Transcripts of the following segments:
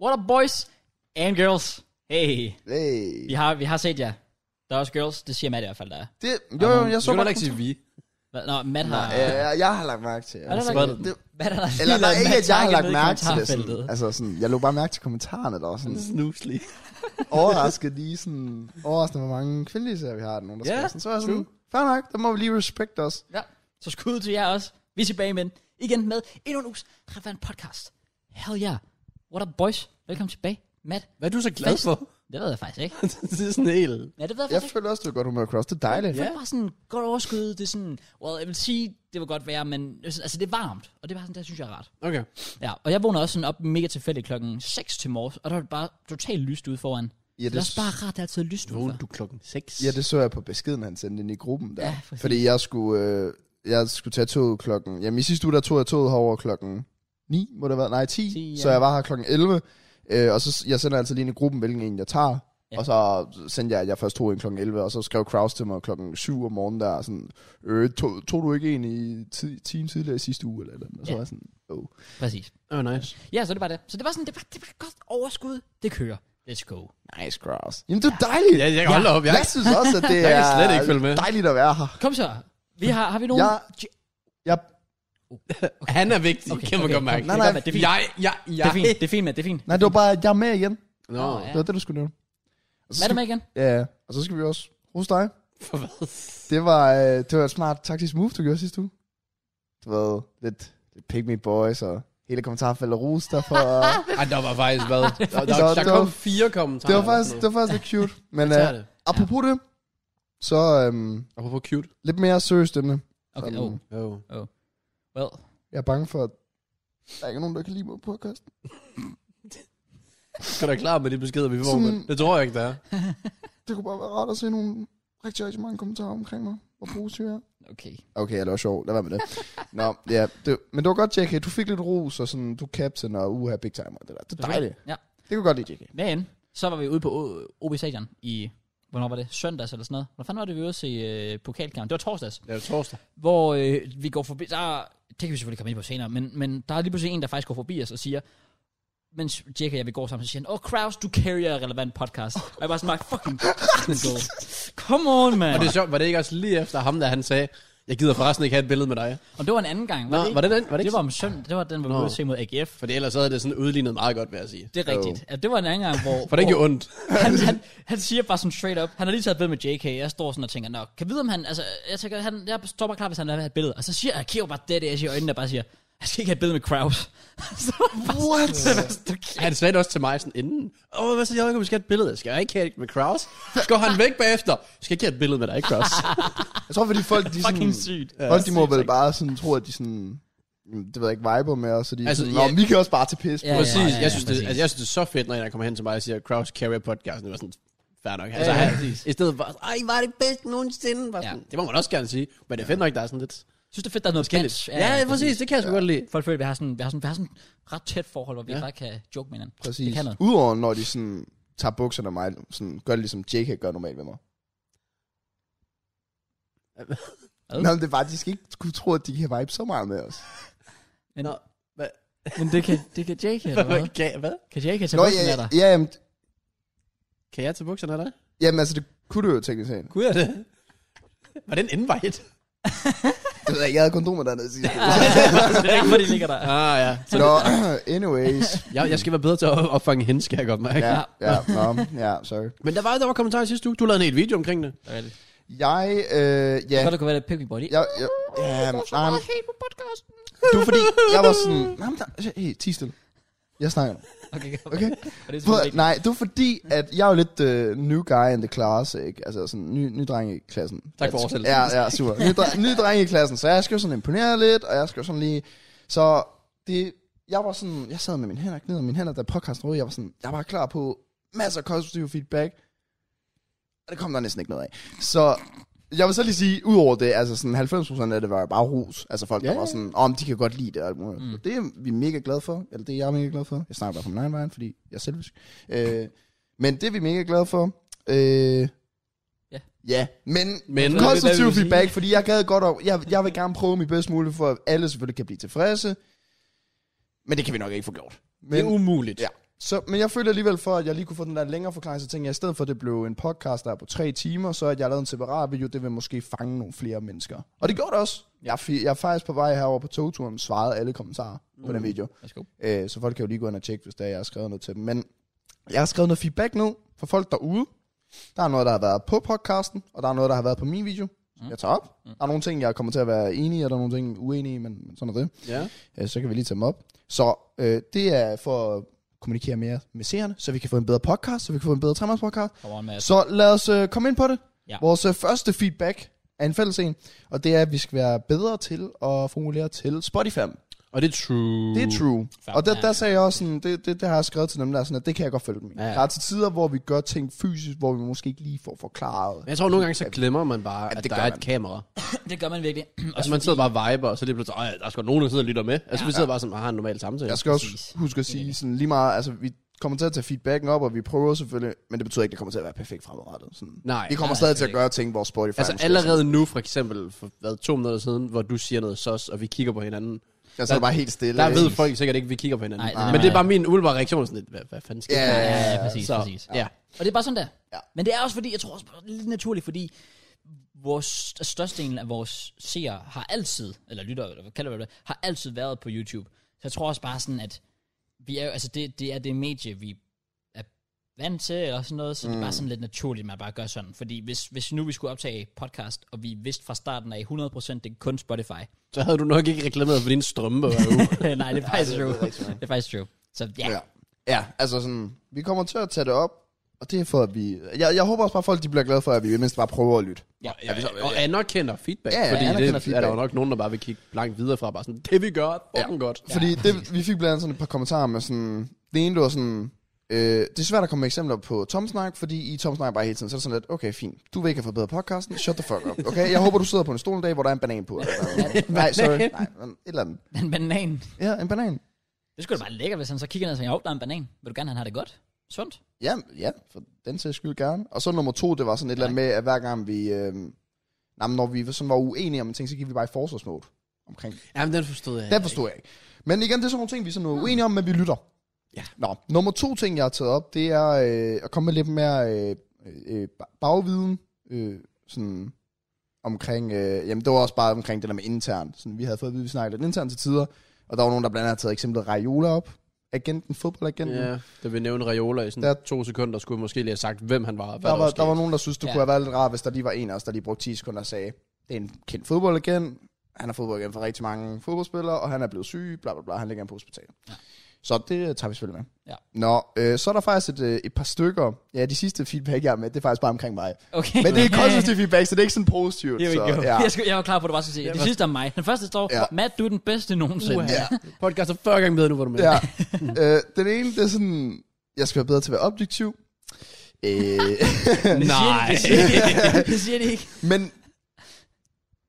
What up, boys and girls? Hey. Hey. Vi har, vi har set jer. Der er også girls. Det siger Matt i hvert fald, der er. Det, jo, jo, Øh, jeg Du så kan bare... heller ikke sige vi. Hvad- Nå, Matt har... Nej, jeg, jeg, jeg har lagt mærke til. er der Altså, lagt- det, Matt har lige eller nej, lavet ikke Matt at jeg har Target lagt ned i mærke til det. Sådan, kommentarfeltet. altså sådan, jeg lå bare mærke til kommentarerne, der var sådan Snuslig. overrasket lige sådan, overraskende, hvor mange kvindelige serier vi har. Der er Nogen, der Ja, yeah, sådan. Så er jeg sådan, fair nok, der må vi lige respect os. Ja. Så skud til jer også. Vi er tilbage med igen med endnu en uges relevant podcast. Hell yeah. What up, boys? Velkommen tilbage. Matt, Hvad er du så glad for? det ved jeg faktisk ikke. det er sådan helt... Ja, det ved jeg Jeg faktisk ikke. føler også, du er godt humør cross. Det er dejligt. Det er bare sådan godt overskud. Det er sådan, well, jeg vil sige, det vil godt være, men altså, det er varmt. Og det er bare sådan, der synes jeg er rart. Okay. Ja, og jeg vågner også sådan op mega tilfældigt klokken 6 til morges, og der var det bare totalt lyst ude foran. Ja, Det er det, også bare rart, at det er altid er lyst udenfor. Vågnede du klokken 6? ja, det så jeg på beskeden, han sendte ind i gruppen der. Ja, Ja, præcis. fordi jeg skulle, øh, jeg skulle tage toget klokken... Jamen i sidste uge, der tog jeg toget herover klokken 9, må det have været. Nej, 10. 10, 10 ja. ja. Så jeg var her klokken 11. Øh, og så jeg sender altså lige ind i gruppen, hvilken en jeg tager. Ja. Ja. Og så sendte jeg, at jeg først tog en klokken 11, og så skrev Kraus til mig klokken 7 om morgenen der, sådan, øh, tog, tog du ikke en i ti- timen tidligere i sidste uge, eller, et eller andet. Og Ja. så ja. var jeg sådan, oh. Præcis. Oh, nice. Ja, så det var det. Så det var sådan, det var, det var et godt overskud. Det kører. Let's go. Nice, Kraus. Jamen, det er dejligt. Ja, jeg kan holde op. Jeg, Jeg, jeg synes også, at det Jeg kan er slet ikke følge med. dejligt at være her. Kom så. Vi har, har vi nogen... Jeg- Jeg, han er vigtig, okay, kan man okay. godt mærke. Nej, Nej, nej. nej. Det er fint. Jeg, jeg, Det jeg. er fint, det er fint, Matt. Det er fint. nej, det var bare, at jeg er med igen. Nå, Nå, ja. Det var det, du skulle nævne. Og så Hvad er skal, det med igen? ja, ja. og så skal vi også hos dig. for hvad? Det var, øh, det var et smart taktisk move, du gjorde sidste uge. Du ved, lidt, lidt pick me boys og hele kommentarfeltet og rus derfor. Ej, der var faktisk hvad? Der, der, Så der det kom var- fire kommentarer. det, var faktisk, det var faktisk lidt cute. Men Jeg tager øh, det. apropos det, så øhm, Apropos cute. lidt mere seriøst emne. Okay, Sådan. oh, Oh. well. Jeg er bange for, at der ikke er nogen, der kan lide mig på podcasten. Skal du være klar med de beskeder, vi får? Sådan- mand? Det tror jeg ikke, der er. Det kunne bare være rart at se nogle rigtig, rigtig mange kommentarer omkring mig. Hvor positiv jeg er. Okay. Okay, ja, det var sjovt. Lad være med det. Nå, ja. Det, men det var godt, JK. Du fik lidt ros, og sådan, du er captain og uha, big time og det der. Det er dejligt. Ja. Det kunne jeg godt lide, JK. Men så var vi ude på O- OB Stadion i... Hvornår var det? Søndags eller sådan noget. Hvor fanden var det, vi var ude at se øh, pokalkamp? Det var torsdags. Det er torsdag. hvor øh, vi går forbi, der, det kan vi selvfølgelig komme ind på senere, men, men der er lige pludselig en, der faktisk går forbi os og siger, mens Jack og jeg vi går sammen, så siger han, åh, oh, Kraus, du carrier relevant podcast. Og jeg var sådan, like, fucking go. Come on, man. Og det er sjovt, var det ikke også lige efter ham, da han sagde, jeg gider forresten ikke have et billede med dig. og det var en anden gang. Nå, Var det, var ikke? det den? Var det, det ikke? var om søndag, det var den, hvor vi Nå. var ude at se mod AGF. Fordi ellers så havde det sådan udlignet meget godt, vil jeg sige. Det er rigtigt. Ja, det var en anden gang, hvor, For det hvor gjorde ondt. han, han, han, siger bare sådan straight up, han har lige taget et billede med JK, jeg står sådan og tænker, nå, kan vide om han, altså, jeg, tænker, han, jeg står bare klar, hvis han vil have et billede. Og så siger jeg, kigger bare det, det, jeg siger i øjnene, der bare siger, jeg skal ikke have et billede med Kraus. så var jeg bare sådan, What? Han sagde det også til mig sådan inden. Åh, hvad så, jeg ikke, vi skal have et billede. Skal jeg ikke have et med Kraus? Så går han væk bagefter. Skal jeg ikke have et billede med dig, Kraus? Jeg tror, fordi folk, de fucking sådan, Hmm. sygt. altså. folk, de må vel bare sådan, tro, at de sådan, mm, det ved jeg ikke, viber med os, og de altså, Altså, sådan, ja. Nå, men vi kan også bare tage pis på. Ja, os." præcis. ja, ja, jeg, synes, præcis. Det, altså, jeg synes, det er så fedt, når en der kommer hen til mig og siger, Kraus carrier podcasten. Det var sådan, fair nok. Altså, ja, ja, ja, han, præcis. I stedet for, ej, var det bedst nogensinde? Var Ja. sådan, Det må man også gerne sige. Men det er fedt nok, der er sådan lidt... synes, det er fedt, der er noget dans. Ja, ja, præcis. Det kan jeg sgu godt lide. Folk føler, at vi har sådan, vi har sådan, vi har sådan et ret tæt forhold, hvor vi ja. Ja. bare kan joke med hinanden. Det Præcis. kan noget. Udover, når de sådan, tager bukserne af mig, sådan, gør det ligesom JK gør normalt ved mig. Hvad? Nå, men det er bare, de skal ikke kunne tro, at de kan vibe så meget med os. Men, Nå, hvad? men det kan, det kan Jake, eller hvad? Kan, hvad? Kan Jake tage Nå, bussen af ja, dig? ja, jamen, Kan jeg tage bukserne af dig? jamen, altså, det kunne du jo teknisk set. Kunne jeg det? Var det en invite? Det ved jeg, ikke, jeg havde kondomer dernede sidste. det er ikke, fordi de ligger der. Ah, ja. Nå, anyways. Jeg, jeg skal være bedre til at opfange hende, skal jeg godt mærke. Ja, ja, nå, ja, sorry. Men der var, der var kommentarer i sidste uge. Du lavede en hel video omkring det. Det er rigtigt. Jeg, øh, Jeg ja. tror, det kunne være lidt pick me body. Jeg, jeg, ja, nej, men helt på podcasten. det var fordi, jeg var sådan, nej, men der, altså, hey, ti stille. Jeg snakker nu. Okay, okay. Okay. Og det er Prøv, selvfølgelig at- nej, det var fordi, at jeg er jo lidt øh, new guy in the class, ikke? Altså sådan ny, ny dreng i klassen. Tak Altså, for oversættelsen. Ja, ja, super. Ny, dreng, ny dreng i klassen, så jeg skal jo sådan imponere lidt, og jeg skal jo sådan lige... Så det, jeg var sådan, jeg sad med mine hænder ned, og mine hænder, der podcasten rød, jeg var sådan, jeg var klar på masser af konstruktiv feedbaik, og det kom der næsten ikke noget af. Så jeg vil så lige sige, udover det, altså sådan 90% af det var jo bare ros. Altså folk, Ja, der var ja. sådan, om de kan godt lide det. Og alt muligt. Mm. Mm. Det er vi mega glade for, eller det er jeg mega glad for. Jeg snakker bare på min egen vej, fordi jeg er selvisk. Øh, men det er vi mega glade for. Øh, Ja. Ja, men, Men- men Hvad vil konstruktiv du sige? feedback, fordi jeg gad godt, og jeg, jeg vil gerne prøve mit bedst muligt, for at alle selvfølgelig kan blive tilfredse. Men det kan vi nok ikke få gjort. Men, det er Men umuligt. Ja. Så, men jeg følte alligevel for, at jeg lige kunne få den der længere forklaring, så tænkte jeg, i stedet for at det blev en podcast, der er på tre timer, så at jeg lavede en separat video, det vil måske fange nogle flere mennesker. Og det gjorde det også. Jeg, fi- jeg er faktisk på vej herover på togturen, svarede alle kommentarer mm. på den video. Værsgo. Øh, så folk kan jo lige gå ind og tjekke, hvis der jeg har skrevet noget til dem. Men jeg har skrevet noget feedback ned for folk derude. Der er noget, der har været på podcasten, og der er noget, der har været på min video, som jeg tager op. Der er nogle ting, jeg kommer til at være enig i, og der er nogle ting, uenig i, men men sådan er det. Ja. Øh, så kan vi lige tage dem op. Så øh, det er for at kommunikere mere med seerne, så vi kan få en bedre podcast, så vi kan få en bedre tremors podcast. Come on, Mads. Så lad os øh, komme ind på det. Ja. Vores øh, første feedback er en fælles en, og det er, at vi skal være bedre til at formulere til Spotify. Og det er true. Det er true. Uh, Fair. Og der, Ja. der sagde jeg også sådan, det, det, det har jeg skrevet til dem der, sådan, at det kan jeg godt følge dem i. Ja. Der er til tider, hvor vi gør ting fysisk, hvor vi måske ikke lige får forklaret. Men jeg tror, nogle gange så glemmer man bare, at det der gør er et man. kamera. Det gør man virkelig. Altså man sidder bare og viber, og så lige pludselig, "Ej, der er sgu nogen, der sidder og lytter med. Altså Ja. vi sidder bare sådan, har en normal samtale. Jeg skal også præcis. huske at sige sådan lige meget, altså vi kommer til at tage feedbacken op, og vi prøver selvfølgelig, men det betyder ikke, at det kommer til at være perfekt fremadrettet. Sådan. Nej. Vi kommer nej, stadig til at selvfølgelig gøre ting, hvor Spotify Altså måske- allerede nu, for eksempel, for hvad, to minutter siden, hvor du siger noget sås, og vi kigger på hinanden. Altså, der, bare helt stille. Der ved ikke? folk sikkert ikke, at vi kigger på hinanden. Nej, det er Nej, Men meget- det er bare min umiddelbare reaktion, sådan lidt, hvad, hvad fanden sker Ja, der?" Ja, ja, ja, præcis, så, præcis. Ja. Og det er bare sådan der. Ja. Ja. Men det er også fordi, jeg tror også, bare, det er lidt naturligt, fordi vores størstedelen af vores seere har altid, eller lytter, eller hvad kalder vi det, har altid været på YouTube. Så jeg tror også bare sådan, at vi er jo, altså det, det er det medie, vi er vant til, og sådan noget, så mm. det er bare sådan lidt naturligt, at man bare gør sådan. Fordi hvis, hvis nu vi skulle optage podcast, og vi vidste fra starten af 100%, det er kun Spotify. Så havde du nok ikke reklameret for dine strømper hver uge. Nej, det er faktisk true. det er rigtig nok. Det er faktisk true. Så ja, Ja. ja. ja, altså sådan, vi kommer til at tage det op, og det er for, at vi... Jeg, jeg håber også bare, at folk de bliver glade for, at vi i mindst bare prøver at lytte. ja. Ja, ja, og anerkender feedback, Ja, ja, fordi anerkender det er feedback. der jo nok nogen, der bare vil kigge langt videre fra, bare sådan, det vi gør, fucking ja. godt. Fordi det, vi fik blandt andet sådan et par kommentarer med sådan... Det ene, det var sådan... Øh, det er svært at komme med eksempler på Tom Snak, fordi i Tom Snak bare hele tiden, så er det sådan lidt, okay, fint, du vil ikke have forbedret podcasten, shut the fuck up, okay? Jeg håber, du sidder på en stol en dag, hvor der er en banan på. nej, sorry, nej, men et eller andet. en banan. Ja, en banan. Det skulle da bare lækkert, hvis han så kigger ned og siger, jo, der er en banan. Vil du gerne, han har det godt? Sundt? Ja, ja, for den sags skyld gerne. Og så nummer to, det var sådan et eller andet med, at hver gang vi... Øh, nej, men når vi sådan var uenige om en ting, så gik vi bare i forsvarsmode omkring Jamen, den forstod jeg. Den forstod jeg ikke. Men igen, det er sådan nogle ting, vi er sådan noget uenige om, men vi lytter. Ah. Ja. Nå, nummer to ting, jeg har taget op, det er øh, at komme med lidt mere øh, øh, ba- bagviden, øh, sådan omkring, øh, jamen det var også bare omkring det der med internt. Sådan, vi havde fået at vide, at vi snakkede lidt internt til tider, og der var nogen, der blandt andet har taget eksemplet Raiola op. Agenten, fodboldagenten. Ja, da vi nævnte Raiola i sådan Der- der, to sekunder, skulle vi måske lige have sagt, hvem han var. og Hvad Der var, skete. der var nogen, der synes, det Ja. kunne have været lidt rart, hvis der lige var en af os, der lige brugte 10 sekunder og sagde, det er en kendt fodboldagent, han er fodboldagent for rigtig mange fodboldspillere, og han er blevet syg, bla bla bla, han ligger inde på hospitalet. Ja. Så det øh, tager vi selvfølgelig med. Ja. Nå, øh, så er der faktisk et, øh, et par stykker, ja, de sidste feedback, jeg er med, det er faktisk bare omkring mig. Okay. Men det er konstruktiv feedback, så det er ikke sådan positivt. Here we så, go. ja. Ja. Jeg, skulle, jeg var klar på, at du bare skulle sige, det sidste om mig. Den første står, Ja. ja. Matt, du er den bedste nogensinde. Uha. Podcast er 40 gange bedre nu, hvor du er med. ja. øh, den ene, det er sådan, jeg skal være bedre til at være objektiv. Øh, Det siger de, det siger de, det siger de ikke. Men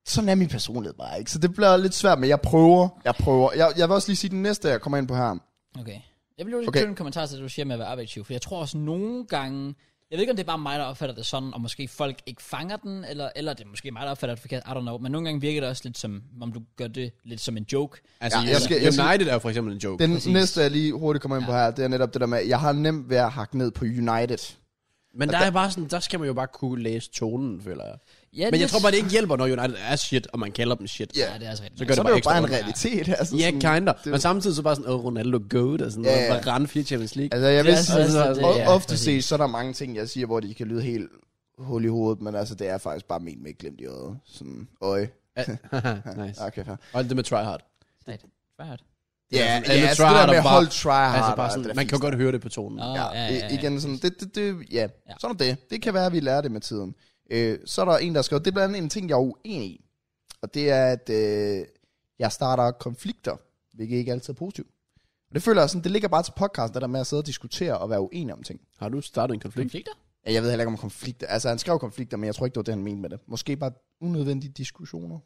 sådan er min personlighed bare ikke. Så det bliver lidt svært, men jeg prøver. Jeg prøver. Jeg, jeg vil også lige sige, den næste, jeg kommer ind på her. Okay. Jeg vil jo lige Okay. okay. en kommentar til det, du siger med at være arbejdsgiver, for jeg tror også nogle gange, jeg ved ikke, om det er bare mig, der opfatter det sådan, og måske folk ikke fanger den, eller, eller det er måske mig, der opfatter det forkert, I don't know, men nogle gange virker det også lidt som, om du gør det lidt som en joke. Altså, Ja, ja, jeg skal- jeg skal- United er jo for eksempel en joke. Den Præcis. næste, jeg lige hurtigt kommer ind på her, det er netop det der med, at jeg har nemt ved at hakke ned på United. men der, er bare sådan, der skal man jo bare kunne læse tonen, føler jeg. Ja, Men jeg tror bare, det ikke hjælper, når United er shit, og man kalder dem shit. Ja, det er altså rigtigt. Så Så gør gør Så det er det bare jo ekstra bare en ondt. realitet. Altså, Ja, sådan- kinder. det- Men samtidig så bare sådan, åh, Ronaldo goat og sådan Ja, noget. ja. Bare rende fire Champions League. Altså, jeg Det er vil altså- altså, det- ja, altså, ofte præcis. ses, så er der mange ting, jeg siger, hvor de kan lyde helt hul i hovedet, men altså, det er faktisk bare ment med et glimt i øjet. Sådan, øje. Ja, nice. Okay, fair. Og det med tryhard. Ah, Right. Ja, ja, sådan, altså, alle det tryharder der med at bare- holde tryhard. Altså bare sådan, det er man kan fint. godt høre det på tonen. Nå, Ja, ja, ja, ja, igen sådan, det, det, det, ja. ja. Ja. sådan er det. Det kan være, at vi lærer det med tiden. Øh, så er der en, der skriver, det er blandt andet en ting, jeg er uenig i. Og det er, at øh, jeg starter konflikter, hvilket ikke altid er positivt. Og det føler jeg sådan, det ligger bare til podcasten, det der med at sidde og diskutere og være uenig om ting. Har du startet en konflikt? Konflikter? Ja, Jeg ved heller ikke om konflikter. Altså, han skrev konflikter, men jeg tror ikke, det var det, han mente med det. Måske bare unødvendige diskussioner.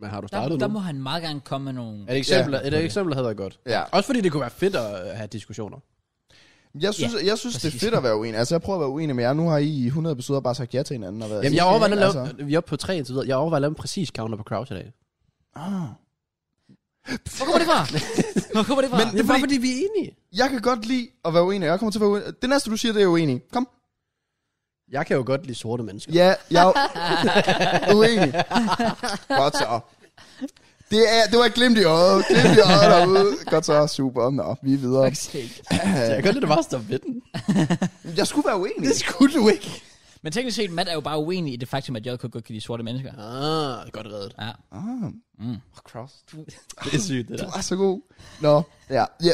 Men har du Der, startet der nu? må han meget gerne komme med nogle... Et eksempel, et eksempel havde været godt. Ja. Også fordi det kunne være fedt at øh, have diskussioner. Jeg synes, ja, jeg synes det er præcis. fedt at være uenig. Altså, jeg prøver at være uenig med jer. Nu har I i 100 episoder bare sagt ja til hinanden. Og været Altså- Jamen, jeg enige, overvejer ikke? at Ah, lave, vi er oppe på tre indtil videre, jeg overvejer at lave en præcis counter på Kraus i dag. Ah. Hvor kommer det fra? Hvor kommer det fra? Det Men, er bare fordi, vi er enige. Jeg kan godt lide at være uenig, og jeg kommer til at være uenig. Det næste, du siger, det er uenig. Kom. Jeg kan jo godt lide sorte mennesker. Ja, jeg er uenig. Godt så. Det, er, det var et glimt i øjet. Glimt i øjet derude. Godt så, super. Nå, vi er videre. Så jeg kan godt lide, at du bare står ved den. Jeg skulle være uenig. skulle du ikke. Men teknisk set, Matt er jo bare uenig i det faktum, at JK godt kan lide sorte mennesker. Ah, godt reddet. Ja. Ah. Mm. Oh, Kraus, du Det er sygt, det Du der. er så god. Nå, ja. ja.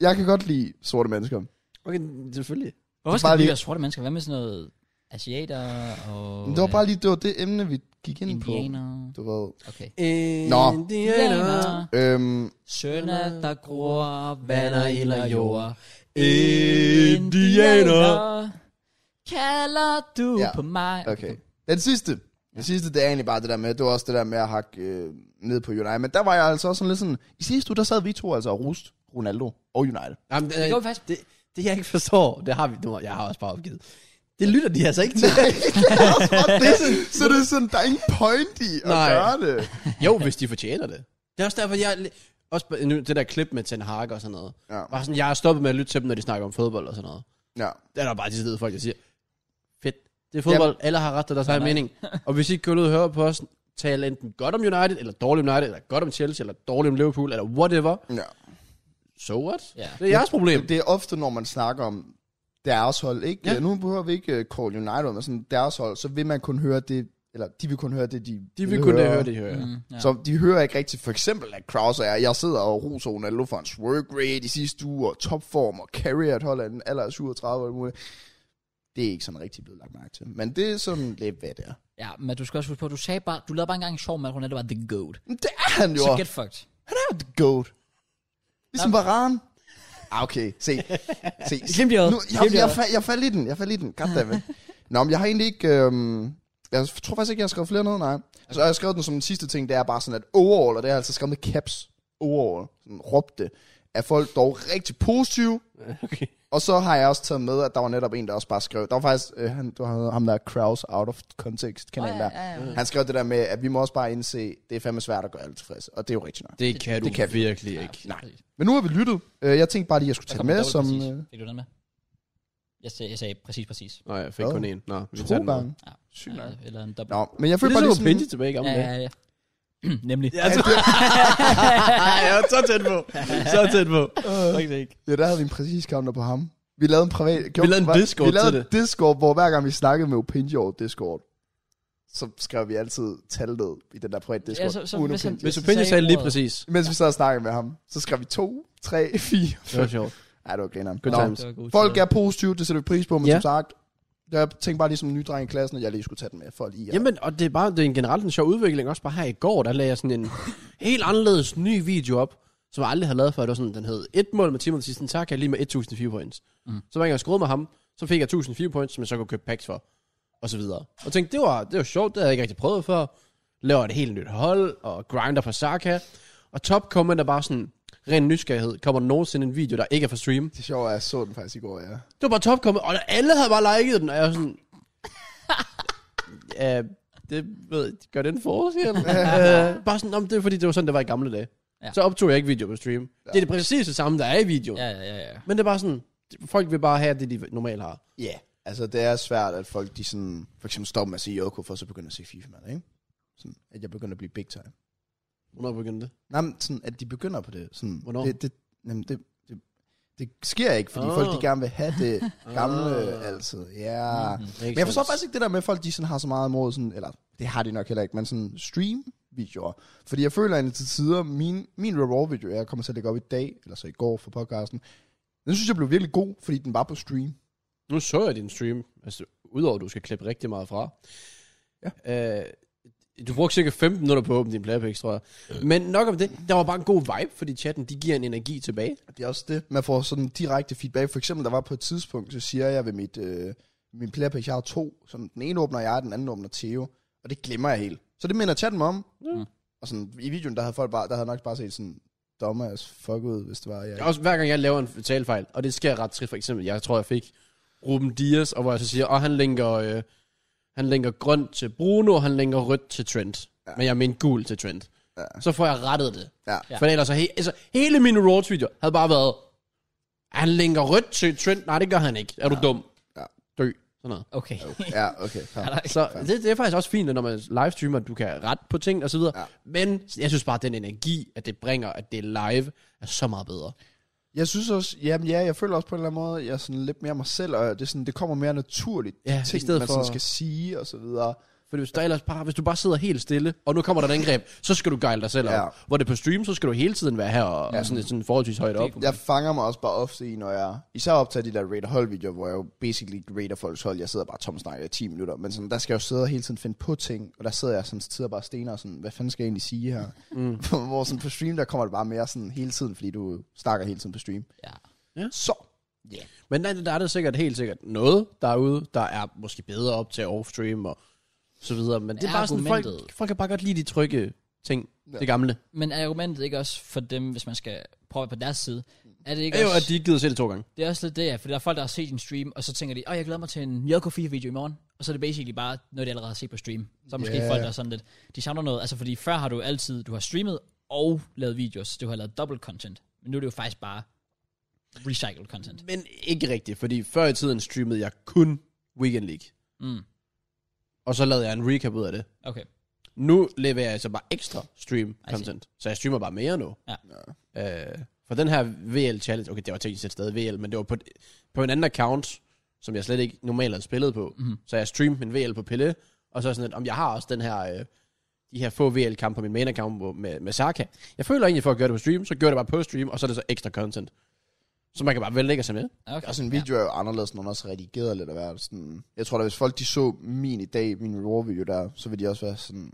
Jeg kan godt lide sorte mennesker. Okay, selvfølgelig. Hvorfor bare skal vi lige- være sorte mennesker? Hvad med sådan noget asiater og... øh, Men det var bare lige, det var det emne, vi gik ind Indianer. på. Du ved. Okay. Nå. Indianer. Øhm, Sønner, der gror, vander ild og jord. Indianer. kalder du Ja. ja. på mig. okay. Den sidste. Den sidste, det er egentlig bare det der med, det var også det der med at hakke øh, ned på United. Men der var jeg altså også sådan lidt sådan, i sidste uge, der sad vi to altså og roste Ronaldo og United. Jamen, det, gjorde vi faktisk. Det, det, jeg ikke forstår, det har vi nu. Jeg har også bare opgivet. Det lytter de altså ikke til. det er sådan, så det er sådan, der er ingen point i at Nej. gøre det. jo, hvis de fortjener det. Det er også derfor, jeg... Også på- nu, det der klip med Ten Hag og sådan noget. Ja. Bare sådan, jeg har stoppet med at lytte til dem, når de snakker om fodbold og sådan noget. Ja. Det er der bare de steder folk, der siger, fedt, det er fodbold, alle har ret til deres egen Nej, mening. Og hvis I ikke går ud og hører på os, tale enten godt om United, eller dårligt om United, eller godt om Chelsea, eller dårligt om Liverpool, eller whatever, ja. so what? Ja. Det er jeres problem. Det er ofte, når man snakker om deres hold, ikke? Ja. Ja. Nu behøver vi ikke øh, call United, men sådan deres hold, så vil man kun høre det, eller de vil kun høre det, de, De vil kun høre det, de hører. Mm. Mm, ja. Ja. Så de hører ikke rigtigt, for eksempel, at Kraus er, jeg sidder og roser Ronaldo for hans work rate i sidste uge, og topform, og carry at holde en alder af 37 og alt muligt. Det er ikke sådan rigtig blevet lagt mærke til. Men det er sådan lidt, hvad det er. ja, men du skal også huske på, du sagde bare, du lavede bare engang en sjov med, at Ronaldo var the goat. Men det er han jo. Så get fucked. Han er jo the goat. Ligesom Varane. Ah, okay. Se. Se. Glimt i øjet. Nu, jeg, Glimt i jeg, øjet. fa- jeg faldt i den, jeg faldt i den, goddammit. Nå, men jeg har egentlig ikke, øhm, jeg tror faktisk ikke, jeg har skrevet flere noget, nej. Så har jeg skrevet den som den sidste ting, det er bare sådan, at overall, og det er altså skrevet med caps, overall, sådan råbte, er folk dog rigtig positive, Mm. Okay. og så har jeg også taget med, at der var netop en, der også bare skrev, der var faktisk, øh, han, du havde ham der Kraus out of context kanalen Åh, der. ja, ja, ja. Han skrev det der med, at vi må også bare indse, det er fandme svært at gøre alle tilfredse, og det er jo rigtigt nok. Det kan du det kan vi. virkelig ikke. Ja, præcis. Men nu har vi lyttet. Øh, Jeg tænkte bare lige, at jeg skulle Der tage det kommer dobbelt med som præcis. øh, Fik du den med? Jeg sagde, jeg sagde præcis, præcis. Nå, jeg fik Hvad? kun en. Nå, vi tager to den nu. gange. Ja. Sygt nok. Eller- Eller en dobbelt. Nå, men jeg Det føler er bare ligesom så lige sådan... jo Benji tilbage i gamle ja, dage. ja, ja. Nemlig. Ja, altså. så, ja, så tæt på. Så tæt på. Øh. Faktisk ikke. Ja, der havde vi en præcis counter på ham. Vi lavede en privat... Gjorde, lavede en var- Discord Vi lavede til en Discord, hvor hver gang vi snakkede med Opinji over Discord, så skrev vi altid tal ned i den der private Discord. Ja, så- så uden hvis han- Opinji. Hvis Så Opinion sagde sagde lige ordet. præcis. Mens vi sad og snakkede med ham, så skrev vi 2, 3, 4. Det var sjovt. Ej, det var grineren. Good Nå, times. Det var god Folk tid. er positive, det sætter vi pris på, men Ja. ja. som sagt, jeg tænkte bare ligesom en ny dreng i klassen, at jeg lige skulle tage den med for lige at... Jamen, og det er bare det er en generelt en sjov udvikling. Også bare her i går, der lagde jeg sådan en helt anderledes ny video op, som jeg aldrig havde lavet før. Det var sådan, den hed et mål med Timothy Sisten Tak, jeg lige med 1004 points. Mm. Så var jeg skruet med ham, så fik jeg 1004 points, som jeg så kunne købe packs for, og så videre. Og tænkte, det var, det var sjovt, det havde jeg ikke rigtig prøvet før. Laver et helt nyt hold, og grinder for Saka. Og top comment er bare sådan, ren nysgerrighed, kommer der nogensinde en video, der ikke er for stream? Det sjove er, at jeg så den faktisk i går, ja. Det var bare topkommet, og alle havde bare liket den, og jeg var sådan... ja, det ved jeg, gør det en forskel? øh, bare sådan, "Nå, men det er fordi, det var sådan, det var i gamle dage. Ja. Ja. Så optog jeg ikke video på stream. Ja. Det er det præcis det samme, der er i videoen. Ja, Ja. ja, ja, ja. Men det er bare sådan, folk vil bare have det, de normalt har. Ja, yeah. altså det er svært, at folk de sådan, for eksempel stopper med at sige Yoko, for så begynder at sige FIFA, mand, ikke? Sådan, at jeg begynder at blive big time. Hvornår begyndte det? Nej, men sådan, at de begynder på det. Sådan, Hvornår? Det, det, jamen, det, det, det sker ikke, fordi Ah. oh. folk de gerne vil have det gamle Ah. altid. Ja. Mm-hmm. Mhm. Men jeg forstår faktisk ikke det der med, at folk de sådan har så meget imod, sådan, eller det har de nok heller ikke, men sådan stream videoer. Fordi jeg føler egentlig til tider, min, min raw video, jeg kommer til at lægge op i dag, eller så i går for podcasten, den synes jeg blev virkelig god, fordi den var på stream. Nu så jeg din stream, altså udover at du skal klippe rigtig meget fra. Ja. Øh, du brugte cirka 15 minutter på at åbne din playpix, tror jeg. Øh. Men nok om det, der var bare en god vibe, fordi chatten, de giver en energi tilbage. Det er også det. Man får sådan direkte feedback. For eksempel, der var på et tidspunkt, så siger jeg ved mit, øh, min playerpage, jeg har to. Sådan, den ene åbner jeg, den anden åbner Theo. Og det glemmer jeg helt. Så det minder chatten mig om. Mm. Mm. Og sådan, i videoen, der havde folk bare, der havde nok bare set sådan, dummer as fuck ud, hvis det var jeg. Ja. Også hver gang jeg laver en talefejl, og det sker ret tit, for eksempel, jeg tror, jeg fik Ruben Dias, og hvor jeg så siger, at han linker, øh, han linker grønt til Bruno, og han linker rødt til Trent. Ja. Men jeg mente gul til Trent. ja. så får jeg rettet det. Ja. Ja. Ja. For ellers, så he, altså, hele min Rawls video havde bare været, han linker rødt til Trent. Nej, det gør han ikke. Er du dum? Ja. Dø. Sådan noget. Okay. Ja, okay. Fair. Så det, det er faktisk også fint, når man livestreamer, at du kan rette på ting og så videre. Ja. Ja. Men jeg synes bare, at den energi, at det bringer, at det er live, er så meget bedre. Jeg synes også, jamen ja, jeg føler også på en eller anden måde, jeg er sådan lidt mere mig selv, og det, er sådan, det kommer mere naturligt, de Ja, i ting, stedet man for- sådan skal sige og så videre. For hvis, der ellers bare, hvis du bare sidder helt stille, og nu kommer der et angreb, så skal du gejle dig selv Ja. op. Hvor det er på stream, så skal du hele tiden være her og ja. sådan, sådan forholdsvis højt op. Jeg fanger mig også bare ofte i, når jeg især optager de der raider hold videoer, hvor jeg jo basically raider folks hold. Jeg sidder bare tom snakker i 10 minutter, men sådan, der skal jeg jo sidde og hele tiden finde på ting, og der sidder jeg sådan tider bare og stener og sådan, hvad fanden skal jeg egentlig sige her? Mm. hvor sådan på stream, der kommer det bare mere sådan hele tiden, fordi du snakker hele tiden på stream. Ja. Så, Men nej, der er der sikkert helt sikkert noget derude, der er måske bedre op til off-stream og så videre. Men det er bare sådan, folk, Argumentet. folk kan bare godt lide de trygge ting. Ja. Ja. Det gamle. Men er argumentet ikke også for dem, hvis man skal prøve på deres side? Er det ikke Det er jo, også, at de ikke gider se det to gange. det er også lidt det, ja, for der er folk, der har set din stream, og så tænker de, åh, oh, jeg glæder mig til en Mjølko 4-video i morgen, og så er det basically bare noget, de allerede har set på stream. Så er måske Ja. yeah. folk, der er sådan lidt, de savner noget, altså fordi før har du altid, du har streamet og lavet videos, så du har lavet double content, men nu er det jo faktisk bare recycled content. Men ikke rigtigt, fordi før i tiden streamede jeg kun Weekend League. Mm. Og så lavede jeg en recap ud af det. Okay. Nu leverer jeg så bare ekstra stream see. content. Så jeg streamer bare mere nu. Ja. Øh, for den her VL Challenge, okay, det var teknisk set stadig VL, men det var på, på en anden account, som jeg slet ikke normalt havde spillet på. Mhm. Så jeg streamede min VL på Pille, og så sådan lidt, om jeg har også den her, øh, de her få VL-kampe på min main account hvor- med, med Saka. Jeg føler egentlig for at gøre det på stream, så gør det bare på stream, og så er det så ekstra content. Så man kan bare vælge at se med. okay. Altså, Og sådan en video er jo anderledes, når man også redigerer lidt af hvert. Sådan, jeg tror da, hvis folk de så min i dag, min raw-video der, så ville de også være sådan,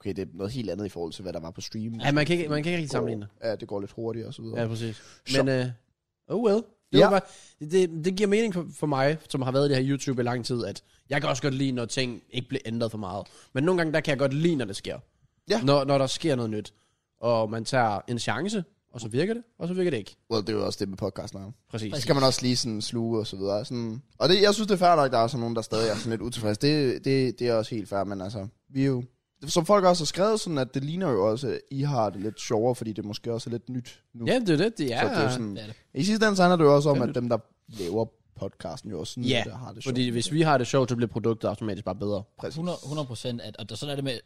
okay, det er noget helt andet i forhold til, hvad der var på stream. Ja, man kan ikke, man kan ikke rigtig sammenligne det. Ja, det går lidt hurtigere og så videre. Ja, Ja. præcis. Så- Men, øh, oh well. Det, Ja. ja. bare, det, det giver mening for, for mig, som har været i det her YouTube i lang tid, at jeg kan også godt lide, når ting ikke bliver ændret for meget. Men nogle gange, der kan jeg godt lide, når det sker. Ja. Når, når der sker noget nyt. Og man tager en chance, og så virker det, og så virker det ikke. Well, det er jo også det med podcasten. her. Præcis. Så skal man også lige sådan sluge og så videre. Sådan, og det, jeg synes, det er fair nok, der er sådan nogen, der stadig er sådan lidt utilfredse. Det, det, det er også helt fair, men altså, vi er jo... Som folk også har skrevet, sådan at det ligner jo også, at I har det lidt sjovere, fordi det måske også er lidt nyt nu. Ja, det er det. Det er, så det er jo sådan, Det er det. I sidste ende så handler det jo også om, Det er at dem, der laver podcasten, jo også sådan, ja der har det sjovt. fordi hvis vi har det sjovt, så bliver produktet automatisk bare bedre. Præcis. 100, 100 procent, at, og der, sådan er det med,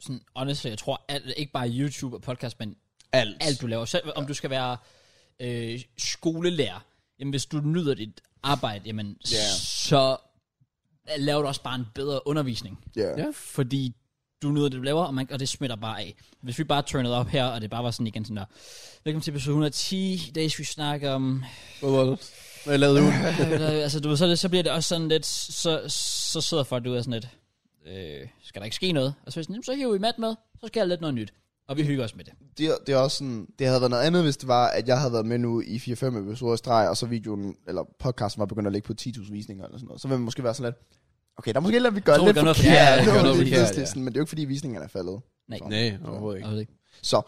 sådan, honestly, jeg tror, alt, ikke bare YouTube og podcast, men Alt. alt du laver. Selv om du skal være øh, skolelærer, jamen hvis du nyder dit arbejde, jamen Ja. så laver du også bare en bedre undervisning. Ja. Ja. Fordi du nyder det, du laver, og, man, og det smitter bare af. Hvis vi bare turnede op her, og det bare var sådan igen sådan der, velkommen til episode 110, i dag skal vi snakke om, Hvad jeg lavede ugen? øh, der- altså du ved, så, er det, så bliver det også sådan lidt, så, så sidder folk ud af sådan lidt, øh, skal der ikke ske noget? Og så er vi sådan, "Jamen, så hiver vi mat med, så skal jeg lidt noget nyt. Og vi hygger os med det. det, er- det er også sådan, det havde været noget andet, hvis det var, at jeg havde været med nu i 4-5 episoder i streg, og så videoen, eller podcasten var begyndt at ligge på 10.000 visninger eller sådan noget. Så ville man måske være sådan lidt, okay, der er måske lidt, vi gør Så må vi lidt gøre noget forkert, forkert. vi gør det noget var lige forkert, pludselig ja. sådan, Men det er jo ikke, fordi visningerne er faldet. Nej. Så. Nej, overhovedet Jeg ikke. ved ikke. Så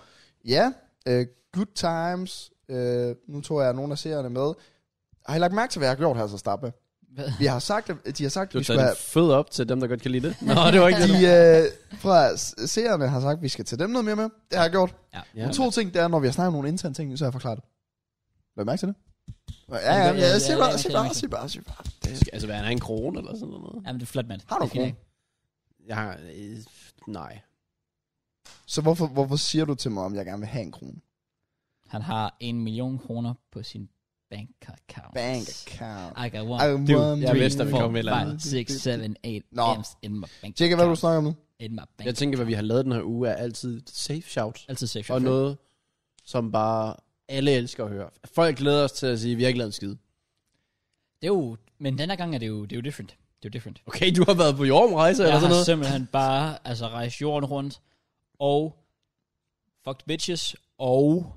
ja, øh, good times. Øh, nu tror jeg, at nogle af seerne med. Har I lagt mærke til, hvad jeg har gjort her så stappe? Hvad? Vi har sagt, at de har sagt, Du at vi skulle har taget have... en fed op til dem, der godt kan lide det. Nå, det var ikke det. De øh, fra s- seerne har sagt, at vi skal tage dem noget mere med. Det har jeg gjort. Ja. Ja. Ja, to ting, det er, når vi har snakket om nogle interne ting, så har jeg forklaret det. Lad mærke til det. Ja, Ja, ja, ja, ja, ja, sig ja, ja, bare, sig ja, ja. bare, sig bare, sig bare. Det skal altså være en egen krone eller sådan noget. Jamen, det er flot, mand. Har du Det er fint, ikke? krone? Jeg har... Øh, nej. Så hvorfor, hvorfor siger du til mig, om jeg gerne vil have en krone? Han har en million kroner på sin bank account. Bank account. I got I one, want Dude, to jeg vidste, be at vi kom med et eller five, andet. six, seven, eight Nå. M's in my bank Tjekke, hvad du account. snakker om nu. In my bank Jeg tænker, hvad vi har lavet den her uge, er altid safe shout. Altid safe Og noget, som bare alle elsker at høre. Folk glæder os til at sige, at vi har ikke lavet en skid. Det er jo, men den her gang er det jo, det er jo different. Det er jo different. Okay, du har været på jordomrejse Jeg eller har sådan noget. simpelthen bare altså, rejst jorden rundt, og fucked bitches, og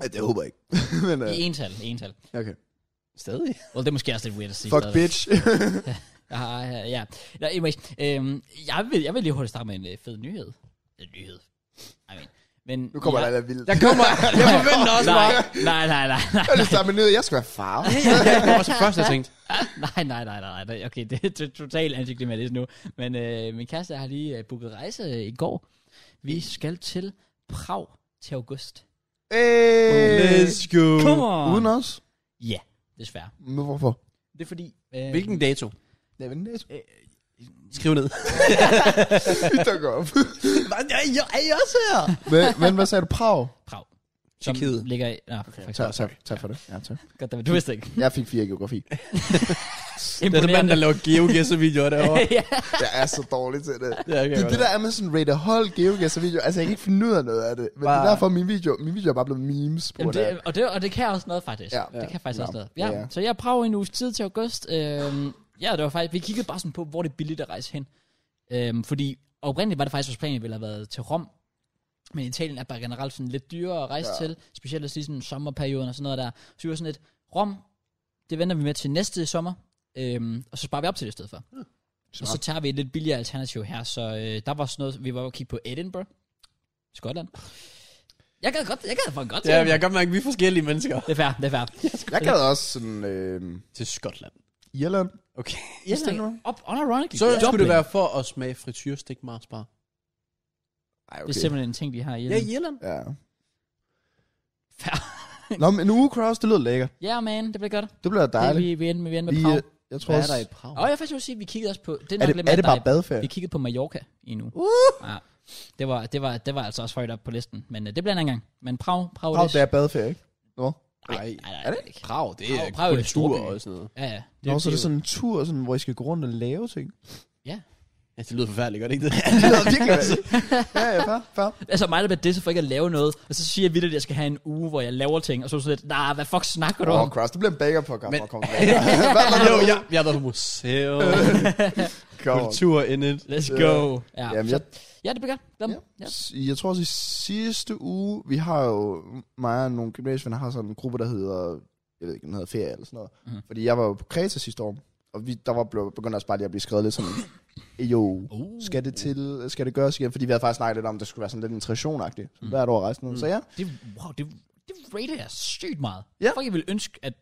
Ej, det håber jeg ikke. Men, i uh, ental, i ental. okay. Stadig. Well, det er måske også lidt weird at sige. Fuck stadigvæk. bitch. Ja, ja, ja. Nå, anyways, øhm, jeg, vil, jeg vil lige hurtigt starte med en øh, fed nyhed. En nyhed. I mean. Men nu kommer jeg, der lidt vildt. Jeg kommer. Jeg forventer også Nej, bare. nej, nej, nej, nej. Jeg har lyst til at have ned, jeg skal være far. Det var så først, jeg tænkte. Nej, nej, nej, nej, nej. Okay, det er to- totalt antiklimatisk nu. Men øh, min kæreste har lige øh, booket rejse øh, i går. Vi skal til Prag til august. Hey! go. Come on! Uden os? Ja, desværre. Men hvorfor? Det er fordi... Øh, Hvilken dato? Det er vel næste. Skriv ned. Vi dukker op. er, I, er I også her? men, men hvad sagde du? Prag? Prag. Som Tjekkiet. ligger i... Nå, okay. Tak, tak, tak for det. Ja, tak. Godt, David, du vidste ikke. Jeg fik fire i geografi. Det er den mand, der laver GeoGuessr-videoer derovre. ja. Jeg er så dårlig til det. Ja, okay, Det er det, der er med sådan rate hold geogasser video. Altså, jeg kan ikke finde ud af noget af det. Men det er Bare- derfor, min video, min video er bare blevet memes på Jamen, grund af. det, og, det, og det kan også noget, faktisk. Ja. Ja, det kan faktisk Ja. også noget. Ja, Ja. ja. Så jeg prøver en uges tid til august. Øhm, ja, det var faktisk... Vi kiggede bare sådan på, hvor det er billigt at rejse hen. Øhm, fordi oprindeligt var det faktisk vores plan, at vi ville have været til Rom. Men Italien er bare generelt sådan lidt dyrere at rejse Ja. ja. til. Specielt også lige sådan sommerperioden og sådan noget der. Så vi var sådan lidt, Rom, det venter vi med til næste sommer. Øhm, og så sparer vi op til det i stedet for. Og så tager vi et lidt billigere alternativ her, så øh, der var sådan noget, vi var jo kigge på Edinburgh, Skotland. Jeg gad godt, jeg gad fucking godt til Ja, det. men jeg kan godt mærke, at vi er forskellige mennesker. Det er fair, det er fair. Jeg gad også sådan... Øh, Til Skotland. Irland. Okay. Jeg tænker, op, unironically. Så skulle Dublin. det være for at smage frityrstik Mars bar. Ej, Det er okay. simpelthen en ting, de har i Ja, Irland. i Irland. Ja. Fair. Nå, men en uge cross, det lyder lækkert. Ja, yeah, man, det bliver godt. Det bliver Det, dejligt. vi, vi, endte, med- vi endte Vi, med Prag. øh, jeg tror Hvad er også... der i Prag? Og jeg vil faktisk også sige, at vi kiggede også på... Det er, Er nok det, lidt mere er det bare dig. badeferie? Vi kiggede på Mallorca i nu. Uh! Ja, det var, det, var, det var altså også højt op på listen. Men øh, det bliver en anden gang. Men Prag, Prag, Prag, det nej, er badeferie, ikke? Nå. nej, Ej, nej, er nej, det ikke. Prag, det er Prag- Prag er jo det store kultur by. og sådan noget. Ja, ja. Nå, så er det jo- sådan en tur, sådan, hvor I skal gå rundt og lave ting. Ja, det lyder forfærdeligt, gør det ikke det? Det lyder virkelig Ja, ja, fair, fair. Altså mig, der bliver disset for ikke at lave noget, og så siger jeg vildt, at jeg skal have en uge, hvor jeg laver ting, og så er du sådan lidt, nej, hvad fuck snakker du Åh, om? oh, Cross, det bliver en bager på, Men- Hvad var det? jo, jeg, jeg har været på museum, Kom. kultur in it. Let's Ja. go. Ja, Jamen, så, jeg, ja det bliver godt. Glem- ja. Ja. jeg tror også i sidste uge, vi har jo, mig og nogle gymnasievenner har sådan en gruppe, der hedder, jeg ved ikke, den hedder ferie eller sådan noget. Mhm. Fordi jeg var jo på Kreta sidste år, og vi, der var blevet, begyndte også bare lige at blive skrevet lidt sådan, jo, Uh, skal det til, skal det gøres igen? Fordi vi havde faktisk snakket lidt om, at det skulle være sådan lidt en tradition-agtigt, mm. Mm. hvert år resten. Mm. Så ja, det, wow, det, det rater jeg sygt meget. Ja. Fuck, jeg ville ønske, at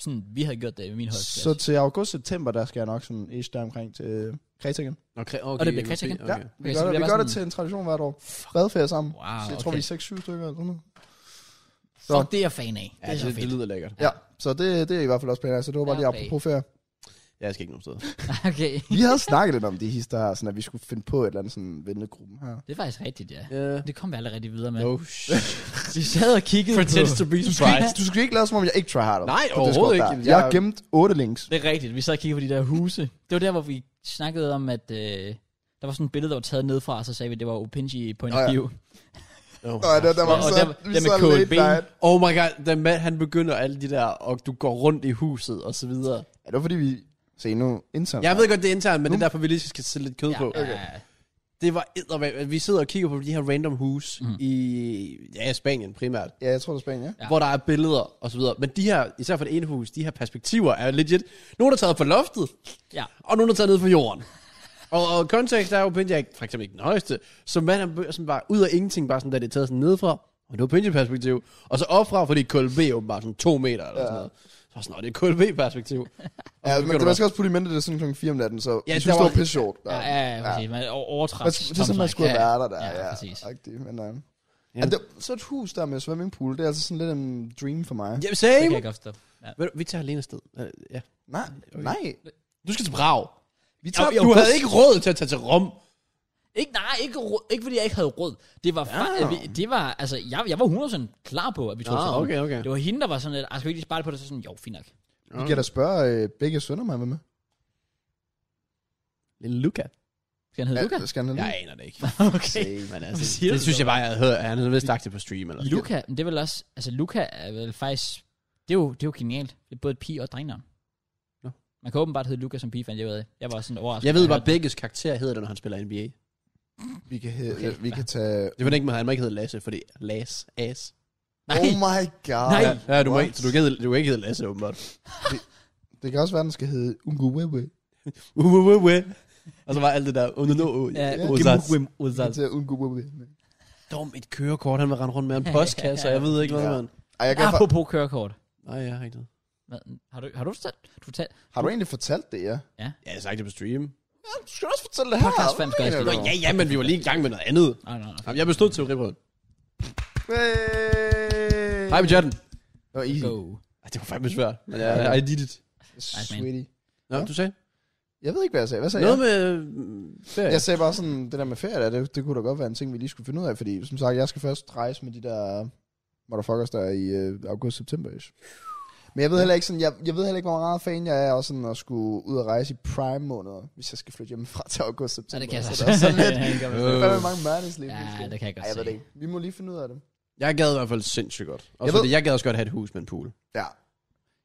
sådan, vi havde gjort det i min højde. så til august-september, der skal jeg nok sådan, ish, der omkring til øh, Kreta igen. Okay, okay, Og det bliver Christian. Okay. Ja, Okay. vi Okay, så gør, bliver det, vi bare gør det sådan- til en tradition hvert år. Badferie sammen. Wow, så jeg tror, okay. vi er 6-7 stykker eller sådan noget. Så. Fuck, det er jeg fan af. Ja, det er så det, det fedt. lyder lækkert. Ja, så det, det er i hvert fald også planen. Så det var bare lige Okay. apropos ferie. Ja, Jeg skal ikke nogen steder. okay. Vi havde snakket lidt om de hister her, sådan at vi skulle finde på et eller andet sådan vennegruppen her. Det er faktisk rigtigt, ja. Yeah. Det kom vi aldrig rigtig videre med. No Oh, shit. Vi sad og kiggede Pretends på... to be surprised. Du skal ikke lade som om, jeg ikke tryharder. Nej, på Discord overhovedet ikke. der. Jamen, Jeg jeg- har gemt otte links. Det er rigtigt, vi sad og kiggede på de der huse. Det var der, hvor vi snakkede om, at... Øh, der var sådan et billede, der var taget ned fra, og så sagde vi, at det var Opinji på en Nå ja. view. Oh my Nej, der, der var Og så, der- vi der med sad kogt late ben. night. Oh my god, den mand, han begynder alle de der, og du går rundt i huset og så videre. Ja, det var fordi, vi... Se nu, intern. Jeg ved godt, det er internt, men det er derfor, vi lige skal sætte lidt kød Ja, på. ja, Det var eddermame- Vi sidder og kigger på de her random hus mm. i ja, i Spanien primært, Ja, jeg tror, det er Spanien, ja. Ja. ja. hvor der er billeder og så videre. Men de her, især for det ene hus, de her perspektiver er legit. Nogle er taget fra loftet, ja. og nogle er taget ned fra jorden. og, og kontekst er jo Pinja ikke, for eksempel ikke den højeste, så man er bø- sådan bare ud af ingenting, bare sådan, der det er taget sådan nedefra, og det var Pinja-perspektiv, og så opfra, fordi KLB er åbenbart sådan to meter eller ja. sådan noget. Så var sådan, "Nå, det er KLB-perspektiv. Og Ja, så men begynder det du man skal også putte i mente, det er sådan klokken 4 om natten, så ja, Ja, jeg synes, der det var- var pisse sjovt. Ja, ja, ja, præcis. Man overtræffer Man- Det er sådan, man skulle have været der, der, ja. præcis. agtigt, Men, nej. Ja. Ja, det- så et hus der med swimmingpool, det er altså sådan lidt en dream for mig. Ja, Det kan same. jeg godt forstå. Ja. Ved du, vi tager alene afsted. Øh, Ja. Nej, nej. Du skal til Prag. Vi Du, tager, du havde ikke råd til at tage til Rom. Ikke, nej, ikke, råd, ikke fordi jeg ikke havde råd. Det var, ja. vi, det var altså, jeg, jeg var 100% klar på, at vi tog Ah, til Rom. okay, okay. Det var hende, der var sådan lidt, "Ah, skal vi ikke lige spare lidt på det? Så sådan, jo, fint nok. Vi kan da spørge øh, begge sønner, man var med. Lille Luca. Skal han hedde Luca? Ja, skal han have Jeg det? aner det ikke. Okay. Men Hvad altså, siger det du synes så? jeg bare, jeg havde hørt. Han havde vist sagt det på stream. Eller sådan. Luca, men det er vel også, altså Luca er vel faktisk, det er jo, det er jo genialt. Det er både et pige og et drengnavn. Nå. Man kan åbenbart hedde Luca som pige, fandt jeg ud af. Jeg var også sådan overrasket. Jeg ved da bare, jeg hørte begges karakter hedder det, når han spiller NBA. Vi kan, he- Okay. vi kan tage... Det var det ikke, men han må ikke hedde Lasse, fordi Lasse, ass. Nej. Oh my god. Nej. Ja, du må What? ikke, så du kan, hedde- du kan ikke hedde Lasse, åbenbart. Det kan også være, den skal hedde Unguwewe. Uh, uh, uh, uh. Og så var alt det der, oh, no, no, oh, Ja, oh, Gimmuk sats. Wim Vi kan Ozaz. tage Unguwewe. Dum, et kørekort, han var rende rundt med en postkasse, og jeg ved ikke, hvad Ja. man... Ej, jeg kan fa- Apropos kørekort. Nej, jeg har ikke det. Hvad? Har du, har du fortalt? Du fortalt? har du egentlig fortalt det, ja? Ja, jeg har sagt det på stream. Ja, du skal også fortælle det her. Podcast fans gør ikke Nå, ja, ja, men vi var lige i gang med noget andet. Nej, nej, nej. Jamen, Jeg bestod teoriprøven. Hey. Hej med chatten. Det var easy. Go. Ej, Det var fandme svært. Men jeg, I did it. man. Sweetie. Nå, du sagde? Jeg ved ikke, hvad jeg sagde. Hvad sagde Noget jeg? med mm, ferie. Jeg sagde bare sådan, det der med ferie, der, det, det kunne da godt være en ting, vi lige skulle finde ud af, fordi som sagt, jeg skal først rejse med de der motherfuckers der i øh, august-september. Men jeg ved heller ikke, sådan, jeg, jeg ved heller ikke, hvor meget fan jeg er, og sådan at skulle ud og rejse i prime måneder, hvis jeg skal flytte hjemmefra til Så august-september. det kan jeg så. der er sådan lidt, Øh. hvad med mange mørnes lige Ja, pludselig. det kan jeg godt Ej, jeg ved se. det ikke. Vi må lige finde ud af det. Jeg gad i hvert fald sindssygt godt. Og Jeg så ved- det, jeg gad også godt have et hus med en pool. Ja.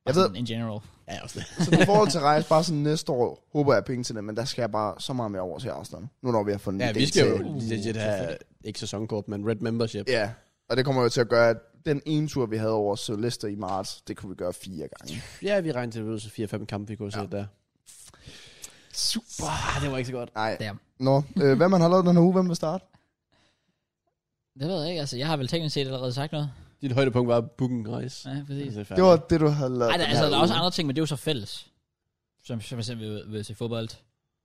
Jeg ved, In general. Ja, også det. så i forhold til rejse, bare sådan næste år, håber jeg penge til det, men der skal jeg bare så meget mere over til Arsenal. Nu når vi har fundet Ja, en vi idé skal jo til- legit have, ikke sæsonkort, men red membership. Ja, og det kommer jo til at gøre, at den ene tur, vi havde over Leicester i marts, det kunne vi gøre fire gange. Ja, vi regnede til, at det var så 4-5 kampe, vi kunne se der. Super. Ah, det var ikke så godt. Nej. Damn. Nå, øh, hvad man har lavet den her uge, hvem vil starte? Det ved jeg ikke, altså. Jeg har vel teknisk set allerede sagt noget. Dit højdepunkt var Booking Rejse. Ja, præcis. Altså, Det var det, du havde lavet Ej, der, den altså, her der er også uge. andre ting, men det er jo så færdigt. Som, som jeg selv vil, vil se fodbold.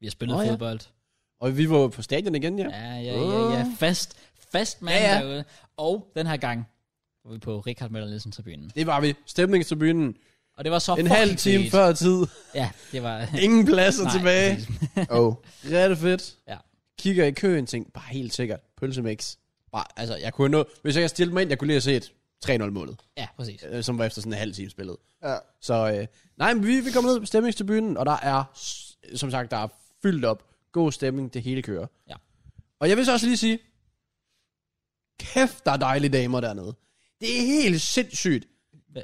Vi har spillet Nå, oh, ja. fodbold. Og vi var jo på stadion igen, ja. Ja, ja, ja, ja. Fast, fast mand Ja, ja, ja. ja. derude. Og den her gang var vi på Richard Møller Nielsen tribunen. Det var vi. Stemningstribunen. Og det var så En fucking halv time fedt. før tid. Ja, det var... Ingen pladser Nej, tilbage. præcis. Oh. Rigtig fedt. Ja. Kigger i køen, tænkte bare helt sikkert. Pølsemix. Bare, altså, jeg kunne nå... Hvis jeg havde stillet mig ind, jeg kunne lige have set 3-0-målet. Ja, præcis. øh, Som var efter sådan en halv time spillet. Ja. Så øh, nej, men vi, vi kommer ned på stemningstribunen, og der er, s- som sagt, der er fyldt op. God stemning, det hele kører. Ja. Og jeg vil så også lige sige, kæft, der er dejlige damer dernede. Det er helt sindssygt.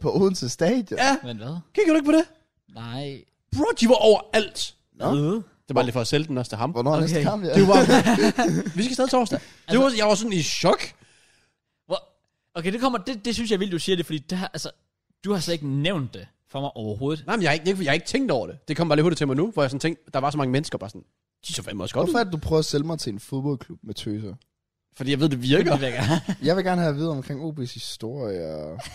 På Odense Stadion? Ja, Men hvad? kigger du ikke på det? Nej. Bro, de var overalt. Nå. Det var lidt for at sælge den også til ham. Hvornår okay. er næste Okay. kamp? Ja. Det var, vi skal stadig torsdag. Altså- Det var, jeg var sådan i chok. Hvor? Okay, det kommer... Det, det synes jeg er vildt, du siger det, fordi det her, altså, du har slet ikke nævnt det for mig overhovedet. Nej, men jeg har ikke, jeg, jeg har ikke tænkt over det. Det kom bare lidt hurtigt til mig nu, hvor jeg sådan tænkte, der var så mange mennesker bare sådan, de så fandme også godt ud. Hvorfor er det, du prøver at sælge mig til en fodboldklub med tøser? Fordi jeg ved, det virker. Det virker. Jeg vil gerne have at vide omkring OB's historie. og-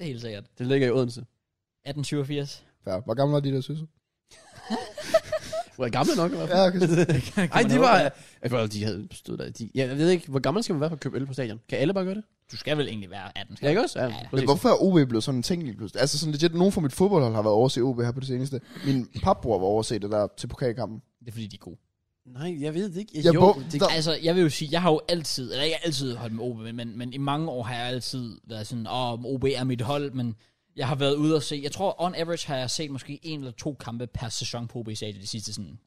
Helt sikkert. Det ligger i Odense. 1887. Ja, hvor gamle var de der tøser? Hvor er gamle nok i hvert fald. Ja, okay. Ej, de var... Jeg tror, de havde stået der. De, ja, jeg ved ikke, hvor gammel skal man være for at købe øl på stadion? Kan alle bare gøre det? Du skal vel egentlig være 18. Ja, ikke også? Ja, Ja, ja. Men præcis. hvorfor er OB blevet sådan en ting lige pludselig? Altså sådan legit, nogen fra mit fodboldhold har været over at se OB her på det seneste. Min papbror var over at se det der til pokalkampen. Det er fordi, de er gode. Nej, jeg ved det ikke. Jeg bo- det, der- Altså, jeg vil jo sige, jeg har jo altid, eller ikke altid holdt med OB, men, men, men i mange år har jeg altid været sådan, åh, oh, OB er mit hold, men jeg har været ude og se, jeg tror on average har jeg set måske en eller to kampe per sæson på OB Stadion de sidste sådan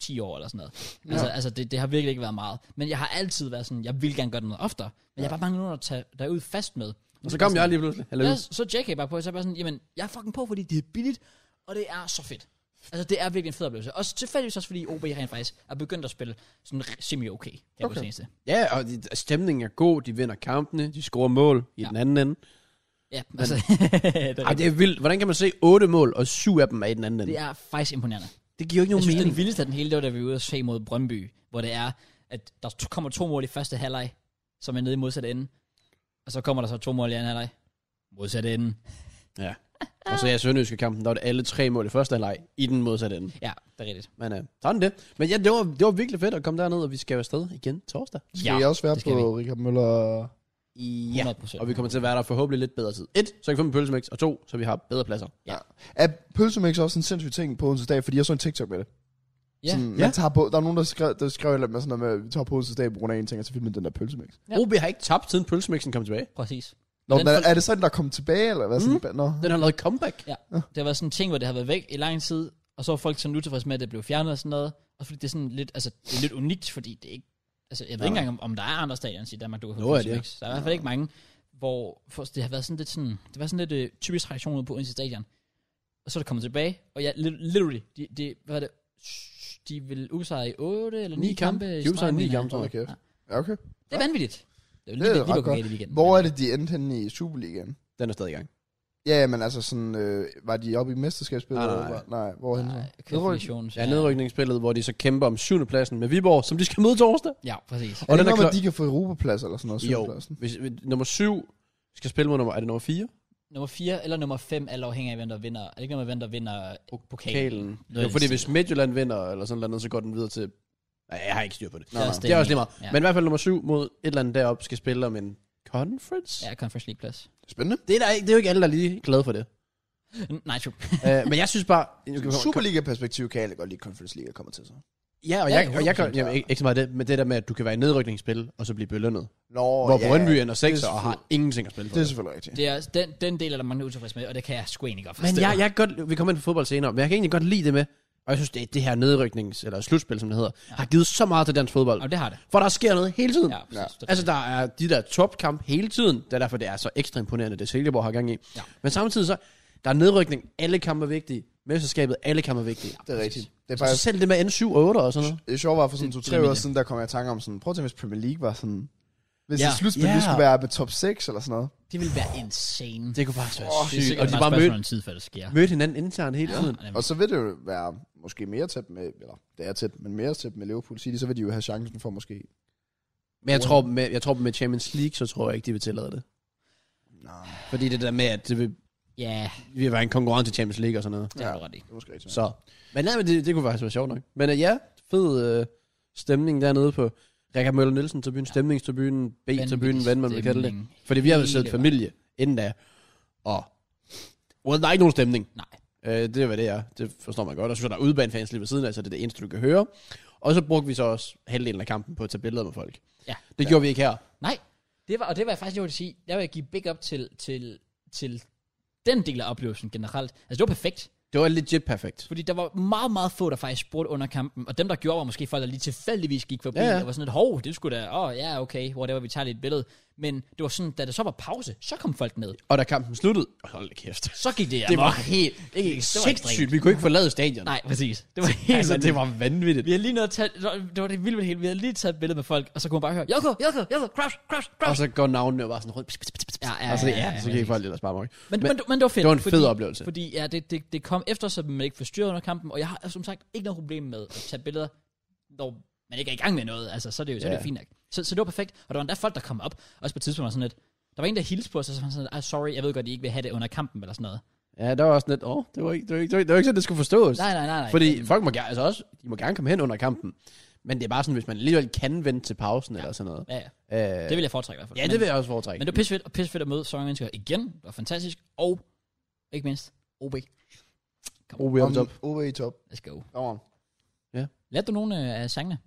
10 år eller sådan noget. Altså, altså det, det, har virkelig ikke været meget. Men jeg har altid været sådan, jeg vil gerne gøre det noget oftere, men jeg har bare manglet nogen at tage derud fast med. og så kom jeg lige pludselig. Eller, Ja, så JK bare på, og så er jeg bare sådan, jamen, jeg er fucking på, fordi det er billigt, og det er så fedt. Altså, det er virkelig en fed oplevelse. Også tilfældigvis også, fordi OB rent faktisk er begyndt at spille sådan semi-okay, her okay. på det seneste. ja, og de, altså, stemningen er god. De vinder kampene. De scorer mål i Ja. den anden ende. Ja, altså, det, er Ej, det er vildt. Hvordan kan man se otte mål, og syv af dem er i den anden ende? det er faktisk imponerende. Det giver jo Jeg ikke nogen synes, mening. den vildeste af den hele, det var, da vi var ude og se mod Brøndby, hvor det er, at der to- kommer to mål i første halvleg, som er nede i modsatte ende, og så kommer der så to mål i anden halvleg, modsatte ende. Ja. Og så i Sønderjyske kampen, der var det alle tre mål i første halvleg i den modsatte ende. Ja, det er rigtigt. Men øh, sådan det. Men ja, det var, det var virkelig fedt at komme derned, og vi skal jo afsted igen torsdag. Skal ja, jeg også være det skal på Richard Møller? Ja. 100%. Og vi kommer til at være der forhåbentlig lidt bedre tid. Et, så jeg kan få min pølsemix, og to, så vi har bedre pladser. Ja. Er pølsemix også en sindssyg ting på onsdag, fordi jeg så en TikTok med det. Ja. Sådan, man Ja. tager på, der er nogen, der skrev, der skrev et eller andet med sådan noget med, at vi tager på onsdag på grund af en ting, og så filmer den der pølsemix. Ja. Ja. OB har ikke tabt, siden pølsemixen kom tilbage. Præcis. Nå, Den den er, for- er, det sådan, der kom tilbage, eller hvad? Sådan, mm. Nå. Den har lavet comeback. Ja. Det har været sådan en ting, hvor det har været væk i lang tid, og så var folk sådan utilfredse med, at det blev fjernet og sådan noget. Og fordi det er sådan lidt, altså, det er lidt unikt, fordi det er ikke, altså, jeg ved ikke engang, om, om der er andre stadions i Danmark, du kan få Nå, er det? Pepsi Max. Der er i hvert fald ikke mange, hvor for, det har været sådan lidt sådan, det var sådan lidt øh, typisk reaktion ude på Odense Stadion. Og så er det kommet tilbage, og jeg, li- literally, de, de, hvad er det, de vil usejre i 8 eller 9, Ni kampe. kampe. De i er usejret i streg, ni mener jeg. kampe, tror Hold da jeg. kæft. Ja. Ja, okay. Det er vanvittigt. Det er jo Det lige, er lige, ret lige, godt. galt i weekenden. Hvor er det, de endte henne i Superligaen? Den er stadig i gang. Ja, ja, men altså sådan, øh, var de oppe i mesterskabsspillet? Nej, nej, eller nej. hvad? nej. Hvor henne? Nej, så? Nedryk- kvalifikations- Ja, nedrykningsspillet, hvor de så kæmper om syvende pladsen med Viborg, som de skal møde torsdag. Ja, præcis. Er det Og den er noget med, klar... at de kan få Europaplads eller sådan noget? Jo, syvendepladsen? hvis, hvis, nummer syv skal spille mod nummer... Er det nummer fire? nummer 4 eller nummer 5, alt afhængig af, hvem der vinder. Er det ikke, hvem der vinder, vinder pokalen? Kalen. Noget Jo, i fordi den hvis Midtjylland vinder, eller sådan noget, så går den videre til... Nej, jeg har ikke styr på det. Det er også Det er også lige meget. Ja. Men i hvert fald nummer syv mod et eller andet deroppe skal spille om en conference. Ja, Conference League plads. Spændende. Det, er der ikke, det er jo ikke alle, der er lige glade for det. Nej, true. uh, men jeg synes bare... Nu skal vi- Superliga-perspektiv kan jeg godt lide, Conference League kommer til så. Ja, og Ja, jeg, og jeg kan, 100%, jamen, ja. ikke, ikke så meget det, men det der med, at du kan være i nedrykningsspil, og så blive belønnet. Nå, Hvor yeah, Brøndby ender det er 6 og har selvfølgelig- ingenting at spille for. Det er selvfølgelig rigtigt. Det er den, den del, er der mange utilfredse med, og det kan jeg sgu egentlig godt forstå. Men jeg, jeg kan godt, vi kommer ind på fodbold senere, men jeg kan egentlig godt lide det med, og jeg synes, det, det her nedryknings, eller slutspil, som det hedder, ja. har givet så meget til dansk fodbold. Og det har det. For der sker noget hele tiden. Ja, præcis. Ja. Det er Altså, der er de der topkamp hele tiden. Det er derfor, det er så ekstra imponerende, det Silkeborg har gang i. Ja. Men samtidig så, der er nedrykning. Alle kampe er vigtige. Mesterskabet, alle kampe er vigtige. Det er rigtigt. Det er Så faktisk... selv det med N7 og 8 og sådan noget. Det sjove var for sådan Det- to-tre det er år det. siden, der kom jeg i tanke om sådan, prøv at tænke, hvis Premier League var sådan... Hvis Ja. det slutspil Ja. lige skulle være med top 6 eller sådan noget. Det ville være insane. Det kunne faktisk være Åh, oh, det er sygt. sikkert Og de bare bare et spørgsmål mødte, om tid, før det sker. mødte hinanden internt hele tiden. Ja, Og så vil det jo være måske mere tæt med, eller det er tæt, men mere tæt med Liverpool City, så vil de jo have chancen for måske... Men jeg tror, med, jeg tror med Champions League, så tror jeg ikke, de vil tillade det. Nej, Fordi det der med, at det vil, ja vil være en konkurrence til Champions League og sådan noget. det har du ret i. det er måske rigtigt. Så. Men nej, men det, det kunne faktisk være sjovt nok. Men øh, ja, fed øh, stemning dernede på Rikard Møller Nielsen tribunen, stemningstribunen, B-tribunen, hvad man vil kalde det. Stemning. Fordi vi har jo Hele siddet vejen. familie inden da, og well, der er ikke nogen stemning. Nej. Øh, det er, hvad det er. Det forstår man godt. Og så er der udbanefans lige ved siden af, så det er det eneste, du kan høre. Og så brugte vi så også halvdelen af kampen på at tage billeder med folk. Ja. Det gjorde vi ikke her. Nej, det var, og det var jeg faktisk, jeg vil sige, jeg vil give big up til, til, til den del af oplevelsen generelt. Altså, det var perfekt. Det var legit perfekt. Fordi der var meget, meget få, der faktisk spurgte under kampen. Og dem, der gjorde, var måske folk, der lige tilfældigvis gik forbi. Ja, Ja, ja. ja. Og var sådan et, hov, det skulle da, åh, oh, ja, okay, whatever, vi tager lige et billede. Men det var sådan, da det så var pause, så kom folk ned. Og da kampen sluttede, hold da kæft. Så gik det Det var amok. helt Det gik sindssygt. ekstremt. Vi kunne ikke forlade stadion. Nej, præcis. Det var helt altså, det vanvittigt. var vanvittigt. Vi har lige nået at tage, det var det vilde ved det hele, vi har lige taget et billede med folk, og så kunne man bare høre, Joko, Joko, Joko, crash, crash, Og crash. så går navnene jo bare sådan rundt. Pss, pss, pss, pss. Ja, ja, og så, ja, ja, ja, så kan ja. I folk ellers bare mokke. Men, men, men, det var fedt. det var en fordi- fed oplevelse. Fordi ja, det, det, det kom efter, så man ikke forstyrrede under kampen, og jeg har som sagt ikke noget problem med at tage billeder, når man ikke er i gang med noget. Altså, så er det jo så er det Ja. jo fint nok. Så, så det var perfekt, og der var endda folk, der kom op, også på et tidspunkt var sådan lidt, der var en, der hilste på os, og så var han sådan, ah, sorry, jeg ved godt, I ikke vil have det under kampen, eller sådan noget. Ja, der var også lidt, åh, oh, det, var ikke, det, var ikke, det, var ikke, det var ikke sådan, det skulle forstås. Nej, nej, nej, nej. Fordi folk må gerne, altså også, de må gerne komme hen under kampen. Men det er bare sådan, hvis man alligevel kan vente til pausen ja. eller sådan noget. Ja, ja. Øh, Det vil jeg foretrække i hvert fald. ja, det vil jeg også foretrække. Men det var pissefedt, og pissefedt at møde så mange mennesker igen. Det var fantastisk. Og, ikke mindst, OB. OB on top. OB i top. Let's go. Kom on. Lærte du nogle øh, af sangene?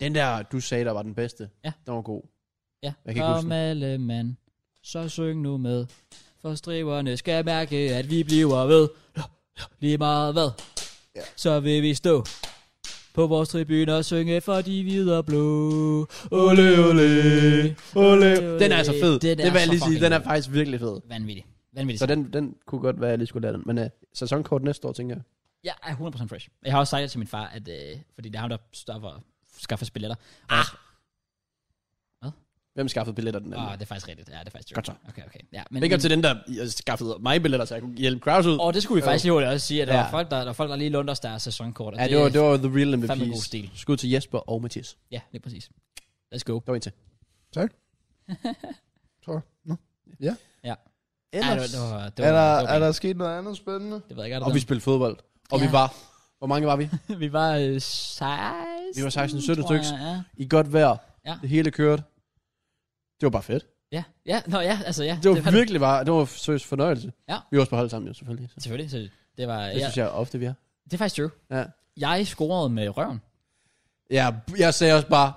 Den der, du sagde, der var den bedste, Ja. den var god. Ja. Jeg kan ikke huske Kom alle mand, så syng nu med. For striverne skal mærke, at vi bliver ved. Lige meget hvad, Ja. så vil vi stå på vores tribune og synge for de hvide og blå. Ole, ole, ole. Den er altså fed. Den det vil jeg så lige sige, fucking den er fed. faktisk virkelig fed. Vanvittig. Vanvittig. Så Så den, den kunne godt være, at jeg lige skulle lade den. Men uh, sæsonkort næste år, tænker jeg. Jeg er 100% fresh. Jeg har også sagt det til min far, at, øh, fordi det er ham, der stopper, skaffer billetter. Og jeg- Hvem skaffede billetter den Åh, anden? det er faktisk rigtigt. Ja, Ah, det er faktisk Godt så. Okay, okay. Ja, men, Ikke op til den, der øh, skaffede mig billetter, så jeg kunne hjælpe Kraus ud. Og det skulle vi faktisk lige hurtigt også sige, at der Ja. ja. var folk, der, der, var folk, der lige lånte os deres sæsonkort. og Ja, det var, det var the real MVP. fandme god stil. Skud til Jesper og Mathias. Ja, det er præcis. Let's go. Der var en til. Tror jeg. Nå. Ja, det, var, det, var, det, var, Er det, der, var, er der sket noget andet spændende? det ved jeg ikke, er der Og vi spillede fodbold. Og vi Ja. var... Hvor mange var vi? noget? vi var øh, 16, Vi var 16, 17 tror jeg, styks. Ja. I godt vejr. Ja. Det hele kørte. Det var bare fedt. ja, ja, nå ja, altså ja. Det var virkelig bare... Det var seriøst fornøjelse. Ja. Vi var også på hold sammen jo, selvfølgelig. Så. Selvfølgelig, så det var, Det ja, synes jeg ofte, vi er. det er faktisk true. Ja. Jeg scorede med røven. Ja, jeg sagde også bare...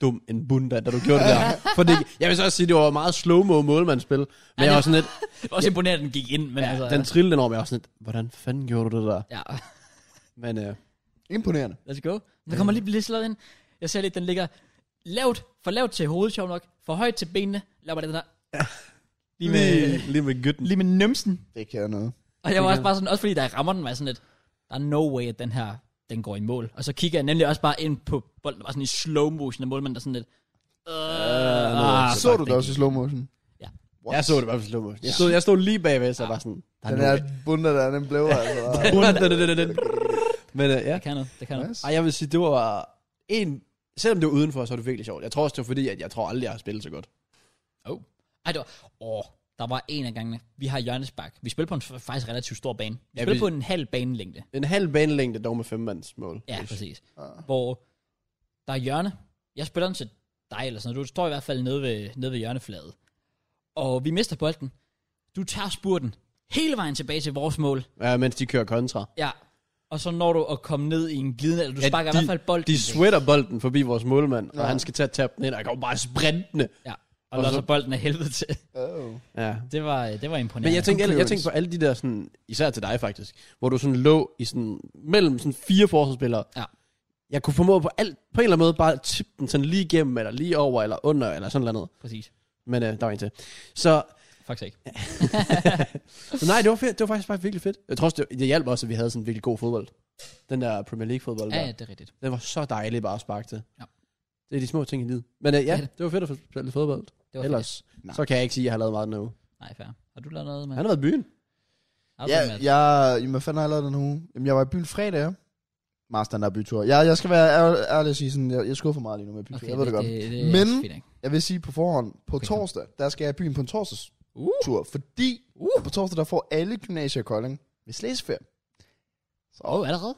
Dum en bunda, da du gjorde det der. Fordi, jeg vil så også sige, det var meget slow-mo målmandsspil. Men jeg var sådan lidt... Det var også imponerende, at den gik ind, men ja, altså... Den trillede den over, men jeg var sådan lidt... Hvordan fanden gjorde du det der? Ja, Men øh, Imponerende. let's go. Der kommer lige lidt slået ind. Jeg ser lidt, den ligger lavt, for lavt til hovedet, sjov nok. For højt til benene. Lad mig den der. Lige med, lige, lige med gytten. lige med numsen. Det kan jeg noget. Og jeg var også bare sådan, også fordi da jeg rammer den, var jeg sådan lidt, der er no way, at den her, den går i mål. Og så kigger jeg nemlig også bare ind på bolden, der var sådan i slow motion, og målmanden der sådan lidt, øh, ah, Så du det også i slow motion? Ja. What? Jeg så det bare på slow motion. Jeg stod, jeg stod lige bagved, så jeg var sådan... Der Den nu- er bunda, der den blev altså. Men øh, ja. det kan noget, det kan noget. Nice. Ej, jeg vil sige, det var en... Selvom det var udenfor, så var det virkelig sjovt. Jeg tror også, det var fordi, at jeg tror aldrig, jeg har spillet så godt. Oh. Ej, det var, åh, Der var en af gangene, vi har Jørgensbak. Vi spiller på en f- faktisk relativt stor bane. Vi Ja, spiller vi- på en halv banelængde. En halv banelængde dog med femmandsmål. Ja, præcis. Ah. Hvor der er hjørne. Jeg spiller den til dig eller sådan noget. Du står i hvert fald nede ved, nede ved hjørnefladet. Og vi mister bolden. Du tager spurten hele vejen tilbage til vores mål. Ja, mens de kører kontra. Ja. Og så når du at komme ned i en glidende, eller du ja, sparker de, i hvert fald bolden. De væk. sweater bolden forbi vores målmand, ja. Nå. og han skal tage tabe den ind, og jeg kommer bare sprintende. Ja. Og, Og og så så- bolden af helvede til. Oh. Ja. Det var, det var imponerende. Men jeg tænker, jeg, jeg clearance. tænker på alle de der, sådan, især til dig faktisk, hvor du sådan lå i sådan, mellem sådan fire forsvarsspillere. Ja. Jeg kunne formå på, alt, på en eller anden måde bare at tippe den sådan lige igennem, eller lige over, eller under, eller sådan noget. Præcis. Men øh, der var en til. Så, Faktisk ikke. så nej, det var, fedt. det var faktisk bare virkelig fedt. Jeg tror også, det, det hjalp også, at vi havde sådan virkelig god fodbold. Den der Premier League fodbold Ja, der. ja, det er rigtigt. Den var så dejlig bare at sparke til. Ja. Det er de små ting i livet. Men øh, ja, Det er det. det. var fedt at få spillet fodbold. Det var Ellers. Ellers, så kan jeg ikke sige, at jeg har lavet meget den her uge. Nej, fair. Har du lavet noget med? Han har været i byen. Har du Ja, noget med? jeg, jamen, hvad fanden har jeg lavet den uge? Jamen, jeg var i byen fredag, ja. Meget standard bytur. Jeg, jeg skal være ær- ærlig og sige sådan, jeg, jeg skuffer meget lige nu med bytur. Okay, jeg ved det, godt. er Men- også fint, ikke? Jeg vil sige på forhånd, Okay. på okay. torsdag, der skal jeg i byen på en torsdagstur, Uh, fordi uh. på torsdag, der får alle gymnasier i Kolding ved slæsferie. Så, oh, allerede?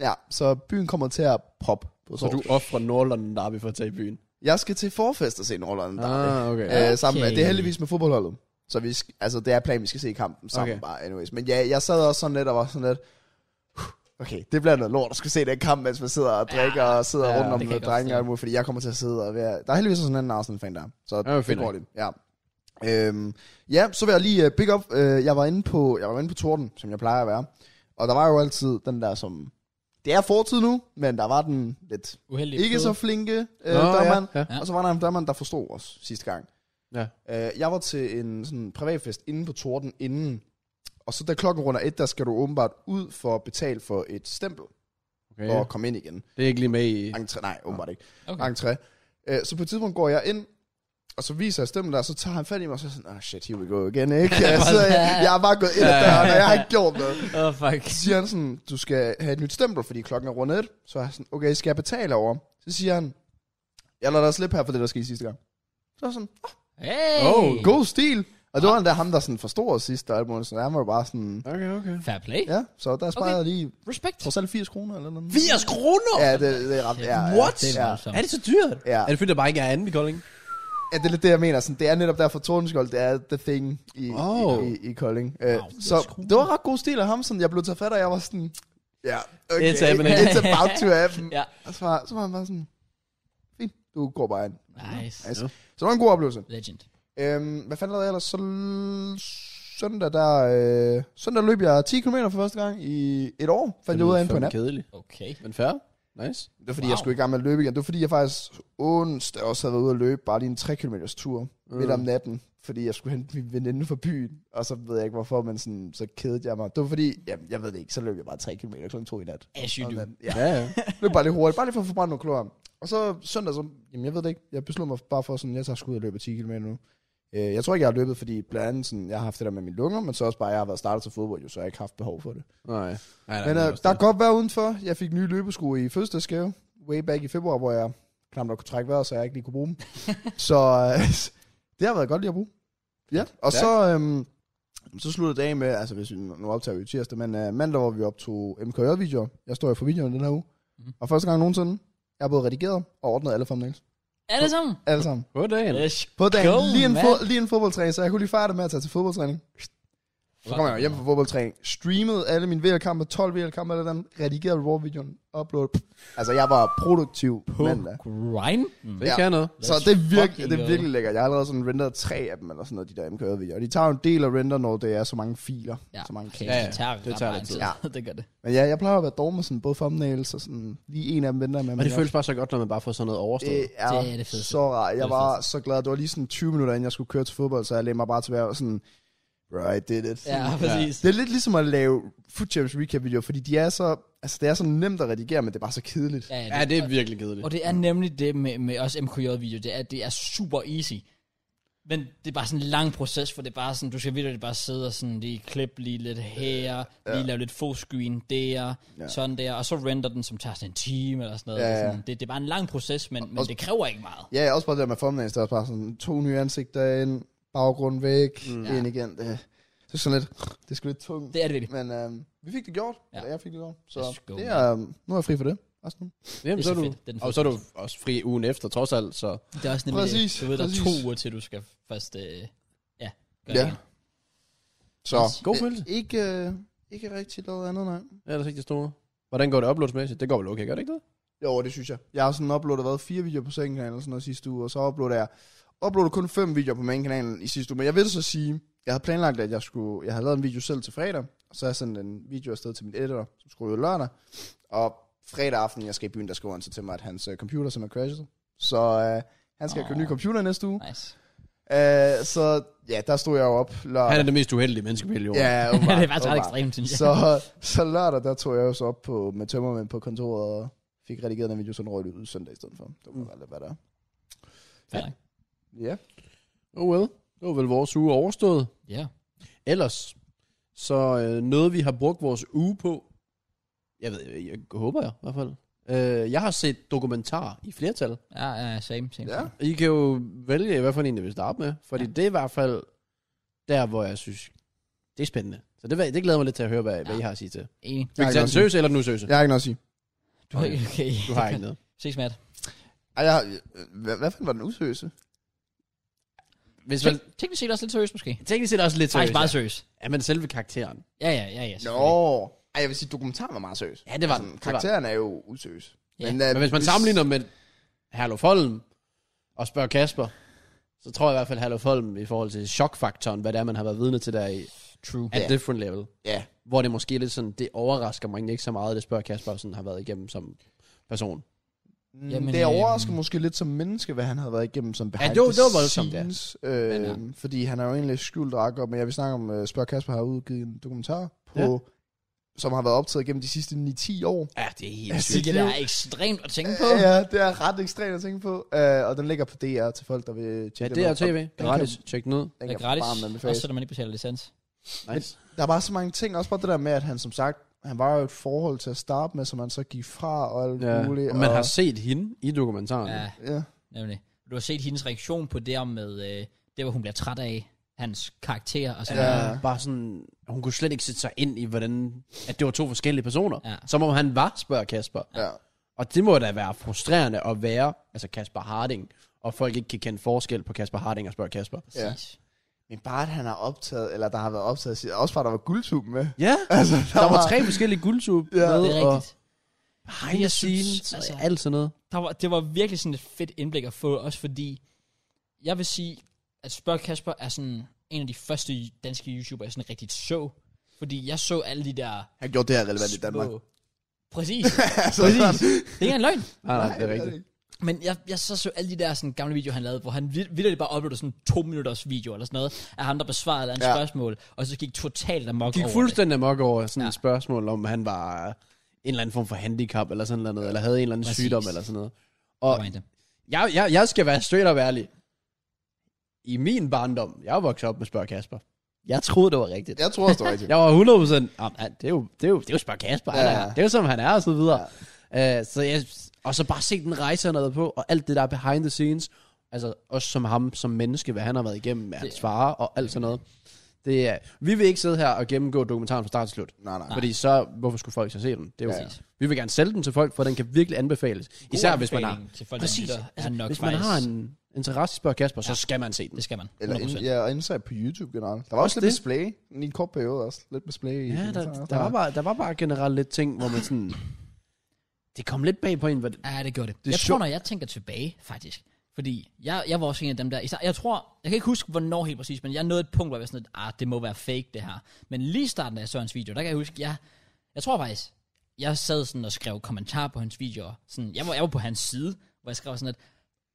ja, så byen kommer til at poppe på Så du torsdag. offrer Nordlondon Derby for at tage i byen. Jeg skal til forfest og se Nordland der. Ah, okay. Okay. Øh, sammen med, det er Okay. heldigvis med fodboldholdet. Så vi, sk- altså, det er planen, vi skal se kampen sammen Okay. okay. bare, anyways. Men ja, jeg sad også sådan lidt og var sådan lidt, "Huh, okay, det bliver noget lort at skulle se den kamp, mens man sidder og drikker ja, og sidder ja, ja, rundt det om kan jeg med godt drenge og forstå. alt muligt, fordi jeg kommer til at sidde og være... Der er heldigvis også sådan en anden Arsenal-fan der, så det er det fint går nok. det. Ja. Øhm, ja, så vil jeg lige uh, big up. Uh, jeg, var inde på, jeg var inde på Torden, som jeg plejer at være. Og der var jo altid den der, som... Det er fortid nu, men der var den lidt Uheldig. ikke så episode. flinke øh, Nå, ja, dørmand. ja. Ja. Og så var der en dørmand, der forstod os sidste gang. Ja. Øh, jeg var til en sådan, privatfest inde på Torden inden. Og så da klokken runder et, der skal du åbenbart ud for at betale for et stempel. okay. For at komme ind igen. Det er ikke lige med i... Entré, nej, åbenbart ikke. Okay. Entré. Øh, så på et tidspunkt går jeg ind, og så viser jeg stemmen der, og så tager han fat i mig, og så er jeg sådan, oh shit, here we go again, ikke? så jeg, jeg har bare gået ind ad døren, og jeg har ikke gjort noget. Åh, oh, fuck. Så siger han sådan, du skal have et nyt stempel, fordi klokken er rundet et. Så er jeg sådan, okay, skal jeg betale over? Så siger han, jeg lader dig slippe her for det, der skete sidste gang. Så er jeg sådan, Hey! Oh, god stil. Og det var endda ham, der sådan forstod os sidst, og alt muligt, så han var jo bare sådan, Okay, okay. Fair play. ja, så der sparede jeg lige, Respekt. trods alt 80 kroner eller noget. 80 kroner? Ja, det, det er ret, ja, ja, What? Det er Ja. voldsomt. Er det så dyrt? Ja. Er det fordi, der bare ikke er anden i Kolding? ja, det er lidt det, jeg mener. Sådan, det er netop derfor, Tordenskjold, det er the thing i, Oh. oh. i, i, i Kolding. Uh, wow, det er så skruet. det var ret god stil af ham, sådan, jeg blev taget fat, og jeg var sådan, ja, okay, It's happening. it's about to happen. Ja. Og så var, så var han bare sådan, fint, du går bare ind. Nice. Altså, Så det var en god oplevelse. Legend. Øhm, hvad fanden lavede jeg ellers? Så l- søndag, der, øh, søndag løb jeg 10 km for første gang i et år, fandt jeg ud af inde på en app. Kedelig. Okay. Men fair. Nice. Det var fordi, Wow. jeg skulle i gang med at løbe igen. Det var fordi, jeg faktisk onsdag også havde været ude at løbe bare lige en 3 km tur mm. midt om natten, fordi jeg skulle hente min veninde fra byen, og så ved jeg ikke hvorfor, men sådan, så kedede jeg mig. Det var fordi, jamen, jeg ved det ikke, så løb jeg bare 3 km kl. 2 i nat. As you Og do. man- Ja, Ja, ja. løb bare lidt hurtigt, bare lige for at forbrænde nogle kalorier. Og så søndag, så, jamen jeg ved det ikke, jeg besluttede mig bare for sådan, jeg tager skud og løber 10 km nu. Øh, jeg tror ikke, jeg har løbet, fordi blandt andet sådan, jeg har haft det der med mine lunger, men så også bare, jeg har været startet til fodbold, jo, så jeg har ikke haft behov for det. Nej. Nej, nej, Men det er øh, også der er det. godt vejr udenfor. Jeg fik nye løbesko i fødselsdagsgave, way back i februar, hvor jeg knap nok kunne trække vejret, så jeg ikke lige kunne bruge dem. så øh, det har været godt lige at bruge. Ja, og så, øhm, så sluttede dagen med, altså hvis vi, nu optager vi jo tirsdag, men øh, mandag, hvor vi optog MKJ-videoer. Jeg står jo for videoen den her uge. Mhm. Mm. Og første gang nogensinde, jeg har både redigeret og ordnet alle thumbnails. Er det sammen? Alle sammen. God dagen. Let's På dagen, go, lige, en mand. fo- lige en fodboldtræning, så jeg kunne lige fejre det med at tage til fodboldtræning. Så kom jeg hjem fra fodboldtræning, streamede alle mine VL-kampe, 12 VL-kampe, alle dem, redigerede raw-videoen, upload. Altså, jeg var produktiv på mandag. Grind? Mm. Det Ja. kan noget. Så Let's det er, fucking virkelig, det go. er virkelig lækkert. Jeg har allerede sådan renderet tre af dem, eller sådan noget, de der MKV-videoer. De tager jo en del af render, når det er så mange filer. Ja, Så mange okay. klips. ja, det tager, det tager lidt tid. Ja. det gør det. Men ja, jeg plejer at være dog med sådan både thumbnails og sådan lige en af dem venter med. Og det føles bare så godt, når man bare får sådan noget overstået. det er, Det er det fedeste. så rart. Det er Jeg det var så glad. Det var lige sådan 20 minutter, inden jeg skulle køre til fodbold, så jeg lagde mig bare tilbage og var sådan, right, did it. Ja, præcis. Det er lidt ligesom at lave Foodchamps recap-videoer, fordi de er så, altså det er så nemt at redigere, men det er bare så kedeligt. Ja, Ja, det er virkelig kedeligt. Og det er nemlig det med, med også MKJ-video, det er, det er super easy. Men det er bare sådan en lang proces, for det er bare sådan, du skal virkelig bare sidde og sådan lige klippe lige lidt her, ja. lige lave lidt foscreen der, ja. Ja. sådan der, og så render den, som tager sådan en time eller sådan noget. Ja, Det er ja. Sådan, det, det er bare en lang proces, men, men også- det kræver ikke meget. Ja, også bare det der med thumbnails, der er bare sådan to nye ansigter ind, baggrund væk, Mm. mm. ind igen. Det, det er sådan lidt, det er sgu lidt tungt. Det er det virkelig. Men øhm, vi fik det gjort, Ja. ja. eller jeg fik det gjort. Let's Så go, det er, øhm, nu er jeg fri for det. Også nu. Jamen, Det er så er så du, fedt. Det er den og så er du også fri ugen efter, trods alt, så... Det er også nemlig, Præcis, du ved, der er præcis. to uger til, du skal først, øh, ja, gøre Ja. det. igen. Så God øh, følelse. Ikke, øh, ikke rigtig lavet andet, nej. Ja, det er ikke det store. Hvordan går det uploadsmæssigt? Det går vel okay, gør det ikke det? Jo, det synes jeg. Jeg har sådan uploadet, hvad, fire videoer på second kanalen sådan noget sidste uge, og så uploadede jeg uploadede kun fem videoer på main kanalen i sidste uge. Men jeg vil så sige, jeg havde planlagt, at jeg skulle, jeg havde lavet en video selv til fredag, og så har jeg sendt en video afsted til min editor, som skulle ud lørdag. Og fredag aften, jeg skal i byen, der skriver han så til mig, at hans øh, computer som er crashet. Så øh, han skal oh. købe en ny Åh. computer næste uge. Nice. Øh, så ja, der stod jeg jo op lørdag. Han er det mest uheldige menneske på hele jorden. Ja, det åbenbart, er faktisk ret åbenbart. ekstremt, synes jeg. Så, så lørdag, der tog jeg jo så op på, med tømmermænd på kontoret og fik redigeret den video, sådan røg det ud søndag i stedet for. Det var bare lidt, hvad der er. Fair nok. Ja. Oh well. Det var vel vores uge overstået. Ja. Ellers, så øh, noget vi har brugt vores uge på, jeg ved, jeg, jeg håber jeg i hvert fald. Øh, jeg har set dokumentarer i flertal. Ja, ja, same, same. Ja. same. Og I kan jo vælge, hvad for en I vil starte med. Fordi ja. det er i hvert fald der, hvor jeg synes, det er spændende. Så det, vil- det glæder mig lidt til at høre, hvad, ja. hvad I har at sige til. Enig. Fik kan du den også- seriøse eller den useriøse? Jeg har ikke noget at sige. Du har ikke, okay. Du har ikke noget. Ses, Matt. Ej, jeg har, hvad, hvad fanden var den useriøse? Hvis man, Tek- Teknisk set også lidt seriøst, måske. teknisk set også lidt seriøst. Faktisk meget seriøst. Ja, men selve karakteren. Ja, ja, ja, ja. Nå, selvfølgelig. Ej, jeg vil sige, dokumentaren var meget seriøs. Ja, det var den. Altså, karakteren er jo useriøs. Ja. øh, Men hvis man sammenligner med Herluf Holm og spørger Kasper, så tror jeg i hvert fald Herluf Holm i forhold til chokfaktoren, hvad det er, man har været vidne til der i True. at Ja. different level. Ja, Hvor det måske er lidt sådan, det overrasker mig egentlig ikke så meget, det spørger Kasper sådan har været igennem som person. Jamen, Jamen, Mm, det øh, overrasker måske lidt som menneske, hvad han havde været igennem som behind det var- the det var voldsomt, ja. scenes, øh, Men, Fordi han er jo egentlig skjult rakker, men jeg vil snakke om, uh, Spørg Kasper har udgivet en dokumentar på, Ja. ja. som har været optaget gennem de sidste 9-10 år. Ja, det er helt Ja, det- sygt. Hvilket er ekstremt at tænke på. Øh, Ja, ja, det er ret ekstremt at tænke på. Uh, og den ligger på DR til folk, der vil Ja, tjekke det er jo den ud. tv. Gratis. Tjek den ud. Den Det kan er gratis, varmt anbefales. også selvom man ikke betaler licens. Nice. Der er bare så mange ting, også bare det der med, at han som sagt, han var jo i et forhold til at starte med, som han så gik fra og alt Ja. muligt. Og man har set hende i dokumentaren. Ja, Ja. nemlig. Du har set hendes reaktion på det om med, øh, det hvor hun bliver træt af hans karakter og sådan noget. Ja. Bare sådan, hun kunne slet ikke sætte sig ind i, hvordan, at det var to forskellige personer. Ja. Som om han var, spørger Kasper. ja. Og det må da være frustrerende at være, altså Kasper Harding, og folk ikke kan kende forskel på Kasper Harding og spørger Kasper. Præcis. Men bare at han har optaget, eller der har været optaget, også bare der var guldtuben med. Ja, Altså, der var tre forskellige guldtub ja, med, Det er og rigtigt. behind the Jeg synes, scenes, altså- altså, alt sådan noget. der var, det var virkelig sådan et fedt indblik at få, også fordi, jeg vil sige, at Spørg Kasper er sådan en af de første danske YouTubere, jeg sådan rigtigt så. Fordi jeg så alle de der Han gjorde det her relevant i små- Danmark. Præcis. altså, Præcis. det er ikke en løgn. Nej, nej, det er rigtigt. Men jeg, jeg så, så alle de der sådan, gamle videoer, han lavede, hvor han vid- vidderligt bare uploadede sådan to minutters video eller sådan noget, af ham, der besvarede et andet ja. Ja. spørgsmål, og så gik totalt amok Gik over fuldstændig amok over sådan Ja. ja. et spørgsmål, om han var en eller anden form for handicap, eller sådan noget, eller havde en eller anden Præcis. Præcis. sygdom, eller sådan noget. det. Og Der var en af dem. jeg, jeg, jeg skal være straight up ærlig. I min barndom, jeg voksede op med Spørg Kasper. Jeg troede, det var rigtigt. Jeg tror også, det var rigtigt. Jeg var 100 ah, han- det er jo, det er jo, det er jo Spar Kasper. Ja. Ja. Det er jo som han er, og så videre. Ja. Uh, så jeg, og så bare se den rejse, han har været på, og alt det der er behind the scenes. Altså også som ham, som menneske, hvad han har været igennem med hans far, og alt sådan noget. Det er, vi vil ikke sidde her og gennemgå dokumentaren fra start til slut. Nej, nej. Fordi så, hvorfor skulle folk så se den? Det er jo, Ja. ja. Vi vil gerne sælge den til folk, for den kan virkelig anbefales. God Især hvis man har, anbefaling Til folk, præcis, der lytter, er altså, nok hvis man faktisk- har en interesse i Spørg Kasper, så skal man se den. Det skal man, 100%. Eller ind, ja, og indsat på YouTube generelt. Der var også, Også lidt det. display. I en kort periode også. Lidt display. i Ja, dokumentaren der, også. der, var bare, der var bare generelt lidt ting, hvor man sådan... Det kom lidt bag på en, hvad det, Ja, det gjorde det. det Det er jeg tror, sjovt. når jeg tænker tilbage, faktisk, fordi jeg, jeg var også en af dem der, især- jeg tror, jeg kan ikke huske, hvornår helt præcis, men jeg nåede et punkt, hvor jeg var sådan, at ah, det må være fake, det her. Men lige i starten af Sørens video, der kan jeg huske, jeg, jeg tror faktisk, jeg sad sådan og skrev kommentarer på hans videoer. Sådan, jeg, var, jeg var på hans side, hvor jeg skrev sådan, at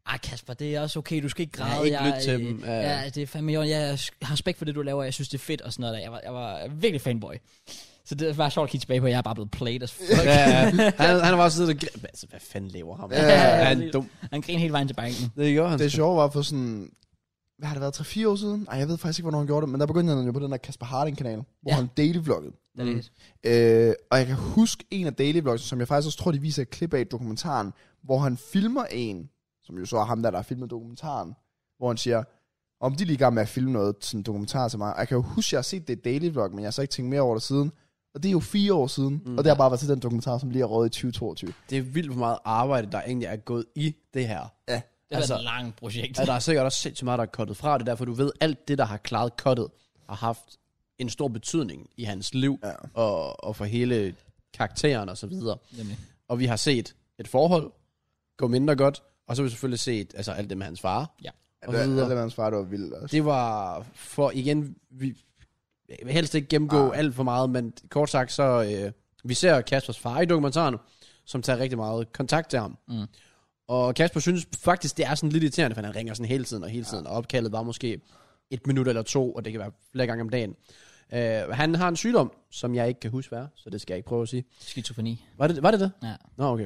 ah, Kasper, det er også okay, du skal ikke Ja, græde. ikke jeg, lytte til øh, dem, ja. Ja, det er fandme, jeg, jeg har respekt for det, du laver, jeg synes, det er fedt og sådan noget. Der. Jeg, var, jeg var virkelig fanboy. Så det var sjovt at kigge tilbage på, at jeg er bare blevet played as fuck. Ja, han, han var også sådan... og- Altså, hvad fanden lever ham? Ja, ja, han ja. er dum. Han griner hele vejen til banken. Det gjorde han. Det sjove var for sådan... Hvad har det været? 3-4 år siden? Ej, jeg ved faktisk ikke, hvornår han gjorde det. Men der begyndte han jo på den der Kasper Harding-kanal. Hvor Ja. han daily vloggede. Det er lidt. Øh, og jeg kan huske en af daily vlogs, som jeg faktisk også tror, de viser et klip af i dokumentaren, hvor han filmer en, som jo så er ham der, der har filmet dokumentaren, hvor han siger, om de er lige i gang med at filme noget sådan en dokumentar til mig. Og Jeg kan jo huske, at jeg har set det i Daily Vlog, men jeg har så ikke tænkt mere over det siden. Og det er jo fire år siden, mm, og det har bare været til den dokumentar, som lige er røget i 2022. Det er vildt, hvor meget arbejde, der egentlig er gået i det her. Ja. Det har Altså- været et langt projekt. Ja, der er sikkert også sindssygt meget, der er kottet fra. Det er derfor, du ved, alt det, der har klaret kottet, har haft en stor betydning i hans liv ja. og, og for hele karakteren og så videre. Nemlig. Og vi har set et forhold gå mindre godt, og så har vi selvfølgelig set altså, alt det med hans far. Ja. Og Det, så det, altså- videre. det, hans far, det var vildt også. Det var for, igen, vi jeg vil helst ikke gennemgå ah. alt for meget, men kort sagt, så øh, vi ser Kaspers far i dokumentaren, som tager rigtig meget kontakt til ham. Mm. Og Kasper synes faktisk, det er sådan lidt irriterende, for han ringer sådan hele tiden og hele tiden, og opkaldet var måske et minut eller to, og det kan være flere gange om dagen. Øh, han har en sygdom, som jeg ikke kan huske hvad, er, så det skal jeg ikke prøve at sige. Skizofreni. Var det var det? det? Ja. Nå, okay.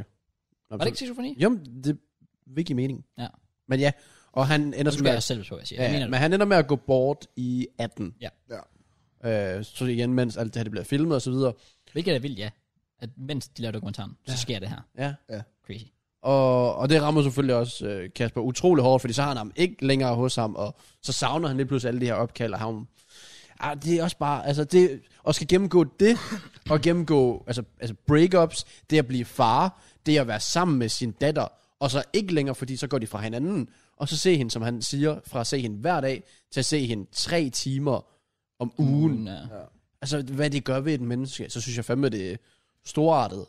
Var Nå, det ikke skizofreni? Jo, men det vil give mening. Ja. Men ja, og han ender Nu så skal med jeg selv på, hvad jeg siger. Ja, Jeg ja, mener men det. han ender med at gå bort i 18. Ja. ja. Øh, så igen, mens alt det her det bliver filmet og så videre. Hvilket er vildt, ja. At mens de laver dokumentaren, så sker det her. Ja. Crazy. Og, og det rammer selvfølgelig også øh, Kasper utrolig hårdt, fordi så har han ham ikke længere hos ham, og så savner han lige pludselig alle de her opkald, og ham... Ah, det er også bare, altså det, og skal gennemgå det, og gennemgå, altså, altså breakups, det at blive far, det at være sammen med sin datter, og så ikke længere, fordi så går de fra hinanden, og så se hende, som han siger, fra at se hende hver dag, til at se hende tre timer om ugen, Men, uh, Altså, hvad det gør ved et menneske, så synes jeg fandme, det er storartet.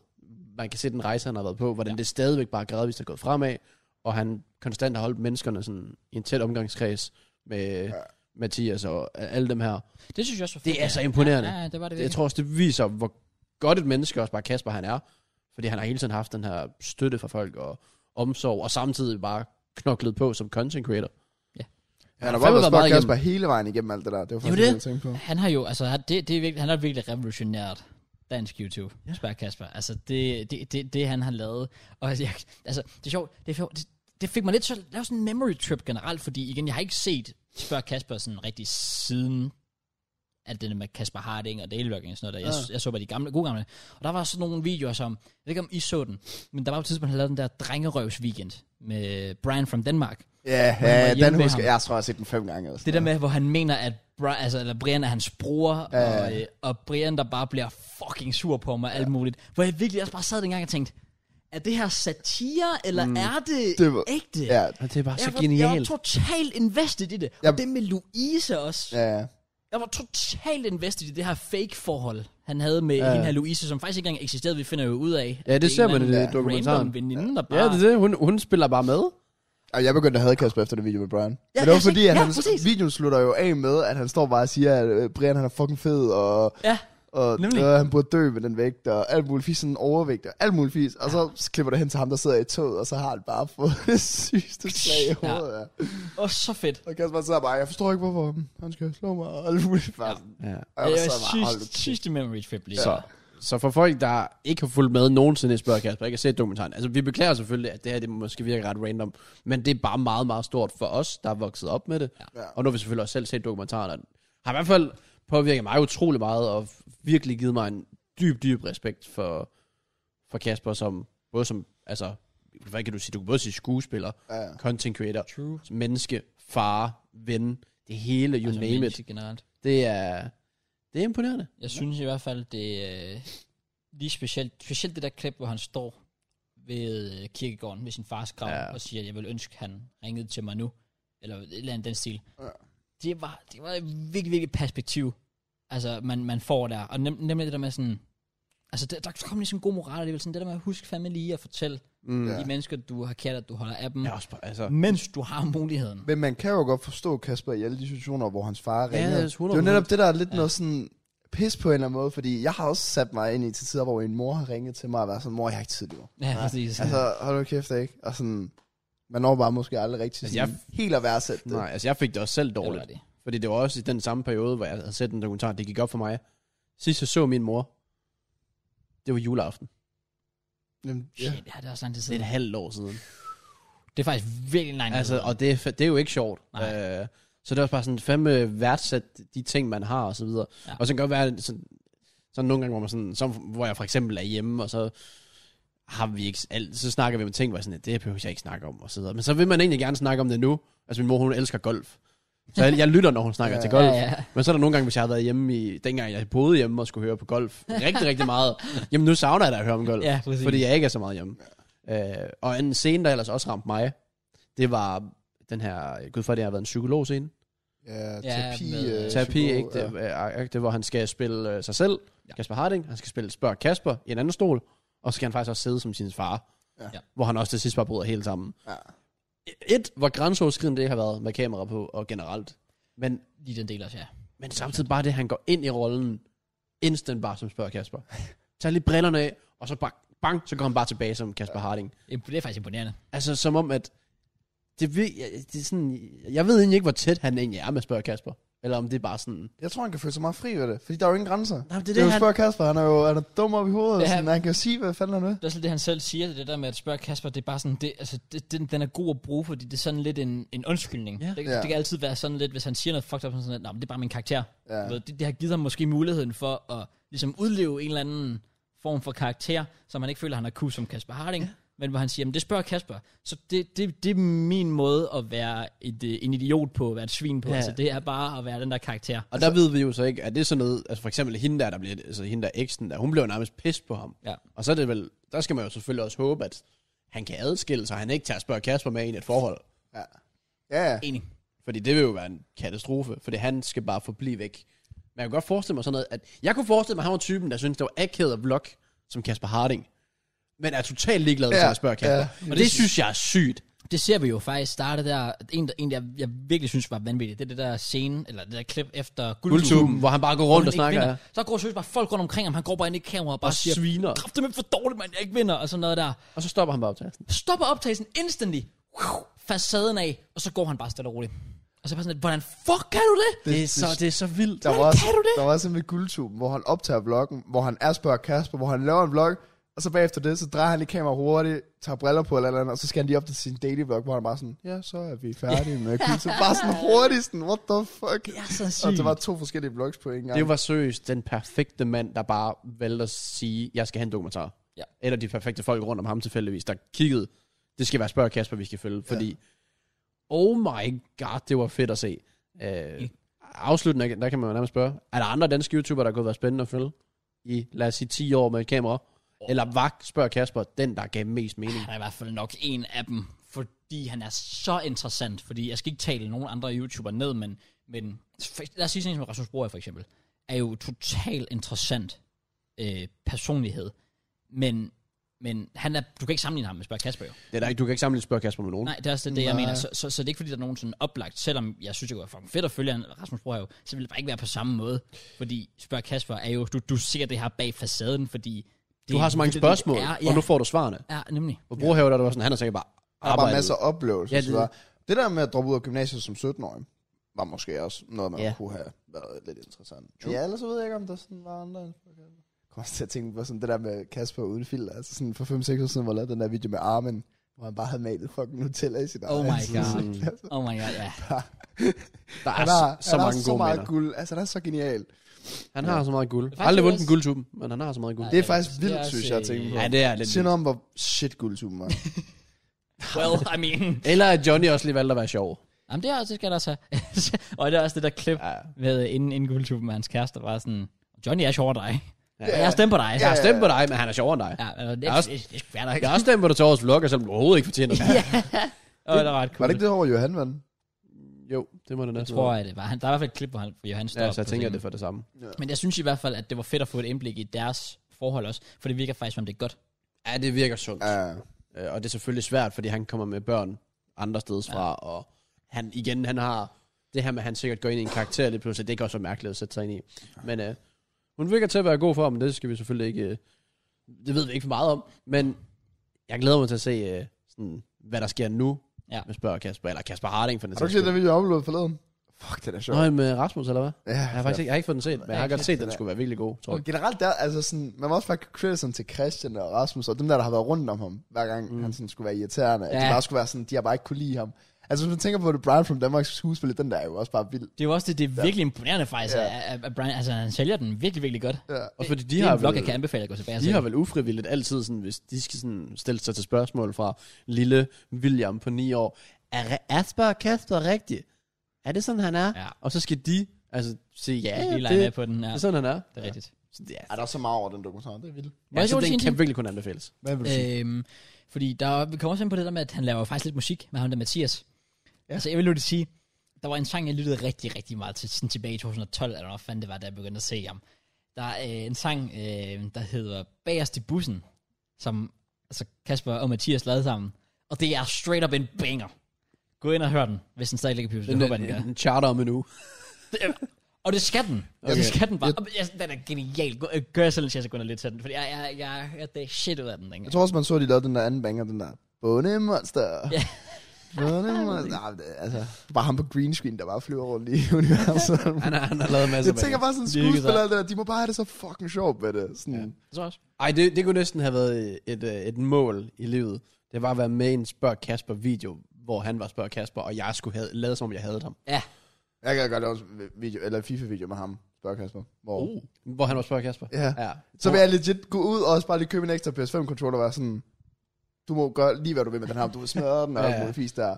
Man kan se den rejse, han har været på, hvordan ja. det stadigvæk bare gradvist er gået fremad, og han konstant har holdt menneskerne sådan i en tæt omgangskreds med ja. Mathias og alle dem her. det synes jeg også var Det fedt, er ja. så imponerende. Ja, ja, det var det Det, jeg virkelig. tror også, det viser, hvor godt et menneske også bare Kasper han er, fordi han har hele tiden haft den her støtte fra folk og omsorg, og samtidig bare knoklet på som content creator. Han har fandme bare været været meget spørg Kasper hele vejen igennem alt det der. Det var faktisk det, det. jeg tænkte på. Han har jo, altså, han- det, det er virkelig, han har virkelig revolutionært dansk YouTube, ja. spørger Kasper. Altså, det, det, det, det, han har lavet. Og jeg, altså, det er sjovt, det, er sjovt, det, det fik mig lidt til at lave sådan en memory trip generelt, fordi igen, jeg har ikke set spørg Kasper sådan rigtig siden alt det der med Kasper Harding og Dalevlogging og sådan noget der. Jeg, ja. jeg, så bare de gamle, gode gamle. Og der var sådan nogle videoer som, jeg ved ikke om I så den, men der var på et tidspunkt, han lavede den der drengerøvs weekend med Brian from Denmark. Ja, var ja hjemme den ved husker ham. jeg. Jeg tror, jeg har set den fem gange. altså. Eller Det der med, hvor han mener, at Brian, altså, eller Brian er hans bror, ja. og, øh, og Brian, der bare bliver fucking sur på mig og alt muligt. Hvor jeg virkelig også bare sad dengang og tænkte, er det her satire, eller mm. er det, Det var- ægte? Ja, Og det er bare jeg, så var, jeg var genialt. totalt invested i det. Jeg- Og det med Louise også. ja, ja. Jeg var totalt invested i det her fake-forhold, han havde med hende her Louise, som faktisk ikke engang eksisterede, vi finder jo ud af. Ja, at det ser er en man i eller det anden dokumentaren. Random veninde, der bare... Ja, det er det. Hun, hun spiller bare med. Og jeg begyndte at hade Kasper efter det video med Brian. Ja, jeg Men det var har set- fordi, at ja, ja, han, præcis. videoen slutter jo af med, at han står bare og siger, at øh, Brian han er fucking fed, og, Ja, og Nemlig. øh, han burde dø med den vægt, og alt muligt fisk, sådan overvægt, og alt muligt fisk. Og så klipper det hen til ham, der sidder i toget, og så har han bare fået det sygeste slag i Ja. hovedet. Ja. og så fedt. Og Kasper sidder bare, jeg forstår ikke, hvorfor han skal slå mig, og alt muligt. Bare, sådan. Ja. Og Det jeg sad bare, var hold sidste- nu kæft. sidste memory trip lige. Så, så for folk, der ikke har fulgt med nogensinde i Spørg Kasper, ikke har set dokumentaren, altså vi beklager selvfølgelig, at det her det måske virker ret random, men det er bare meget, meget stort for os, der er vokset op med det. Ja. Og nu har vi selvfølgelig også selv set dokumentaren, og den har i hvert fald påvirket mig utrolig meget, og virkelig givet mig en dyb, dyb respekt for, for Kasper, som både som, altså, hvad kan du sige, du kan både sige skuespiller, ja. content creator, True. menneske, far, ven, det hele, you altså, name it. menneske generelt. Det er, det er imponerende. Jeg synes i hvert fald, det er øh, lige specielt, specielt det der klip, hvor han står ved øh, kirkegården ved sin fars grav Ja. ja. og siger, at jeg vil ønske, han ringede til mig nu. Eller et eller andet den stil. Ja. Det var, det var et virkelig, virkelig perspektiv, altså, man, man får der. Og nem, nemlig det der med sådan... Altså, der, der kom lige sådan en god moral alligevel. Sådan det der med at huske fandme lige at fortælle mm. de Ja. mennesker, du har kært, at du holder af dem, Ja, ja. også bare, altså, mens du har muligheden. Men man kan jo godt forstå Kasper i alle de situationer, hvor hans far ringer. det er det er jo 100%. netop det, der er lidt ja. noget sådan pis på en eller anden måde, fordi jeg har også sat mig ind i til tider, hvor min mor har ringet til mig og været sådan, mor, jeg har ikke tid lige nu. Ja, præcis. Altså, hold nu kæft, ikke? Og sådan, man når bare måske aldrig rigtig Altså, sådan, altså, jeg... helt at værdsætte det. Nej, altså jeg fik det også selv dårligt. var det. Fordi det var også i den samme periode, hvor jeg havde set den dokumentar, det gik op for mig. Sidst jeg så min mor, det var juleaften. Jamen, ja. Shit, ja, det er også lang tid Det er siden. et halvt år siden. Det er faktisk virkelig lang tid Altså, siden. og det er, fa- det er jo ikke sjovt. Øh, Nej. så det er også bare sådan fandme værdsat de ting, man har og så videre. Ja. Ja. Og så kan det godt være sådan, sådan nogle gange, hvor, man sådan, som, hvor jeg for eksempel er hjemme, og så har vi ikke alt, så snakker vi om ting, hvor jeg sådan, det behøver jeg ikke snakke om, og så videre. Men så vil man egentlig gerne snakke om det nu. Altså min mor, hun elsker golf. Så jeg, jeg lytter, når hun snakker Ja, til ja. golf. Ja, ja. Men så er der nogle gange, hvis jeg har været hjemme i... Dengang jeg boede hjemme og skulle høre på golf rigtig, rigtig meget. Jamen nu savner jeg da at høre om golf. Ja, præcis. fordi jeg ikke er så meget hjemme. Øh, og en scene, der ellers også ramte mig, det var den her... Gud for, det har været en psykologscene. Ja, Ja, terapi. med- øh, Terapi, psykolog, ikke? Det, ja. det, hvor han skal spille øh, sig selv, Ja. ja. Kasper Harding. Han skal spille Spørg Kasper i en anden stol, og så skal han faktisk også sidde som sin far. Ja. Ja. Hvor han også til sidst bare bryder helt sammen. Ja. Et, hvor grænseoverskridende det har været med kamera på, og generelt. Men, Lige den del også, ja. men samtidig bare det, han går ind i rollen, instant bare som Spørg Kasper. Tager lige brillerne af, og så bang, bang, så går han bare tilbage som Kasper Harding. Imp- Det er faktisk imponerende. Altså som om, at det, vir- ja, det er sådan, jeg ved egentlig ikke, hvor tæt han egentlig er med Spørg Kasper. Eller om det er bare sådan, Jeg tror, han kan føle sig meget fri ved det, fordi der er jo ingen grænser. Nej, men Det er jo spørg Kasper, han er jo han er dum op i hovedet, Ja. ja. sådan, han kan jo sige, hvad fanden han vil. Det er også lidt det, han selv siger, det der med at spørge Kasper, det er bare sådan, det, altså, det, den, den er god at bruge, fordi det er sådan lidt en, en undskyldning. Ja. Det, Ja. det, kan altid være sådan lidt, hvis han siger noget fucked up, sådan sådan, at, "Nå, men det er bare min karakter. Ja. Du Ved, det, det, har givet ham måske muligheden for at ligesom udleve en eller anden form for karakter, som han ikke føler, han har kunne som Kasper Harding. Ja. Men hvor han siger, "Jamen, det spørger Kasper. Så det, det, det er min måde at være et, øh, en idiot på, at være et svin på. Ja. Ja. Altså, det er bare at være den der karakter. Og der ved vi jo så ikke, at det er sådan noget, altså for eksempel hende der, der bliver, altså hende der eksen der, hun blev jo nærmest pissed på ham. Ja. Og så er det vel, der skal man jo selvfølgelig også håbe, at han kan adskille sig, han ikke tager spørge Kasper med ind i et forhold. Ja. Ja, ja. Enig. Fordi det vil jo være en katastrofe, fordi han skal bare forblive væk. Men jeg kan godt forestille mig sådan noget, at jeg kunne forestille mig, at han var typen, der synes det var akavet at vlog, som Kasper Harding. Men er totalt ligeglad, hvis Ja, ja, spørger Kasper. ja. Ja, og det synes jeg er sygt. Det ser vi jo faktisk starte der. En, der, en der, jeg virkelig synes var vanvittig, det er det der scene, eller det der klip efter Guldtuben, hvor han bare går rundt han og ikke snakker. vinder. ja. Så går seriøst bare folk rundt omkring ham, han går bare ind i kameraet og bare Og siger, sviner. kraft det for dårligt, mand, jeg ikke vinder, og sådan noget der. Og så stopper han bare optagelsen. Stopper optagelsen instantly, Wow, facaden af, og så går han bare stille og roligt. Og så er jeg bare sådan, lidt, hvordan fuck kan du det? Det, det, er så, det er så vildt. Der var, Hvordan også, kan du det? der var også en med guldtuben, hvor han optager vloggen, hvor han er spørg Kasper, hvor han laver en vlog, og så bagefter det, så drejer han lige kamera hurtigt, tager briller på eller et eller andet, og så skal han lige op til sin daily vlog, hvor han bare sådan, ja, så er vi færdige med guldtuben. Bare sådan hurtigt, sådan, what the fuck? Det er så Og sygt. der var to forskellige vlogs på en gang. Det var seriøst den perfekte mand, der bare valgte at sige, jeg skal have en dokumentar. Ja. Eller de perfekte folk rundt om ham tilfældigvis, der kiggede, det skal være Spørg Kasper, vi skal følge, fordi oh my god, det var fedt at se. Øh, afsluttende, der kan man jo nærmest spørge, er der andre danske YouTubere, der kunne være spændende at følge i, lad os sige, 10 år med et kamera? Eller vagt, spørg Kasper, den der gav mest mening. Han er i hvert fald nok en af dem, fordi han er så interessant. Fordi jeg skal ikke tale nogen andre YouTuber ned, men, men for, lad os sige sådan en som Rasmus Broer for eksempel, er jo totalt interessant øh, personlighed. Men, men han er, du kan ikke sammenligne ham med Spørg Kasper jo. Det er der ikke, du kan ikke sammenligne spørg Kasper med nogen. Nej, det er også det, det jeg Nej. mener. Så, så, så, det er ikke fordi, der er nogen sådan oplagt, selvom jeg synes, det kunne være fucking fedt at følge han- Rasmus Broer jo, så vil det bare ikke være på samme måde. Fordi Spørg Kasper er jo, du, du ser det her bag facaden, fordi... Det Du har så mange virkelig, det spørgsmål, er, ja. og nu får du svarene. Ja, nemlig. Og brugerhæver, der var sådan, han har sikkert bare Der var arbejdet. masser af oplevelser. Ja, Ja, det- det, det. det der med at droppe ud af gymnasiet som 17-årig, var måske også noget, man Ja. ja. kunne have været lidt interessant. True. Ja, ellers så ved jeg ikke, om der sådan var andre. end Kasper. Jeg kom også til at tænke på sådan det der med Kasper uden filter. Altså sådan for 5-6 år siden, hvor jeg lavede den der video med Armin, hvor han bare havde malet fucking Nutella i sit Oh eget my god. sådan, altså, Mm. Oh my god, ja. Der er, Han så, har, så han har mange så gode meget minder. guld. Altså, han er så genial. Han har så meget guld. faktisk Aldrig vundet også- en guldtuben, men han har så meget guld. Nej. Det er Ja, faktisk det er vildt, også, synes jeg, at tænke øh, på. Ja, det er lidt Sind vildt. om, hvor shit guldtuben var. Well, I mean... Eller at Johnny også lige valgte at være sjov. Jamen, det, er, også- det skal der så. og det er også det der klip ja. Ja. med øh, inden, inden guldtuben med hans kæreste, der var sådan, Johnny er sjovere end dig. Ja. Ja. Jeg stemmer på dig. Jeg har stemt på dig, men han er sjovere end dig. ja altså, det, Jeg er det, også- det, det, er der ikke. Jeg har også stemt på dig til årets vlogger, selvom du overhovedet ikke fortjener det. Åh, det var ret cool. Var det ikke det, hvor Johan vandt? Jo, det må det Jeg næsten tror, være. at det var. Han, der er i hvert fald et klip, hvor, han, hvor Johan står Ja, så jeg på tænker, at scenen. det er for det samme. Men jeg synes i hvert fald, at det var fedt at få et indblik i deres forhold også, for det virker faktisk, som det er godt. Ja, det virker sundt. Ja. Øh, Og det er selvfølgelig svært, fordi han kommer med børn andre steder fra, og han igen, han har det her med, at han sikkert går ind i en karakter lidt pludselig, det kan også være mærkeligt at sætte sig ind i. Men øh, hun virker til at være god for, men det skal vi selvfølgelig ikke, øh, det ved vi ikke for meget om, men jeg glæder mig til at se, øh, sådan, hvad der sker nu Ja. med Spørg Kasper, eller Kasper Harding for den Har du ikke set den video, jeg uploadede forleden? Fuck, den er sjov. Nå, med Rasmus, eller hvad? Ja, Jeg har faktisk ikke, jeg har ikke fået den set, men jeg har ikke godt set, at den den der. skulle være virkelig god, tror Og jeg. generelt der, altså sådan, man må også bare give criticism til Christian og Rasmus, og dem der, der har været rundt om ham, hver gang mm. han sådan skulle være irriterende, ja. at Ja. de bare skulle være sådan, de har bare ikke kunne lide ham. Altså hvis man tænker på det, Brian from Danmarks skuespil, den der er jo også bare vild. Det er jo også det, det er virkelig imponerende faktisk, Ja. at, at- at Brian, altså han sælger den virkelig, virkelig godt. Ja. Og fordi de Det er har en vlog, vel- jeg kan anbefale at gå tilbage og De se. har vel ufrivilligt altid, sådan, hvis de skal sådan, stille sig til spørgsmål fra lille William på 9 år. Er Re- Asper og Kasper rigtig? er det sådan, han er? Ja. Og så skal de altså sige, ja, Ja, det, Eli det, er med det på den. Ja, er sådan, han er. det er rigtigt. Så det er, Ej, der er så meget over den dokumentar, det er vildt. Må ja, jeg så godt sige den en kan ting? virkelig kun anbefales. Hvad vil du sige? Øhm, fordi der, vi kommer også ind på det der med, at han laver faktisk lidt musik med ham der Mathias. Ja. Ja. Altså, jeg vil jo lige sige, der var en sang, jeg lyttede rigtig, rigtig meget til, sådan tilbage i 2012, eller hvad fanden det var, da jeg begyndte at se ham. Der er øh, en sang, øh, der hedder Bagerst i bussen, som altså Kasper og Mathias lavede sammen. Og det er straight up en banger. Gå ind og hør den, hvis den stadig ligger på YouTube. Den, Det håber jeg, den, den gør. den, den charter om en uge. Og det skal den. Okay. Okay. Det skal den bare. Og Jeg, den er genial. Gå- øh, Gør jeg selv en chance at gå ind og lidt til den, fordi jeg, jeg, jeg, jeg, det er shit ud af den Jeg dengang. tror også, man så, at de lavede den der anden banger, den der Bondemonster. Ja. Bondemonster. Nej, det, altså, det var ham på green screen, der bare flyver rundt i universet. Han, har- han har lavet masser jeg tænker bare sådan, Det er ikke skuespillere der, de må bare have det så fucking sjovt med det. Sådan, ja. Jeg tror også. Ej, det, det kunne næsten have været et, øh, et mål i livet. Det var at være med i en Spørg Kasper video, hvor han var Spørg Kasper, og jeg skulle have, lade som om jeg havde ham. Ja, Jeg kan godt lave en video, eller en FIFA-video med ham, spørg Kasper. Hvor, Oh. Hvor han var Spørg Kasper. Ja. ja. Så vil jeg legit gå ud og også bare lige købe en ekstra PS5-controller og være sådan, du må gøre lige hvad du vil med den her, om du vil smadre den og Ja, ja, ja. ja. fisk der. Ej,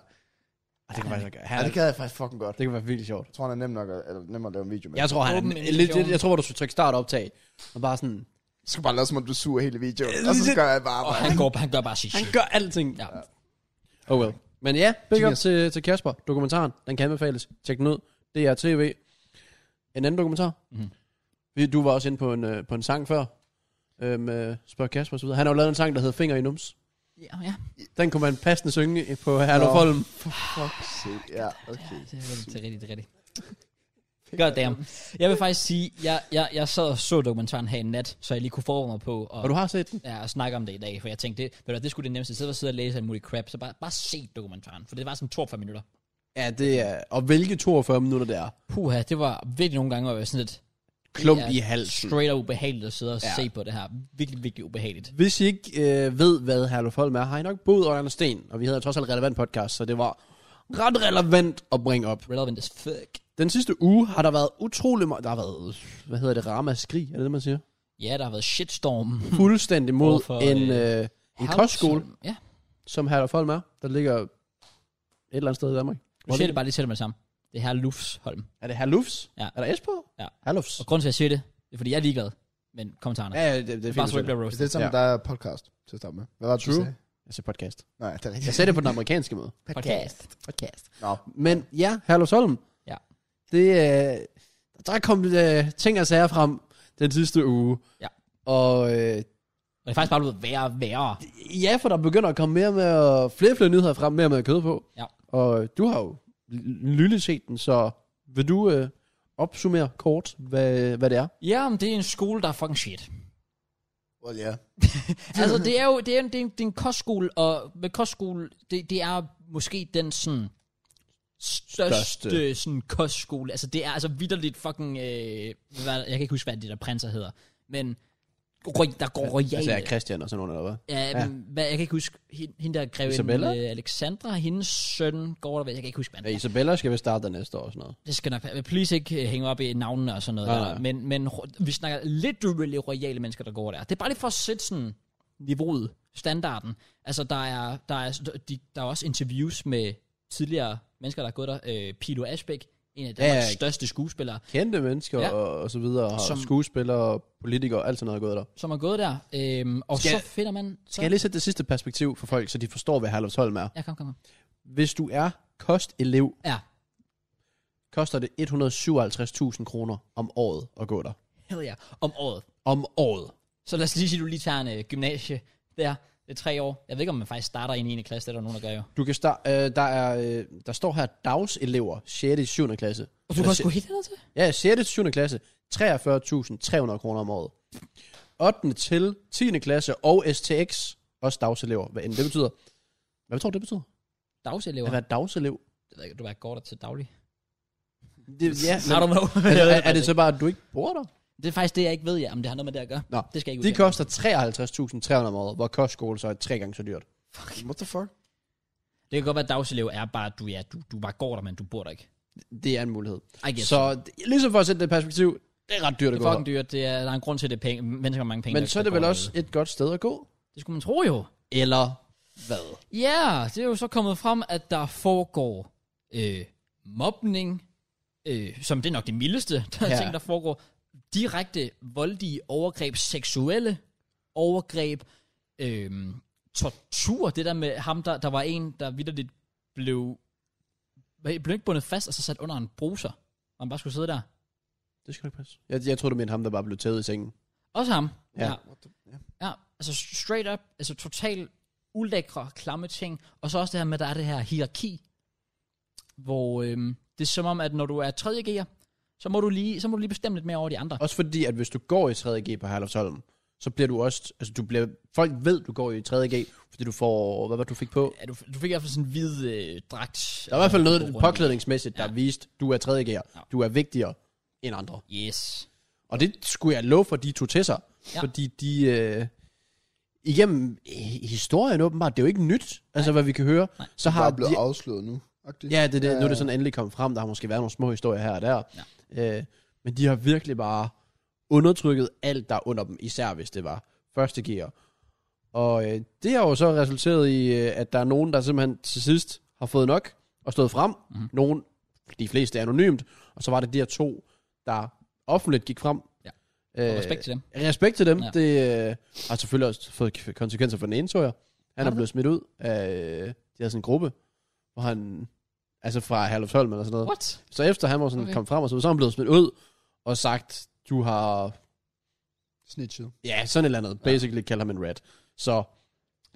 det kan faktisk være, Ja, han, det gad jeg faktisk fucking godt. det kan være virkelig sjovt. Jeg tror, han er nem nok at, eller nem at lave en video med. Jeg tror, han Åben er, invitation. lidt, jeg tror, du skulle trykke start og optag, og bare sådan, Jeg skal bare lade som om, du suger hele videoen, og så gør jeg bare og arbejde. han, går, han gør bare sit han shit. gør alting. Ja. Oh well. Men ja, big up Genius. til, til Kasper. Dokumentaren, den kan anbefales. Tjek den ud. Det er tv. En anden dokumentar. Mhm. Mm. Du var også inde på en, øh, på en sang før. Øh, med Spørg Kasper og så videre. Han har jo lavet en sang, der hedder Finger i Nums. Ja, ja. Den kunne man passende synge på Herlof Nå. Holm. Fuck shit, ja, okay. Det er rigtigt, det er rigtigt, det er rigtigt. God damn. Jeg vil faktisk sige, jeg, jeg, jeg sad og så dokumentaren her i nat, så jeg lige kunne forberede mig på Og at, du har set den. ja, at snakke om det i dag, for jeg tænkte, det, ved du, hvad, det skulle det nemmeste. I stedet for at sidde og læse alt muligt crap, så bare, bare se dokumentaren, for det var sådan 42 minutter. Ja, det er... Og hvilke 42 minutter det er. Puha, det var virkelig nogle gange, hvor jeg var sådan lidt Klump Det er i halsen. straight og ubehageligt at sidde og Ja. ja. se på det her. Virkelig, virkelig ubehageligt. Hvis I ikke øh, ved, hvad Herluf Holm er, har I nok boet under en sten. Og vi havde trods alt relevant podcast, så det var ret relevant at bringe op. Relevant as fuck. Den sidste uge har der været utrolig meget... Der har været, hvad hedder det, ramaskrig, er det det, man siger? Ja, der har været shitstorm. Fuldstændig mod Hvorfor, en, Hmm. øh, øh, en kostskole, Ja, som her Folm er, der ligger et eller andet sted i Danmark. du siger det bare lige til dem med det samme. Det her er Lufsholm. Er det Herlufs? Ja. Er der S på? Ja. Herlufs. Og grunden til, at jeg siger det, det er, fordi jeg er ligeglad. Men kommentarerne. Ja, ja, det, det er Bare så du ikke fint. Jeg, bliver Hvis roasted. det er sådan, Ja. ja. der er podcast til at starte med. Hvad var det, du True. sagde? jeg ser podcast. Nej, det er Jeg rigtigt. sagde det på den amerikanske måde. Podcast. Podcast. Nå, Men ja, Herlufs Holm. Ja. Det, øh, der kom øh, ting og sager frem den sidste uge. Ja. Og øh, Og det er faktisk bare blevet værre og værre. Ja, for der begynder at komme mere med og flere og flere nyheder frem, mere med kød på. Ja. Og øh, du har jo lille set den, så vil du øh, opsummere kort, hvad, hvad det er? Ja, men det er en skole, der er fucking shit. well, yeah. altså, det er jo det er en, det er en, det er en kostskole, og med kostskole, det, det er måske den sådan største, Største. største. sådan kostskole. Altså, det er altså vidderligt fucking... Øh, hvad, jeg kan ikke huske, hvad de der prinser hedder. Men ro- der går royale... Altså, er Christian og sådan noget, eller hvad? Ja, Ja. ja. Hvad, jeg kan ikke huske, hende, hende der greve Isabella? Øh, Alexandra, hendes søn går der, ved- jeg kan ikke huske, hvad han Ja, Isabella skal vi starte der næste år og sådan noget. det skal nok være. Please ikke øh, hænge op i navnene og sådan noget. Nej, Nej, der. nej. Men, men ro- vi snakker lidt really royale mennesker, der går der. Det er bare lige for at sætte sådan niveauet, standarden. Altså, der er, der er, de, der er også interviews med tidligere mennesker, der er gået der. Øh, Pilo Asbæk, en af Danmarks Ja, ja. største skuespillere, Kendte mennesker ja. Ja. og, og så videre, og Som... Som- skuespillere og politikere og alt sådan noget er gået der. som er gået der. Øhm, og Skal- så finder man... Så, Skal jeg lige sætte det sidste perspektiv for folk, så de forstår, hvad Herlufs Holm er? Ja, kom, kom, kom. Hvis du er kostelev, Ja, koster det 157.000 kroner om året at gå der. hedder jeg. Om året. Om året. Så lad os lige sige, at du lige tager en øh, gymnasie der. Det er tre år. Jeg ved ikke, om man faktisk starter i en 9. klasse. Det er der nogen, der gør jo. Du kan start, øh, der, er, øh, der står her dagselever, 6. til 7. klasse. Og du Eller kan se- sgu helt andet til. Ja, 6. til 7. klasse, 43.300 kroner om året. 8. til 10. klasse og STX, også dagselever. Hvad end det betyder. Hvad tror du, det betyder? Dagselever. At være dagselev? Det ved jeg ikke, du bare går der til daglig. Det, ja, I men, don't know. Jeg er, ved er, er faktisk det så ikke. bare, at du ikke bor der? det er faktisk det, jeg ikke ved, ja, om det har noget med det at gøre. Nå, Det skal jeg ikke de udtale. koster 53.300 om året, hvor kostskole så er tre gange så dyrt. What the fuck? Det kan godt være, at dagselev er bare, at du, ja, du, du bare går der, men du bor der ikke. Det er en mulighed. I guess. Så Så det- ligesom for at sætte det i perspektiv, det er ret dyrt det at er gå fucking der. dyrt. Det er, der er en grund til, at det er penge, mennesker har mange penge. Men der- så er der det vel går også derude. et godt sted at gå? Det skulle man tro jo. Eller hvad? Ja, yeah, det er jo så kommet frem, at der foregår øh, mobning, øh, som det er nok det mildeste, der ja. Ja. ting, der foregår, direkte voldige overgreb, seksuelle overgreb, øh, tortur, det der med ham, der, der var en, der vidderligt blev, hvad- blev ikke bundet fast, og så sat under en bruser, og han bare skulle sidde der. Det skal ikke passe. Jeg, jeg tror, du mente ham, der bare blev taget i sengen. Også ham. Ja. ja. Ja, altså straight up, altså totalt ulækre, klamme ting. Og så også det her med, at der er det her hierarki, hvor øhm, det er som om, at når du er 3.G'er, så må du lige, så må du lige bestemme lidt mere over de andre. Også fordi, at hvis du går i 3.G på Herlufsholm, så bliver du også, altså du bliver, folk ved, du går i 3.G, fordi du får, hvad var det, du fik på? Ja, du, du fik i hvert fald sådan en hvid øh, dragt. Der er i hvert fald på noget grund af- påklædningsmæssigt, der Ja. ja. viste, du er 3.G'er. Ja. Du er vigtigere end andre. Yes. Og det skulle jeg love for, de tog til sig. Ja. Ja. Fordi de... Øh, igennem øh, historien åbenbart, det er jo ikke nyt, altså hvad vi kan høre. Nej. Så Har har blevet de, afsløret nu. agtigt. Ja, det, er det, ja. nu er Ja. det sådan endelig kommet frem. Der har måske været nogle små historier her og der. Ja. Øh, men de har virkelig bare undertrykket alt, der er under dem. Især hvis det var første gear. Og øh, det har jo så resulteret i, øh, at der er nogen, der simpelthen til sidst har fået nok og stået frem. Mhm. Mm-hmm. Nogen, de fleste er anonymt. Og så var det de her to, der offentligt gik frem. Ja. Øh, Og respekt til dem. Respekt til dem. Ja. Ja. Det øh, har selvfølgelig også fået k- konsekvenser for den ene, tror jeg. Han Har er det? blevet smidt ud af... Øh, de havde sådan en gruppe, hvor han... Altså fra Herlufsholm eller sådan noget. What? Så efter han var sådan Okay. okay. kom frem og så, så er han blevet smidt ud og sagt, du har... Snitchet. Ja, sådan et eller andet. Basically ja. kalder ham en rat. Så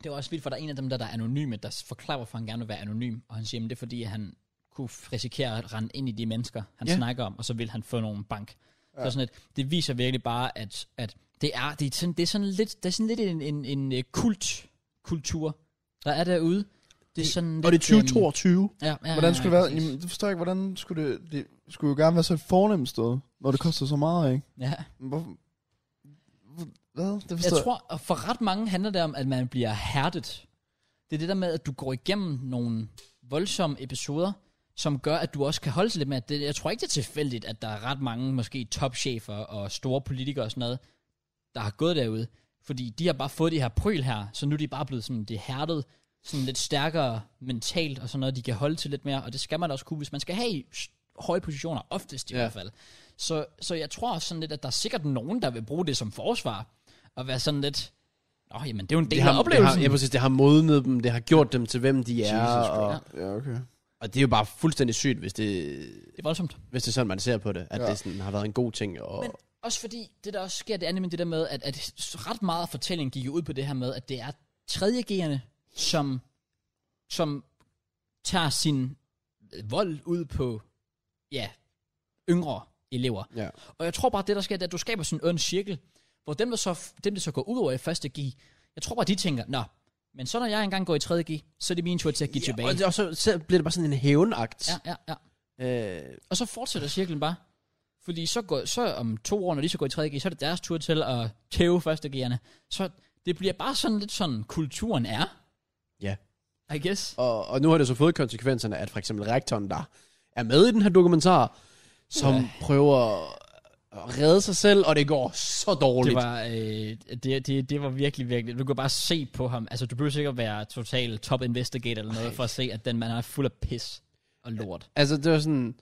Det var også vildt, for der er en af dem, der, der er anonyme, der forklarer, hvorfor han gerne vil være anonym. Og han siger, at det er fordi, at han kunne f- risikere at rende ind i de mennesker, han Ja. snakker om, og så vil han få nogle bank. Ja. Så Ja. sådan at, det viser virkelig bare, at, at det, er, det, er sådan, det er sådan lidt, det er sådan lidt en, en, en øh, kult, kultur, der er derude. Det er sådan og det er øhm, 2022. Ja, ja, ja, Hvordan skulle det være? præcis. Jamen, det forstår jeg ikke. Hvordan skulle det... Det skulle jo gerne være så et fornemt sted, når det koster så meget, ikke? Ja. Men Hvorfor? Hvad? Det Jeg forstår tror, og for ret mange handler det om, at man bliver hærdet. Det er det der med, at du går igennem nogle voldsomme episoder, som gør, at du også kan holde til lidt med, at det, jeg tror ikke, det er tilfældigt, at der er ret mange måske topchefer og store politikere og sådan noget, der har gået derude. Fordi de har bare fået det her pryl her, så nu er de bare blevet sådan, det hærdet, sådan lidt stærkere mentalt og sådan noget, de kan holde til lidt mere, og det skal man også kunne, hvis man skal have i s- høje positioner, oftest i ja. Ja. hvert fald. Så, så jeg tror også sådan lidt, at der er sikkert nogen, der vil bruge det som forsvar, og være sådan lidt, Nå, jamen, det er jo en del Det af har, det har, oplevelsen. ja, præcis, det har modnet dem, det har gjort dem til, hvem de er. Jesus og, Christ. Ja, okay. og det er jo bare fuldstændig sygt, hvis det, det er voldsomt. hvis det er sådan, man ser på det. At Ja. ja. det sådan, har været en god ting. Og, Men også fordi, det der også sker, det er nemlig det der med, at, at ret meget af fortællingen gik jo ud på det her med, at det er 3.G'erne, som, som tager sin øh, vold ud på, ja, yngre elever. ja. Og jeg tror bare, det der sker, det er, at du skaber sådan en ond cirkel, hvor dem, der så, dem, der så går ud over i første G, jeg tror bare, de tænker, nå, men så når jeg engang går i 3.G, så er det min tur til at give tilbage. Og, det- og så, så bliver det bare sådan en hævnagt. Ja, ja, ja. Øh, Og så fortsætter cirklen bare. Fordi så, går, så om to år, når de så går i 3.G, så er det deres tur til at tæve første G'erne. Så det bliver bare sådan lidt sådan, kulturen er, ja. I guess. Og, og nu har det så fået konsekvenserne, at for eksempel rektoren, der er med i den her dokumentar, som Ja. ja. prøver at redde sig selv, og det går så dårligt. Det var, øh, det, det, det var virkelig, virkelig... Du kan bare se på ham. Altså, du behøver sikkert være total top investigator eller noget, for at se, at den mand er fuld af pis og lort. Altså, det var sådan...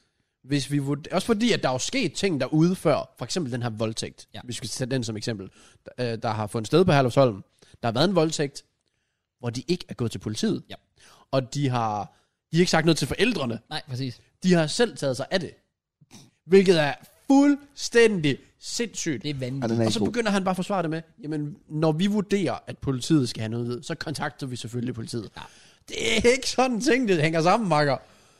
Hvis vi vurd... Også fordi, at der er jo sket ting derude før. For eksempel den her voldtægt. Ja. Ja. Vi skal tage den som eksempel. Der, øh, der har fundet sted på Herlufsholm. Der har været en voldtægt, hvor de ikke er gået til politiet. Ja. Og de har, de har ikke sagt noget til forældrene. Nej, præcis. De har selv taget sig af det. Hvilket er fuldstændig sindssygt. Det er Ja, vanvittigt. den er Og ikke så god. begynder han bare at forsvare det med, jamen, når vi vurderer, at politiet skal have noget at vide, så kontakter vi selvfølgelig politiet. Ja. Det er ikke sådan ting, det hænger sammen, makker.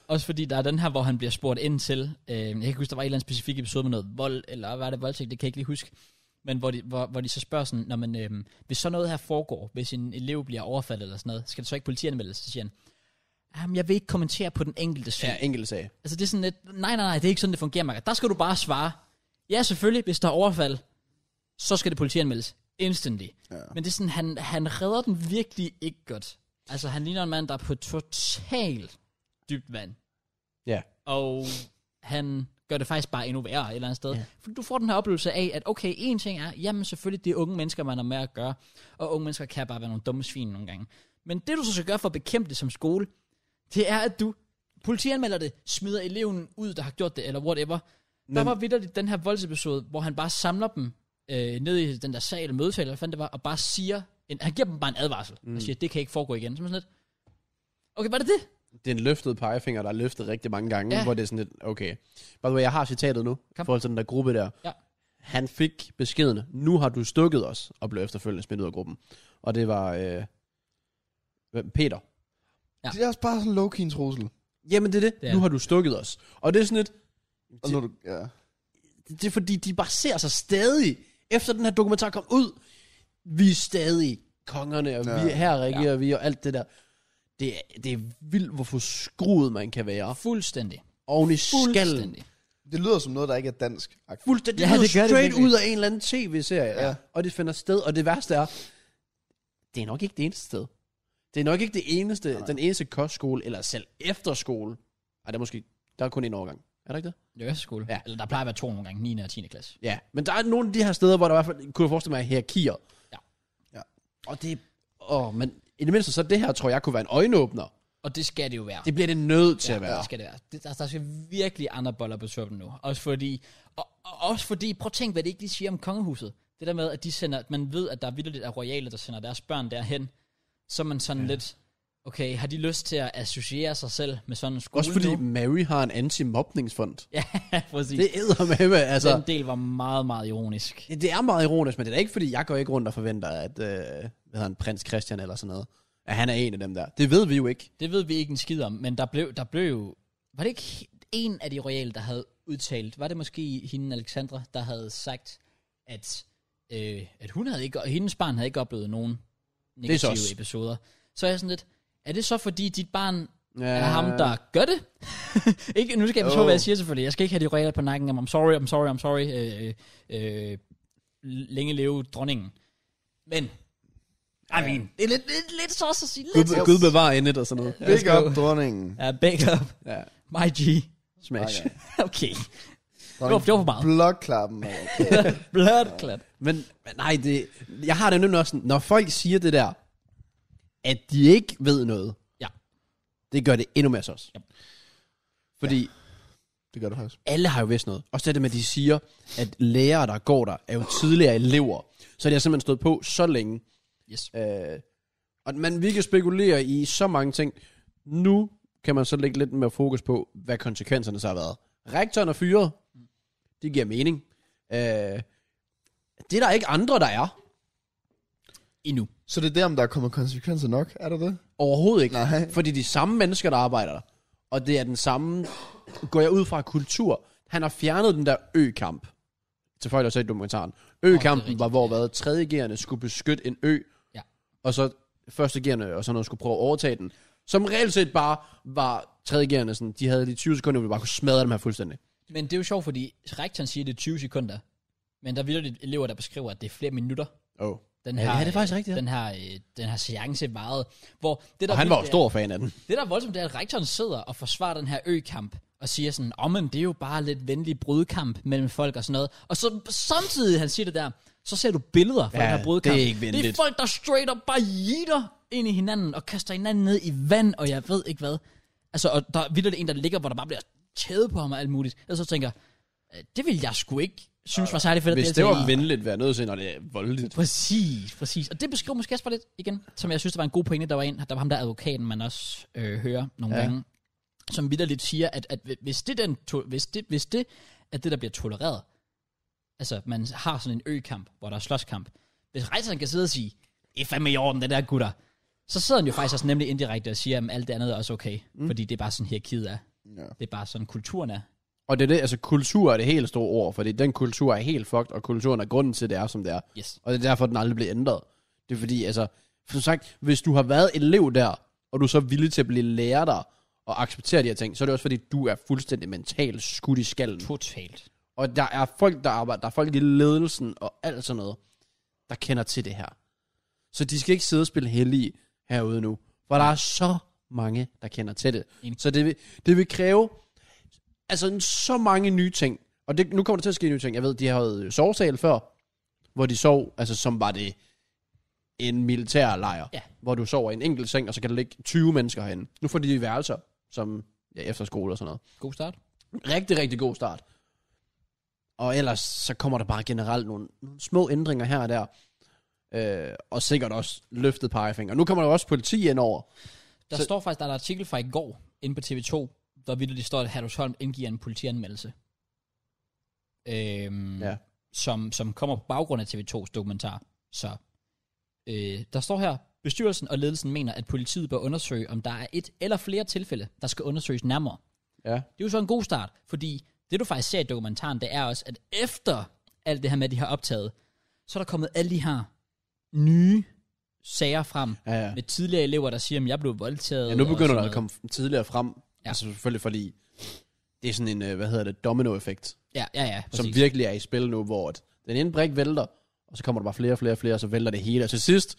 Også fordi der er den her, hvor han bliver spurgt ind til, øh, jeg kan ikke huske, der var en eller anden specifik episode med noget vold, eller hvad er det, voldtægt, det kan jeg ikke lige huske. Men hvor de, hvor, hvor de så spørger sådan, når man, øh, hvis sådan noget her foregår, hvis en elev bliver overfaldet eller sådan noget, skal det så ikke politianmeldes? Så siger han, Jamen, jeg vil ikke kommentere på den enkelte sag. Ja, Ja. enkelte sag. Altså, det er sådan lidt, nej, nej, nej, det er ikke sådan, det fungerer, Marker. Der skal du bare svare, ja, selvfølgelig, hvis der er overfald, så skal det politianmeldes. Instantly. Ja. Men det er sådan, han, han redder den virkelig ikke godt. Altså, han ligner en mand, der er på totalt dybt vand. Ja. Og han gør det faktisk bare endnu værre et eller andet sted. Ja. Ja. For du får den her oplevelse af, at okay, en ting er, jamen selvfølgelig, det er unge mennesker, man har med at gøre. Og unge mennesker kan bare være nogle dumme svin nogle gange. Men det, du så skal gøre for at bekæmpe det som skole, det er, at du politianmelder det, smider eleven ud, der har gjort det, eller whatever. Men... Der var vidderligt den her voldsepisode, hvor han bare samler dem øh, ned i den der sal, eller mødesal, eller hvad fanden det var, og bare siger, en, han giver dem bare en advarsel, mm. og siger, det kan ikke foregå igen. Så er man sådan lidt, okay, var det det? Det er en løftet pegefinger, der er løftet rigtig mange gange, Ja. ja. hvor det er sådan lidt, okay. By the way, jeg har citatet nu, i Kom. forhold til den der gruppe der. Ja. Han fik beskeden, nu har du stukket os, og blev efterfølgende smidt ud af gruppen. Og det var øh, hvem? Peter. Ja. Det er også bare sådan low-key en trussel. Jamen det er det, Det det er er. nu det. har du stukket os. Og det er sådan lidt, Og når du, ja. det, det er fordi, de baserer sig stadig, efter den her dokumentar kom ud, vi er stadig kongerne, og Ja. ja. vi er her, Rikke, ja. og vi er og alt det der. Det er, det er vildt, hvor forskruet man kan være. Fuldstændig. Oven i skallen. Fuldstændig. Det lyder som noget, der ikke er dansk. -agtigt. Fuldstændig Ja, ja, det det gør det straight virkelig. ud af en eller anden tv-serie. Ja. Ja. Og det finder sted, og det værste er, det er nok ikke det eneste sted. Det er nok ikke det eneste, Nej. den eneste kostskole, eller selv efterskole. Ej, der er måske, der er kun en overgang. Er der ikke det? Det er jo skole. Ja. Ja. Eller der plejer at være to nogle gange, 9. og 10. klasse. Ja, men der er nogle af de her steder, hvor der i hvert fald, kunne jeg forestille mig, er hierarkier. Ja. Ja. Og det, åh, men i det mindste så det her, tror jeg, kunne være en øjenåbner. Og det skal det jo være. Det bliver det nødt til ja, at Ja, være. det skal det være. Det, altså, der, der skal virkelig andre boller på suppen nu. Også fordi, og, og også fordi, prøv at tænk, hvad det ikke lige siger om kongehuset. Det der med, at de sender, at man ved, at der er vildt af royale, der sender deres børn derhen. Så er man sådan ja. lidt, okay, har de lyst til at associere sig selv med sådan en skole Også fordi Nu? Mary har en anti-mobningsfond. Ja, præcis. Det Det, æder med, altså. altså, Den del var meget, meget ironisk. Det, det er meget ironisk, men det er da ikke, fordi jeg går ikke rundt og forventer, at øh, hvad hedder han, prins Christian eller sådan noget, at han er en af dem der. Det ved vi jo ikke. Det ved vi ikke en skid om, men der blev, der blev jo... Var det ikke he- en af de royale, der havde udtalt... Var det måske hende, Alexandra, der havde sagt, at, øh, at hun havde ikke, og hendes barn havde ikke oplevet nogen er så negative os. episoder? Så er jeg sådan lidt... Er det så, fordi dit barn Ja, er ham, der gør det? ikke, nu skal jeg passe på, Jo. hvad jeg siger selvfølgelig. Jeg skal ikke have de royale på nakken om, I'm sorry, I'm sorry, I'm sorry. Øh, øh, øh, længe leve dronningen. Men... I mean, det er lidt, lidt, lidt så at sige. Lidt Gud, Gud bevarer endet og sådan noget. Ja. Big up, dronningen. Ja, big up. ja. My G. Smash. Okay. Okay. Det var, det var for meget. Blokklappen. mand. Blødklat. Men, men nej, det, jeg har det nemlig også sådan, når folk siger det der, at de ikke ved noget, Ja. det gør det endnu mere sås. Ja. Fordi ja. Det gør du faktisk. alle har jo vidst noget. Og så det med, at de siger, at lærere, der går der, er jo tidligere elever. Så det har simpelthen stået på så længe, Yes. Øh, og man, vi kan spekulere i så mange ting. Nu kan man så lægge lidt mere fokus på, hvad konsekvenserne så har været. Rektoren er fyret. Det giver mening. Øh, det er der ikke andre, der er. Endnu. Så det er der, om der er kommet konsekvenser nok, er der det? Overhovedet ikke. Nej. Fordi de samme mennesker, der arbejder der. Og det er den samme, går jeg ud fra, kultur. Han har fjernet den der ø-kamp. Til folk, der har set dokumentaren. Åh, det er Ø-kampen rigtigt, var, hvor ja. hvad, 3.G'erne skulle beskytte en ø. Ja. Og så første gearne og sådan noget skulle prøve at overtage den. Som reelt set bare var tredje gearne sådan, de havde de 20 sekunder, hvor vi bare kunne smadre dem her fuldstændig. Men det er jo sjovt, fordi rektoren siger, det er 20 sekunder. Men der er vildt elever, der beskriver, at det er flere minutter. Oh. Den Ja, her, ja, det er faktisk øh, rigtigt, ja. Den her, øh, den her seance meget, hvor det der Og han var jo vildt stor fan af den. er- Det der er voldsomt, det er, at rektoren sidder og forsvarer den her økamp, og siger sådan, om men det er jo bare lidt venlig brudkamp mellem folk og sådan noget. Og så samtidig, han siger det der, så ser du billeder fra Ja, den her brudkamp. det er ikke Det er venligt. folk, der straight up bare jeter ind i hinanden, og kaster hinanden ned i vand, og jeg ved ikke hvad. Altså, og der er vildt en, der ligger, hvor der bare bliver kædet på ham og alt muligt. Og så tænker jeg, øh, det vil jeg sgu ikke synes var særlig fedt. at Hvis det deltage var i. venligt, være nødt til, når det er voldeligt. Præcis, præcis. Og det beskriver måske også bare lidt igen, som jeg synes, der var en god pointe, der var en, der var ham der advokaten, man også øh, hører nogle ja. Ja. gange, som vidderligt siger, at, at hvis det, den, to- hvis det, hvis det er det, der bliver tolereret, altså man har sådan en økamp, hvor der er slåskamp, hvis rejseren kan sidde og sige, det er fandme i orden, den der gutter, så sidder han jo faktisk også nemlig indirekte og siger, at alt det andet er også okay, mm. fordi det er bare sådan hierarkiet er. Ja. Det er bare sådan kulturen er. Og det er det, altså kultur er det helt store ord, fordi den kultur er helt fucked, og kulturen er grunden til, at det er, som det er. Yes. Og det er derfor, den aldrig bliver ændret. Det er fordi, altså, som sagt, hvis du har været elev der, og du er så villig til at blive lærer der, og acceptere de her ting, så er det også fordi, du er fuldstændig mentalt skudt i skallen. Totalt. Og der er folk, der arbejder, der er folk i ledelsen og alt sådan noget, der kender til det her. Så de skal ikke sidde og spille hellige herude nu, for der er så mange, der kender til det. Enig. Så det vil, det vil kræve altså en- så mange nye ting. Og det, nu kommer der til at ske nye ting. Jeg ved, de har havde sovesal før, hvor de sov, altså som var det en militærlejr, Ja. hvor du sover i en enkelt seng, og så kan der ligge 20 mennesker herinde. Nu får de værelser, som ja, efterskole og sådan noget. God start. Rigtig, rigtig god start. Og ellers så kommer der bare generelt nogle, nogle små ændringer her og der. Øh, og sikkert også løftet pegefinger. Nu kommer der jo også politi ind over. Der Så- så... står faktisk, der er en artikel fra i går, inde på TV2, der vidt, det står, at Herlufsholm indgiver en politianmeldelse. Øhm, Ja. som, som kommer på baggrund af TV2's dokumentar. Så øh, der står her, bestyrelsen og ledelsen mener, at politiet bør undersøge, om der er et eller flere tilfælde, der skal undersøges nærmere. Ja. Det er jo så en god start, fordi det du faktisk ser i dokumentaren, det er også, at efter alt det her med, at de har optaget, så er der kommet alle de her nye sager frem, Ja, ja. med tidligere elever, der siger, at jeg blev voldtaget. ja nu og begynder sådan der at noget. komme tidligere frem. Ja. Ja. Altså selvfølgelig fordi, det er sådan en, øh, hvad hedder det, dominoeffekt, Ja, ja, ja. Præcis. som virkelig er i spil nu, hvor at den ene brik vælter, og så kommer der bare flere og flere og flere, og så vælter det hele. Og til sidst,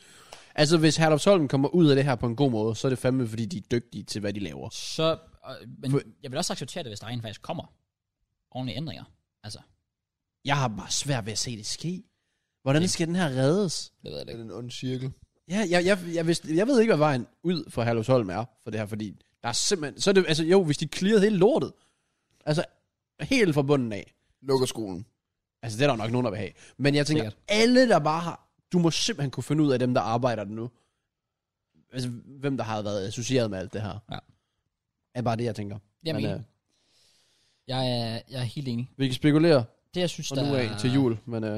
altså hvis Herlufsholm kommer ud af det her på en god måde, så er det fandme, fordi de er dygtige til, hvad de laver. Så, øh, men For- jeg vil også acceptere det, hvis der rent faktisk kommer ordentlige ændringer. Altså, Jeg har bare svært ved at se det ske. Hvordan skal den her reddes? det ved jeg Det ikke. er en ond cirkel. Ja, jeg, jeg, jeg, vidste, jeg ved ikke, hvad vejen ud for Herlufsholm er for det her, fordi der er simpelthen... Så er det, altså jo, hvis de clearede hele lortet, altså helt fra bunden af, Lukker skolen. altså det er der jo nok nogen, der vil have. Men jeg tænker, Sikkert. alle der bare har... Du må simpelthen kunne finde ud af dem, der arbejder der nu. Altså, hvem der har været associeret med alt det her. Ja. Er bare det, jeg tænker. Jamen, men, øh, enig. jeg, er, jeg er helt enig. vi kan spekulere Det, jeg synes, fra der... nu af til jul, men øh,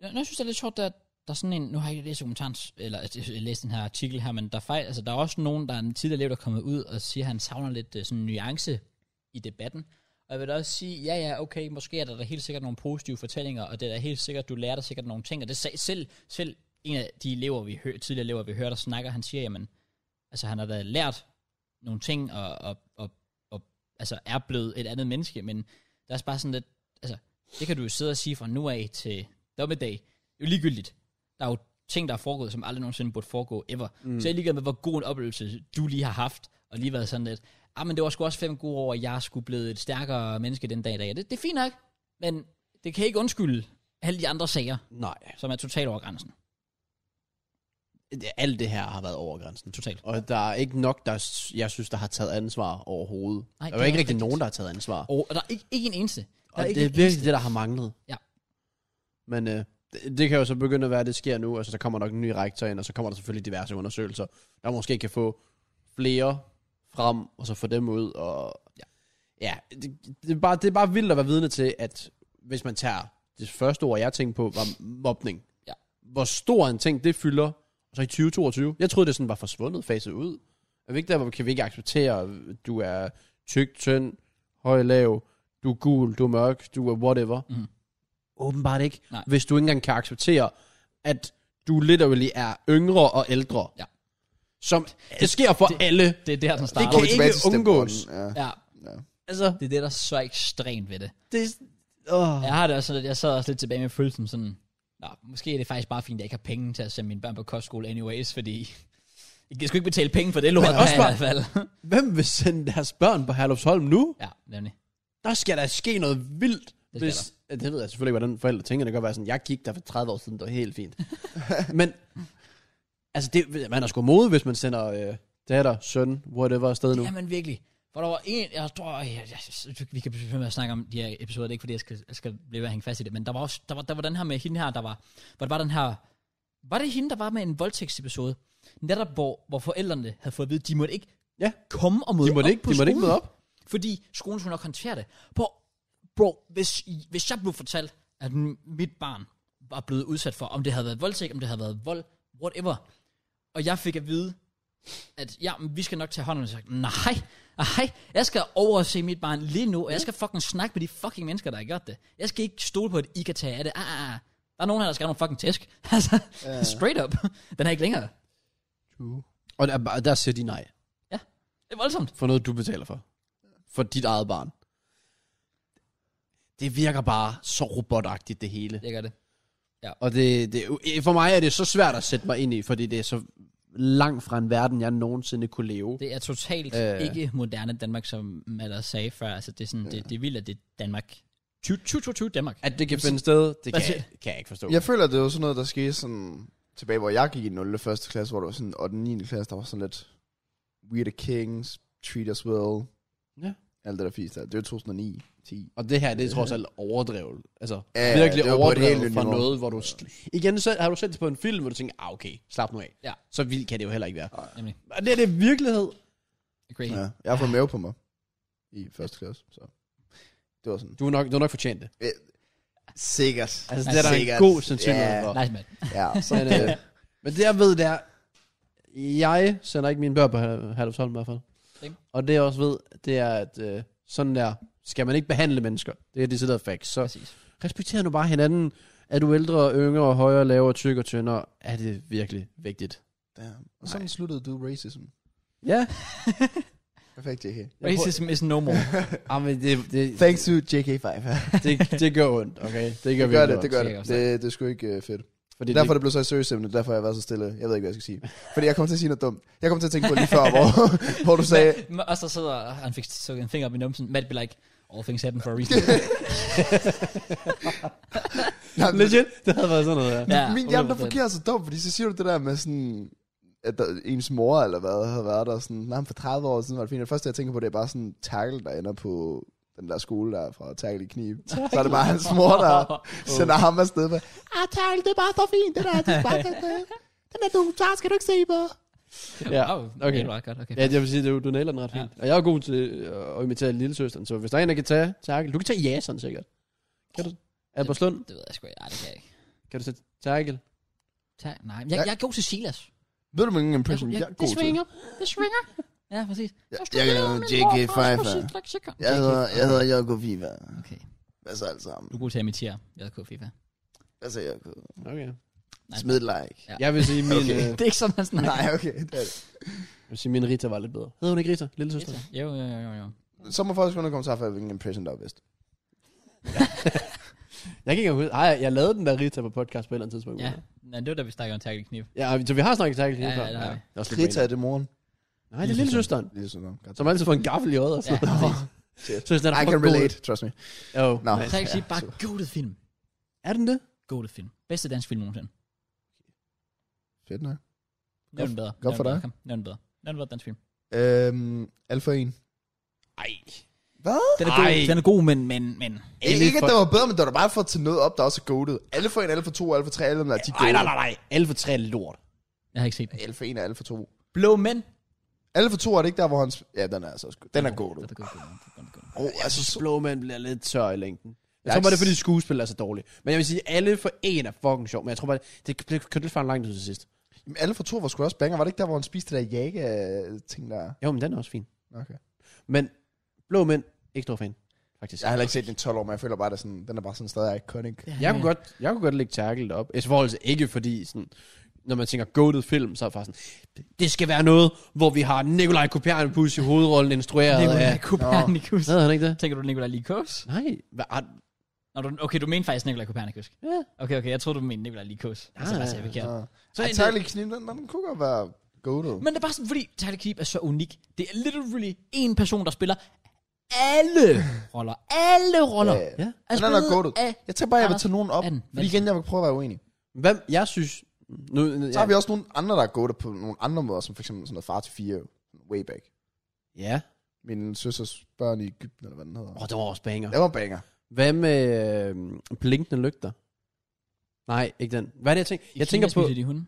Jeg, jeg synes, det er lidt sjovt, at der er sådan en... Nu har jeg ikke læst dokumentaren, eller øh, læst den her artikel her, men der er, fejl, altså, der er også nogen, der er en tidligere elev, der er kommet ud og siger, at han savner lidt øh, sådan en nuance i debatten. Og jeg vil da også sige, ja ja, okay, måske er der da helt sikkert nogle positive fortællinger, og det er da helt sikkert, du lærer dig sikkert nogle ting. Og det sagde selv, selv en af de elever, vi hø- tidligere elever, vi hørte, der snakker, han siger, jamen, altså han har da lært nogle ting, og, og, og, og altså er blevet et andet menneske, men der er bare sådan lidt, altså, det kan du jo sidde og sige fra nu af til dommedag, det er jo ligegyldigt. Der er jo ting, der er foregået, som aldrig nogensinde burde foregå ever. Mm. Så jeg er ligeglad med, hvor god en oplevelse du lige har haft, og lige været sådan lidt, ah, men det var sgu også fem gode år, og jeg skulle blevet et stærkere menneske den dag i dag. Og Det, det er fint nok, men det kan ikke undskylde alle de andre sager, nej. som er totalt over grænsen. Det- Alt det her har været over grænsen. Totalt. Og der er ikke nok, der, s- jeg synes, der har taget ansvar overhovedet. Nej, Nej, der det er er ikke også rigtig rigtigt. nogen, der har taget ansvar. Og, Og, og der er ikke, ikke en eneste. Der og er det ikke er en virkelig det, der har manglet. Ja. Men øh, det, det kan jo så begynde at være, at det sker nu. Altså, der kommer nok en ny rektor ind, og så kommer der selvfølgelig diverse undersøgelser, der måske kan få flere frem, og så få dem ud. Og, ja, ja det, det, er bare, det er bare vildt at være vidne til, at hvis man tager det første ord, jeg tænkte på, var mobning. Ja. Hvor stor en ting det fylder, og så i 2022. Jeg troede, det sådan var forsvundet, faset ud. Er vi ikke der, hvor kan vi ikke acceptere, at du er tyk, tynd, høj, lav, du er gul, du er mørk, du er whatever. Mhm. Åbenbart ikke. Nej. Hvis du ikke engang kan acceptere, at du literally er yngre og ældre. Ja. Som det sker for det- alle. Det er der, den starter. kan vi tilbage ikke til step undgås. one? Ja. Ja, Altså, det er det, der er så ekstremt ved det. det oh. Jeg har det også sådan, at jeg sad også lidt tilbage med følelsen sådan, Nå, måske er det faktisk bare fint, at jeg ikke har penge til at sende mine børn på kostskole anyways, fordi jeg skal ikke betale penge for det lort, Men der er også i bare- hvert fald. Hvem vil sende deres børn på Herlufsholm nu? ja, nemlig. Der skal der ske noget vildt. skal hvis, det ved jeg selvfølgelig ikke, hvordan forældre tænker. Det kan godt være sådan, jeg gik der for 30 år siden, det var helt fint. Men, altså, det, man er sgu modig, hvis man sender øh, datter, søn, whatever afsted nu. Ja, men virkelig. For der var en, jeg tror, jeg, jeg, jeg, vi kan blive ved med at snakke om de her episoder, det er ikke fordi, jeg skal, jeg skal blive ved at hænge fast i det, men der var, også, der var, der var den her med hende her, der var, hvor der var den her, var det hende, der var med en voldtægtsepisode, netop hvor, hvor forældrene havde fået at vide, de måtte ikke Ja. komme og møde De måtte op ikke- på de måtte ikke skolen, møde op. Fordi skolen skulle nok håndtere det. Bro, bro hvis, I- hvis jeg blev fortalt, at m- mit barn var blevet udsat for, om det havde været voldtægt, om det havde været vold, whatever, og jeg fik at vide, at ja, men vi skal nok tage hånd om det. Så sagde jeg, nej, nej, jeg skal overse mit barn lige nu, og jeg skal fucking snakke med de fucking mennesker, der har gjort det. Jeg skal ikke stole på, at I kan tage af det. Ah, ah, ah. Der er nogen her, der skal have nogle fucking tæsk. Altså, straight up. Den er ikke længere. Og der, og der siger de nej. Det er voldsomt. For noget, du betaler for. For dit eget barn. Det virker bare så robotagtigt, det hele. Jeg gør det. Og det, det, for mig er det så svært at sætte mig ind i, fordi det er så langt fra en verden, jeg nogensinde kunne leve. Det er totalt Øh. øh. ikke moderne Danmark, som Madder sagde før. Altså, det er, sådan, det, det er vildt, at det er Danmark. 2022 Danmark. At det kan finde sted, det kan, Hvad siger- kan jeg ikke forstå. Jeg føler, det var sådan noget, der skete sådan tilbage, hvor jeg gik i 0. første klasse, hvor det var sådan, og den 9. klasse, der var sådan lidt, we are the kings, treat us well, Alt det der fisk der. Det var 2009, 10. Og det her, det er trods alt overdrevet. Altså, Ja, ja, virkelig det var på et helt overdrevet nyt fra niveau. noget, hvor du... Sl- igen, så har du set det på en film, hvor du tænker, ah, okay, slap nu af. Ja. Så vildt kan det jo heller ikke være. Nemlig. Og det er det virkelighed. Agree. Ja. Jeg har fået mave på mig i første klasse, så det var sådan. Du har nok, du har nok fortjent det. Eh, Sikkert. Altså, det er der Sikkert. en god sandsynlighed Ja. for. Nice, man. Ja, så Men, øh, men det jeg ved, det er, jeg sender ikke mine børn på Halvsholm i hvert fald. Same. Og det jeg også ved, det er, at øh, sådan der, skal man ikke behandle mennesker. Det er decideret facts. Så Præcis. respekter nu bare hinanden. Er du ældre, yngre, højere, lavere, tyk og tyndere, er det virkelig vigtigt. Damn. Og sådan sluttede du racism. Ja, Perfekt, JK. Racism is no more. ah, men det, det, Thanks to JK5. det, det gør ondt, okay? Det gør, det gør virkelig det, Det det gør kan jeg det. godt Det, det er sgu ikke uh, fedt. ondt. Fordi Det er derfor, det blev så et seriøst emne. Derfor har jeg været så stille. Jeg ved ikke, hvad jeg skal sige. Fordi jeg kom til at sige noget dumt. Jeg kom til at tænke på lige før, hvor, hvor du sagde... Men- Og så sidder han fik så en finger op i numsen. Matt be like, all things happen for a reason. Nej, men- Legit, det havde været sådan noget, ja. ja, Min hjerne, der 100%. fungerer så dumt, fordi så siger du det der med sådan, at der, ens mor eller hvad havde været der sådan, nej, men for 30 år siden var det fint. Det første, jeg tænker på, det er bare sådan en tackle, der ender på den der skole der fra tackle i knib. Så er det bare hans mor, der sender ham afsted med, ah, tackle, det er bare så fint, det der, det er bare den der, den der du tager, skal du ikke se på. Ja, Wow, okay. Det var godt, okay. Ja, jeg vil sige, det er jo, du nailer den ret fint. Ja. Og jeg er god til øh, at imitere lille søsteren, så hvis der er en, der kan tage Terkel, du kan tage Jason sikkert. Kan du? Alberslund, Det ved jeg sgu ikke. Ej, det kan jeg ikke. kan du tage Terkel? Ta- nej, men jeg, jeg er god til Silas. Ved du, hvilken impression jeg, er god til? Det svinger. Ja, præcis. Jeg, jeg hedder J.K. Pfeiffer. Jeg hedder, jeg hedder Jacob Viva. Okay. Hvad så alt Du sammen? er god til at imitere JK FIFA. Hvad så, Jacob? Okay. Nej. Smid et like. Ja. Jeg vil sige, min, Okay. okay. øh, Det er ikke sådan, han snakker. Nej, okay. Det er det. jeg vil sige, min Rita var lidt bedre. Hedder hun ikke Rita, lille søster? Jo, jo, jo, jo, jo. Så må folk skrive nogle kommentarer for, hvilken impression der er bedst. Jeg kan ikke engang huske. Ej, jeg lavede den der Rita på podcast på et eller andet tidspunkt. Ja, Nej, det var da, vi snakkede om tackle kniv. ja så vi har snakket Terkel Ja, hele ja, det har vi. Det er også lidt Krita er baner. det moren. Nej, det er lille søsteren. Lige sådan noget. Som altid får en gaffel i øjet og sådan Ja. noget. Så sådan, I can relate, trust me. Jo. Nå. Nej. Tackle kniv, bare goated film. Er den det? Goated film. Bedste dansk film nogensinde. Fedt nok. Nævn den bedre. godt Nævn for den bedre. dig. Kom, Nævn den bedre. Nævn den bedre dansk film. Øhm, Alfa 1. Ej. Hvad? Den er god, Ej. den er god men, men, men. Ikke, ikke at det var bedre, men det var da bare for at tage noget op, der også er goated. Alfa 1, Alfa 2, Alfa 3, alle dem der, de er Nej, nej, goated. nej, nej. Alfa 3 er lort. Jeg har ikke set den. Alfa 1 og Alfa 2. Blå mænd. Alfa 2 er det ikke der, hvor han... sp- Ja, den er altså også Den er Den goated. er god, den er god, den er god. Oh, altså, synes, så... Slow Man bliver lidt tør i længden. Jeg Jeg tror er bare, det ikke er fordi skuespillet er så dårligt. Men jeg vil sige, alle for en er fucking sjov. Men jeg tror bare, det blev kørt lidt for langt ud til sidst. Jamen, Alfa 2 var sgu også banger. Var det ikke der, hvor han spiste det der jaga-ting der? Jo, men den er også fin. Okay. Men Blå Mænd, ikke stor fan, faktisk. Jeg har heller ikke set den i 12 år, men jeg føler bare, at det er sådan, den er bare sådan stadig iconic. Jeg kunne, godt, jeg kunne godt lægge Terkel op. I forhold til ikke fordi, sådan, når man tænker goated film, så er det faktisk sådan, det skal være noget, hvor vi har Nikolaj Kopernikus i hovedrollen instrueret Nikolaj af... Kopernikus. Hvad han ikke det? Tænker du Nikolaj Likos? Nej, hvad, ah, Nå, du, okay, du mente faktisk Nikolaj Kopernikus. ja. Okay, okay, jeg troede, du mente Nikolaj Likos. Ja, altså, ja, altså, jeg Ah, ja. forkert. Ja. Så Så Ej, en- Tyler Kniv, den, den kunne godt være goated. Men det er bare sådan, fordi Tyler Keep er så unik. Det er literally en person, der spiller alle roller. Alle roller. Ja, ja. ja. Altså, Den er nok goated. af, Jeg tænker bare, jeg vil Anders tage nogen op, Anden. fordi igen, jeg vil prøve at være uenig. Hvem, jeg synes... Nu, Så har vi også nogle andre, der er gået på nogle andre måder, som for eksempel sådan noget far til fire, way back. Ja. Min søsters børn i Ægypten, eller hvad den hedder. Åh, oh, det var også banger. Det var banger. Hvad med øh, blinkende lygter? Nej, ikke den. Hvad er det, jeg tænker? Jeg tænker på De hunde.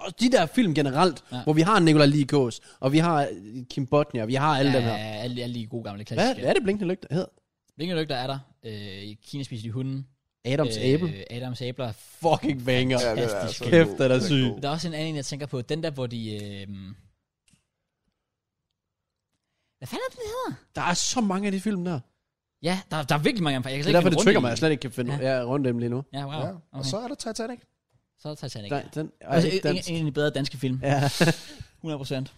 og de der film generelt, Ja. ja. hvor vi har Nicolai Ligås, og vi har øh, Kim Bodnia, og vi har alle ja, dem her. Ja, alle, alle de gode gamle Hvad, klassiske. hvad er det blinkende lygter hedder? Hvilken lygter er der? Øh, Kina spiser de hunde. Adams øh, æble. Adams æbler. Fucking banger. Ja, Ja. det er Fantastisk. altså en Kæft, god- den er en syg. god. Der er også en anden, jeg tænker på. Den der, hvor de... Øh... Hvad fanden er den hedder? Der er så mange af de film der. Ja, der, der er virkelig mange. Jeg kan Det slet er ikke derfor, finde det rundt i trigger mig, at jeg slet ikke kan finde ja. rundt dem lige nu. Ja, wow. Ja. Okay. Og så er der Titanic. så er Titanic. Nej, den er Altså, ikke en, dansk. en af de bedre danske film. Ja. 100 procent.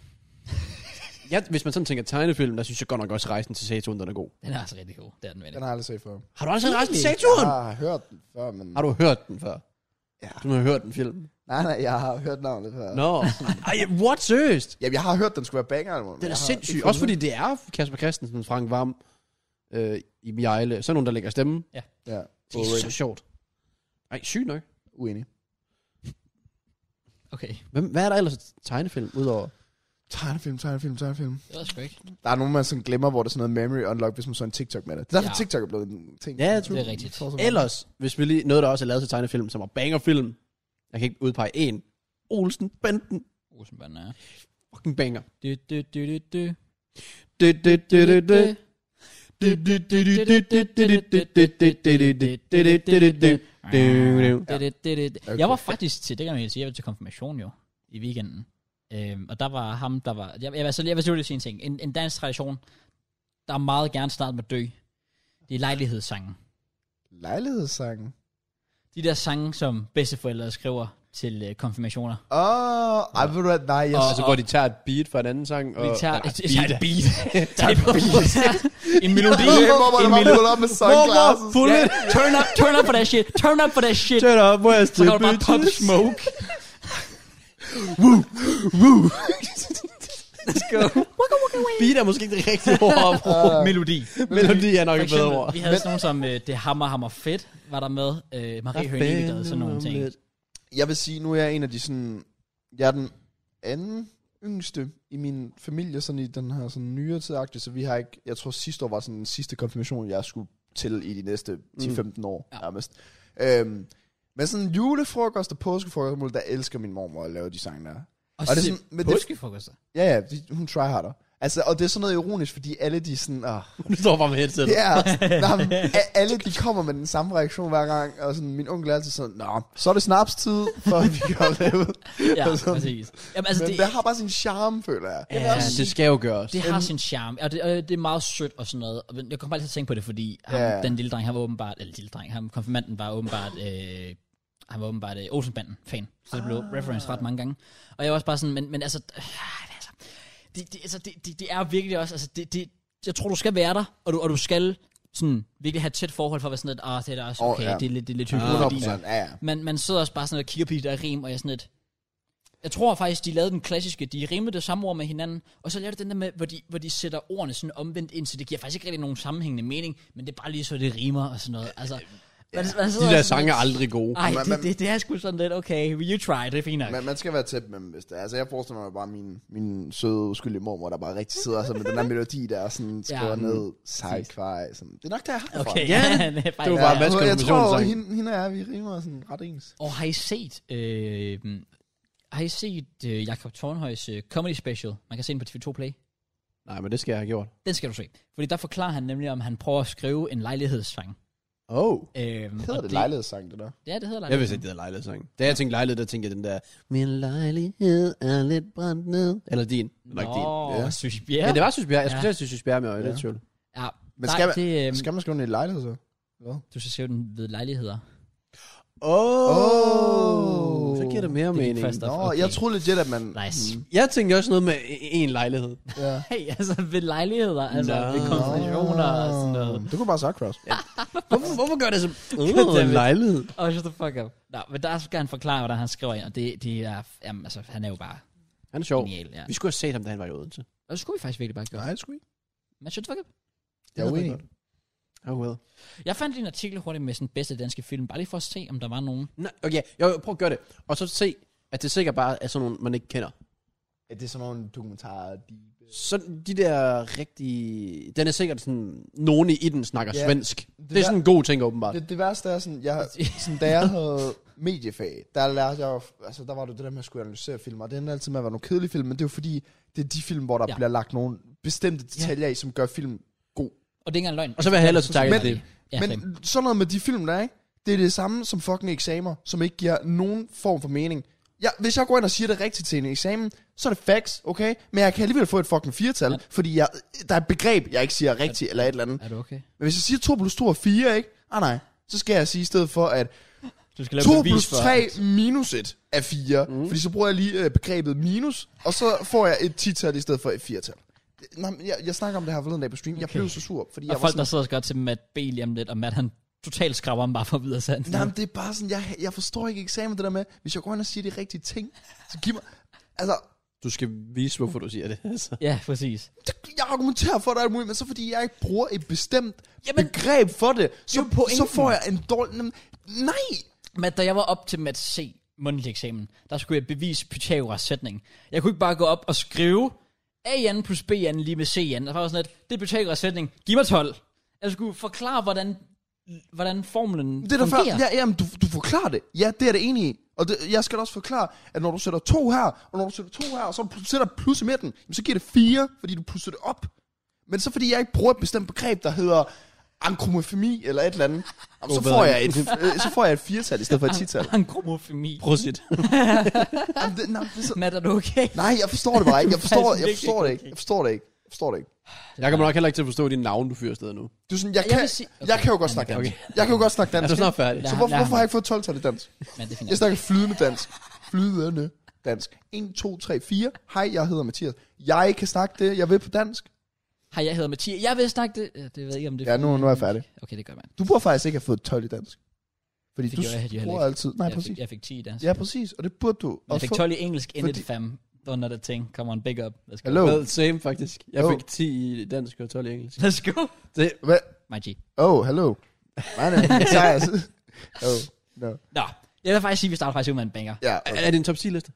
ja, hvis man sådan tænker tegnefilm, der synes jeg godt nok også, Rejsen til Saturn, den er god. Den er altså rigtig god. Det er den, vel. Den har jeg aldrig set før. Har du aldrig set Rejsen til Virkelig? Saturn? Jeg har hørt den før, men... Har du hørt den før? Ja. Du har hørt den film. Nej, nej, jeg har hørt navnet før. Nå. Ej, what? Seriøst? Jamen, jeg har hørt, den skulle være banger. men Den jeg er har sindssyg. ikke Også fundet fordi det er Kasper Christensen, Frank Varm, øh, i Mjejle. Sådan nogen, der lægger stemme. den. Ja, Det er så sjovt. Ej, sygt nok. uenig. Okay. Hvem, hvad er der ellers tegnefilm, udover... Tegnefilm, tegnefilm, tegnefilm. Det var sgu ikke. Der er nogen, man sådan glemmer, hvor der er sådan noget memory unlock, hvis man så en TikTok med det. Det er Ja. derfor, TikTok er blevet en ting. Ja, true. Det er rigtigt. Så- så- Ellers, hvis vi lige, noget der også er lavet til tegnefilm, som var bangerfilm. Jeg kan ikke udpege en. Olsen, Banden, Olsenbanden er. fucking banger. Du, du, du, du, du. Det, det, det, det, det. Det, det, det, det, det. Okay. Jeg var faktisk til, det kan man helt sige, jeg var til konfirmation jo, i weekenden. Øhm, og der var ham, der var... Jeg, jeg, altså, jeg, jeg vil selvfølgelig sige en ting. En, en dansk tradition, der er meget gerne snart med at dø, det er lejlighedssangen. Lejlighedssangen. De der sange, som bedsteforældre skriver til øh, konfirmationer. Åh, ej, ved du hvad? Nej, jeg Og- synes... Altså, hvor de tager et beat fra en anden sang. Og, Vi tager Nej, et, et, et beat. beat. Tag et beat. en melodi. Det er hvor en man melodi. ruller op med sunglasses. Fuld Ja, turn up, turn up for that shit. Turn up for that shit. Shut up, where's Så the kan du bare pop bitches? smoke. Beat er måske ikke det rigtige ord, bro. Melodi. Melodi er nok For et bedre eksempel, ord. vi havde sådan nogle som øh, Det Hammer Hammer Fedt, var der med. Øh, Marie Hønig, der sådan nogle ting. Jeg vil sige, nu er jeg en af de sådan... Jeg er den anden yngste i min familie, sådan i den her sådan nyere tid så vi har ikke... Jeg tror sidste år var sådan den sidste konfirmation, jeg skulle til i de næste 10-15 år, Ja. Mm. ja. nærmest. Øhm, men sådan julefrokost og påskefrokost, der elsker min mormor at lave de sange der. Og, Og det er så- sådan- men det- påskefrokoster. Ja, ja, de, hun tryharder. Altså, og det er sådan noget ironisk, fordi alle de sådan, ah, Du står bare med headset. ja, nej, men a- alle de kommer med den samme reaktion hver gang, og sådan, min onkel er altid sådan, nå, så er det snapstid, for vi kan lave det. Ja, Og sådan. præcis. Jamen, altså, Men det, det har bare sin charme, føler jeg. Ja, Ja, det skal jo gøres. det Øhm. har sin charme, og det, og det er meget sødt og sådan noget. Og Jeg kommer bare til at tænke på det, fordi ham, Ja. den lille dreng, han var åbenbart, eller lille dreng, ham, konfirmanden var åbenbart, øh, han var åbenbart øh, Olsenbanden-fan. Så det Ah. blev reference ret mange gange. Og jeg var også bare sådan, men, men altså, øh, altså, det, det, altså det, det, det er virkelig også, altså det, det, jeg tror, du skal være der, og du, og du skal sådan virkelig have et tæt forhold for at være sådan lidt, ah, det er da også Åh, okay, oh, ja. ja. det er lidt, det er lidt hyggeligt. fordi- 100%, ja, ja. man, man sidder også bare sådan og kigger på de der rim, og jeg er sådan lidt... Jeg tror faktisk, de lavede den klassiske, de rimede det samme ord med hinanden, og så lavede de den der med, hvor de, hvor de sætter ordene sådan omvendt ind, så det giver faktisk ikke rigtig nogen sammenhængende mening, men det er bare lige så, det rimer og sådan noget. Altså, man, man De der sange er aldrig gode. Ej, Man- det, man- det, det, er sgu sådan lidt, okay, you try, det er fint nok. Man, man skal være tæt med dem, hvis det er. Altså, jeg forestiller mig bare min, min søde, uskyldige mormor, der bare rigtig sidder så med den der melodi, der er sådan skriver Ja. Mm. ja, ned, sej, kvej, sådan. Det er nok der, jeg har det fra. Okay, Ja, det er det var faktisk... bare Bare... en masse jeg, jeg tror, konfirmationssang. hende, hende og jeg, vi rimer sådan ret ens. Og har I set... Øh, har I set øh, Jakob Tornhøjs øh, comedy special? Man kan se den på TV2 Play. Nej, men det skal jeg have gjort. Den skal du se. Fordi der forklarer han nemlig, om han prøver at skrive en lejlighedssang. Oh. Øh, Hedder det lejlighedssang, det der? Ja, det hedder Jeg vidste ikke, det hedder lejlighedssang. Da jeg tænkte lejlighed, der tænkte jeg den der, min lejlighed er lidt brændt ned. Eller din. Det var ikke din. Nå, Ja. synes jeg. Ja, det var Sysbjerg. Jeg skulle Ja. til at sige Sysbjerg med øje, det er Ja. tvivl. Ja, Men nej, skal man- det, øhm, Skal man skrive den i lejlighed, så? Hvad? du skal skrive den ved lejligheder. Åh. Åh. Så giver det mere Det gik mening. først op. Nå, Okay. jeg troede legit, at man... Nice. Mm, Jeg tænkte også noget med e- en lejlighed. ja. Hey, altså ved lejligheder, altså Nå. ved konfirmationer og sådan noget. Du kunne bare sagt Cross. Ja. Hvorfor, hvorfor gør det så? Goddammit. Øh, en lejlighed. Og oh, shut the fuck up. Nå, men der skal han forklare, hvordan han skriver ind, og det, det er, jamen, altså, han er jo bare Han er sjov. genial. Ja. Vi skulle have set ham, da han var i Odense. Og så skulle vi faktisk virkelig bare gøre. Nej, sgu ikke. Men shut the fuck up. Jeg er uenig. Oh well. Jeg fandt lige en artikel hurtigt med sådan bedste danske film, bare lige for at se, om der var nogen. Nej, okay, jo, prøv at gøre det. Og så se, at det sikkert bare er sådan nogle, man ikke kender. Er det sådan nogle dokumentarer, de... Så de der rigtige... Den er sikkert sådan... Nogen i den snakker Ja, svensk. Det, der- er sådan en god ting, åbenbart. Det, det værste er sådan, jeg, sådan, da jeg havde mediefag, der lærte jeg jo, altså der var det det der med at skulle analysere film, og det endte altid med at være nogle kedelige film, men det er jo fordi, det er de film, hvor der Ja. ja. bliver lagt nogle bestemte detaljer i, som gør film god. Og det er ikke engang løgn. Og så vil jeg hellere så takke Men- for det. Ja, Ja, men men, sådan noget med de film, der er, ikke? det er det samme som fucking eksamer, som ikke giver nogen form for mening. Jeg, hvis jeg går ind og siger det rigtigt til en eksamen, så er det facts, okay? Men jeg kan alligevel få et fucking firtal, Ja. ja. fordi jeg, der er et begreb, jeg ikke siger rigtigt eller et eller andet. er du okay? Men hvis jeg siger 2 plus 2 er 4, ikke? Ah nej, så skal jeg sige i stedet for, at Du skal lave 2 plus 3 minus 1 er 4. Mm. Fordi så bruger jeg lige øh, begrebet minus, og så får jeg et 10-tal i stedet for et 4-tal. Det- Nej, men jeg, jeg snakker om det her forleden dag på stream. Okay. Jeg Okay. blev så sur, fordi Og jeg var folk, der sådan... sidder og skal til Matt B. lige om lidt, og Matt han totalt skraber ham bare for videre sand. Nej, men det er bare sådan, jeg, jeg forstår ikke eksamen det der med, hvis jeg går ind og siger de rigtige ting, så giv mig... Altså, Du skal vise, hvorfor du siger det. Altså. Ja, præcis. det- jeg argumenterer for det alt muligt, men så fordi jeg ikke bruger et bestemt Jamen, Jamen, begreb for det, så, jo pointen. så får jeg en dårlig... Nej! Matt, da jeg var op til Matt C, mundtlig eksamen, der skulle jeg bevise Pythagoras sætning. Jeg kunne ikke bare gå op og skrive AN plus BN lige med CN. Der var sådan lidt, det er Pythagoras sætning, giv mig 12. Jeg skulle forklare, hvordan, hvordan formlen Det er der før, fungerer. ja, jamen, du, du forklarer det. Ja, det er det enig i. Og det, jeg skal da også forklare, at når du sætter to her, og når du sætter to her, og så pl- sætter plus i midten, jamen, så giver det fire, fordi du plusser det op. Men så fordi jeg ikke bruger et bestemt begreb, der hedder ankromofemi eller et eller andet, jamen, så, Åh, hvad får er jeg et, øh, så får jeg et firetal i stedet for et tital. Ankromofemi. Prosit. Jamen, det, nej, det er så, Matt, er du okay? nej, jeg forstår det bare ikke. Jeg forstår, Det er jeg forstår det virkelig ikke. Jeg forstår det ikke. Jeg forstår det ikke. Jeg kommer nok heller ikke til at forstå dine navne, du fyrer afsted nu. Det er sådan, jeg, Jeg kan, vil sige- jeg kan jo godt snakke dansk. Jeg kan jo godt snakke Er dansk. du snart færdig? Så Ja, hvorfor, ja. hvorfor har jeg ikke fået 12 tal i dansk? Men det finder Jeg snakker flydende dansk. Flydende dansk. 1, 2, 3, 4. Hej, jeg hedder Mathias. Jeg kan snakke det, jeg vil på dansk. Hej, jeg hedder Mathias. Jeg vil snakke det. Ja, det ved jeg ikke, om det Ja, nu, nu er jeg færdig. Okay, det gør man. Du burde faktisk ikke have fået 12 i dansk. Fordi Det du gjorde jeg heller bruger ikke. altid... Nej, jeg, præcis. Fik, jeg fik 10 i dansk. Ja, præcis. Og det burde du Jeg også fik få. 12 i engelsk, ended Fordi- fam. Don't know the thing. Come on, big up. Let's go. Hello. Well, same faktisk. Jeg Jo. fik 10 i dansk og 12 i engelsk. Let's go. Det, Hva? My G. Oh, hello. My name is Mathias. oh, no. Nå, jeg vil faktisk sige, at vi starter faktisk ud med en banger. Ja, er, okay. er det en top 10-liste?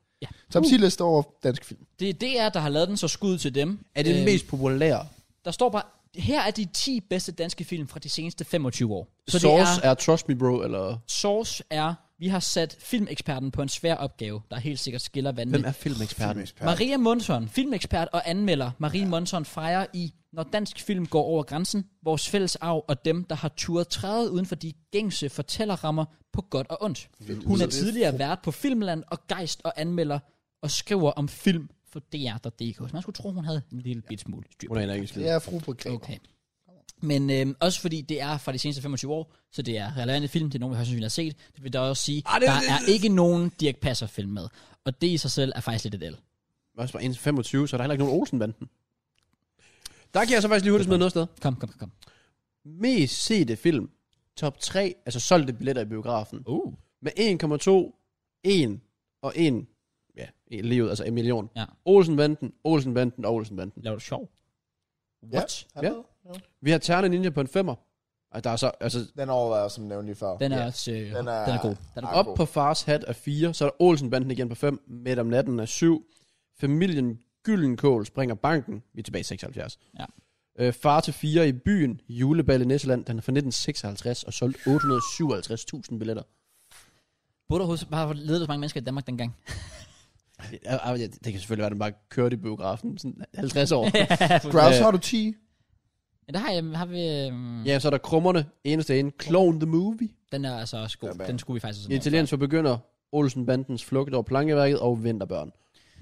Top 10 liste over dansk film. Det er DR, der har lavet den, så skud til dem. Øhm, Er det den mest populære? Der står bare, her er de 10 bedste danske film fra de seneste 25 år. Så Så Source det er, er, Trust Me Bro, eller... Source er, vi har sat filmeksperten på en svær opgave, der helt sikkert skiller vandene. Hvem er filmeksperten? Maria Monson, filmekspert og anmelder Marie ja. Monson fejrer i Når dansk film går over grænsen, vores fælles arv og dem, der har turet træde uden for de gængse fortællerrammer på godt og ondt. Hun er tidligere vært på Filmland og Geist og anmelder og skriver om film for DR.dk. Så man skulle tro, hun havde en lille bit smule styr. på Hun det. aner ikke en skid. Det er fru Brigade. Okay. Men øhm, også fordi det er fra de seneste 25 år, så det er relevante film, det er nogen, vi højst sandsynligt har set. Det vil der også sige, Ah, Arh, det- det, der det- er ikke nogen Dirk Passer-film med. Og det i sig selv er faktisk lidt et el. Også bare en 25, så er der heller ikke nogen Olsen-banden. Der kan jeg så faktisk lige hurtigt smide noget sted. Kom, kom, kom, kom. Mest sete film. Top 3, altså solgte billetter i biografen. Uh. Med 1,2, 1 og 1. Ja, en lige ud, altså en million. Ja. Olsen-banden, Olsen-banden og Olsen-banden. Laver du sjov? Ja. What? Hallo? Vi har Terne Ninja på en femmer. Og der er så, altså, Den overvejer, som nævnt lige før. Den er Ja. også... Øh, Den den, er- er, den er god. Den er god. Ah, op god. på Fars Hat er 4, så er der Olsen-banden igen på 5, Midt om natten er 7, Familien Gyllenkål springer banken, vi er tilbage i 76. Ja. Øh, far til 4 i byen, juleball i Næsseland, den er fra 1956 og solgt 857.000 billetter. Burde du huske, bare ledet så mange mennesker i Danmark dengang? Ja, ja, Det kan selvfølgelig være, at den bare kørte i biografen sådan 50 år. Grouse Øh. har du 10. Ja, der har, jeg, har vi... Øh, ja, så er der Krummerne, eneste en, Clone the Movie, Den er altså også god. Den er bag. Den skulle vi faktisk også... Italiensk for begynder, Olsen-bandens flugt over plankeværket og Vinterbørn.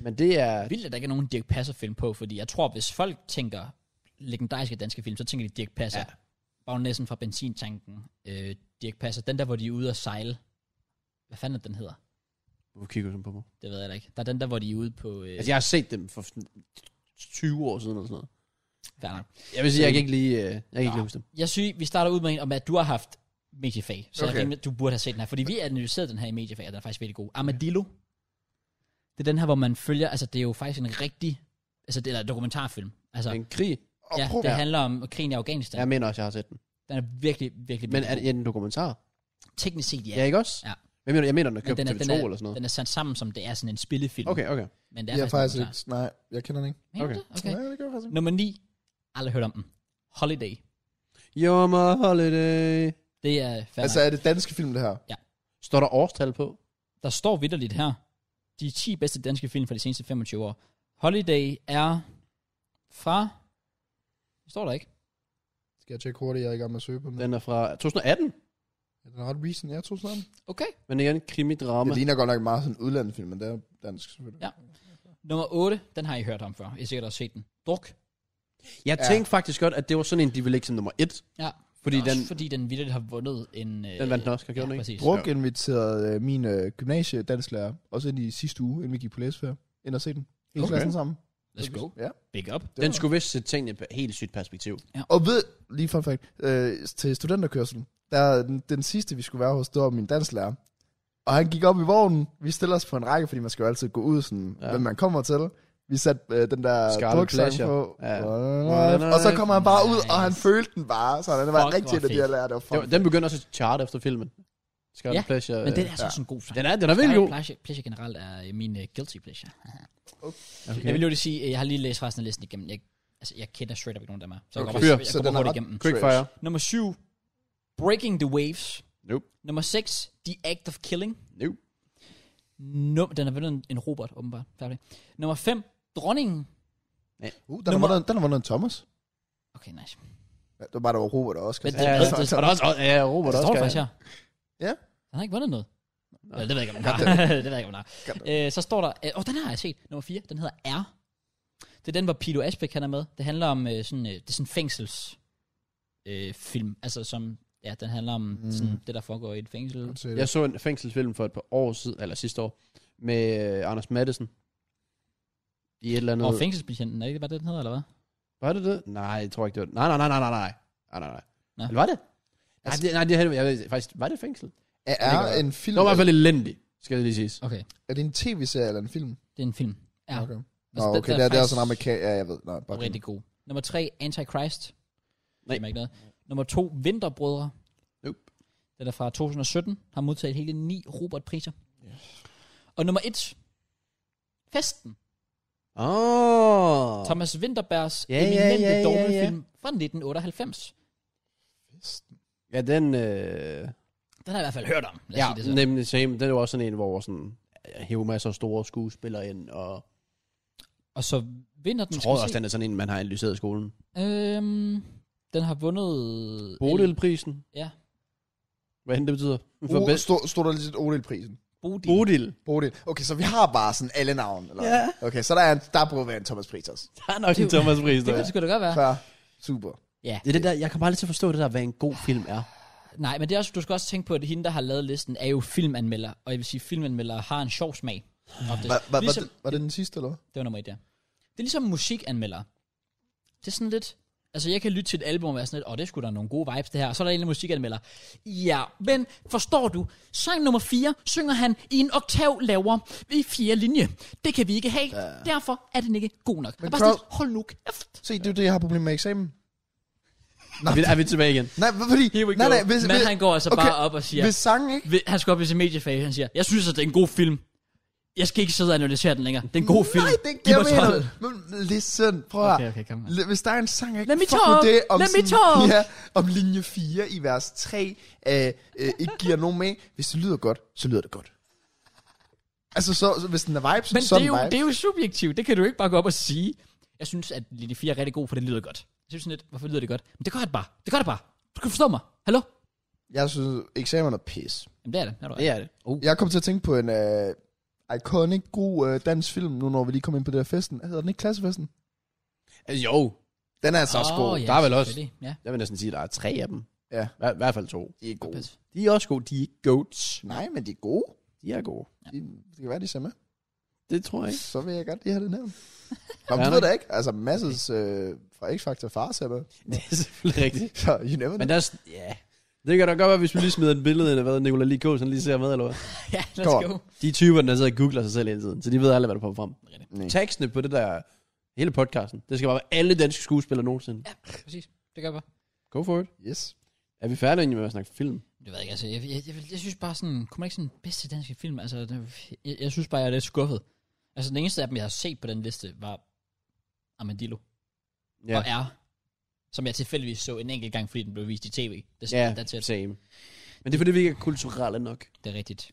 Men det er... Vildt, at der ikke er nogen Dirk Passer-film på, fordi jeg tror, hvis folk tænker legendariske danske film, så tænker de Dirk Passer. Ja. Ja. Bagnæssen fra Benzintanken. Øh, Dirk Passer. Den der, hvor de er ude at sejle. Hvad fanden er den hedder? Hvorfor kigger du sådan på mig? Det ved jeg da ikke. Der er den der, hvor de er ude på... Øh, Altså, jeg har set dem for sådan 20 år siden eller sådan noget. fair nok. Jeg vil sige, jeg kan ikke lige, øh, jeg kan ikke lige huske dem. Jeg synes, vi starter ud med en om, at du har haft mediefag. Så Okay. okay. rimeligt, du burde have set den her. Fordi vi analyserede den her i mediefag, og den er faktisk virkelig god. Armadillo. Det er den her, hvor man følger... Altså, det er jo faktisk en rigtig... Altså, det er en dokumentarfilm. Altså, En krig? Og ja, prøv, det handler om krigen i Afghanistan. Jeg mener også, jeg har set den. Den er virkelig, virkelig... Men virkelig er det god. er det en dokumentar? Teknisk set, ja. Ja, ikke også? Ja. Jeg mener, jeg mener den er Men købt den på er, TV2 den, er, eller sådan noget. den er sat sammen som, det er sådan en spillefilm. Okay, okay. Men det Jeg er er faktisk en ikke... Nej, jeg kender den ikke. dokumentar. Okay. Mener du det? okay. Nej, det gør jeg faktisk ikke. Nummer 9. Aldrig hørt om den. Holiday. You're my holiday. Det er fandme. Altså, Altså, er det danske film, det her? Står der årstal på? der står vidderligt her. De 10 bedste danske film fra de seneste 25 år. Holiday er fra... Det står der ikke. Skal jeg tjekke hurtigt, jeg er i gang med at søge på den? Den er fra 2018. Er den ret recent? Jeg tror sådan. Okay. Men igen, krimidrama. Det ligner godt nok meget sådan en udlandet film, men det er dansk selvfølgelig. Ja. Nummer 8. Den har I hørt om før. I har sikkert også set den. Druk. Jeg Ja. tænkte faktisk godt, at det var sådan en, de ville lægge som nummer et. Ja. Fordi Også den, fordi den vidderligt har vundet en... Øh, den vandt den også, gjorde ja, den ikke? præcis. Brug inviterede øh, min øh, gymnasiedanslærer, også ind i sidste uge, inden vi gik på læsefærd, ind og se den. Hele Okay. okay. klassen sammen. Let's go. Ja. Big up. Det Den var- skulle vist sætte tingene på et helt sygt perspektiv. Og ved, lige fun fact, øh, til studenterkørselen, der er den, den sidste, vi skulle være hos, det var min danslærer. Og han gik op i vognen. Vi stiller os på en række, fordi man skal jo altid gå ud, sådan, Ja. ja. hvem man kommer til. Vi satte øh, den der Scarlet druksang Pleasure. på. Ja. Ja. Og så kommer han bare ud, og han Nice. følte den bare. Så det var Fuck, rigtig hvor det, jeg fedt. lærte. Det var Det fucking var- Den begyndte også at charte efter filmen. Skal ja, Ja, pleasure. Men den øh, er så også en god sang. den er, den er virkelig god. Pleasure, pleasure generelt er øh, min uh, guilty pleasure. Okay. Jeg vil jo lige sige, øh, jeg har lige læst resten af listen igennem. Jeg, altså, jeg kender straight up ikke nogen af dem her. Så jeg Okay. kommer, Fyr. jeg, jeg Så kommer den er hurtigt ret- igennem den. Quickfire. Nummer 7. Breaking the Waves. Nope. Nummer 6. The Act of Killing. Nope. Num- den er vel en, en robot, åbenbart. Færdig. Nummer 5. Dronningen. Uh, den, har Nummer- vundet, den har vundet en Thomas. Okay, nice. Ja, det var bare, der var Robert og Oscar. Men Ja, det- ja, ja. det- Og der er også, og- ja, Robert Altså, Det også. står der skal- faktisk her. Ja. Han har ikke vundet noget. Nå. Eller, det ved jeg ikke, om den har. det ved jeg ikke, om den har. Øh, så står der... Øh, åh, den har jeg set. Nummer 4. Den hedder R. Det er den, hvor Pilo Asbæk han er med. Det handler om øh, sådan... Øh, det er sådan en fængsels... Øh, film. Altså som... Ja, den handler om Mm. mm. sådan, det, der foregår i et fængsel. Godt set. Jeg så en fængselsfilm for et par år siden, eller sidste år, med øh, Anders Madsen. I et eller andet... Og fængselsbetjenten, er det ikke, hvad den hedder, eller hvad? Var det det? Nej, jeg tror ikke, det var Nej, nej, nej, nej, nej, nej. Ah, Nej, nej, nej. Nå. Eller var det? Nej, det, nej, det, havde- jeg ved, faktisk, var det fængsel? Er, Det er kan være. en Det film... var i hvert fald elendigt, skal det lige siges. Okay, Er det en tv-serie eller en film? det er en film. Ja, okay. Okay. Nå, Altså, den- okay, den det er er, det er også en faktisk- amerikansk... Ja, jeg ved. Nej, bare rigtig god. Nummer 3, Antichrist. Nej. Jamen, ikke noget. Nummer 2, Vinterbrødre. Nope. Den er fra 2017, har modtaget hele ni Robert-priser. Og nummer 1, Festen. Åh. Oh. Thomas Winterbergs Ja, ja, ja, eminente ja, ja, ja, ja. dogmefilm fra 1998. Ja, den... Øh, Den har jeg i hvert fald hørt om, lad os ja, sige det så. nemlig same. Den var også sådan en, hvor sådan... Jeg hiver masser af store skuespillere ind, og... Og så vinder den, Jeg tror vi også, den er sådan en, man har analyseret i skolen. se. Øhm, den har vundet... Bodilprisen. Ja. Hvad end det betyder. For bedst... Stod, stod der lige lidt Odil-prisen? Bodil. Bodil. Bodil. Okay, så vi har bare sådan alle navn, eller Ja. hvad? Okay, så der er en, der burde være en Thomas Pritas. Der er nok Det- en Thomas Pris, Det der. kan det sgu da godt være. Klar. Super. Ja, Det er det der, jeg kommer aldrig til at forstå det der, hvad en god film er. Nej, men det er også, du skal også tænke på, at hende, der har lavet listen, er jo filmanmelder. Og jeg vil sige, filmanmelder har en sjov smag. Ofte. Var, var, var, ligesom, det, var det den sidste, eller hvad? det var nummer et, ja. Det er ligesom musikanmelder. Det er sådan lidt... Altså, jeg kan lytte til et album og være sådan lidt, åh, oh, det skulle der nogle gode vibes, det her. Og så er der en musikanmelder. Ja, men forstår du? Sang nummer 4 synger han i en oktav lavere i fjerde linje. Det kan vi ikke have. Ja. Derfor er den ikke god nok. Men bare sådan, Kraus- lidt, hold nu kæft. Se, det er jo det, jeg har problemer med eksamen. Er vi, er vi tilbage igen? Nej, hvad- fordi... Here we Nej, go. nej, hvis, men hvis, han går altså okay, bare op og siger, hvis sangen ikke... Ved- han skal op i sin mediefag, han siger, jeg synes, at det er en god film. Jeg skal ikke sidde og analysere den længere. Det er en god film. Nej, det er ikke det, Giv jeg mig mener. Ah. 12. Men listen, prøv at... Okay, okay, kom. L- Hvis der er en sang, jeg Let me ikke fuck talk. med det, om, Let me sådan, talk. ja, om linje 4 i vers 3, øh, øh, ikke giver nogen med. Hvis det lyder godt, så lyder det godt. Altså, så, så hvis den er vibes, Men så det er, den jo, vibes. det er jo subjektivt. Det kan du ikke bare gå op og sige. Jeg synes, at linje 4 er rigtig god, for det lyder godt. Jeg synes sådan lidt, hvorfor lyder det godt? Men det gør det bare. Det gør det bare. Du kan forstå mig. Hallo? Jeg synes, eksamen er pis. Jamen, det er det. Er du Det er det. Oh. Jeg kom til at tænke på en øh, iconic, god øh, dansk film, nu når vi lige kom ind på det her festen. Hedder den ikke Klassefesten? Altså, Jo, Den er altså oh, også god. Der er vel også- selvfølgelig. Ja, jeg vil næsten sige, at der er tre af dem. Ja. Hver, I hvert fald to. De er gode. pas. De er også gode. De er ikke goats. Nej, men de er gode. De er gode. De, det kan være, de ser med. Det tror jeg ikke. Så vil jeg godt lige have det nævnt. Nå, Ja, men du ved nej. da ikke. Altså, masses øh, fra X-Factor far ser med. Det er selvfølgelig rigtigt. Så you never know. Men der er... s- Ja. Det kan da godt være, hvis vi lige smider et billede ind af, hvad Nicolai Likos, han lige ser med, eller hvad? ja let's Kom. go. De typer, der sidder og googler sig selv hele tiden, så de ved aldrig, hvad der kommer frem. Nej. Tekstene på det der... Hele podcasten. Det skal bare være alle danske skuespillere nogensinde. Ja, præcis. Det gør jeg bare. Go for it. Yes. Er vi færdige egentlig med at snakke film? Det ved jeg ikke, altså, jeg, jeg, jeg, jeg synes bare sådan, kunne man ikke sådan bedste danske film, altså, det- jeg, jeg synes bare, jeg er lidt skuffet. Altså, den eneste af dem, jeg har set på den liste, var Armadillo ja. og R, som jeg tilfældigvis så en enkelt gang, fordi den blev vist i tv. Det, Ja, yeah. that's it. same. Men det er fordi, vi ikke er kulturelle nok. det er rigtigt.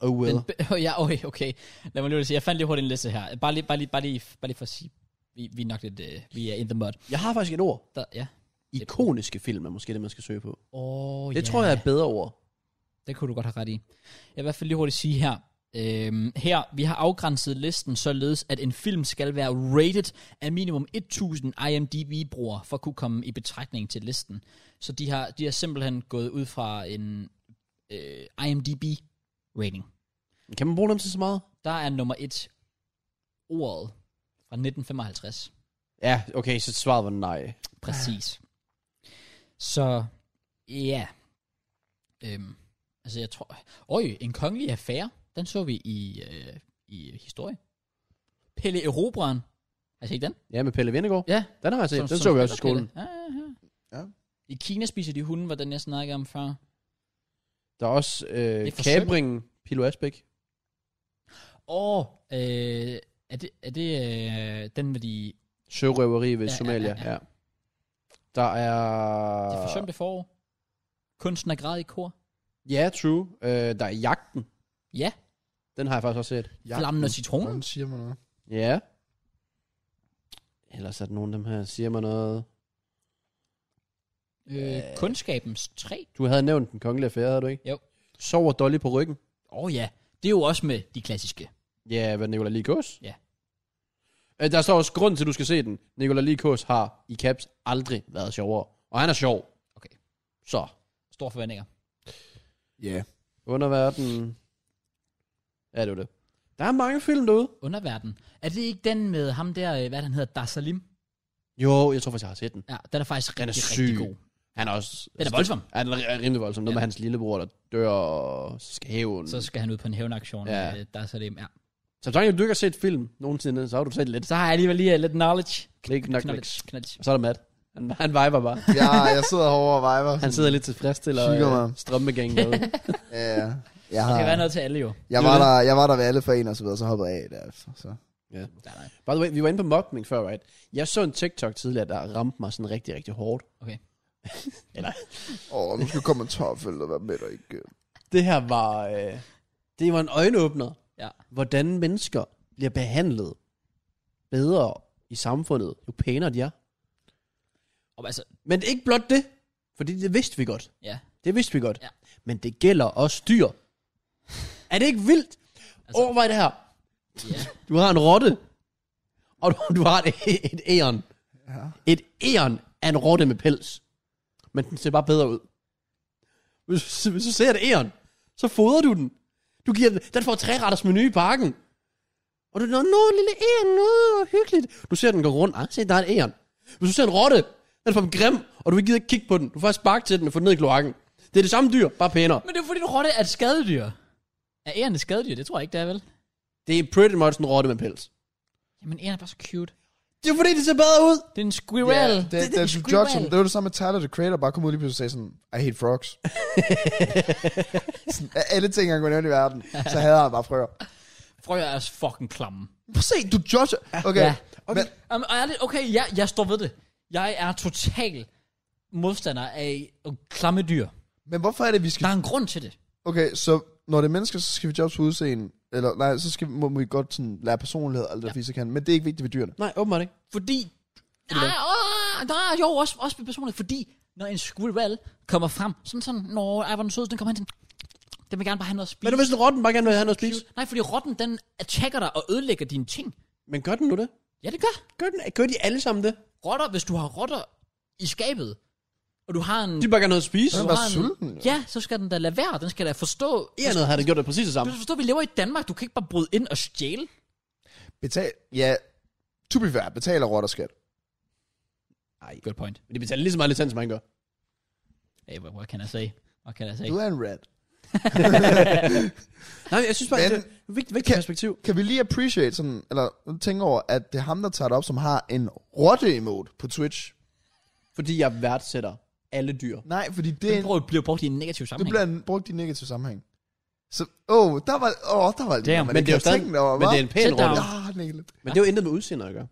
Oh well. Den, be- ja, okay, okay. Lad mig lige sige, jeg fandt lige hurtigt en liste her. Bare lige, bare lige, bare lige, bare lige for at sige, vi, vi er nok lidt, uh, vi er in the mud. Jeg har faktisk et ord. Der, ja. Ikoniske film er måske det, man skal søge på. Oh, Det tror jeg er et bedre ord. Det kunne du godt have ret i. Jeg vil i hvert fald lige hurtigt sige her. Øhm, her, vi har afgrænset listen således, at en film skal være rated af minimum 1000 IMDb-brugere, for at kunne komme i betragtning til listen. Så de har, de har simpelthen gået ud fra en øh, IMDb-rating. Men Kan man bruge dem til så meget? Der er nummer et ordet fra 1955. Ja, okay, så svaret var nej. Præcis. Så, ja. Øhm, altså, jeg tror... Øj, en kongelig affære. Den så vi i, øh, i historie. Pelle Erobreren. Har I set den? Ja, med Pelle Vindegård. Ja. Den har jeg set. Den så vi også i skolen. Ja, ja, ja. Ja. I Kina spiser de hunde, hvordan jeg snakkede om før. Der er også øh, er for kabringen, Pilo Asbæk. Åh, øh, er det, er det øh, den med de... Sørøveri ved Ja, ja, Somalia, ja, ja, ja. Der Det er... forsømte forår? Kunsten er græd i kor? Ja, true. Øh, der er jagten. Ja. Den har jeg faktisk også set. Ja, Flammen og citronen? Hvordan siger man noget? Ja. Ellers er der nogen af dem her, siger mig noget. Øh, kundskabens træ? Du havde nævnt den kongelige affære, havde du ikke? Jo. Sover Dolly på ryggen. Åh oh, ja, det er jo også med de klassiske. Ja, hvad Nicolai Likos? Ja. Øh, Der står også grund til, at du skal se den. Nicolai Likos har i caps aldrig været sjovere. Og han er sjov. Okay. Så. Store forventninger. Ja. Yeah. Underverden. Ja, det var det. Der er mange film derude. Underverden. Er det ikke den med ham der, øh, hvad er det, han hedder, Dasalim? Jo, jeg tror faktisk, jeg har set den. Ja, den er faktisk Den er rigtig, syg. rigtig god. Han er også... altså, Den er voldsom. Han er ri- rimelig voldsom. Noget Ja. med hans lillebror, der dør og så skal hævn. Så Så, skal han ud på en hævnaktion. Ja. Mm. Ja. Dasalim, ja. så tanken, du ikke har set film nogensinde, så har du set lidt. Så har jeg alligevel lige øh, lidt knowledge. Klik, knak, knak. Knowledge. knowledge. Og så er der Matt. Han, han viber bare. ja, jeg sidder herovre og viber. Mm. Han sidder lidt tilfreds til at Hygger øh, mig. strømmegangen derude. Ja. Jeg, Det har, kan være noget til alle jo. jeg, var der, jeg var der ved alle for en og så videre, så hoppede jeg af der. Så. Ja. Nej, nej. By the way, vi var inde på mobbing før, right? Jeg så en TikTok tidligere, der ramte mig sådan rigtig, rigtig hårdt. Åh, nu skal jeg komme en toffel og være med dig igen. Det her var... Øh, det var en øjenåbner. Ja. Hvordan mennesker bliver behandlet bedre i samfundet, jo pænere de er. Og altså, Men ikke blot det, fordi det vidste vi godt. ja. Det vidste vi godt. Ja. Men det gælder også dyr. Er det ikke vildt? Altså, Altså- Overvej det her. Ja. Du har en rotte, og du, du har et, et æren. Ja. Et æren er en rotte med pels. Men den ser bare bedre ud. Hvis, hvis du ser et æren, så fodrer du den. Du giver den, den får tre retters menu i parken. Og du nå, nå, lille æren, nå, hvor hyggeligt. Du ser den gå rundt, ah, se, der er et æren. Hvis du ser en rotte, den får en grim, og du ikke gider ikke kigge på den. Du får spark til den og få den ned i kloakken. Det er det samme dyr, bare pænere. Men det er jo fordi, du rotte er et skadedyr. Er æren et skadedyr? Det tror jeg ikke, det er vel? Det er pretty much en rotte med pels. Jamen, æren er bare så cute. Det er fordi, det ser bedre ud. Det er en squirrel. det, det, det, det, jokes, om- det var det samme med Tyler, the creator, bare kom ud lige pludselig og sagde sådan, I hate frogs. sådan, af alle ting, han kunne nævne i verden, så havde han bare frøer. Frøer er også fucking klamme. Prøv at se, du judger. Okay, Ja. okay. Men, Um, og ærligt, okay, jeg, jeg står ved det. Jeg er total modstander af øh, klamme dyr. men hvorfor er det, vi skal... Der er en grund til det. Okay, så når det er mennesker, så skal vi judge på udseende. Eller nej, så skal, vi- må, må vi godt sådan, lære personlighed og alt det, ja. vi kan. Men det er ikke vigtigt ved dyrene. Nej, åbenbart ikke. Fordi... Nej, åh, nej, jo, også, også med personligt. Fordi når en squirrel kommer frem, sådan sådan, når ej, hvor er den sød, den kommer hen sådan, den vil gerne bare have noget at Men spise. du hvis en rotten bare gerne vil have noget at spise? Nej, fordi rotten, den attacker dig og ødelægger dine ting. Men gør den nu det? Ja, det gør. Gør, den, gør de alle sammen det? Rotter, hvis du har rotter i skabet, og du har en... De vil bare gerne noget at spise. Den er du bare har en- sulten. jo. Ja, så skal den da lade være. Den skal da forstå... Altså, Ja, noget har det gjort det præcis det Du samme. skal forstå, at vi lever i Danmark. Du kan ikke bare bryde ind og stjæle. Betal, ja, to be fair, betaler rotter skat. Nej, Good point. men de betaler lige så meget licens, som han gør. Hey, what, what can I say? What can I say? Du er en rat. Nej, jeg synes bare, Men- det er et vigtigt, vigtigt Kan- perspektiv. Kan vi lige appreciate sådan, eller tænke over, at det er ham, der tager det op, som har en rotte-emote på Twitch? Fordi jeg værdsætter alle dyr. Nej, fordi det, er Den en, bruger, bliver brugt i en negativ det sammenhæng. bliver en- brugt i negativ sammenhæng. Så, åh, oh, der var, åh, oh, der var lidt, Damn, man Men ikke det er jo havde stadig, tænkt over, men hva'? det er en pæn Sit rotte. down. Ah, den er ikke lidt. Men det er jo intet med udseende at gøre.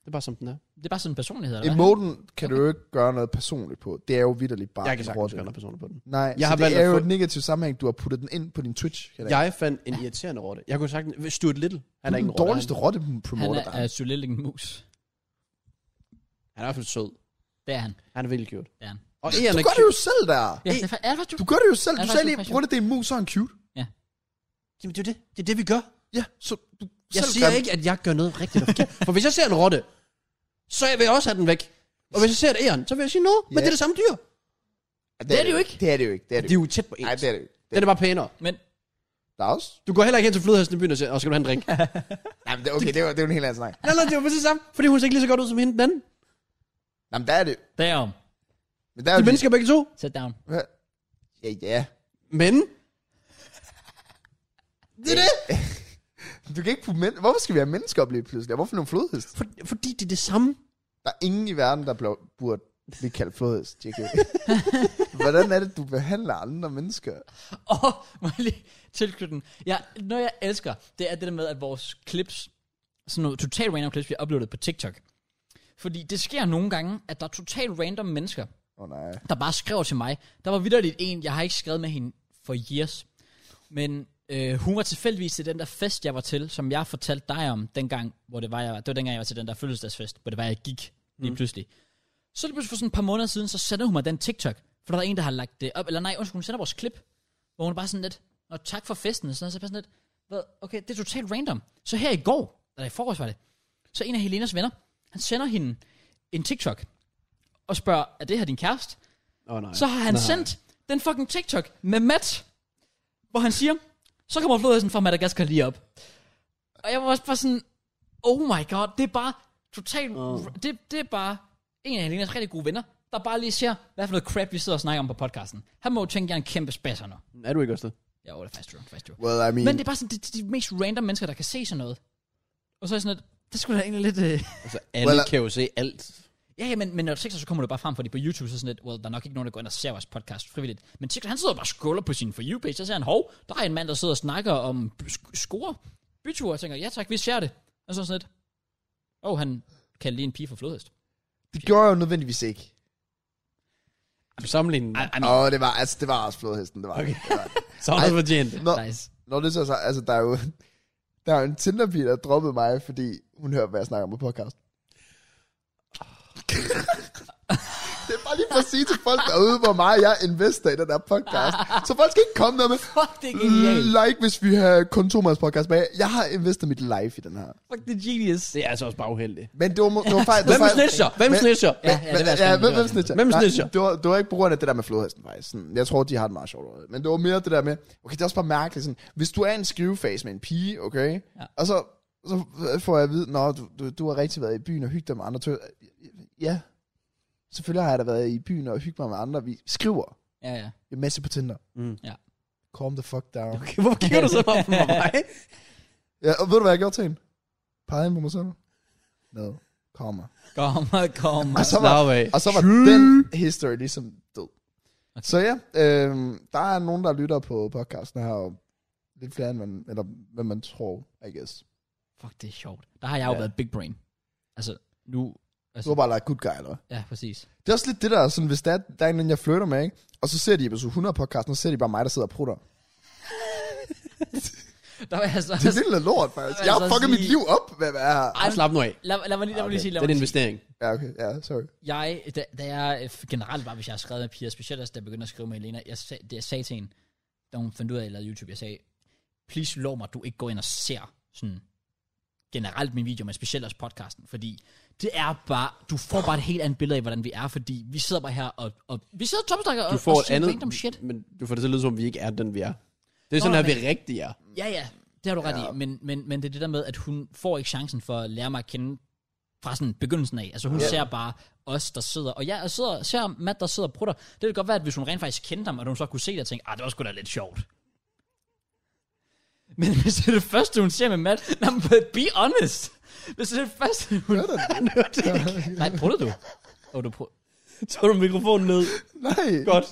Det er bare som den er. Det er bare sådan en personlighed, eller hvad? Emoten kan du jo ikke gøre noget personligt på. Det er jo vidderligt bare Jeg kan en sagtens rotte. gøre noget personligt på den. Nej, Jeg jeg har har valgt det at er jo få- et negativt sammenhæng. Du har puttet den ind på din Twitch. Kan jeg Jeg fandt en irriterende rotte. Jeg kunne sagtens... hvis Stuart Little. Han han er er ikke den en rotte. dårligste altså, rotte Han promoter er, der. er er. Zulilling Mus. Han, han er i hvert fald sød. Det er han. Han er virkelig cute. Det er han. Og Ian Du er gør det jo selv der. Ja, det er, fa- er det faktisk Du du? gør det jo selv. Ja, Du det er sagde faktisk lige, rigtigt. bror, det er en mus, så er han cute. Jamen, det er jo det. Det er det, vi gør. Ja, så du Jeg selv siger gør ikke, at jeg gør noget rigtigt og forkert. For hvis jeg ser en rotte, så vil jeg også have den væk. Og hvis jeg ser et æren, så vil jeg sige, nå, men Ja. det er det samme dyr. den. det er det jo ikke. Det er det jo ikke. Det er det De jo er jo tæt på ikke. ens. Nej, det er det jo ikke. Den er bare pænere. Men Der er også. Du går heller ikke hen til flodhesten i byen og siger, "Åh, skal du have en drink? Nej, men det, okay, det er jo det er jo en helt anden snak. nej, nej, det er jo præcis samme. Fordi hun ser ikke lige så godt ud som hende den anden. Nej, men der er det damn. Men der er De jo er mennesker begge to. Sit down. Hva? Ja, ja. Men Det er det. Du kan ikke putte men... Hvorfor skal vi have mennesker op lige pludselig? Og Hvorfor nogle flodhest? for, fordi det er det samme. Der er ingen i verden, der blå- burde Vi kalder flodhest, JK. Hvordan er det, du behandler andre mennesker? Åh, må jeg lige tilknytte den. Ja, noget jeg elsker, det er det der med, at vores clips, sådan noget totalt random clips, bliver uploadet på TikTok. Fordi det sker nogle gange, at der er totalt random mennesker, Åh oh, nej. der bare skrev til mig. Der var vidderligt en, jeg har ikke skrevet med hende for years. Men øh, hun var tilfældigvis til den der fest, jeg var til, som jeg fortalte dig om dengang, hvor det var, jeg var, det var dengang, jeg var til den der fødselsdagsfest, hvor det var, jeg gik lige mm. pludselig. Så lige pludselig for sådan et par måneder siden, så sendte hun mig den TikTok, for der var en, der har lagt det op. Eller nej, undskyld, hun sender vores klip, hvor hun er bare sådan lidt, Nå, tak for festen, og sådan noget, så er jeg bare sådan lidt, hvad, okay, det er totalt random. Så her i går, eller i forårs var det, så en af Helenas venner, han sender hende en TikTok, og spørger, er det her din kæreste? Åh oh, nej. Så har han nej. Nej. sendt den fucking TikTok med Matt, hvor han siger, så kommer flodhesten fra Madagaskar lige op. Og jeg var også bare sådan, oh my god, det er bare totalt, Åh. oh. det, det er bare en af Helenas rigtig gode venner, der bare lige siger, hvad for noget crap vi sidder og snakker om på podcasten. Han må jo tænke, jeg er en kæmpe spasser nu. Er du ikke også det? Ja, oh, det er faktisk true, faktisk true. Well, I mean... Men det er bare sådan, det, det er de mest random mennesker, der kan se sådan noget. Og så er jeg sådan, at det skulle da egentlig lidt... Øh... Altså, alle Well, well, I- kan jo se alt. Ja, ja, men, men når du TikTok, så kommer det bare frem, fordi på YouTube, så er sådan lidt, well, der er nok ikke nogen, der går ind og ser vores podcast frivilligt. Men TikTok, han sidder bare og scroller på sin For You-page, så ser han, hov, der er en mand, der sidder og snakker om b- sk- score, byture, og tænker, ja tak, vi ser det. Og så er sådan lidt, åh, oh, han kan lige en pige for flodhest. Det gjorde jeg jo nødvendigvis ikke. Du sammenligner den. Ej, ej, Åh, men- oh, det var, altså, det var også flodhesten, det var. Okay. Det var. Så har du fortjent det. Nå, nice. når det så er sagt, altså, der er jo... Der er jo en tinder der droppede mig, fordi hun hører, hvad jeg snakker om på podcast. det er bare lige for at sige til folk derude, hvor meget jeg investerer i den der podcast. Så folk skal ikke komme der med, Fuck, det er genialt. like, hvis vi har kun Thomas podcast med. Jeg har investeret mit life i den her. Fuck, det er genius. Det er altså også bare uheldigt. Men det var, må- det var faktisk... Hvem snitcher? Hvem Men- snitcher? Ja, ja, det Ja, var ja, sådan, hvem, det var sådan. hvem snitcher? Hvem Nej, snitcher? Det var, det var ikke på grund af det der med flodhesten, faktisk. Sådan, Jeg tror, de har det meget sjovt over det. Men det var mere det der med, okay, det er også bare mærkeligt. Sådan, hvis du er i en skrivefase med en pige, okay? Ja. Og så, så får jeg at vide, Nå, du, du, du har rigtig været i byen og hygget dig med andre tø. Ja, selvfølgelig har jeg da været i byen og hygget mig med andre. Vi skriver Ja, ja. en masse på Tinder. Mm. Ja. Calm the fuck down. Okay. Okay, hvorfor kigger du så meget på mig? Ja, og ved du, hvad jeg gjorde til hende? Pegede hende på mig selv? No, calm mig. Kom, kom. Og så var, Slap af. Og så var True. den history ligesom død. Okay. Så ja, øh, der er nogen, der lytter på podcasten her, og lidt flere, end man, eller, hvad man tror, I guess. Fuck, det er sjovt. Der har jeg jo Ja. været big brain. Altså, nu... altså, Du har bare lagt good guy, eller hvad? Ja, præcis. Det er også lidt det der, sådan, hvis der, er- der er en, eller anden, jeg flytter med, ikke? og så ser de episode 100 af podcasten, og så ser de bare mig, der sidder og prutter. Der var jeg så... Det er lidt noget lort, faktisk. Jeg Jeg vil har så fucket mit sige- liv op, hvad hvad er her? Ej, Slap nu af. lad, lad, mig lige, lad Ah, mig lige sige... Det Lad er mig en lige sige- investering. Ja, okay, ja, sorry. jeg, da, da jeg øh, generelt bare, hvis jeg har skrevet med piger, specielt også da jeg begyndte at skrive med Elena, jeg sag, det jeg sagde til hende, da hun fandt ud af, at jeg lavede YouTube, jeg sagde, please lov mig, at du ikke går ind og ser sådan generelt min video, men specielt også podcasten, fordi det er bare, du får bare et helt andet billede af, hvordan vi er, fordi vi sidder bare her og, og vi sidder og topsnakker og, Du får og et siger andet... random shit. Men du får det til at lyde som, om vi ikke er den, vi er. Det er sådan Nå, her, vi men- rigtig er. Ja, ja, det har du ret Ja. ja. i, men, men, men det er det der med, at hun får ikke chancen for at lære mig at kende fra sådan begyndelsen af. Altså hun Ja. ja. ser bare os, der sidder, og jeg sidder, ser Matt, der sidder og prutter. Det ville godt være, at hvis hun rent faktisk kendte ham, og hun så kunne se det og tænke, ah, det var sgu da lidt sjovt. Men hvis det er det første, hun ser med Matt, nej, men be honest. Hvis det er det første, hun... Hørte du? Nej, prutter du? Oh, du prøver. Så du mikrofonen ned. Nej. Godt.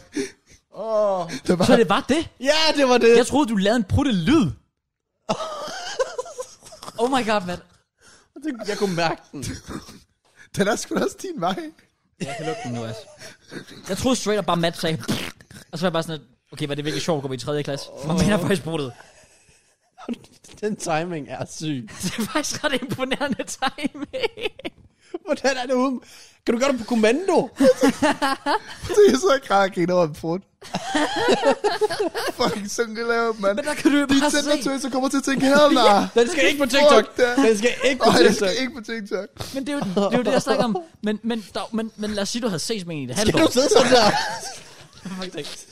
Åh, det var Så det var det? Ja, det var det. Jeg troede, du lavede en prutte lyd. Oh my god, Matt. Jeg kunne mærke den. den er sgu da også din vej. Jeg kan lukke den nu, altså. Jeg troede straight up bare Matt sagde, og så var jeg bare sådan, at, okay, var det virkelig sjovt at gå i 3. klasse? Man mener faktisk bruttet. Den timing er syg. Det er faktisk ret imponerende timing. Hvordan er det ude? Kan du gøre det på kommando? Det er så klar at grine over en frut. Fucking sådan, det laver mand. Men der kan du jo Din bare se. Tinder-tøser kommer til at tænke, hell nej. Den skal ikke på TikTok. Fuck det. Den skal ikke på Ej, jeg TikTok. skal ikke på TikTok. Men det er jo det, er jo det jeg snakker om. Men, men, der, men, men lad os sige, du havde ses med en i det halve Kan du år. sidde sådan der? Fuck det.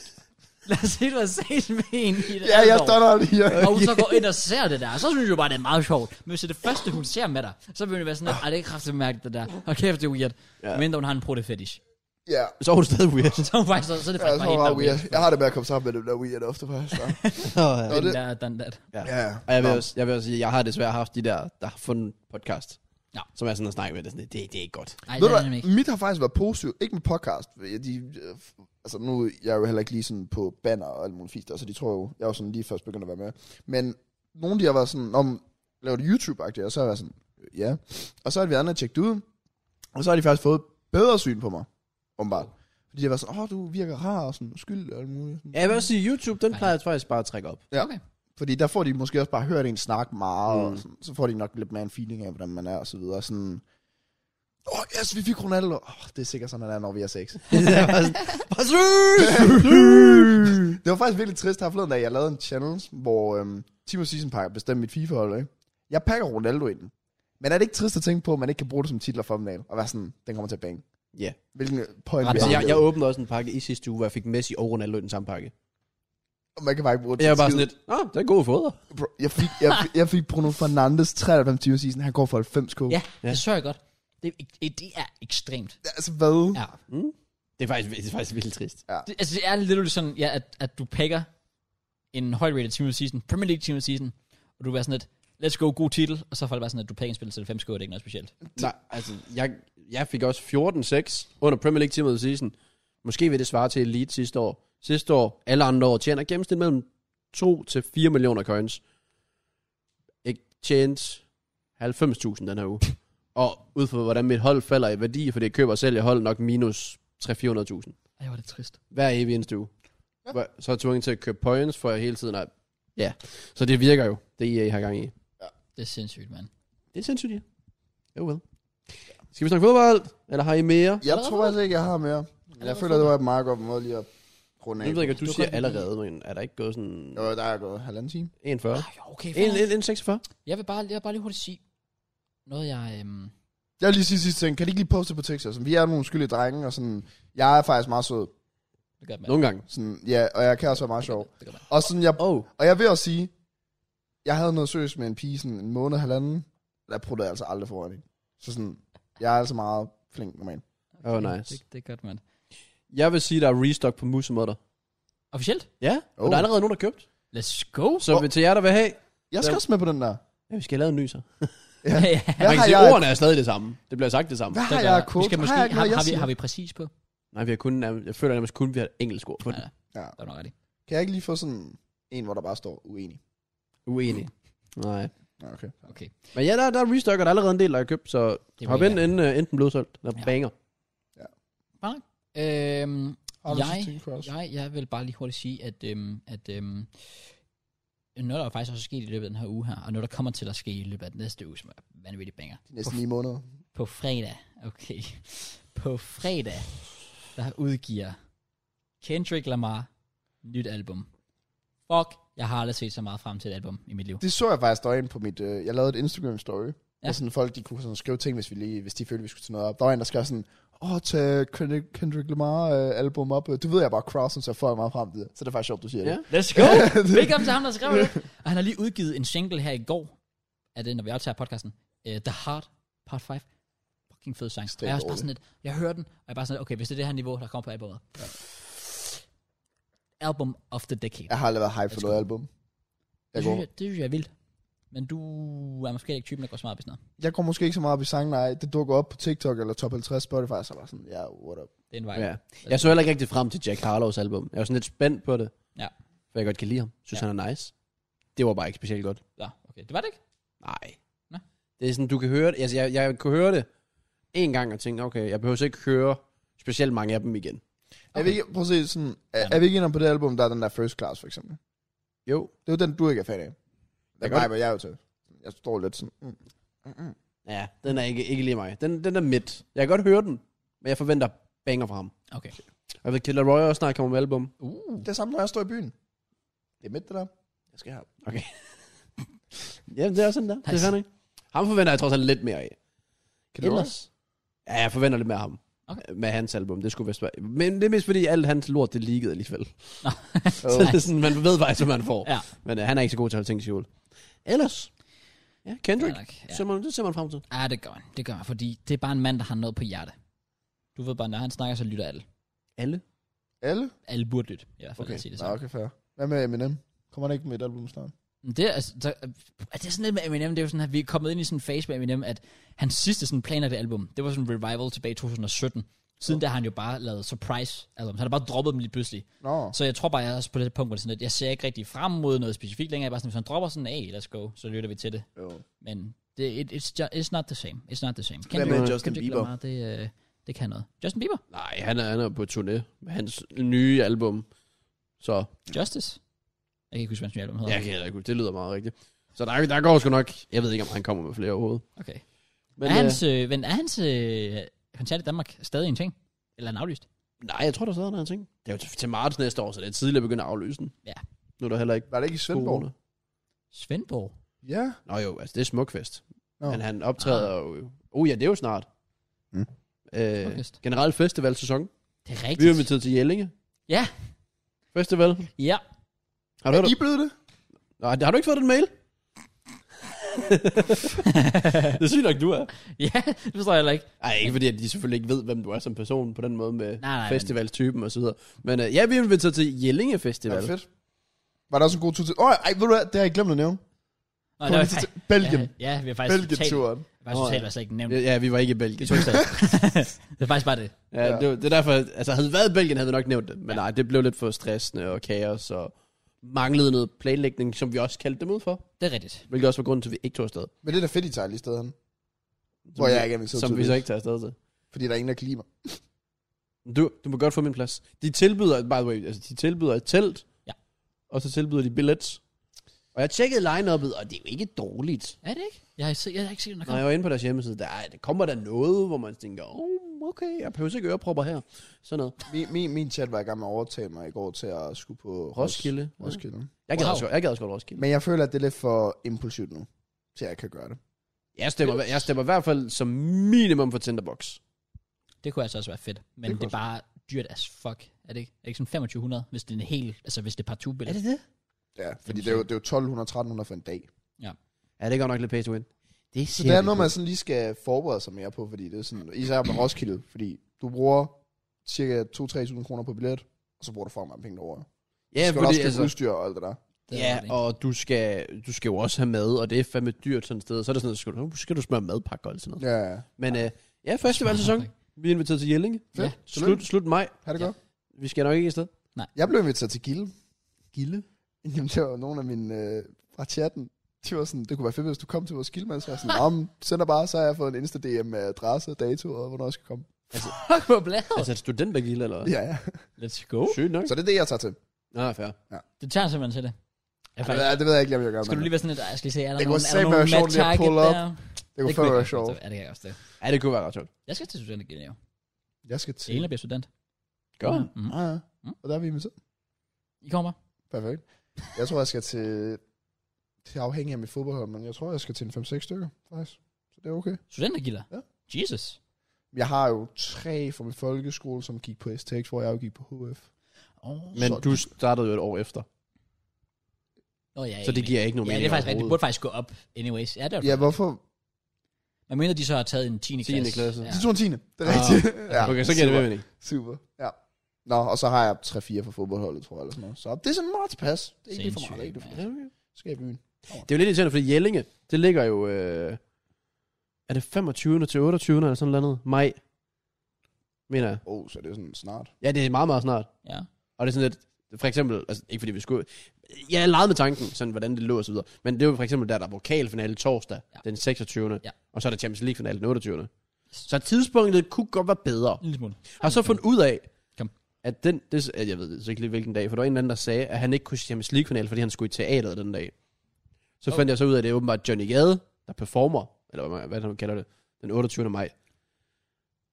Lad os sige, du havde ses med en i det Ja, halve jeg år. står der lige. Og hun så går ind og ser det der, så synes jeg jo bare, det er meget sjovt. Men hvis det er det første, hun ser med dig, så vil hun være sådan, at det er kraftigt mærkeligt det der. Og kæft, det er weird. Ja. Ja. Men hun har en prote fetish. Ja. Så er hun stadig weird. Så, er hun faktisk, så, så er det Jeg faktisk tror bare helt bare, bare weird. Jeg har det med at komme sammen med dem der weird ofte, faktisk. så. Oh, ja. Nå, det, Den der, den der. Ja. Ja. Og jeg vil, Nå. også, jeg vil også sige, jeg har desværre haft de der, der har fundet podcast. Ja. Som er sådan at snakke med det. Sådan, det, det er ikke godt. Nej, Ved det du er nemlig hvad, ikke. mit har faktisk været positivt. Ikke med podcast. De, øh, altså nu, jeg er jo heller ikke lige sådan på banner og alt muligt fisk, så de tror jo, jeg er jo sådan lige først begyndt at være med. Men nogle af de har været sådan, om laver det YouTube-agtigt, og så har jeg været sådan, øh, ja. Og så har de været andet tjekket ud, og så har de faktisk fået bedre syn på mig, åbenbart. Fordi de har været sådan, åh, du virker rar og sådan, skyld og alt muligt. Sådan. Ja, jeg vil også sige, YouTube, den Ej. plejer jeg faktisk bare at trække op. Ja. Okay. Fordi der får de måske også bare hørt en snak meget, mm. Mm. og sådan, så får de nok lidt mere en feeling af, hvordan man er og så videre. Sådan, åh, oh, yes, vi fik Ronaldo. Oh, det er sikkert sådan, han er, når vi er seks. Bare søg! det var faktisk virkelig trist her forleden, da jeg lavede en challenge, hvor øhm, Timo Season Packer bestemte mit FIFA-hold, ikke? Jeg pakker Ronaldo ind. Men er det ikke trist at tænke på, at man ikke kan bruge det som titler thumbnail, og være sådan, den kommer til at bange? Ja. Hvilken point Ret vi Altså, har jeg, jeg lavet. åbnede også en pakke i sidste uge, hvor jeg fik Messi og Ronaldo i den samme pakke. Og Man kan bare ikke bruge det Jeg var til bare skid. sådan lidt, ah, det er gode fodder. Bro, jeg, fik, jeg, jeg fik Bruno Fernandes 93 Timo Season, han går for 90 k. Mm. Ja, Mm. Ja. det sørger jeg godt. Det, er ek- det er ekstremt. Altså, hvad? Ja. Det er faktisk, det er faktisk vildt trist. Det, altså, det er lidt sådan, ja, at, at du pakker en højt-rated team of the season, Premier League team of the season, og du er sådan lidt, let's go, god titel, og så får det bare sådan, at du pakker en spiller til 5 score, det er ikke noget specielt. Nej, altså, jeg, jeg fik også 14-6 under Premier League Team of the Season. Måske vil det svare til Elite sidste år. Sidste år, alle andre år, tjener gennemsnit mellem 2 til 4 millioner coins. Ikke tjent 90.000 den her uge. og ud fra, hvordan mit hold falder i værdi, fordi jeg køber og sælger hold nok minus 300-400.000. Ej, hvor er det trist. Hver evig eneste uge. Ja. Så er jeg tvunget til at købe points, for jeg hele tiden er... Ja, så det virker jo, det EA har gang i. Det er sindssygt, mand. Det er sindssygt, ja. Oh well. Skal vi snakke fodbold, eller har I mere? Jeg tror altså ikke, jeg har mere. Jeg føler, det var et meget godt måde lige at runde af. Jeg ved ikke, at du, Du siger kan- allerede, men er der ikke gået sådan Jo, der er gået halvanden time. 1,40? Ej, okay, fair. 1, 1, 46? Jeg vil bare, jeg vil bare lige hurtigt sige noget, jeg... Øhm, Jeg vil lige sige sidste ting. Kan de ikke lige poste på Texas? Vi er nogle skyldige drenge, og sådan... Jeg er faktisk meget sød. det gør man. Nogle gange. Sådan, ja, og jeg kan også være meget sjov. Det gør man. Og, sådan, jeg, Oh, og jeg vil også sige, jeg havde noget søs med en pige sådan en måned halvanden. Der pruttede jeg altså aldrig foran hende. Så sådan, jeg er altså meget flink normalt. oh nice. Det, det er godt, mand. Jeg vil sige, der er restock på musemutter. Officielt? Ja, og Oh. der er allerede nogen, der har købt. Let's go. Så Oh. oh. til jer, der vil have... Jeg skal Ja. også med på den der. Ja, vi skal lave en ny så. Ja. Hvad Man kan har sige, jeg, ordene er stadig det samme. Det bliver sagt det samme. hvad Det har gør jeg der. af kode? Vi skal måske, har jeg ikke har, noget, jeg har, vi, siger? har vi præcis på? Nej, vi har kun... nærmest- Jeg føler nærmest kun, vi har et engelsk ord på Nej, det. nej, Ja. det var nok rigtigt. Kan jeg ikke lige få sådan en, hvor der bare står uenig? Uenig. Nej. Nå, Okay. Okay. Men ja, der, der er restock, og der er allerede en del, der er købt, så Det hop var ind, inden, uh, inden den blev solgt. Eller Ja. ja. banger. Øhm, Har du Jeg- sidste ting, Kraus? jeg, jeg vil bare lige hurtigt sige, at, øhm, at øhm, noget, der faktisk også er sket i løbet af den her uge her, og noget, der kommer til at ske i løbet af den næste uge, som er vanvittigt banger. De næste ni måneder. På fredag, okay. På fredag, der udgiver Kendrick Lamar nyt album. Fuck, jeg har aldrig set så meget frem til et album i mit liv. Det så jeg faktisk derinde på mit... Øh, jeg lavede et Instagram-story. Ja. Ja. Og sådan folk, de kunne sådan skrive ting, hvis, vi lige, hvis de følte, vi skulle tage noget op. Der var en, der skrev sådan, åh, tag Kendrick, Kendrick Lamar øh, album op. Du ved, jeg er bare Crossen, så jeg får meget frem til det. Så det er faktisk sjovt, du siger Ja. det. Let's go! Velkommen til ham, der skrev det. Og han har lige udgivet en single her i går, af det, når vi optager podcasten. Uh, The Heart, part 5. Fucking fed sang. Og Stærk jeg er også bare dårlig. sådan lidt, jeg hører den, og jeg er bare sådan lidt, okay, hvis det er det her niveau, der kommer på albumet. Ja. Album of the Decade. Jeg har aldrig været hype for Let's noget go. album. det, Jeg synes går, jeg, det synes jeg er vildt. Men du er måske ikke typen, der går så meget op i sådan noget. jeg går måske ikke så meget op i sangen, nej. Det dukker op på TikTok eller top 50 Spotify, så er jeg bare sådan, ja, yeah, what up. Det er en vej. Ja. Jeg så heller ikke rigtig frem til Jack Harlow's album. Jeg var sådan lidt spændt på det. Ja. For jeg godt kan lide ham. Synes Ja. ja. han er nice. Det var bare ikke specielt godt. ja. okay. Det var det ikke? Nej. Nå. Det er sådan, du kan høre det. Altså, jeg, jeg kunne høre det en gang og tænke, okay, jeg behøver så ikke høre specielt mange af dem igen. Okay. Er vi ikke, prøv at se, sådan, er, er vi ikke inde på det album, der er den der First Class, for eksempel? Jo. Det er jo den, du ikke er fan af. Jeg Den gør det. viber jeg jo til. Jeg står lidt sådan, mm. Ja, den er ikke, ikke lige mig. Den, den er midt. Jeg kan godt høre den, men jeg forventer banger fra ham. Okay. Og jeg ved, Killer Roy også snart kommer med album. Uh. Det er samme, når jeg står i byen. Det er midt, det der. Jeg skal have. Ja, det er også sådan der. Det er Nice. fandme. Ham forventer jeg trods alt lidt mere af. Kan du også? Ja, jeg forventer lidt mere af ham. Okay. Okay. Med hans album, det skulle vist være. Men det er mest fordi, alt hans lort, det leakede alligevel. Oh. Så det er sådan, man ved faktisk, hvad man får. Ja. Men øh, han er ikke så god til at holde ting i skjul. Ellers, ja, Kendrick, Ja, nok, ja. ja. Ser man, det ser man frem til. Ja, det gør han. Det gør han, fordi det er bare en mand, der har noget på hjerte. Du ved bare, når han snakker, så lytter alle. Alle? Alle? Alle burde lytte, i hvert fald, okay. Okay. at sige det Nå, sådan. okay, fair. Hvad med Eminem? Kommer han ikke med et album snart? Men Det er, altså, der, er det er sådan lidt med Eminem, det er jo sådan, at vi er kommet ind i sådan en fase med Eminem, at hans sidste sådan planlagte album, det var sådan en revival tilbage i 2017. Siden der har han jo bare lavet surprise album. Han har bare droppet dem lige pludselig. Nå. Så jeg tror bare, jeg er også på det punkt, hvor det er sådan lidt, jeg ser ikke rigtig frem mod noget specifikt længere. Jeg er bare sådan, hvis han dropper sådan, hey, let's go, så lytter vi til det. Jo. Men det, it, it's, ju- it's not the same. It's not the same. Hvad med Justin Bieber? Lamar, det, øh, det kan noget. Justin Bieber? Nej, han er, han er på turné med hans nye album. Så Justice? Jeg kan ikke huske, hvad hans nye album hedder. jeg kan heller ikke, det lyder meget rigtigt. Så der, der går sgu nok, jeg ved ikke, om han kommer med flere overhovedet. Okay. Men, er hans, øh, men er hans øh, koncert i Danmark stadig en ting? Eller er den aflyst? øh, nej, jeg tror, der sidder noget, jeg tænker. Det er jo til, til marts næste år, så det er tidligt at begynde at aflyse den. Ja. Nu er der heller ikke Var det ikke i Svendborg? corona. Svendborg? Ja. Nå jo, altså det er smukfest. Nå. Ah. Men han optræder jo... Oh ja, det er jo snart. Mm. Øh, Smukfest. generelt festivalsæson. Det er Vi er rigtigt. inviteret til Jellinge. Ja. Festival. Ja. Har du hørt Er I om- blevet det? Nej, har du ikke fået den mail? det synes nok, du er. ja, det forstår jeg heller ikke. Nej, ikke fordi, at de selvfølgelig ikke ved, hvem du er som person på den måde med Nej, nej, festivalstypen og så videre. Men øh, ja, vi er inviteret til Jellinge Ja, Festival. fedt. Var der også en god tur til... Åh, ej, ved du hvad? Det har jeg glemt at nævne. Nå, Kom det var, lige til Belgien. Ja, ja, vi har faktisk totalt, Belgien-turen. faktisk Nå, totalt ja. været slet ikke nævnt. Ja, vi var ikke i Det Belgien. tog ikke Det er faktisk bare det. Ja, Ja. Det, var- det, er derfor, altså havde vi været i Belgien, havde vi nok nævnt det. Men nej, det blev lidt for stressende og kaos og manglede noget planlægning, som vi også kaldte dem ud for. Det er rigtigt. Hvilket også var grunden til, at vi ikke tog afsted. Men det er da fedt, I tager lige stedet hen. Hvor jeg ikke er inviteret Som vi tydeligvis. så ikke tager afsted til. Fordi der er ingen, der kan lide mig. Du, du må godt få min plads. De tilbyder, by the way, altså, de tilbyder et telt. Ja. Og så tilbyder de billets. Og jeg tjekkede line-up'et, og det er jo ikke dårligt. Er det ikke? Jeg har, se- jeg har ikke set, når Når jeg kommer. var inde på deres hjemmeside, der, er- der kommer der noget, hvor man tænker, oh, okay, jeg behøver ikke ørepropper her. Sådan noget. Min, min, min chat var i gang med at overtale mig i går til at skulle på Ros- Roskilde. Roskilde. Jeg gad, Wow. wow. også, godt- jeg gad også godt Roskilde. Men jeg føler, at det er lidt for impulsivt nu, til at jeg kan gøre det. Jeg stemmer, jeg stemmer i hvert fald som minimum for Tinderbox. Det kunne altså også være fedt. Men det, det kunne er bare dyrt as fuck. Er det ikke? Er det ikke sådan 2500, hvis det er en hel, altså hvis det er partout billet? det? Ja, fordi det er jo, det er jo 1200-1300 for en dag. Ja, det gør nok lidt pay to win. Det Så det er noget, man sådan lige skal forberede sig mere på, fordi det er sådan, især med Roskilde, fordi du bruger cirka 2-3.000 kroner på billet, og så bruger du for mange penge over. Ja, skal du fordi, også købe altså, udstyr og alt det der. Det er ja ret, ikke? og du skal, du skal jo også have mad, og det er fandme dyrt sådan et sted. Så er det sådan, at skal du, så skal du smøre madpakker og alt sådan noget. Ja, ja. Men øh, ja, festivalsæson. Vi er inviteret til Jellinge. Fedt. Ja. Slut, slut maj. Ha' det Ja. godt. Vi skal nok ikke afsted. Jeg blev inviteret til Gilde. Gilde? Jamen, det var nogle af mine øh, fra chatten. De var sådan, det kunne være fedt, hvis du kom til vores Gilde, mand. Så var jeg sådan, om, sender bare, så har jeg fået en Insta-DM med adresse, dato og hvornår jeg skal komme. Fuck, hvor bladet. Altså er det studentergilde, eller? Ja, ja. Let's go. Sygt nok. Så det er det, jeg tager til. Nej, fair. Det tager simpelthen til det. Jeg Ja, det, det ved jeg ikke, lige, om jeg gør. Skal du men lige være sådan lidt, "Ej, jeg skal lige se, er der Det nogen, kunne er der simpelthen nogen være sjovt mad lige at target pull up. der? Det kunne kunne fandme jeg være godt sjovt. forstå. Ja, det kan jeg også det. Ja, det kunne være ret sjovt. Jeg skal til student igen, jo. Jeg skal Til Elena til. bliver student. Gør mm. Mm. Ja, ja. Mm. Og der er vi inviteret. I kommer. Perfekt. Jeg tror, jeg skal til... Det er afhængigt af mit fodboldhold, men jeg tror, jeg skal til en 5-6 stykker, faktisk. Så det er okay. Studentergilder? Ja. Jesus. Jeg har jo tre fra min folkeskole, som gik på STX, hvor jeg jo gik på HF. Oh. Men Sådan. du startede jo et år efter, Nå, ja, så det egentlig. giver ikke nogen Ja, det mening er faktisk rigtigt. Det burde faktisk gå op anyways. Ja, det er Ja, hvorfor? Man mener, de så har taget en 10. 10. klasse. Ja. De tog en tiende. Det er Ah. rigtigt. ja, Okay, så giver det super. mere mening. Super, ja. Nå, og så har jeg 3-4 fra fodboldholdet, tror jeg, eller sådan noget. Så det er sådan meget tilpas. Det er ikke lige for meget, det er ikke det for Ja. meget. Så skal jeg i byen. Det er jo lidt irriterende, fordi Jellinge, det ligger jo... Øh, er det 25. til 28. eller sådan noget? Maj, mener jeg. Åh, oh, så er det er sådan snart. Ja, det er meget, meget snart. ja. Og det er sådan lidt... For eksempel, altså ikke fordi vi skulle... Jeg legede med tanken, sådan hvordan det lå og så videre. Men det er jo for eksempel, der er der er pokalfinale torsdag, Ja. ja. den 26. Ja. Og så er der Champions League-finale den 28. Så tidspunktet kunne godt være bedre. En lille smule. Har så fundet ud af, Kom. at den, det, at jeg ved det så ikke lige hvilken dag, for der var en eller anden, der sagde, at han ikke kunne se Champions League-finale, fordi han skulle i teateret den dag. Så Oh. fandt jeg så ud af, at det er åbenbart Johnny Gade, der performer, eller hvad, man- hvad han kalder det, den 28. maj.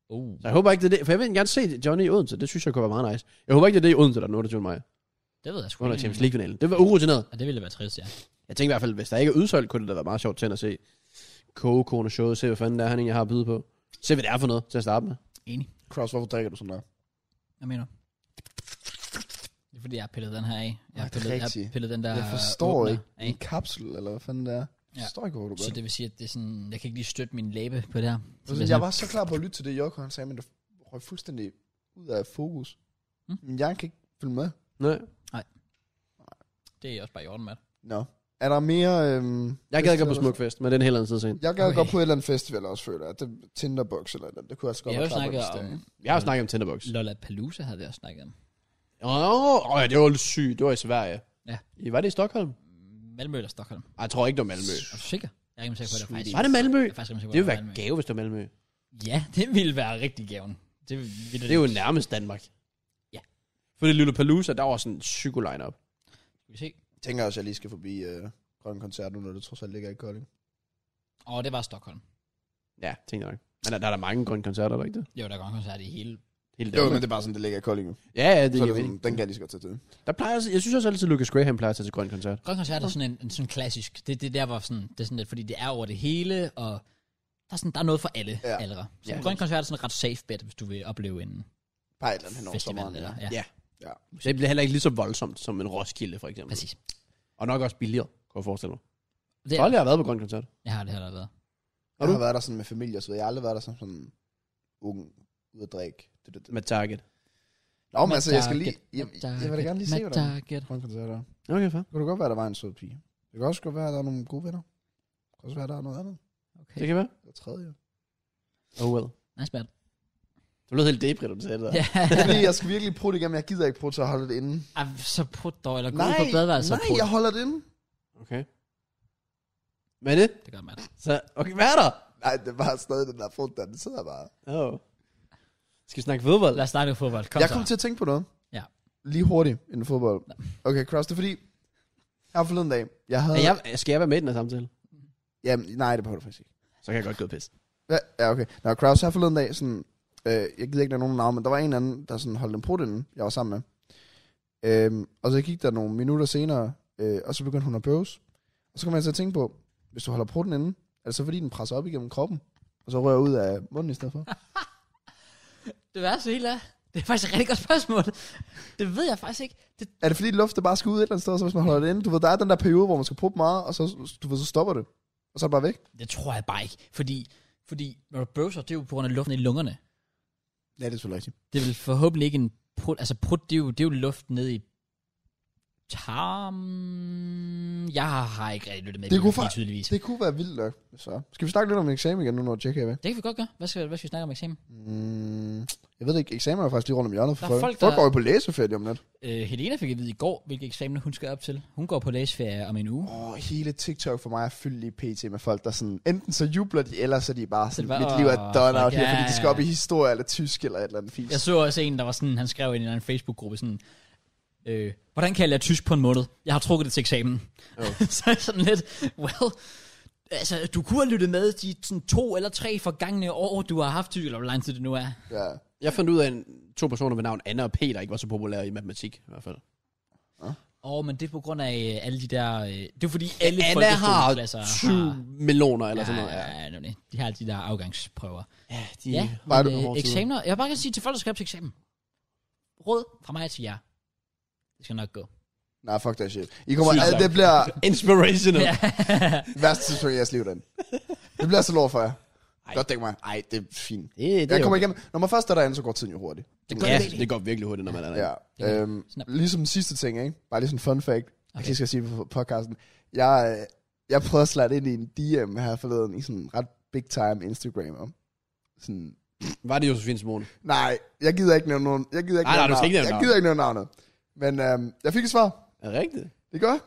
Uh. Så jeg håber ikke, det er det, for jeg vil gerne se Johnny i Odense, det synes jeg kunne være meget nice. Jeg håber ikke, det er det i Odense, der er den 28. maj, Det ved jeg sgu under ikke. Champions League-finalen. Det var urutineret. Ja, det ville være trist, ja. Jeg tænker i hvert fald, hvis der ikke er udsolgt, kunne det da være meget sjovt til at se kogekone showet, se hvad fanden der er, han egentlig har at byde på. Se hvad det er for noget til at starte med. Enig. Cross, hvorfor drikker du sådan der? Hvad mener du? Det er fordi, jeg har pillet den her af. Jeg har det er pillet, jeg har rigtigt. pillet den der Jeg forstår åbner ikke af. en kapsel, eller hvad fanden det er. Ja. Jeg forstår ikke, hvor du gør Så det vil sige, at det er sådan, jeg kan ikke lige støtte min læbe på det her. Så det. det er Altså, Jeg sådan- var så klar på at lytte til det, Jokko han sagde, men det røg fuldstændig ud af fokus. Mm. Min hjerne kan ikke følge med. Nej. Det er også bare i orden, mand. Nå. Er der mere... Øhm, Jeg gad ikke gå på festivaler? Smukfest, men den helt anden side scene. Jeg gad Okay. godt på et eller andet festival også, føler jeg. Det, Tinderbox eller noget. Det kunne jeg også godt Jeg har være jo snakket klar på, hvis det er, om- ikke? Jeg har jo snakket om Tinderbox. Lollapalooza havde vi også snakket om. Åh, oh, det var lidt sygt. Det var i Sverige. Ja. I, var det i Stockholm? Malmø eller Stockholm? Ej, Jeg tror ikke, det var Malmø. Er du sikker? Jeg er ikke sikker på, at det er faktisk. Var det Malmø? Jeg er faktisk ikke sikker på, Det at ville det er være Malmø. gave, hvis det var Malmø. Ja, det ville være rigtig gaven. Det, ville, Det er jo nærmest Danmark. Ja. For det lille Palooza, der var sådan en psyko lineup. Skal vi se? Jeg tænker også, at jeg lige skal forbi øh, Grøn Koncert nu, når det trods alt ligger i Kolding. Åh, oh, det var Stockholm. Ja, tænker jeg nok. Men der, der er der mange grønne koncerter, er der ikke det? Jo, der går en koncert i hele... Jo, Hele men Danmark. det er bare sådan, det ligger i Kolding nu. Ja, ja, det Så er giver det mening. sådan, den kan jeg lige så godt tage til. Der plejer, også- jeg synes også altid, at Lucas Graham plejer at tage til grøn koncert. Grøn koncert er sådan en, en sådan klassisk. Det, det der var sådan, det er sådan lidt, fordi det er over det hele, og der er, sådan, der er noget for alle ja. Ja. aldre. Så Ja. ja. grøn koncert er sådan et ret safe bet, hvis du vil opleve en Bare et eller andet hen over festival. sommeren. Ja. Eller, ja. Ja. ja. Det bliver heller ikke lige så voldsomt som en Roskilde, for eksempel. præcis. Og nok også billigere, kan jeg forestille mig. Det Jeg er, har aldrig været på grøn koncert. jeg har det heller været. Jeg du? har været der sådan med familie og så videre. Jeg har aldrig været der som sådan ung, ude at drikke. Det, det, det. Med Target. Nå, men altså, jeg skal lige... Madarket, Jeg, jeg, vil da gerne lige se, hvordan Madarket. Grøn Koncert er. Okay, fair. Det kunne da godt være, at der var en sød pige. Det kan også godt være, at der er nogle gode venner. Det kan også være, at der er noget andet. Okay. Det kan være. Eller tredje. Oh well. Nice man. Du lød helt deprimeret, du sagde det der. Ja. Fordi jeg skal virkelig prøve det igennem. Jeg gider ikke prøve til at holde det inde. Ej, så prut dog, eller gå ud på badeværelset og nej, prut. jeg holder det inde. Okay. Hvad er det? Det gør man. Så, okay, hvad er der? Nej, det var stadig den der frugt, der den sidder bare. Oh. Skal vi snakke fodbold? Lad os snakke om fodbold. Kom jeg så. kom til at tænke på noget. Ja. Lige hurtigt inden fodbold. Okay, Cross, det er fordi, her forleden dag, jeg havde... Er jeg, skal jeg være med i den her samtale? Jamen, nej, det behøver du faktisk ikke. Så kan jeg godt gå og pisse. Hva? Ja, okay. Nå, Kraus, her forleden dag, sådan, øh, jeg gider ikke nævne nogen navn, men der var en eller anden, der sådan holdt en prut inden, jeg var sammen med. Øhm, og så gik der nogle minutter senere, øh, og så begyndte hun at bøves. Og så kom jeg til at tænke på, hvis du holder prutten inden, er det så fordi, den presser op igennem kroppen, og så rører ud af munden i stedet for? Det værste hele er, det er faktisk et rigtig godt spørgsmål. Det ved jeg faktisk ikke. Det, er det fordi, luft der bare skal ud et eller andet sted, og så hvis man holder det inde? Du ved, der er den der periode, hvor man skal prutte meget, og så, du ved, så stopper det. Og så er det bare væk. det tror jeg bare ikke, fordi, fordi når du bøvser, det er jo på grund af luften i lungerne. Ja, det er selvfølgelig rigtigt. Det er vel forhåbentlig ikke en prut. Altså prut, det er jo, det er jo luft ned i tarmen. Jeg har, har ikke rigtig lyttet med Det i kunne biologi, fa- tydeligvis. Det, Det kunne være vildt nok. Så. Skal vi snakke lidt om en eksamen igen nu, når Jack er væk? det kan vi godt gøre. Hvad skal, hvad skal vi snakke om eksamen? Mm, jeg ved det ikke, eksamen er faktisk lige rundt om hjørnet for Der er folk. folk, Folk, der- folk går jo på læseferie om lidt. Øh, Helena fik at vide i går, hvilke eksamener hun skal op til. Hun går på læseferie om en uge. Åh, hele TikTok for mig er fyldt lige pt med folk, der sådan, enten så jubler de, eller så er de bare sådan, det bare, mit liv åh, er done out fuck, her, ja, fordi de skal op ja, i ja. historie eller tysk eller et eller andet fisk. Jeg så også en, der var sådan, han skrev i en eller anden Facebook-gruppe sådan, øh, hvordan kan jeg lære tysk på en måned? Jeg har trukket det til eksamen. Oh. så er jeg sådan lidt, well, altså, du kunne have lyttet med de sådan, to eller tre forgangne år, du har haft tysk, eller hvor lang tid det nu er. Ja. Jeg fandt ud af en, to personer ved navn Anna og Peter ikke var så populære i matematik, i hvert fald. Åh, oh, men det er på grund af øh, alle de der... Øh, det er fordi alle Anna har folkeskoleklasser 20 meloner eller sådan noget. Ja, ja, ja, nemlig. de har altid de der afgangsprøver. ja de Ja, Var men, det nogle øh, hårde tider? eksamener. Jeg vil bare gerne sige til folk, der skal op til eksamen. Råd fra mig til jer. Det skal nok gå. Nej, fuck that shit. I kommer, Sygt altså, langt. det bliver Inspirational. Ja. værste tidspunkt i jeres liv, den. Det bliver så lov for jer. Ej. Godt dæk mig. Ej, det er fint. Det, det, Jeg er kommer jo- igennem. Når man først er derinde, så går tiden jo hurtigt. Det gør ja, det. det går virkelig hurtigt, når man er der. Ja. Det kan Øhm, Snap. ligesom den sidste ting, ikke? Bare lige sådan en fun fact. Okay. Jeg lige skal sige på podcasten. Jeg, øh, jeg prøvede at slide ind i en DM her forleden i sådan ret big time Instagram om. Sådan, Var det Josefine Simone? nej, jeg gider ikke nævne nogen. Jeg gider ikke Nej, nej, nævne du skal ikke navn. nævne Jeg gider ikke nævne navnet. Men øhm, jeg fik et svar. Er det rigtigt? Det gør jeg.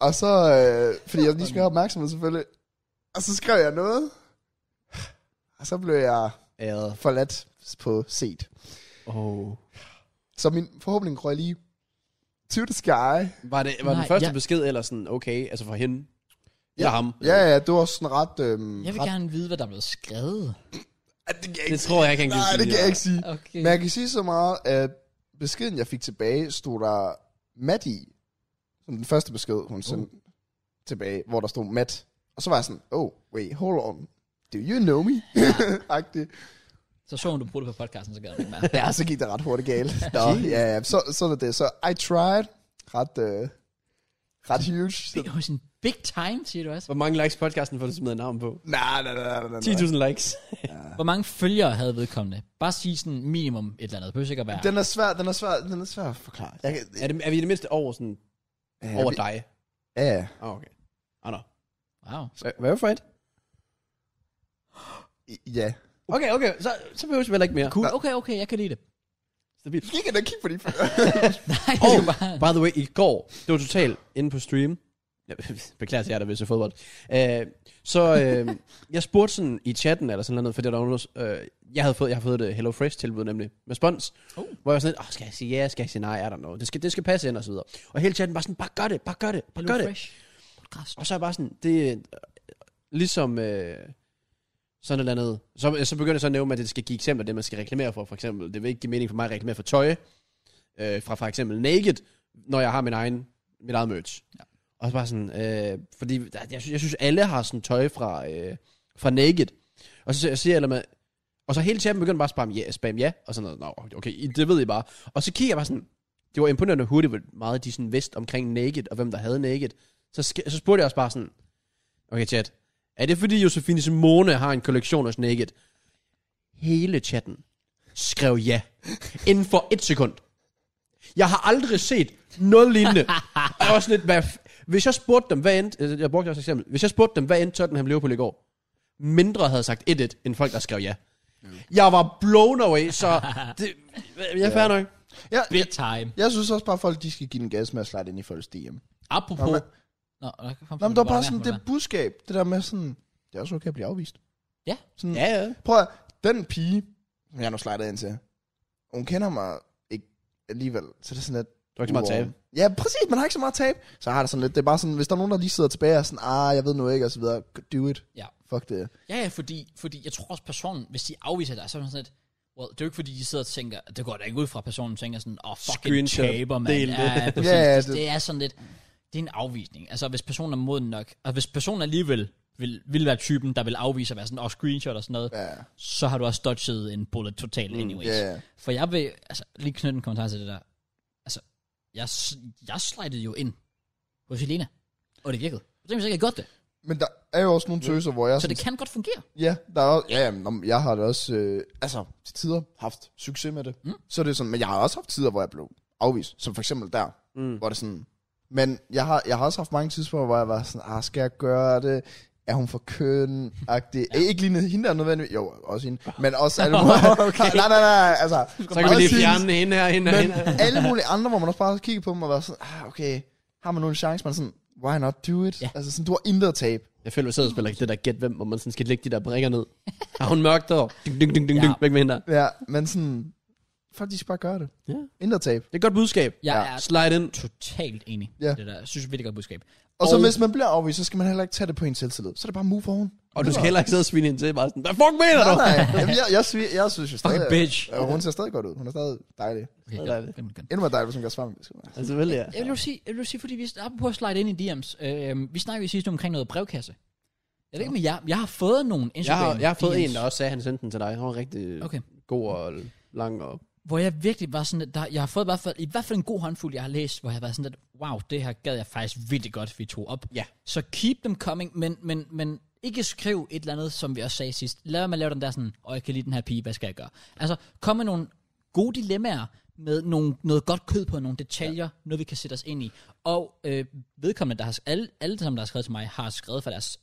Og så, øh, fordi jeg lige skal have opmærksomhed selvfølgelig. Og så skrev jeg noget. Og så blev jeg øh, Æret. forladt på set. Oh. Så min forhåbning røg lige to the sky. Var det var den Nej, første jeg- besked eller sådan, okay, altså fra hende? Eller ham? Ja, ja, det var sådan ret... Øhm, Jeg vil ret gerne vide, hvad der er blevet skrevet. Ej, det kan jeg Det ikke sige. tror jeg ikke, han kan Nej, det kan jeg ikke sige. Okay. Men jeg kan sige så meget, at beskeden, jeg fik tilbage, stod der Matt i. Som den første besked, hun sendte Oh. tilbage, hvor der stod Matt. Og så var jeg sådan, oh, wait, hold on. Do you know me? Agtigt. Så så hun, du brugte det på podcasten, så gør det ikke mere. Ja, så gik det ret hurtigt galt. Nå, ja, ja, så, så er det. Så I tried. Ret, øh, ret huge. Så, Det er jo sådan big time, siger du også. Hvor mange likes podcasten får du smidt navn på? nej, nej, nej, nej, nej. 10.000 likes. Hvor mange følgere havde vedkommende? Bare sige sådan minimum et eller andet. Det behøver sikkert være. Den er svær, den er svær, den er svær at forklare. Jeg, kan- Er, det, er vi i det mindste over, sådan, Ja, over vi- dig? Ja, ja. Ah, okay. Ah, no. Wow. Verified? I- ja. Okay, okay. Så, så behøver vi heller ikke mere. Cool. Okay, okay, jeg kan lide det. Stabilt. Skal ikke ind og kigge på de Nej, Og, det er bare... by the way, i går, det var totalt inde på stream. Jeg beklager til jer, der vil se fodbold. Øh, så øh, jeg spurgte sådan i chatten eller sådan noget, fordi der var noget, øh, jeg havde fået, jeg havde fået et HelloFresh tilbud nemlig, med spons, Oh. oh. hvor jeg var sådan lidt, oh, skal jeg sige ja, skal jeg sige nej, er der noget, det skal, det skal passe ind og så videre. Og hele chatten bare sådan, bare gør det, bare gør det, bare gør det. Fresh. Podcast. Og så er jeg bare sådan, det er øh, ligesom øh, sådan et eller andet. Så, så begynder jeg så at nævne, at det skal give eksempler, det man skal reklamere for, for eksempel. Det vil ikke give mening for mig at reklamere for tøj, øh, fra for eksempel Naked, når jeg har min egen, mit eget merch. Ja. Ja. Og så bare sådan, øh, fordi der, jeg, synes, jeg synes, alle har sådan tøj fra, øh, fra Naked. Og så siger jeg, eller man, og så hele chatten begynder bare at spamme ja, spam ja, og sådan noget. Nå, okay, I- det ved I bare. Og så kigger jeg bare sådan, det var imponerende hurtigt, hvor meget de sådan vidste omkring Naked, og hvem der havde Naked. Så, sk- så spurgte jeg også bare sådan, okay chat, er det fordi Josefine Simone har en kollektion af Naked? Hele chatten skrev ja, inden for et sekund. Jeg har aldrig set noget lignende. Og jeg var sådan lidt, hvad f- hvis jeg spurgte dem, hvad endte, altså, jeg brugte også et eksempel, hvis jeg spurgte dem, hvad endte Tottenham Liverpool i går, mindre havde sagt 1-1, end folk, der skrev ja. Jeg var blown away, så det, jeg er fair nok. ja, Big time. jeg synes også bare, at folk de skal give den gas med at slide ind i folks DM. Nå, Apropos... men, Nå, der kom nå, men der er bare sådan det budskab, det der med sådan, det er også okay at blive afvist. Ja. Sådan, Ja, ja. Prøv at, den pige, som jeg nu slider ind til, hun kender mig ikke alligevel, så det er sådan lidt... Du har ikke så meget at tabe. Ja, præcis, man har ikke så meget tab. Så jeg har det sådan lidt, det er bare sådan, hvis der er nogen, der lige sidder tilbage og er sådan, ah, jeg ved nu ikke, og så videre, do it. Ja. Fuck det. Ja, ja, fordi, fordi jeg tror også personen, hvis de afviser dig, så er man sådan lidt, well, det er jo ikke fordi, de sidder og tænker, det går da ikke ud fra at personen, tænker sådan, åh, oh, fucking Screenshot. taber, man. Del det. Ja, ja, præcis. Ja, ja, det, det- det, er sådan lidt, det er en afvisning. Altså, hvis personen er moden nok, og hvis personen alligevel vil, vil være typen, der vil afvise at være sådan, og screenshot og sådan noget, Ja. så har du også dodget en bullet total anyways. Mm, Ja, For jeg vil altså, lige knytte en kommentar til det der. Altså, jeg, s- jeg slidede jo ind hos Helena, og det virkede. Jeg tænkte, jeg godt det. Men der er jo også nogle tøser, hvor jeg... Så sådan- det kan godt fungere. Ja, der er også, ja, ja, nå, men jeg har det også, øh, altså til tider haft succes med det. Mm. Så er det sådan, men jeg har også haft tider, hvor jeg blev afvist, som for eksempel der, mm. hvor det sådan, men jeg har, jeg har også haft mange tidspunkter, hvor jeg var sådan, ah, skal jeg gøre det? Er hun for køn? Agtig. Ja. Ikke lige hende der nødvendigvis. Jo, også hende. Men også alle mulige. okay. Nej, nej, nej. Altså, Så kan vi lige også fjerne hende her, hende her, hende her. men alle mulige andre, hvor man også bare har kigget på dem og været sådan, ah, okay, har man nu en chance? Man er sådan, why not do it? Ja. Ja. Altså sådan, du har intet at tabe. Jeg føler, at jeg sidder og spiller det der gæt hvem, hvor man sådan skal lægge de der brikker ned. Har hun mørkt der? Ding, ding, ding, ding, Ja. ding. Væk med hende der. Ja, men sådan, folk de skal bare gøre det. Ja. Intet at tabe. Det er et godt budskab. Jeg Ja. er Slide ind. totalt enig Ja. i det der. Jeg synes, det er et virkelig godt budskab. Og så Og- hvis man bliver afvist, så skal man heller ikke tage det på en selvtillid. Så er det bare move on. Og du skal heller ikke sidde og svine hende til. Bare sådan, hvad fuck mener du? Nej, nej. Jamen, jeg, jeg, synes, jeg synes jo stadig... Fucking bitch. Ja, hun ser stadig godt ud. Hun er stadig dejlig. Okay, Sådan er ja, det. gennem, gennem. Endnu mere dejlig, hvis hun gør svamp. Altså, selvfølgelig, ja. Jeg vil jo sige, jeg vil jo sige fordi vi er på at slide ind i DM's. Øh, vi snakkede i sidste uge omkring noget brevkasse. Jeg ved ikke, men jeg, jeg har fået nogle Jeg Instagram har, jeg har fået DM's, en, der også sagde, at han sendte den til dig. Han var rigtig Okay. okay. god og lang. Og... Hvor jeg virkelig var sådan, at der, jeg har fået i hvert, fald, i hvert fald en god håndfuld, jeg har læst, hvor jeg har været sådan, at wow, det her gad jeg faktisk virkelig godt, vi tog op. Ja. Så keep them coming, men, men, men ikke skriv et eller andet, som vi også sagde sidst. Lad være med at lave den der sådan, og jeg kan lide den her pige, hvad skal jeg gøre? Altså, kom med nogle gode dilemmaer, med nogle, noget godt kød på, nogle detaljer, ja. noget vi kan sætte os ind i. Og øh, vedkommende, der har, alle, alle som der har skrevet til mig, har skrevet for deres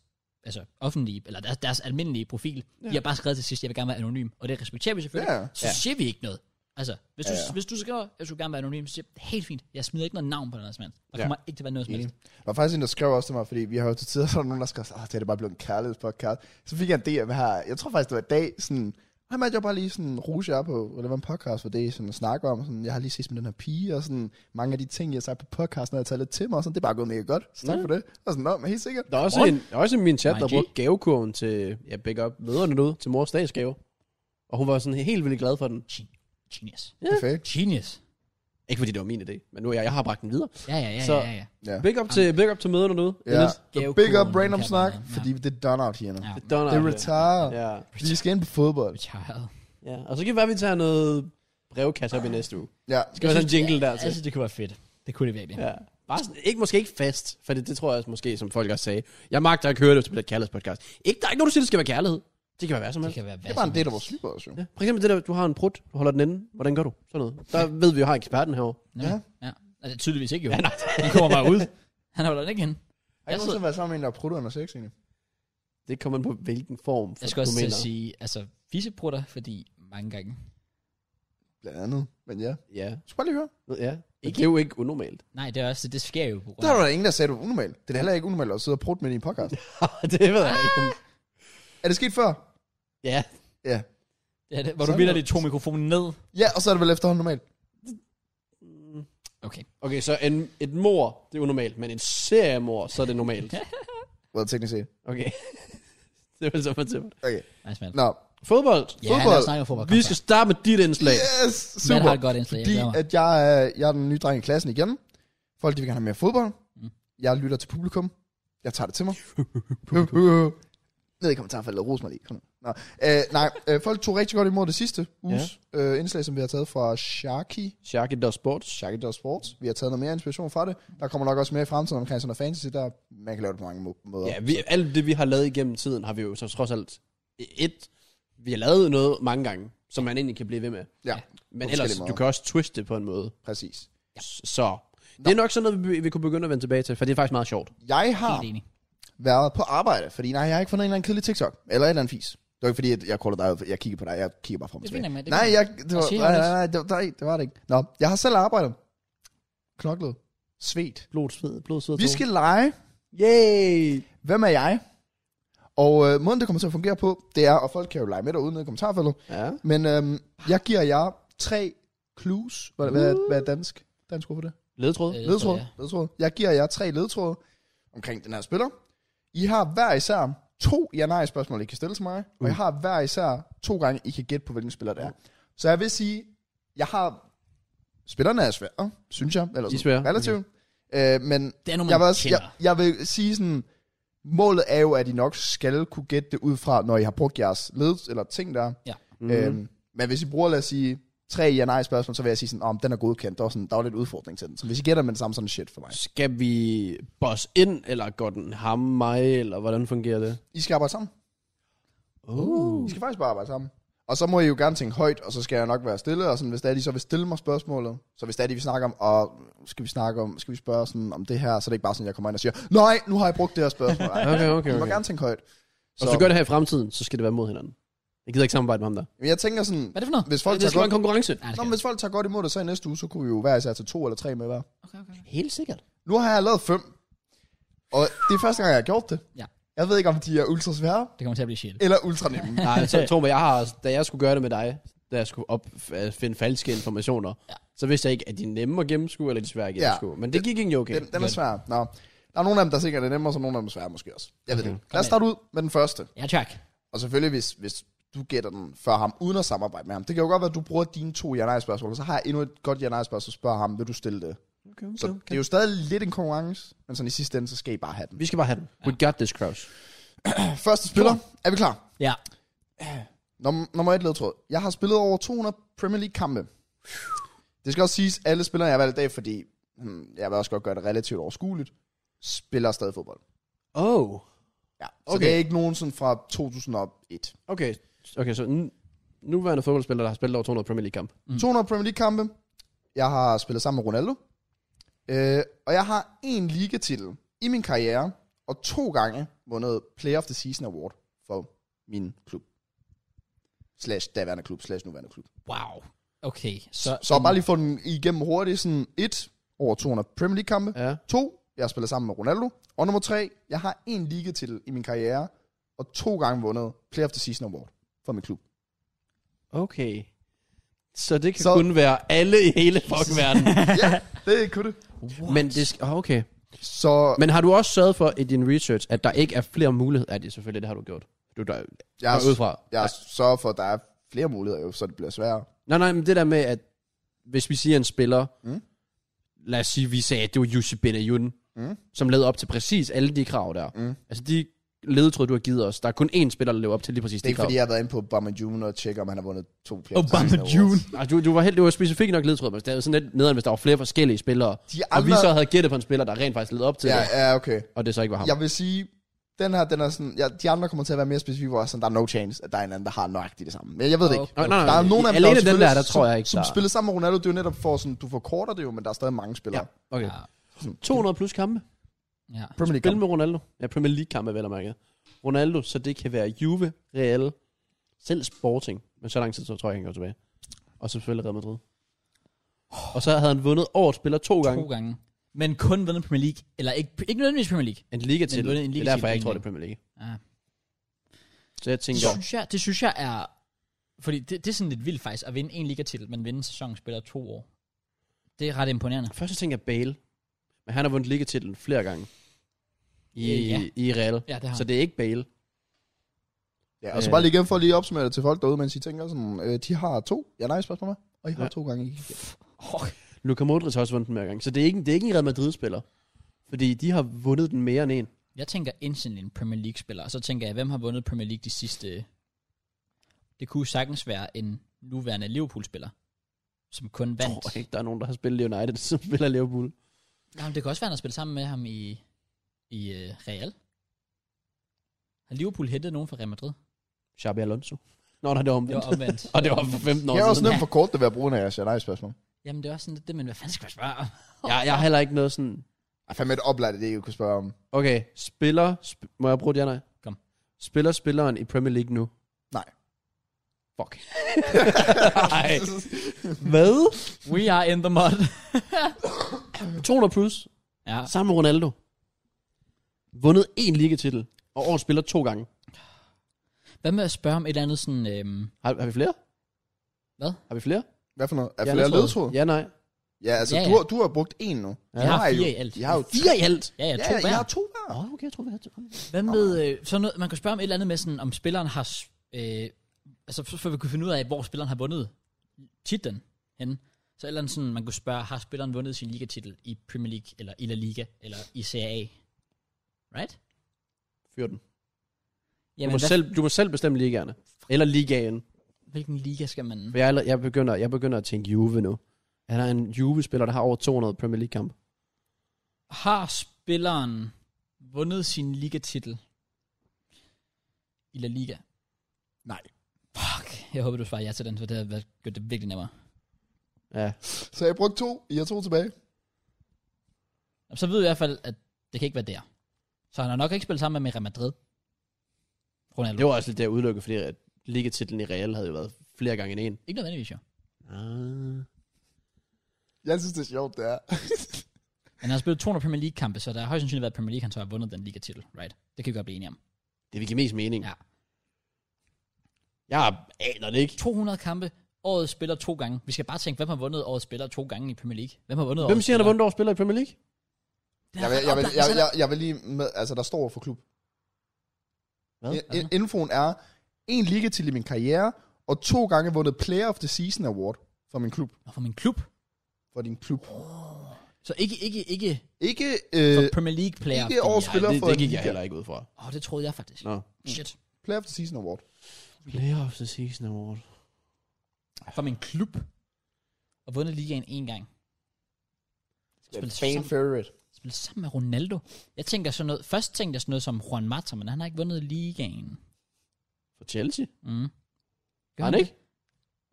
altså offentlige, eller deres, deres almindelige profil. Ja. De har bare skrevet til sidst, jeg vil gerne være anonym, og det respekterer vi selvfølgelig. Ja. Så ja. siger vi ikke noget. Altså, hvis du, Ja, ja. hvis du skriver, jeg skulle gerne være anonym, så siger jeg, helt fint, jeg smider ikke noget navn på den her mand. Der kommer ikke til at være noget som helst. Der var faktisk en, der skrev også til mig, fordi vi har jo til tider sådan nogen, der skrev, at det er da bare blevet en kærlighedspodcast. Så fik jeg en DM her, jeg tror faktisk, det var i dag, sådan, hej mand, jeg var bare lige sådan ruse jer på, eller det var en podcast for det, sådan at snakke om, sådan, jeg har lige set med den her pige, og sådan, mange af de ting, jeg har sagt på podcasten, har jeg taget lidt til mig, og sådan, det er bare gået mega godt, så tak for det. Og sådan, nå, men helt sikkert. Der er også, What? en, der er også en i min chat, der YG. brugte gavekurven til, ja, begge op møderne nu, til mors dagsgave. Og hun var sådan helt vildt glad for den. Gen- Genius. Perfekt. Genius. Ikke fordi det var min idé, men nu er jeg, jeg har bragt den videre. Ja, ja, ja, Så- ja, ja, ja. Ja. Big up til, big up til møderne nu. Ja, Gavekurven, så big up random kan snak, man- ja. fordi det er done out here nu. ja. Donner, Det er retire. Ja. Vi skal ind på fodbold. Child. ja. Og så kan det være, at vi tager noget brevkasse op i næste uge. Ja, Skal vi have sådan en jingle der Jeg til? synes, det kunne være fedt. Det kunne det virkelig. Ja. Bare sådan, ikke, måske ikke fast, for det, det tror jeg også måske, som folk også sagde. Jeg magter ikke høre det, hvis det bliver et kærlighedspodcast. Ikke, der er ikke nogen, der siger, det skal være kærlighed. Det kan være hvad som Det helst. kan være det hvad er bare en som del helst. af vores liv også, jo. Ja. For eksempel det der, du har en prut, du holder den inde. Hvordan gør du? Sådan noget. Der ved vi jo, har eksperten herovre. Nå, Ja. Ja. Altså, tydeligvis ikke jo. Ja, nej. kommer bare ud. Han holder den ikke hende. Har I Jeg nogensinde været sammen med en, der er prutter under sex, egentlig? Det kommer an på, hvilken form for Jeg skal også til domæner. at sige, altså, fiseprutter, fordi mange gange. Blandt andet, men ja. Ja. Skal bare lige høre. ja. Ikke. Det er jo ikke unormalt. Nej, det er også, det sker jo på grund Der er af. der ingen, der sagde, du var unormalt. Det er da heller ikke unormalt at sidde og prutte med din podcast. det ved jeg ikke. er det sket før? Ja. Ja. Ja, det, hvor du Sådan vinder noget. de to mikrofoner ned. Ja, og så er det vel efterhånden normalt. Okay. Okay, så en, et mor, det er unormalt, men en seriemor, så er det normalt. Well, teknisk set. Okay. det var så for til. Okay. Nice, man. Nå. Fodbold. Ja, fodbold. lad os snakke om fodbold. Vi skal starte med dit indslag. Yes, Super. Man Øh, super. har et godt indslag. Fordi jeg glæder mig. at jeg, er- jeg er den nye dreng i klassen igen. Folk, de vil gerne have mere fodbold. Mm. Jeg lytter til publikum. Jeg tager det til mig. Ned i kommentarfeltet, ros mig lige. Kom nu. Nå. Øh, nej, øh, folk tog rigtig godt imod det sidste uges ja. øh, indslag, som vi har taget fra Sharky. Sharky Dog Sports. Sharky Dog Sports. Vi har taget noget mere inspiration fra det. Der kommer nok også mere i fremtiden omkring sådan noget fantasy, der man kan lave det på mange må- måder. Ja, vi, alt det, vi har lavet igennem tiden, har vi jo så trods alt et. Vi har lavet noget mange gange, som man egentlig kan blive ved med. ja Men På ellers, forskellige du kan også twiste det på en måde. præcis. Så det er nok sådan noget, vi, vi kunne begynde at vende tilbage til, for det er faktisk meget sjovt. Jeg har Helt enig. været på arbejde, fordi nej, jeg har ikke fundet en eller anden kedelig TikTok, eller et eller andet fis. Det var ikke fordi, at jeg callede dig ud, jeg kigger på dig, jeg kigger bare frem og Det tilbage. finder man, det nej, finder jeg, det Og siger var, nej, det nej, nej, det var, nej, det var det ikke. Nå, jeg har selv arbejdet. Knoklet. Svedt. Blod, sved, blod, sved, Vi skal lege. Yay! Hvem er jeg? Og øh, måden, det kommer til at fungere på, det er, og folk kan jo lege med derude nede i kommentarfeltet, Ja. men øhm, jeg giver jer tre clues. Hvad, hvad, hvad er dansk? Dansk ord for det? Ledtråd. Øh, Ledtråd. ja. Ledtråd. Jeg giver jer tre ledtråde omkring den her spiller. I har hver især to ja-nej-spørgsmål, I kan stille til mig, og jeg har hver især to gange, I kan gætte på, hvilken spiller det er. Så jeg vil sige, jeg har... Spillerne er svære, synes jeg. Eller De sådan, er svære, Relativt. Okay. Øh, men Det er nogen, jeg vil, man også, jeg, kender. jeg vil sige sådan, målet er jo, at I nok skal kunne gætte det ud fra, når I har brugt jeres led eller ting der. Ja. Mm-hmm. Øhm, men hvis I bruger, lad os sige, tre ja-nej-spørgsmål, så vil jeg sige sådan, om oh, den er godkendt, der var, sådan, der var lidt udfordring til den. Så hvis I gætter med det samme, sådan shit for mig. Skal vi boss ind, eller går den ham, mig, eller hvordan fungerer det? I skal arbejde sammen. Oh. I skal faktisk bare arbejde sammen. Og så må I jo gerne tænke højt, og så skal jeg nok være stille, og sådan, hvis det er, de så vil stille mig spørgsmålet, så hvis det er, de vil snakke om, og skal vi snakke om, skal vi spørge sådan om det her, så er det ikke bare sådan, jeg kommer ind og siger, nej, nu har jeg brugt det her spørgsmål. Ej, Okay, okay, I må okay. gerne tænke højt. Og hvis du gør det her i fremtiden, så skal det være mod hinanden. Jeg gider ikke samarbejde med ham der. Men jeg tænker sådan, Hvad er det for noget? hvis folk, det tager skal være godt, en konkurrence. Nej, det Nå, skal men hvis folk tager godt imod det, så i næste uge, så kunne vi jo hver især til to eller tre med hver. Okay, okay. Helt sikkert. Nu har jeg lavet fem, og det er første gang, jeg har gjort det. Ja. Jeg ved ikke, om de er ultra svære Det kommer til at blive sjældent. eller ultra nemme. Nej, så tror jeg, jeg har, da jeg skulle gøre det med dig, da jeg skulle op, f- øh, finde falske informationer, Ja. ja. så vidste jeg ikke, at de er nemme at gennemskue, eller de er svære at gennemskue. Ja. Men det gik ikke okay. Den, den er svær. Nå. Der er nogle af dem, der sikkert er nemmere, og så nogle af dem er svære måske også. Jeg ved det. ikke. Lad Kom os starte ud med den første. Ja, tak. Og selvfølgelig, hvis, hvis du gætter den før ham, uden at samarbejde med ham. Det kan jo godt være, at du bruger dine to ja-nej-spørgsmål, og så har jeg endnu et godt ja-nej-spørgsmål, så spørger ham, vil du stille det? Okay, okay, Så okay. det er jo stadig lidt en konkurrence, men sådan i sidste ende, så skal I bare have den. Vi skal bare have den. We got this, Kraus. Første spiller, er vi klar? Ja. Num- nummer et ledtråd. Jeg har spillet over 200 Premier League-kampe. Det skal også siges, alle spillere, jeg har valgt i dag, fordi hmm, jeg vil også godt gøre det relativt overskueligt, spiller stadig fodbold. Oh. Ja. Så Okay. okay. det er ikke nogen sådan fra 2001. Okay, okay så n- nuværende fodboldspiller, der har spillet over 200 Premier League-kamp. Mm. 200 Premier League-kampe. Jeg har spillet sammen med Ronaldo. Øh, og jeg har en ligatitel i min karriere, og to gange vundet Player of the Season Award for min klub. Slash daværende klub, slash nuværende klub. Wow. Okay, så... Så bare lige få den igennem hurtigt. Sådan et, over 200 Premier League-kampe. Ja. To, jeg har spillet sammen med Ronaldo. Og nummer tre, jeg har en ligatitel i min karriere, og to gange vundet Player of the Season Award for min klub. Okay. Så det kan Så- så... kun være alle i hele fucking verden. ja, det kunne det. Men det skal, oh, okay. Så Men har du også sørget for i din research, at der ikke er flere muligheder? Ja, det er selvfølgelig, det har du gjort. Du der, jeg har ud fra. Jeg sørger for, at der er flere muligheder, jo, så det bliver sværere. Nej, nej, men det der med, at hvis vi siger en spiller, Mm. mm. lad os sige, vi sagde, at det var Jussi Benayoun, Mm. mm. som led op til præcis alle de krav der. Mm. Altså de ledetråd, du har givet os, der er kun én spiller, der lever op til lige præcis Det er de ikke, krav. fordi jeg har været inde på Obama June og tjekke, om han har vundet to Player of the Obama Season Awards. June. Altså, du, du var helt, det var specifikt nok ledetråd, men det er sådan lidt nederen, hvis der var flere forskellige spillere. De Og vi andre... så havde gættet på en spiller, der rent faktisk led op til Ja, det, ja, okay. og det så ikke var ham. Jeg vil sige, den her, den er sådan... Ja, de andre kommer til at være mere specifikke, hvor jeg er sådan, der er no chance, at der er en anden, der har nøjagtigt det samme. Men jeg ved det Okay. ikke. Nå, nej, nej, Der er i- nogen af dem, alene også den der, spillet- der tror jeg ikke, Som, der... som spillede sammen med Ronaldo, det er jo netop for sådan, du forkorter det jo, men der er stadig mange Ja, spillere. okay. Ja. 200 plus kampe. Ja. Premier League Spil med Ronaldo. Ja, Premier League kampe vel og mærket. Ronaldo, så det kan være Juve, Real, selv Sporting. Men så lang tid, så tror jeg, han går tilbage. Og selvfølgelig Real Madrid. Og så havde han vundet årets spiller to gange. To gange. Men kun vundet Premier League. Eller ikke, ikke nødvendigvis Premier League. En liga til. Men vundet en Det er ligatitel derfor, jeg ikke tror, en det er Premier League. Ja. Så jeg Det tænker, synes, jeg, det synes jeg er... Fordi det, det er sådan lidt vildt faktisk, at vinde en ligatitel, men vinde en sæson spiller to år. Det er ret imponerende. først så tænker jeg Bale. Men han har vundet ligatitlen flere gange. I, Ja. i, i Real. Ja, det har Så han. det er ikke Bale. Ja, og så bare lige igen for at lige opsummere det til folk derude, mens I tænker sådan, øh, de har to, ja nej, spørgsmål med, og I har Ja. to gange i. Oh, Luka Modric har også vundet den mere gange. Så det er ikke, det er ikke en Real Madrid-spiller. Fordi de har vundet den mere end en. jeg tænker instantly en Premier League-spiller, og så tænker jeg, hvem har vundet Premier League de sidste... Det kunne sagtens være en nuværende Liverpool-spiller, som kun Jeg vandt. tror ikke, der er nogen, der har spillet United, som spiller Liverpool. Jamen, det kan også være, han har spillet sammen med ham i, i uh, Real. Har Liverpool hentet nogen fra Real Madrid? Xabi Alonso. Nå, nej, det var Det omvendt. var omvendt. Og det var for 15 år Jeg er også siden. nemt for kort, det ved at bruge, når jeg siger nej, spørgsmål. Jamen, det er også sådan lidt det, men hvad fanden skal jeg spørge om? Jeg, jeg har heller ikke noget sådan... Ej, fandme et oplagt, det jeg kunne spørge om. Okay, spiller... Sp- må jeg bruge det, ja, nej? Kom. Spiller spilleren i Premier League nu? Nej. Fuck. nej. Hvad? We are in the mud. 200 plus. ja, Sammen med Ronaldo. Vundet én ligatitel. Og årets spiller to gange. hvad med at spørge om et eller andet sådan... Øhm, Har, har vi flere? Hvad? Har vi flere? Hvad for noget? Er Ja, flere det tror jeg. ledtråd? Ja, nej. Ja, altså, Ja, ja, ja. ja. Du, har, du har brugt en nu. Ja. jeg har jo- fire i alt. Jeg har jo Fire i alt. Ja, ja, Ja, to ja, hver. jeg har to hver. Åh, oh, okay, jeg tror, vi havde to. Hvad med, øh, sådan noget, man kan spørge om et eller andet med, sådan, om spilleren har, s- øh, altså for, for vi kunne finde ud af, hvor spilleren har vundet titlen henne. Så et eller andet sådan, man kunne spørge, har spilleren vundet sin ligatitel i Premier League, eller i La Liga, eller i Serie A? Right? Fyr den. Du Jamen, må, hvad, selv, du må selv bestemme ligaerne. Eller ligaen. hvilken liga skal man... For jeg, er allerede- jeg, begynder, jeg begynder at tænke Juve nu. Han er en Juve-spiller, der har over 200 Premier League-kampe. Har spilleren vundet sin ligatitel i La Liga? Nej. Fuck, jeg håber, du svarer ja til den, for det har været- gjort det virkelig nemmere. Ja. Så jeg brugte to, I har to tilbage. Så ved vi i hvert fald, at det kan ikke være der. Så han har nok ikke spillet sammen med Real Madrid. Ronaldo. Det var også lidt det, jeg udelukkede, fordi at ligatitlen i Real havde jo været flere gange end en. Ikke nødvendigvis, jo. Ah. Jeg synes, det er sjovt, det er. Men han har spillet 200 Premier League-kampe, så der har højst sandsynligt været Premier League, han så har vundet den ligatitel, right? Det kan vi godt blive enige om. Det vil give mest mening. Ja. Jeg aner det ikke. 200 kampe, året spiller to gange. Vi skal bare tænke, hvem har vundet året spiller to gange i Premier League? Hvem har vundet Hvem årets siger, han har spiller? vundet over spiller i Premier League? Det er Jeg vil, ret jeg, vil, oplagt, jeg, hvis han- jeg, jeg vil lige med, altså der står for klub. Hvad? I- i- Infoen er, en ligatitel i min karriere, og to gange vundet Player of the Season Award for min klub. Nå, for min klub. For din klub. Så ikke, ikke, ikke Ikke, for øh, Premier League-player. ikke årets Åh, spiller det, for det en gik jeg liga. heller ikke ud fra. oh, det troede jeg faktisk. Nå. Shit. Player of the Season Award. Player of the season award. For min klub. Og vundet ligaen en gang. Spillet sammen- favorite. spille sammen med Ronaldo. Jeg tænker sådan noget, først tænkte jeg sådan noget som Juan Mata, men han har ikke vundet ligaen. For Chelsea? Mm. Har han ikke?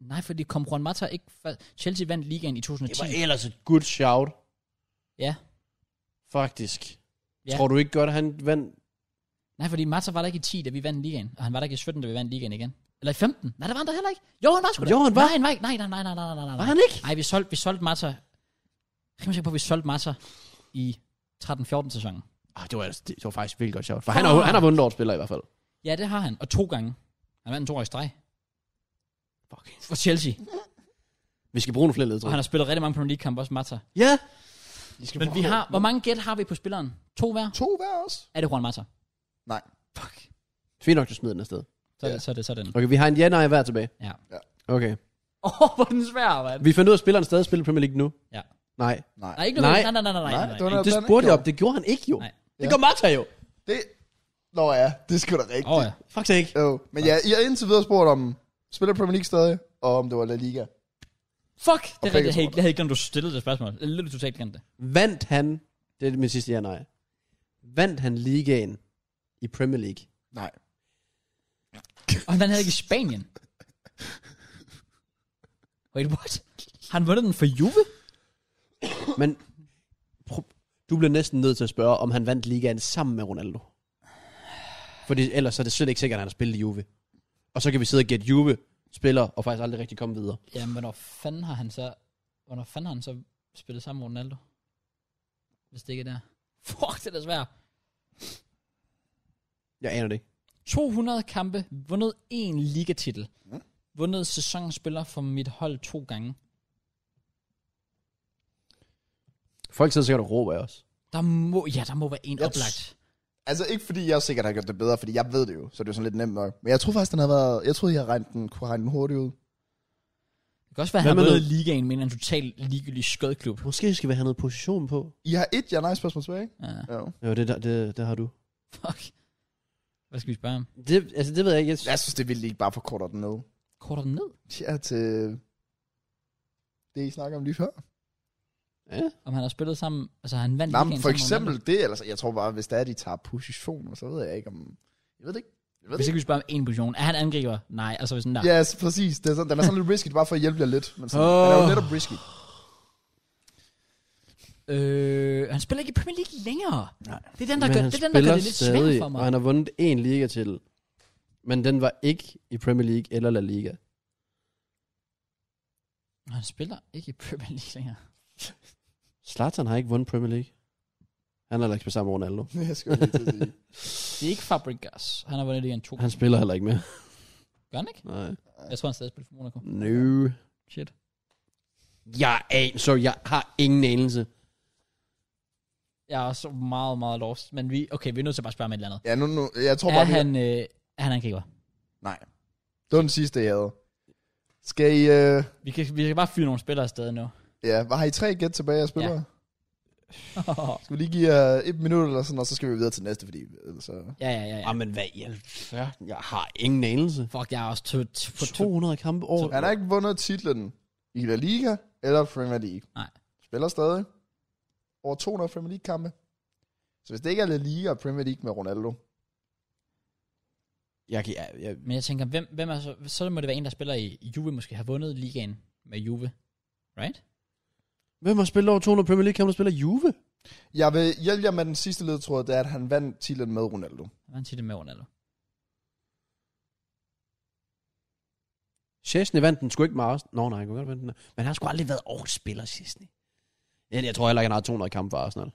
Det? Nej, fordi kom Juan Mata ikke først. Chelsea vandt ligaen i 2010. Det var ellers et good shout, Ja, faktisk. Ja. Ja. Tror du ikke godt, han vandt? nej, fordi Mata var der ikke i 10, da vi vandt ligaen, og han var der ikke i 17, da vi vandt ligaen igen. Eller i 15. Nej, der var han der heller ikke. Jo, han var sgu da. Jo, han var. Nej, han var ikke. Nej, nej, nej, nej, nej, nej, nej. Var han ikke? Nej, vi solgte, vi solgte Mata. Jeg kan sikker på, at vi solgte Mata i 13-14 sæsonen. Ah, det, var, ellers- det, det var faktisk et vildt godt shout. For han, har, han har vundet over spiller i hvert fald. Ja, det har han. Og to gange. Han vandt to år i streg. Fuck. For Chelsea. Vi skal bruge nogle flere Og ledtråde. han har spillet rigtig mange Premier League-kampe, også Mata. Ja. Men vi har, hvor mange gæt har vi på spilleren? To hver? To hver også. Er det Juan Mata? Nej. Fuck. Fint nok, du smider den afsted. Så er Ja. det, så er det sådan. Okay, vi har en ja-nej hver tilbage. Ja. Okay. Åh, oh, hvor er den svær, mand. Vi fandt ud af, at spilleren stadig spiller Premier League nu. Ja. Nej. Nej. Nej, ikke noget. Nej, Nej. nej, nej, nej, nej. Nej, nej, det var nej. noget- Det han spurgte jeg gjorde. om. Det gjorde han ikke jo. Nej. Nej. Ja. Det gør Marta jo. Det, nå ja, det er sgu da rigtigt. Åh, ja. Fuck sake. Jo, men ja, I har indtil videre spurgt om, spiller Premier League stadig, og om det var La Liga. Fuck, det begge er rigtigt. Jeg havde tror ikke- jeg havde ikke glemt, du stillede det spørgsmål. Jeg havde lidt totalt glemt det. Vandt han... Det er min sidste ja-nej. Vandt han ligaen i Premier League? Nej. Og han vandt heller ikke i Spanien. Wait, what? Har han vundet den for Juve? Men pro- Du bliver næsten nødt til at spørge, om han vandt ligaen sammen med Ronaldo. Fordi ellers er det slet ikke sikkert, at han har spillet i Juve. Og så kan vi sidde og gætte Juve spiller, og faktisk aldrig rigtig komme videre. Jamen, hvornår fanden har han så... Hvornår fanden har han så spillet sammen med Ronaldo? Hvis det ikke er der. Fuck, det er da svært. Jeg aner det ikke. 200 kampe, vundet en ligatitel. Mm. Vundet sæsonens spiller for mit hold to gange. Folk sidder sikkert og råber af os. Der må, ja, der må være en Jeg oplagt. Altså ikke fordi jeg sikkert har gjort det bedre, fordi jeg ved det jo, så det er jo sådan lidt nemt nok. Men jeg tror faktisk, den har været, jeg troede, jeg havde regnet den, kunne regne den hurtigt ud. Det kan også være, at Hvad han har med været i ligaen med en total ligegyldig skødklub. Måske skal vi have noget position på. I har et ja nej spørgsmål tilbage, ikke? Ja, Jo. Jo, det, der, det, det har du. fuck. Hvad skal vi spørge om? Det, altså, det ved jeg ikke. Jeg, Jeg synes, det ville ikke bare forkorte den ned. Korter den ned? Ja, til det, I snakker om lige før. ja. Om han har spillet sammen... Altså, han vandt Nej, ligaen for sammen med eksempel Ronaldo. det, eller så- jeg tror bare, hvis det er, de tager positioner, så ved jeg ikke om... Jeg ved det ikke. Jeg ved det Hvis ikke. ikke vi spørger om en position. Er han angriber? Nej, altså hvis sådan der. Ja, yes, præcis. Det er sådan, den er sådan lidt risky, det er bare for at hjælpe jer lidt. Men sådan, den er jo Åh. netop risky. Øh, han spiller ikke i Premier League længere. Nej. Det er den, der, Men gør han det, er den, der gør spiller det lidt svært stadig, for mig. Og han har vundet en liga til. Men den var ikke i Premier League eller La Liga. Han spiller ikke i Premier League længere. Zlatan har ikke vundet Premier League. Han har heller ikke spillet sammen med Ronaldo. Jeg skal jo lige til at sige. Det er ikke Fabregas. Han har vundet ligaen to gange. Han spiller heller ikke mere. Gør han ikke? Nej. Jeg tror, han stadig spiller for Monaco. No. Shit. Jeg aner, så jeg har ingen anelse. Jeg er så meget, meget lost. Men vi, okay, vi er nødt til at bare spørge om et eller andet. Ja, nu, nu, jeg tror Er bare, vi- han, øh, er han angriber? Nej. Det var den sidste, jeg havde. Skal I... Øh... Vi kan, vi kan bare fyre nogle spillere afsted nu. Ja, hvad har I tre gæt tilbage af spillere? Ja. Ja. Skal vi lige give jer et minut eller sådan, og så skal vi videre til næste, fordi ellers så... ja, ja, ja. ja. Jamen, hvad i alverden? Jeg har ingen anelse. Fuck, jeg er også tødt. på to. 200 kampe over. Han har ikke vundet titlen i La Liga eller Premier League. Nej. Spiller stadig over 200 Premier League-kampe. Så hvis det ikke er La Liga og Premier League med Ronaldo, Jeg, kan, jeg, jeg, Men jeg tænker, hvem, hvem er så, så må det være en, der spiller i i Juve, måske har vundet ligaen med Juve. Right? hvem har spillet over 200 Premier League kampe, der spiller Juve? jeg vil hjælpe jer med den sidste ledtråd, det er, at han vandt titlen med Ronaldo. Hvad siger det med Ronaldo? Chesney vandt den sgu ikke meget. Nå nej, han kunne godt vinde den. Men han har sgu aldrig været årets spiller, Chesney. Jeg, jeg tror heller ikke, han har 200 kampe for Arsenal.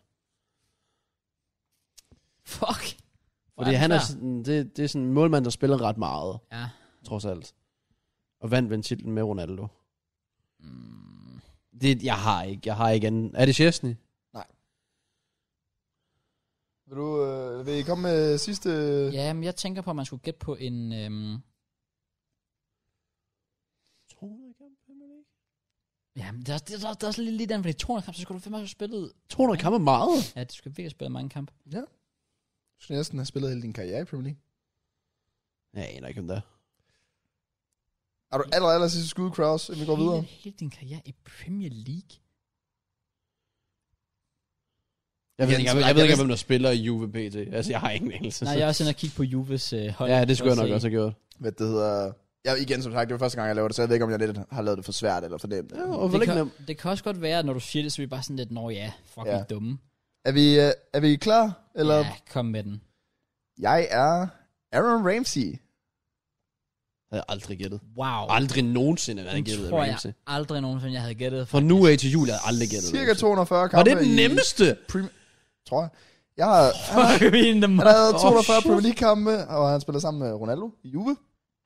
Fuck. Hvor Fordi den han er svær. sådan, det, det er sådan en målmand, der spiller ret meget, Ja. trods alt. Og vandt ved titlen med Ronaldo. Mm. Det, jeg har ikke, jeg har ikke anden. Er det Chesney? Vil, du, øh, vil I komme med sidste... Ja. Ja, men jeg tænker på, at man skulle gætte på en... Øhm, 200 kampe Premier League? ja, men der, er- der, der, der er også lige, lige den, fordi 200 kampe, så skulle du fandme have spillet... 200 kampe er meget. Ja, du skulle virkelig have spillet mange kampe. Du skal næsten have spillet hele din karriere i Premier League. Jeg aner ikke, om det er. Er du aller, aller sidste skud, Kraus, inden vi går videre? Hele, hele din karriere i Premier League. Jeg ved, Jens, ikke, jeg, jeg, jeg jeg ved ikke, vidste- hvem der spiller i Juve PT. Altså, jeg har ingen anelse. Nej, jeg er også inde og kigge på Juves øh, hold. ja, det skulle for jeg at nok se. også have gjort. hvad det hedder... Jeg, igen, som sagt, det var første gang, jeg lavede det, så jeg ved ikke, om jeg lidt har lavet det for svært eller for nemt. Ja, og Det det kan... kan, det kan også godt være, at når du siger det, så er vi bare sådan lidt, Nå ja, fucking ja. Ja. dumme. Er, vi, øh, er vi klar? Eller? Ja, kom med den. Jeg er Aaron Ramsey. Jeg havde aldrig gættet. Wow. Aldrig nogensinde været den gættet af tror Ramsey. jeg aldrig nogensinde, jeg havde gættet. Fra nu af til jul jeg havde jeg aldrig gættet Cirka 240 kampe Var det den i nemmeste? Prem- tror jeg. Jeg har, Fuck, vi er in the han har havde Åh, 240 shit. Premier League-kampe, og han spiller sammen med Ronaldo i Juve.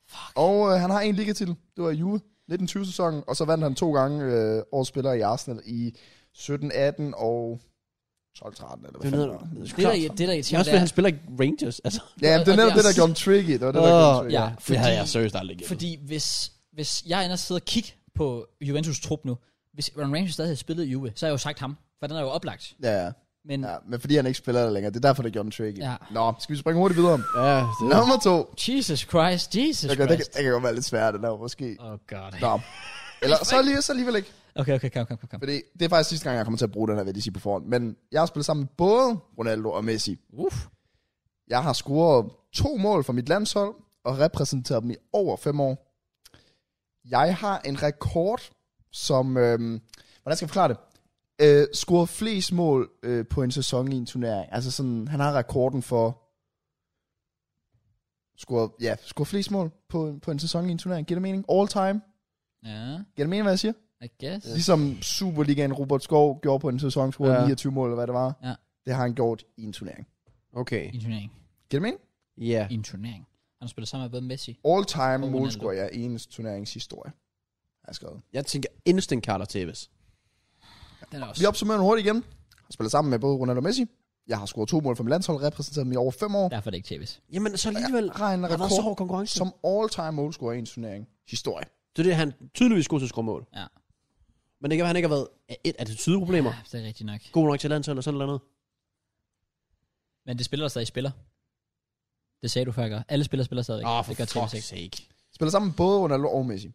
Fuck. Og øh, han har en ligatitel. Det var i Juve. 1920-sæsonen. Og så vandt han to gange øh, årets spiller i Arsenal i 17-18 og 12-13. Eller hvad Det er fanden noget- det var. Det, der, det, der Det er irriterer, også, det fordi er, han spiller ikke Rangers. Altså, Ja, men det er Og netop det det, er- der gjorde ham tricky. Det var det, der gjorde ham oh, tricky. ja, ja, fordi- det havde jeg seriøst aldrig gættet. fordi hvis, hvis jeg ender og sidder og kigger på Juventus' trup nu, hvis Aaron Ramsey stadig havde spillet i Juve, så har jeg jo sagt ham, for den er jo oplagt. Ja, ja. Men ja. Ja, men fordi han ikke spiller der længere, det er derfor, det gjorde den tricky. Ja. Ja. Nå, skal vi springe hurtigt videre? Ja, det, Nummer to. Jesus Christ, Jesus Det kan, det, kan, Christ. det kan godt være lidt svært, den der måske. Oh god. Nå. Eller så, lige, så alligevel ikke. Okay, okay, kom, kom, kom. kom. Fordi det er faktisk sidste gang, jeg kommer til at bruge den her, vil jeg lige sige på forhånd. Men jeg har spillet sammen med både Ronaldo og Messi. Uff. Jeg har scoret to mål for mit landshold og repræsenteret dem i over fem år. Jeg har en rekord, som... Øhm, hvordan skal jeg forklare det? øh, scorer flest mål øh, på en sæson i en turnering. Altså sådan, han har rekorden for score, ja, score flest mål på, på en sæson i en turnering. Giver det mening? All time? Ja, Giver det mening, hvad jeg siger? I guess. Ligesom Superligaen Robert Skov gjorde på en sæson, scorede Ja. ja. 29 mål, eller hvad det var. Ja. Det har han gjort i en turnering. Okay. I en turnering. Giver det mening? Ja. I en turnering. Han spiller sammen med både Messi. All time Og målscorer ja, i en turneringshistorie. Har jeg skrevet. Jeg tænker instant Carter Tevez. Den er også... Vi opsummerer den hurtigt igen. Har spillet sammen med både Ronaldo og Messi. Jeg har scoret to mål for mit landshold, repræsenteret dem i over fem år. Derfor er det ikke Tevez. Jamen, så alligevel Jeg regner har der været så hård rekord konkurrence. Som... som all-time målscorer i en turnering. Historie. Det er det, han tydeligvis god til at skrue mål. Ja. Men det kan være, han ikke har været af et attitudeproblemer. Ja, det er rigtigt nok. God nok til landshold eller sådan noget. Men det spiller der stadig spiller. Det sagde du før, gør. Alle spillere spiller stadig. Åh, det gør Tevez ikke. Ah, sake. Spiller sammen med både Ronaldo og Messi.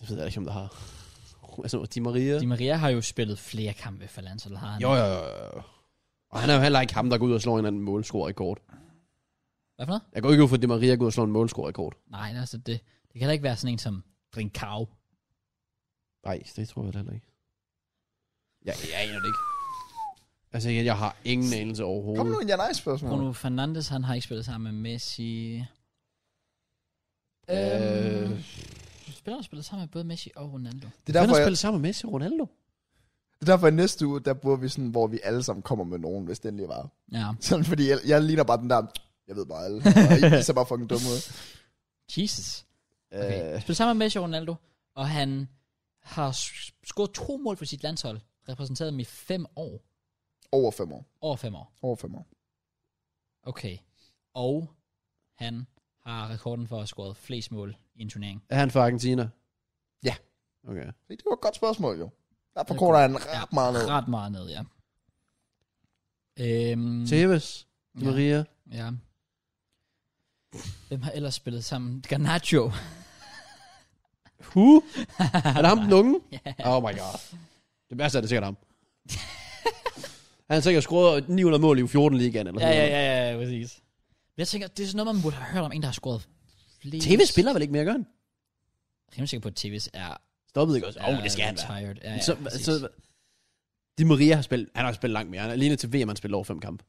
Det ved jeg ikke, om der har. altså, Di Maria. Di Maria har jo spillet flere kampe for landsholdet, har han? Jo, jo, jo, jo. Og han er jo heller ikke ham, der går ud og slår en eller anden målscorerekord. Hvad for noget? Jeg går ikke ud for, at Di Maria går ud og slår en målscorerekord. Nej, altså det, det kan da ikke være sådan en som Drinkau. Nej, det tror jeg da heller ikke. Jeg, jeg aner det ikke. Altså, jeg, jeg har ingen anelse Kom nu overhovedet. en ja nej spørgsmål. Bruno Fernandes, han har ikke spillet sammen med Messi. Øh, Øhm, spiller og spiller sammen med både Messi og Ronaldo. Det er derfor, han har jeg, spillet sammen med Messi og Ronaldo. det er derfor at næste uge, der burde vi sådan, hvor vi alle sammen kommer med nogen, hvis den lige var. Ja. Sådan, fordi jeg, jeg ligner bare den der, jeg ved bare alle. Og I ser bare fucking dumme ud. Jesus. Okay. Øh, Spiller sammen med Messi og Ronaldo, og han har s- scoret to mål for sit landshold, repræsenteret dem i fem år. Over fem år. Over fem år. Over fem år. Okay. Og han har rekorden for at have scoret flest mål i en turnering. er han fra Argentina? Ja. Mm. Okay. Se, Det var et godt spørgsmål, jo. Der på Det er kort er en ret meget ned. Ret meget ned, ja. Øhm, Tevez, Di ja, Maria. ja. Hvem har ellers spillet sammen? Garnacho. Who? Er det ham den unge? Oh my god. Det værste er det er sikkert ham. han har sikkert scoret 900 mål i 14 ligaen eller ja, sådan ja, ja, ja, præcis. Men jeg tænker, det er sådan noget, man burde have hørt om en, der har scoret flere. TV spiller vel ikke mere, gør han? Jeg er rimelig sikker på, at Tevis er... Stoppede ikke også? Åh, oh, er det skal han være. retired. Ja, ja, så, præcis. så, Di Maria har spillet, han har spillet langt mere. Han er alene til VM, han spillede over fem kampe.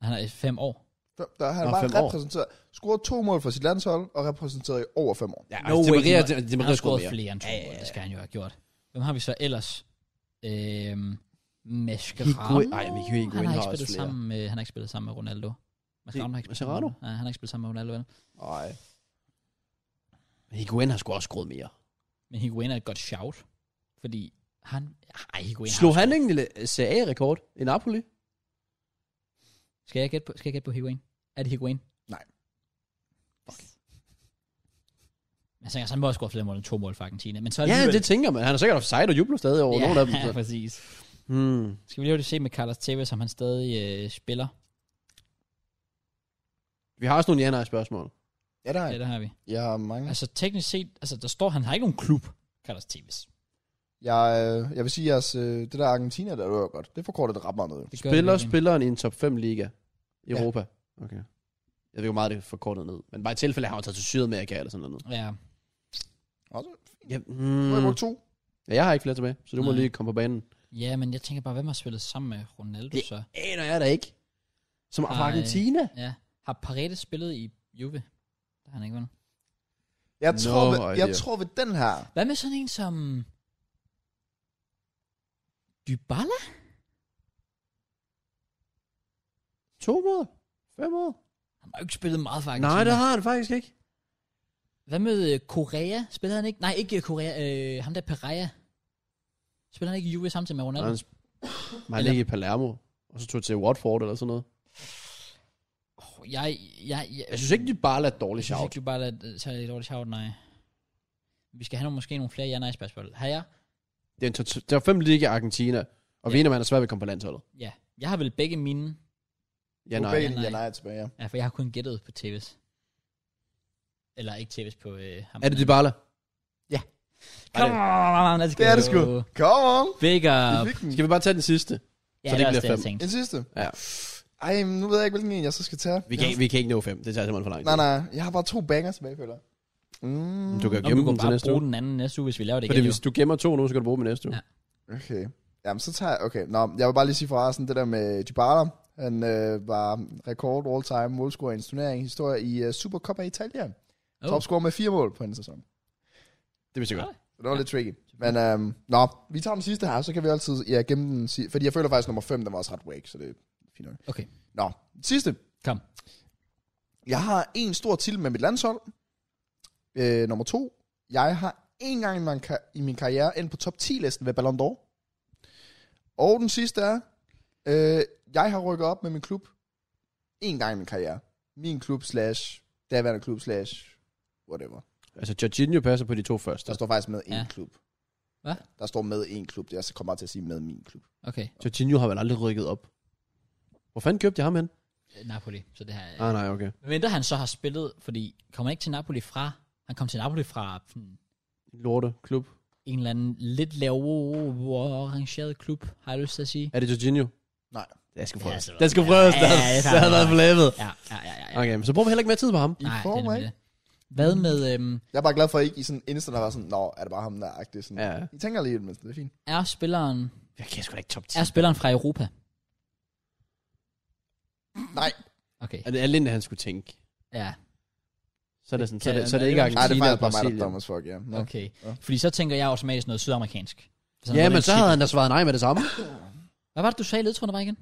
Han er i fem år. Der, der har han Nå, bare fem år. repræsenteret. Scoret to mål for sit landshold, og repræsenteret i over fem år. Ja, No way, Maria, Di Di Han Maria altså, har har scoret scoret mere. flere end to Ja, ja, mål. ja. Det skal han jo have gjort. Hvem har vi så ellers? Øhm, Mascherano. Higuain- Ej, men Higuain han har har ikke også spillet flere. sammen med, han har ikke spillet sammen med Ronaldo. Mascherano har ikke spillet Mascherano? sammen med- Nej, han har ikke spillet sammen med Ronaldo, vel? Nej. Higuain har sgu også scoret mere. Men Higuain er et godt shout, fordi han... Ej, Higuain har Slog også- han ikke en lille CA-rekord i Napoli? Skal jeg gætte på, skal jeg gætte på Higuain? Er det Higuain? Nej. Fuck. Jeg tænker, så han må også score flere mål end to mål for Argentina. Men så Ja, alligevel- det tænker man. Han har sikkert haft sejt og jubler stadig over ja, nogle af dem. Ja, præcis. Hmm. Skal vi lige hurtigt se med Carlos Tevez, som han stadig øh, spiller? Vi har også nogle ja-nej-spørgsmål. Ja, der er Ja, det har vi. Jeg har mange. Altså teknisk set, altså der står, han har ikke nogen klub, Carlos Tevez. Jeg, øh, jeg vil sige, at øh, det der Argentina, der var godt. Det forkortede det ret meget ned. jo. Det gør Spiller det virkelig. spilleren i en top 5 liga i Ja. Europa? Okay. Jeg ved ikke, hvor meget det er forkortet ned. Men bare i tilfælde, at han har taget til Sydamerika eller sådan noget. Ja, Også, Ja, mm. mm. to. ja, jeg har ikke flere tilbage, så du må Nej. lige komme på banen. ja, men jeg tænker bare, hvem har spillet sammen med Ronaldo Det- så? Aner jeg da ikke. Som Ej. fra Argentina? Ja. Har Paredes spillet i Juve? Der har han ikke vundet. Jeg, No tror, ved, jeg idea. tror ved den her, Hvad med sådan en som... Dybala? To mål? Fem mål? Han har jo ikke spillet meget for Argentina. Nej, det har han faktisk ikke. Hvad med øh, Korea? Spiller han ikke? Nej, ikke øh, Korea. Øh, ham der Pereira. Spiller han ikke i Juve samtidig med Nej, Ronaldo? han, sp- Men han ligger i Palermo, og så tog til Watford eller sådan noget. Oh, jeg, jeg, jeg, Jeg synes ikke, de bare lader dårligt Jeg synes shout. ikke, du bare lader tage lidt dårligt shout, nej. Vi skal have nogle, måske nogle flere ja-nej-spørgsmål. Har jeg? Det er en top- der er fem liga i Argentina, og vi Ja. er enige, om, at han er svært ved at komme på landsholdet. Ja. Jeg har vel begge mine. Ja, nu nej. bagel, nej. ja, nej, tilbage. Ja. Ja, for jeg har kun gættet på TV's. Eller ikke TV's på øh, ham. Er det Dybala? Come on, let's go. Det er det sgu. Come on. Big Vi up. fik den. Skal vi bare tage den sidste? Ja, Så det det er bliver også det, jeg fem. tænkte. En sidste. Ja. Ej, men nu ved jeg ikke, hvilken en jeg så skal tage. Vi kan, ikke- vi kan ikke nå fem. Det tager simpelthen for lang tid. Nej, nej, jeg har bare to banger tilbage, føler jeg. Mm. Du kan jo Nå, gemme du den kan til bare næste bruge uge. den anden næste uge, hvis vi laver det Fordi igen. hvis du gemmer to nu, så kan du bruge dem i næste uge. Ja. Okay. Jamen, så tager jeg... Okay, nå, jeg vil bare lige sige for resten, det der med Dybala. Han øh, var rekord all-time målscorer i en turnering historie i uh, Supercoppa Italia. Oh. Oh. Topscorer med fire mål på en sæson. Det vidste jeg godt. Så det var lidt tricky. Men øhm, nå, vi tager den sidste her, så kan vi altid ja, gemme den. si- Fordi jeg føler faktisk, at nummer 5, den var også ret wake, så det er fint nok. Okay, Nå, sidste. kom. Jeg har en stor titel med mit landshold. Øh, nummer to. Jeg har en gang i min, ka- i min karriere endt på top 10-listen ved Ballon d'Or. Og den sidste er, øh, jeg har rykket op med min klub en gang i min karriere. Min klub slash, daværende klub slash, whatever. Altså, Jorginho passer på de to første. Der står faktisk med en Ja. ja. klub. Hvad? Der står med en klub. Jeg kommer bare til at sige med min klub. Okay, Jorginho har vel aldrig rykket op. Hvor fanden købte jeg ham hen? øh, Napoli. Så det her... Ah, nej, okay. Men der han så har spillet, fordi kommer han ikke til Napoli fra... Han kom til Napoli fra sådan, Lorte klub. en eller anden lidt lavere rangeret klub, har jeg lyst til at sige. Er det Jorginho? Nej. Det skal prøves. prøves. Ja, det skal prøves. ja, Det ja, det havde- tager det havde vi. været flævet. Ja, ja, ja, ja. ja. Okay, men så bruger vi heller ikke mere tid på ham. I Nej, det er form, nemlig ikke? det. Hvad med... Øhm, Jeg er bare glad for, at I ikke i sådan instant har været sådan, nå, er det bare ham der agtig sådan. Ja. I tænker lige, men det er fint. er spilleren... Jeg kan sgu da ikke top 10. Er spilleren fra Europa? Nej, Okay, Er det alene, han skulle tænke? ja. Så er det, sådan, så er Kan- det, så er det ikke Nej, nej det er Argentina og faktisk bare mig, der Brasilien. dummer as fuck, ja. Nå. Okay. Ja. Fordi så tænker jeg automatisk noget sydamerikansk. Hvis han Ja, har men den så titel. havde han da svaret nej med det samme. Hvad var det, du sagde i ledtrådene bare igen?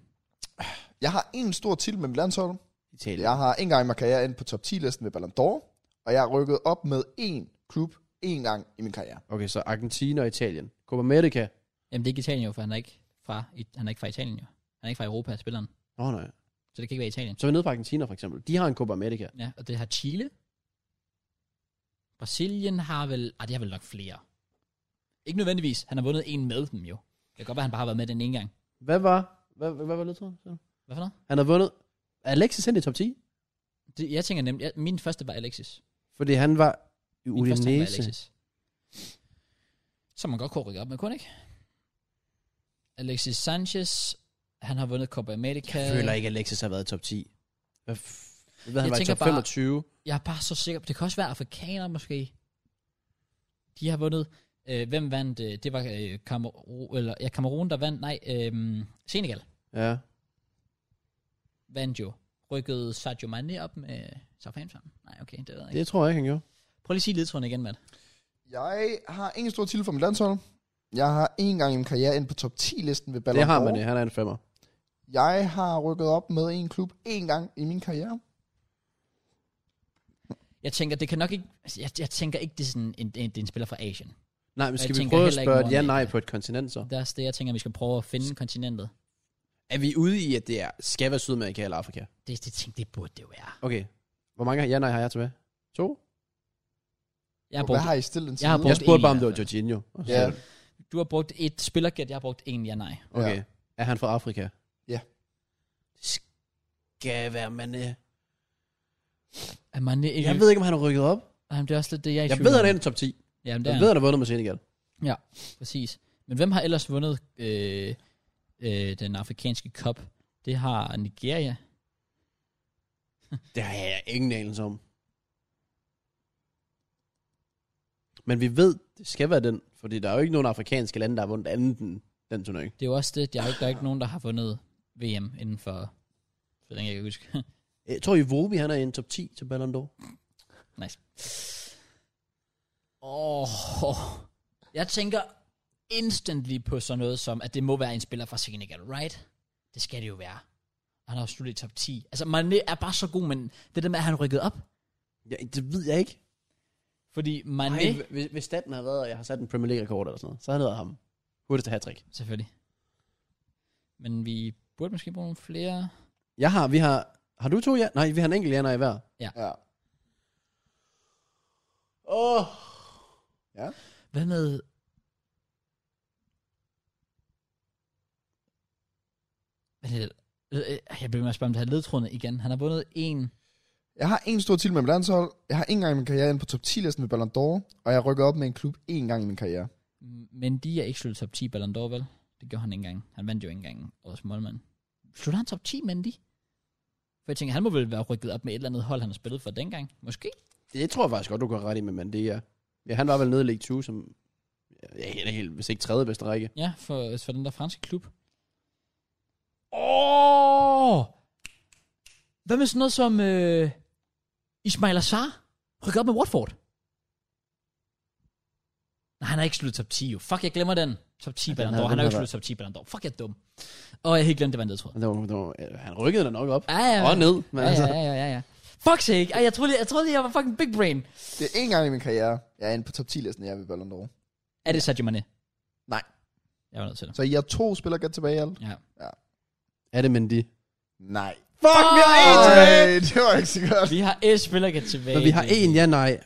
Jeg har en stor titel med mit landshold. Italien. Jeg har en gang i min karriere endt på top 10-listen ved Ballon d'Or. Og jeg er rykket op med én klub én gang i min karriere. Okay, så Argentina og Italien. Copa America. Jamen, det er ikke Italien jo, for han er ikke fra, i- han er ikke fra Italien jo. Han er ikke fra Europa, spilleren. Nå oh, nej. Så det kan ikke være Italien. Så er vi nede på Argentina for eksempel. De har en Copa America. Ja, og det har Chile. Brasilien har vel... Ah, de har vel nok flere. Ikke nødvendigvis. Han har vundet en med dem jo. Det kan godt være, han bare har været med den ene gang. Hvad var, hvad, hvad var ledtråden? Hvad for noget? Han har vundet. Er Alexis ind i top 10? Det, jeg tænker nemlig... Jeg, min første var Alexis. Fordi han var i Min første var Udinese. Alexis. Som man godt kunne rykke op med, kun ikke? Alexis Sanchez. Han har vundet Copa America. Jeg føler ikke, Alexis har været i top 10. Hvad f- hvad ved han Jeg var i tænker top bare- 25? Jeg er bare så sikker på, det kan også være afrikanere måske. De har vundet. Øh, hvem vandt? Øh, det var øh, Kamerun, eller, ja, Kamerun, der vandt. Nej, øh, Senegal Ja. vandt jo. Rykkede Sadio Mane op med Southampton? Nej, okay, det ved jeg ikke. Det tror jeg ikke, han gjorde. Prøv lige at sige ledtråden igen, Matt. Jeg har en stor titel for mit landshold. Jeg har en gang i min karriere endt på top 10-listen ved Ballon Det d'Or. har man det. Han er en femmer. Jeg har rykket op med en klub én gang i min karriere. Jeg tænker, det kan nok ikke... altså, Jeg, jeg tænker ikke, det er sådan en, en, det er en spiller fra Asien. Nej, men Jeg skal vi tænker prøve at heller ikke spørge et ja-nej Nordamerika. på et kontinent så? Det er også det, jeg tænker, vi skal prøve at finde kontinentet. Er vi ude i, at det er, skal være Sydamerika eller Afrika? Det, det, tænker, det burde det jo være. Okay. Hvor mange ja-nej har jeg tilbage? To? Jeg har Hvad brugt, har I stillet den Jeg har tid? brugt- Jeg spurgte en bare, om i det var hvert Jorginho. Og så- Ja. du har brugt et spillergæt, jeg har brugt en ja-nej. Okay. Ja. Er han fra Afrika? Ja. Skal være Mané. Er man ikke, Jeg ved ikke, om han har rykket op. Jamen, det er også lidt det, jeg er i Jeg tvivl ved, om. at han er i top 10. Jamen, det er Jeg han. ved, at han har vundet med Senegal. Præcis. Men hvem har ellers vundet øh, øh, den afrikanske cup? Det har Nigeria. Det har jeg ingen anelse om. Men vi ved, det skal være den. Fordi der er jo ikke nogen afrikanske lande, der har vundet anden den, den turnering. Det er jo også det, der er, jo ikke, der er ikke nogen, der har vundet VM inden for... Så længe jeg kan huske. Jeg tror, Ivobi, han er i en top 10 til Ballon d'Or. nice. Åh. Oh, jeg tænker instantly på sådan noget som, at det må være en spiller fra Senegal, right? Det skal det jo være. Han har jo sluttet i top 10. Altså, Mané er bare så god, men det der med, at han rykkede op. Ja, det ved jeg ikke. Fordi Mané... Ej, hvis, hvis staten har været, og jeg har sat en Premier League-rekord eller sådan noget, så havde det været ham. Hurtigste hat Selvfølgelig. Men vi burde måske bruge nogle flere. Jeg har, vi har, har du to ja? Nej, vi har en enkelt ja, nej, hver. Ja. Åh! Oh. Hvad med... Hvad hedder det? Øh, øh, Jeg bliver med at spørge om det her ledtrådene igen. Han har vundet en... Jeg har en stor titel med mit landshold. Jeg har en gang i min karriere endt på top 10-listen ved Ballon d'Or. Og jeg rykker op med en klub én gang i min karriere. Men de er ikke sluttet top 10 Ballon d'Or, vel? Det gjorde han ikke engang. Han vandt jo ikke engang årets målmand. Slutter han top 10, Mendy? For jeg tænker, han må vel være rykket op med et eller andet hold, han har spillet for dengang. Måske? Det tror jeg faktisk godt, du går ret i med Mandea. Ja, han var vel nede i League 2 som jeg er helt, helt, hvis ikke tredje bedste række. Ja, for, for den der franske klub. Åh! Oh! Hvad med sådan noget som øh, Ismail Assar? Rykker op med Watford. Nej, han har ikke sluttet top 10 jo. Fuck, jeg glemmer den. Top 10 ja, Ballon havde- d'Or. Han den har jo ikke havde sluttet top 10 Ballon d'Or. Fuck, jeg er dum. Og jeg har helt glemt, det var en ledtråd. Det var, det var, øh, han rykkede da nok op. Ja, ja, Og ja. ned. Men Ja, altså, ja, ja, ja, ja, ja. Fuck sake. Ej, jeg troede, jeg, troede, jeg var fucking big brain. Det er en gang i min karriere, jeg er inde på top 10-listen, jeg er ved Ballon d'Or. Er det Sadio Mane? Nej. Jeg var nødt til det. Så I er to spillere gæt tilbage i alt? Ja. er det Mendy? Nej. Fuck, vi har en tilbage! Ej, det var ikke så godt. Vi har et spiller kan tilbage. Men vi har en, ja nej.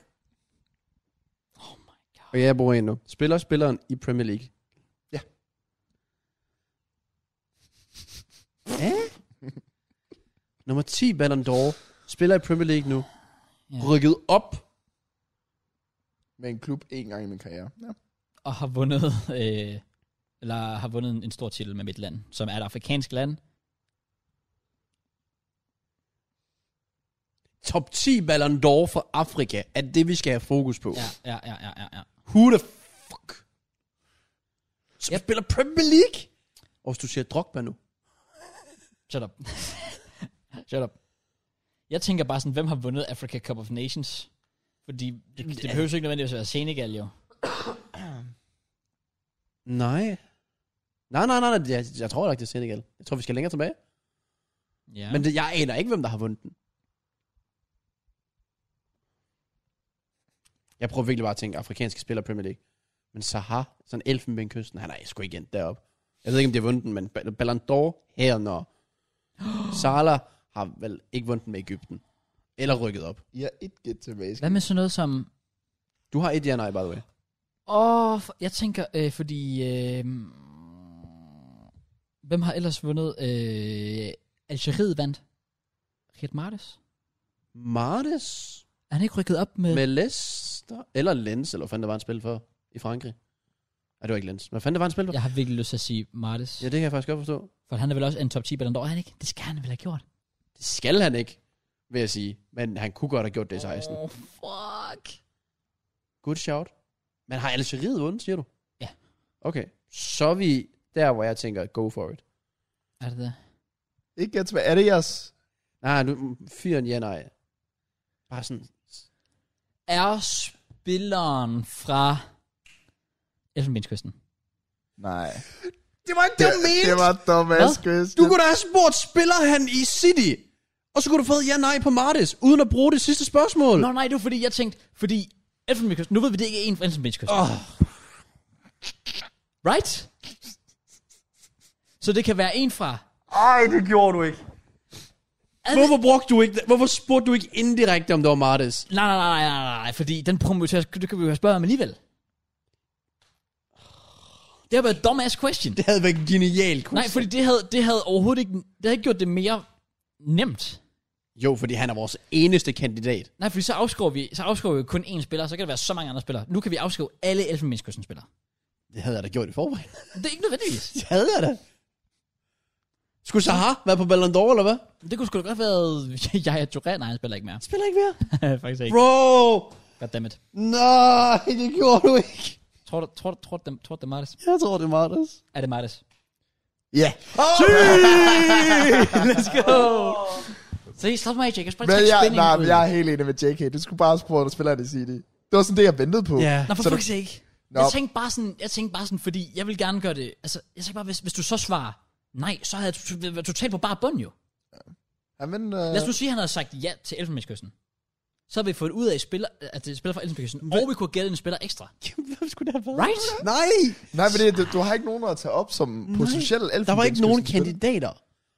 Oh my god. Og jeg bruger en nu. Spiller spilleren i Premier League. Ja. Ja? Nummer 10, Ballon d'Or. Spiller i Premier League nu. Ja. Rykket op. Med en klub en gang i min karriere. Ja. Og har vundet, øh, eller har vundet en- en stor titel med mit land, som er et afrikansk land. Top 10 Ballon d'Or for Afrika er det, vi skal have fokus på. Ja, ja, ja, ja, ja. ja. Who the fuck? Som Yep. yep. spiller Premier League? Og hvis du siger Drogba nu. Shut up. Shut up. Jeg tænker bare sådan, hvem har vundet Africa Cup of Nations? Fordi det, det behøver jo ikke nødvendigvis at være Senegal jo. Nej. Nej, nej, nej, nej. Jeg, jeg tror ikke, det er Senegal. Jeg tror, vi skal længere tilbage. Ja. Ja. Men det, jeg aner ikke, hvem der har vundet den. Jeg prøver virkelig bare at tænke afrikanske spillere i Premier League. Men Zaha, sådan elfenbenkysten, han er sgu ikke endt deroppe. Jeg ved ikke, om de har vundet den, men Ba- Ballon d'Or her, når Salah har vel ikke vundet den med Ægypten. Eller rykket op. I har et gæt tilbage. Hvad med sådan noget som... Du har et ja nej, by the way. Åh, oh, jeg tænker, øh, fordi... Øh, hvem har ellers vundet... Øh, Algeriet vandt. Riyad Martes. Martes? Er han ikke rykket op med... Med Leicester? Eller Lens, eller hvad fanden der var en spil for i Frankrig? Nej, det var ikke Lens. Hvad fanden der var en spil for? Ja. Jeg har virkelig lyst til at sige Martes. ja, det kan jeg faktisk godt forstå. For han er vel også en top 10 Ballon d'Or, er han ikke? Det skal han vel have gjort. Det skal han ikke, vil jeg sige. Men han kunne godt have gjort det i 16. Oh, fuck. Good shout. Men har Algeriet vundet, siger du? Ja. Okay. Så er vi der, hvor jeg tænker, go for it. Er det det? Ikke gæt tilbage. Er det jeres? Nej, nu fyren, ja, nej. Bare sådan, Er spilleren fra Elfenbenskysten? Nej. det var ikke Det, det var dumbass quiz. Du kunne da have spurgt, spiller han i City? Og så kunne du fået ja, nej på Martis, uden at bruge det sidste spørgsmål. Nå nej, det var fordi, jeg tænkte, fordi Elfenbenskysten, nu ved vi det ikke er en fra Elfenbenskysten. Åh. Right? Så det kan være en fra... Ej, det gjorde du ikke. Hvorfor brugte du ikke, hvorfor spurgte du ikke indirekte, om det var Martes? Nej, nej, nej, nej, nej, nej, fordi den promoteres, det kan vi jo spørge om alligevel. Det har været et dumbass question. Det havde været en genial quiz. Nej, fordi det havde, det havde overhovedet ikke... Det havde ikke gjort det mere nemt. Jo, fordi han er vores eneste kandidat. Nej, fordi så afskriver vi, så afskriver vi kun én spiller, så kan der være så mange andre spillere. Nu kan vi afskrive alle Elfenbenskysten spillere. Det havde jeg da gjort i forvejen. Det er ikke nødvendigvis. det havde jeg da. Skulle Zaha være på Ballon d'Or, eller hvad? Det kunne sgu da godt have været Jaja Touré. Nej, han spiller ikke mere. Spiller ikke mere. Faktisk ikke. Bro! Goddammit. Nej, det gjorde du ikke. Tror du, tror du, tror du, tror du, det er Martes? Jeg tror, det er Martes. Er det Martes? Ja. Let's go! Se, slap mig af, Jake. Jeg skal Men bare trække jeg, spændingen nej, ud. men jeg er helt enig med JK. Du skulle bare have spurgt, når spilleren i City. Det var sådan det, jeg ventede på. Ja. Nå, for Så du- fuck's sake. Nå. Jeg tænkte bare sådan, jeg tænkte bare sådan, fordi jeg vil gerne gøre det. Altså, jeg tænkte bare, hvis, hvis du så svarer nej, så havde jeg to- to- været totalt på bare bund jo. Ja, men, øh, Lad os nu sige, at han havde sagt ja til Elfenbenskysten. Så havde vi fået ud af, at spiller, at det er spiller fra Elfenbenskysten, og vi kunne have gættet en spiller ekstra. Hvem skulle det have været? Right? Nej! nej, men det, du, du, har ikke nogen at tage op som potentielle elfen. Der var ikke nogen kandidater.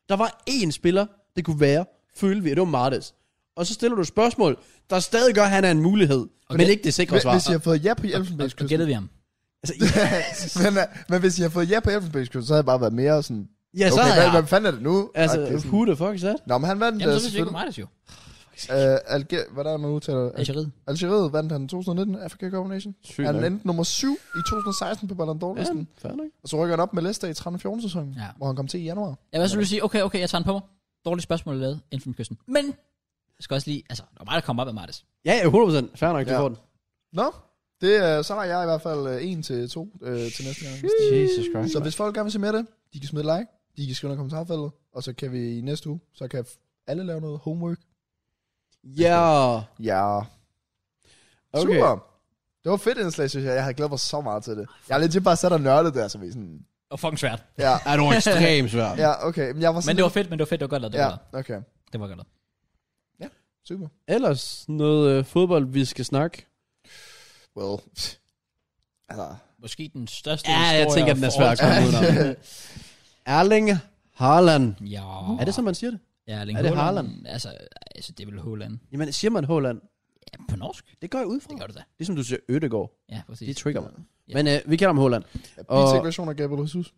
Der var én spiller, det kunne være, følte vi, at det var Martes. Og så stiller du et spørgsmål, der stadig gør, at han er en mulighed, okay. men ikke det sikre svar. Hvis I har fået ja Og på gættede Elfenbenskysten. vi ham. Altså, men, øh, men hvis I har fået ja på Elfenbenskysten, så havde jeg bare været mere sådan... ja, så okay, havde hvad, jeg... hvad fanden er det nu? Altså, Og det er sådan- who the fuck is that? Nå, men han vandt... Jamen, så øh, synes jeg ikke, selvfølgelig- Martes jo. Øh, Alger, hvordan er man udtaler? det? Algeriet. Algeriet vandt han 2019 Africa Cup of Nations. Sygt Han nok. endte nummer 7 i 2016 på Ballon d'Or-listen. Ja. fair nok. Og så rykker han op med Leicester i 13-14-sæsonen, Ja. ja. hvor han kom til i januar. Jeg vil også lige sige, okay, okay, jeg tager den på mig. Dårligt spørgsmål lavet inden for kysten. Men, jeg skal også lige, altså, der var mig, der kom op af Martes. Ja, ja, 100%. Fair nok, du Ja. får den. Nå, Det, øh, så har jeg i hvert fald øh, en til to øh, til næste gang. Jesus Christ. Så hvis folk gerne vil se med det, de kan smide et like, de kan skrive noget i kommentarfeltet, og så kan vi i næste uge, så kan alle lave noget homework. Ja. Ja. Okay. Okay. Super. Det var fedt indslag, synes jeg. Jeg havde glædet mig så meget til det. Jeg er legit bare sat og nørdet der, så vi sådan... Og fucking svært. Ja, Ja, det var ekstremt svært. ja okay. Men jeg var Men sådan... det var fedt, men det var fedt, det var godt lavet. Det, ja. var, Ja, okay. det var godt lavet. Super. Ellers noget øh, fodbold, vi skal snakke. Well. Altså, Måske den største Ja, jeg historie tænker, den er for svær at komme all udenom. time. Erling Haaland. Ja. Er det, som man siger det? Ja, Erling Er det Altså, altså, det er vel Haaland. Jamen, siger man Haaland? Ja, på norsk. Det går jeg ud fra. Det gør det da. Ligesom du siger Ødegård. Ja, præcis. Det trigger mig. Ja. Men øh, vi kalder ham Haaland. ja, Og- beat-segregation af Gabriel Jesus.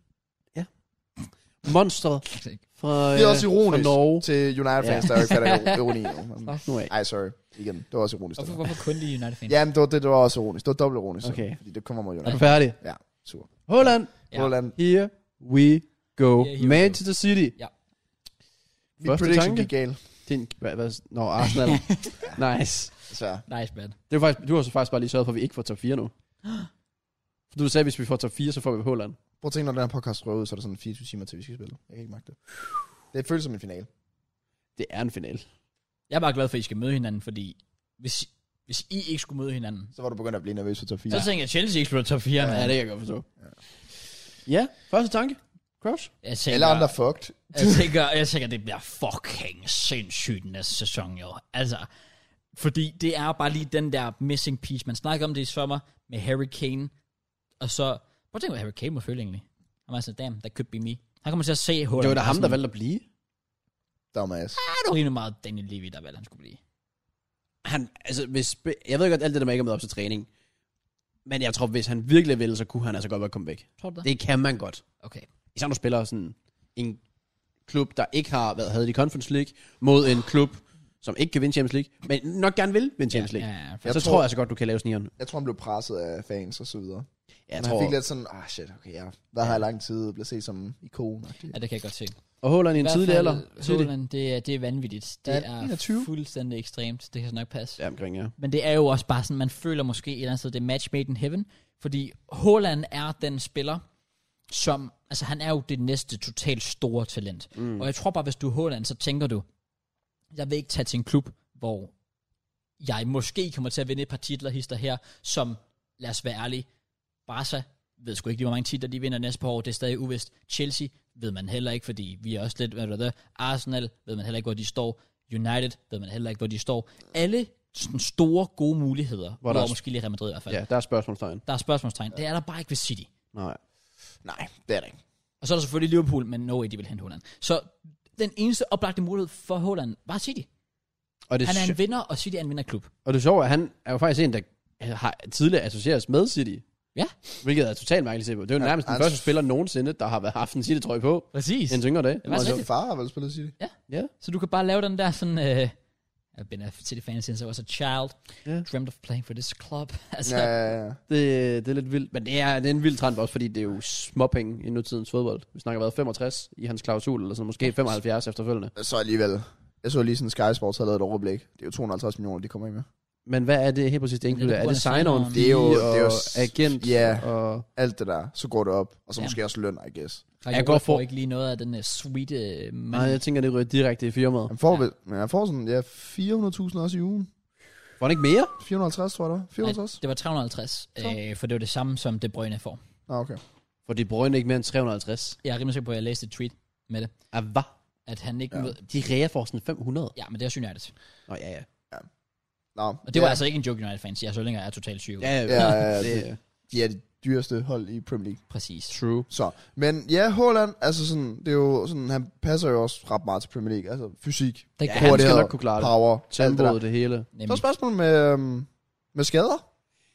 Monstret fra, øh, Det er også ironisk fra Norge. til United-fans, Ja. der jo ikke fatter ironi. jo. Men- Slap nu af. Ej, sorry. Igen, det var også ironisk. Hvorfor, Det var. hvorfor kun de United fans? Jamen, det var, det, det var også ironisk. Det var dobbelt ironisk. Okay. Okay. Fordi det kommer mod Er United. du færdig? Super. Haaland, Ja. Holland, here we go. here we go. Manchester City. min Første prediction tanke? gik galt. Din, hvad, hvad, nå, Arsenal. nice. Så Nice, man. Det er faktisk, du har så faktisk bare lige sørget for, at vi ikke får top 4 nu. For du sagde, at hvis vi får top 4, så får vi Haaland. prøv at tænke, når den her podcast røver ud, så er der sådan 24 timer til, vi skal spille. Jeg kan ikke magte det. Det føles som en finale. Det er en final. Jeg er bare glad for, at I skal møde hinanden, fordi hvis, hvis I ikke skulle møde hinanden, Så var du begyndt at blive nervøs for top 4. så tænker jeg, at Chelsea ikke skulle top 4, ja, Ja, det kan jeg godt forstå. Ja, første tanke. Crouch. Jeg tænker, Alle andre fucked. jeg tænker, jeg tænker, det bliver fucking sindssygt næste sæson, jo. Altså, fordi det er bare lige den der missing piece. Man snakker om det i sommer med Harry Kane, og så... Prøv at tænke, hvad Harry Kane må føle egentlig. Han var sådan, damn, that could be me. Han kommer til at se Holland. Det var da ham, der valgte. valgte at blive. Dumbass. Det var rimelig meget Daniel Levy, der valgte, han skulle blive. Han, altså, hvis, jeg ved godt, alt det der med ikke at møde op til træning. Men jeg tror, hvis han virkelig ville, så kunne han altså godt være komme væk. Tror du det? Det kan man godt. Okay. Især når du spiller sådan en klub, der ikke har været havde de Conference League, mod en klub, som ikke kan vinde Champions League, men nok gerne vil vinde Champions League. Ja, Ja, ja, for ja. Så Jeg tror tror- jeg altså godt, du kan lave snigeren. Jeg tror, han blev presset af fans og så videre. Ja, jeg Men han tror, fik lidt sådan, ah shit, okay, jeg har været her i lang tid og blev set som ikon. ja, det kan jeg godt se. Og Håland i en hvert tidlig fald, alder. Tidlig. Haaland, det, er- det er vanvittigt. Det Ja, er 21. fuldstændig ekstremt. Det kan så nok passe. Ja. Ja, omkring, ja. Men det er jo også bare sådan, man føler måske et eller andet sted, det er match made in heaven. Fordi Haaland er den spiller, som... Altså, han er jo det næste totalt store talent. Mm. Og jeg tror bare, hvis du er Haaland, så tænker du, jeg vil ikke tage til en klub, hvor jeg måske kommer til at vinde et par titler hister her, som, lad os være ærlige, Barca ved sgu ikke lige, hvor mange titler de vinder næste par år. Det er stadig uvist. Chelsea ved man heller ikke, fordi vi er også lidt... Hvad er det, Arsenal ved man heller ikke, hvor de står. United ved man heller ikke, hvor de står. Alle sådan store, gode muligheder. Hvor Hvor der der er- måske lige Real Madrid i hvert fald. Ja, der er spørgsmålstegn. Der er spørgsmålstegn. Det er der bare ikke ved City. Nej. Nej, det er det ikke. Og så er der selvfølgelig Liverpool, men no way, de vil hente Holland. Så den eneste oplagte mulighed for Holland var City. Og det, Han er en sjo- vinder, og City er en vinderklub. og det sjove er, at han er jo faktisk en, der har tidligere associeres med City. Ja. Hvilket er totalt mærkeligt at se på. Det er jo nærmest den altså- første spiller nogensinde, der har været- haft en City-trøje på. Præcis. En yngre dag. er faktisk Min rigtigt. far har vel spillet City. Så du kan bare lave den der sådan... Øh, I've been a City fan since I was a child. Ja. Yeah. Dreamt of playing for this club. altså, Ja, yeah. ja, ja. Det, det er lidt vildt, men det er, det er en vild trend også, fordi det er jo småpenge i nutidens fodbold. Vi snakker været 65 i hans klausul, eller sådan måske 75 efterfølgende. Så alligevel. Jeg så lige sådan Sky Sports havde lavet et overblik. Det er jo 250 millioner, de kommer ind med. Men hvad er det helt præcis, det Men det er enkelte? Er på det grund af sign-on, sign-on. Det er jo- fee det er jo og s- agent? ja. Og, Alt det der, så går det op. Og så Ja. måske også løn, I guess. jeg går går for- for ikke lige noget af den uh, sweet uh, nej, jeg tænker, det ryger direkte i firmaet. Han får, Ja. ja. men han får sådan, ja, 400.000 også i ugen. Var det ikke mere? 450, tror jeg det var. 450? det var 350, øh, for det var det samme som De Bruyne får. Nå, ah, okay. For det brønde ikke mere end 350. Jeg er rimelig sikker på, at jeg læste et tweet med det, Ah, hvad? at han ikke ja. Ja. ved... De ræger for sådan 500. Ja, men det er også United. Nå, ja, ja. Nå, Og det var ja, altså ikke en joke United-fans. Jeg er så længe, jeg er totalt syg. Ja, ja, Ja, ja, ja, det er De er det dyreste hold i Premier League. Præcis. true. Så, men ja, Haaland, altså sådan, det er jo sådan, han passer jo også ret meget til Premier League. Altså fysik, Det Ja, ja, han går det. skal hurtighed, nok kunne klare det. power, alt det der. Tempoet, det Så hele. er Nemlig. spørgsmålet med, øhm, med skader.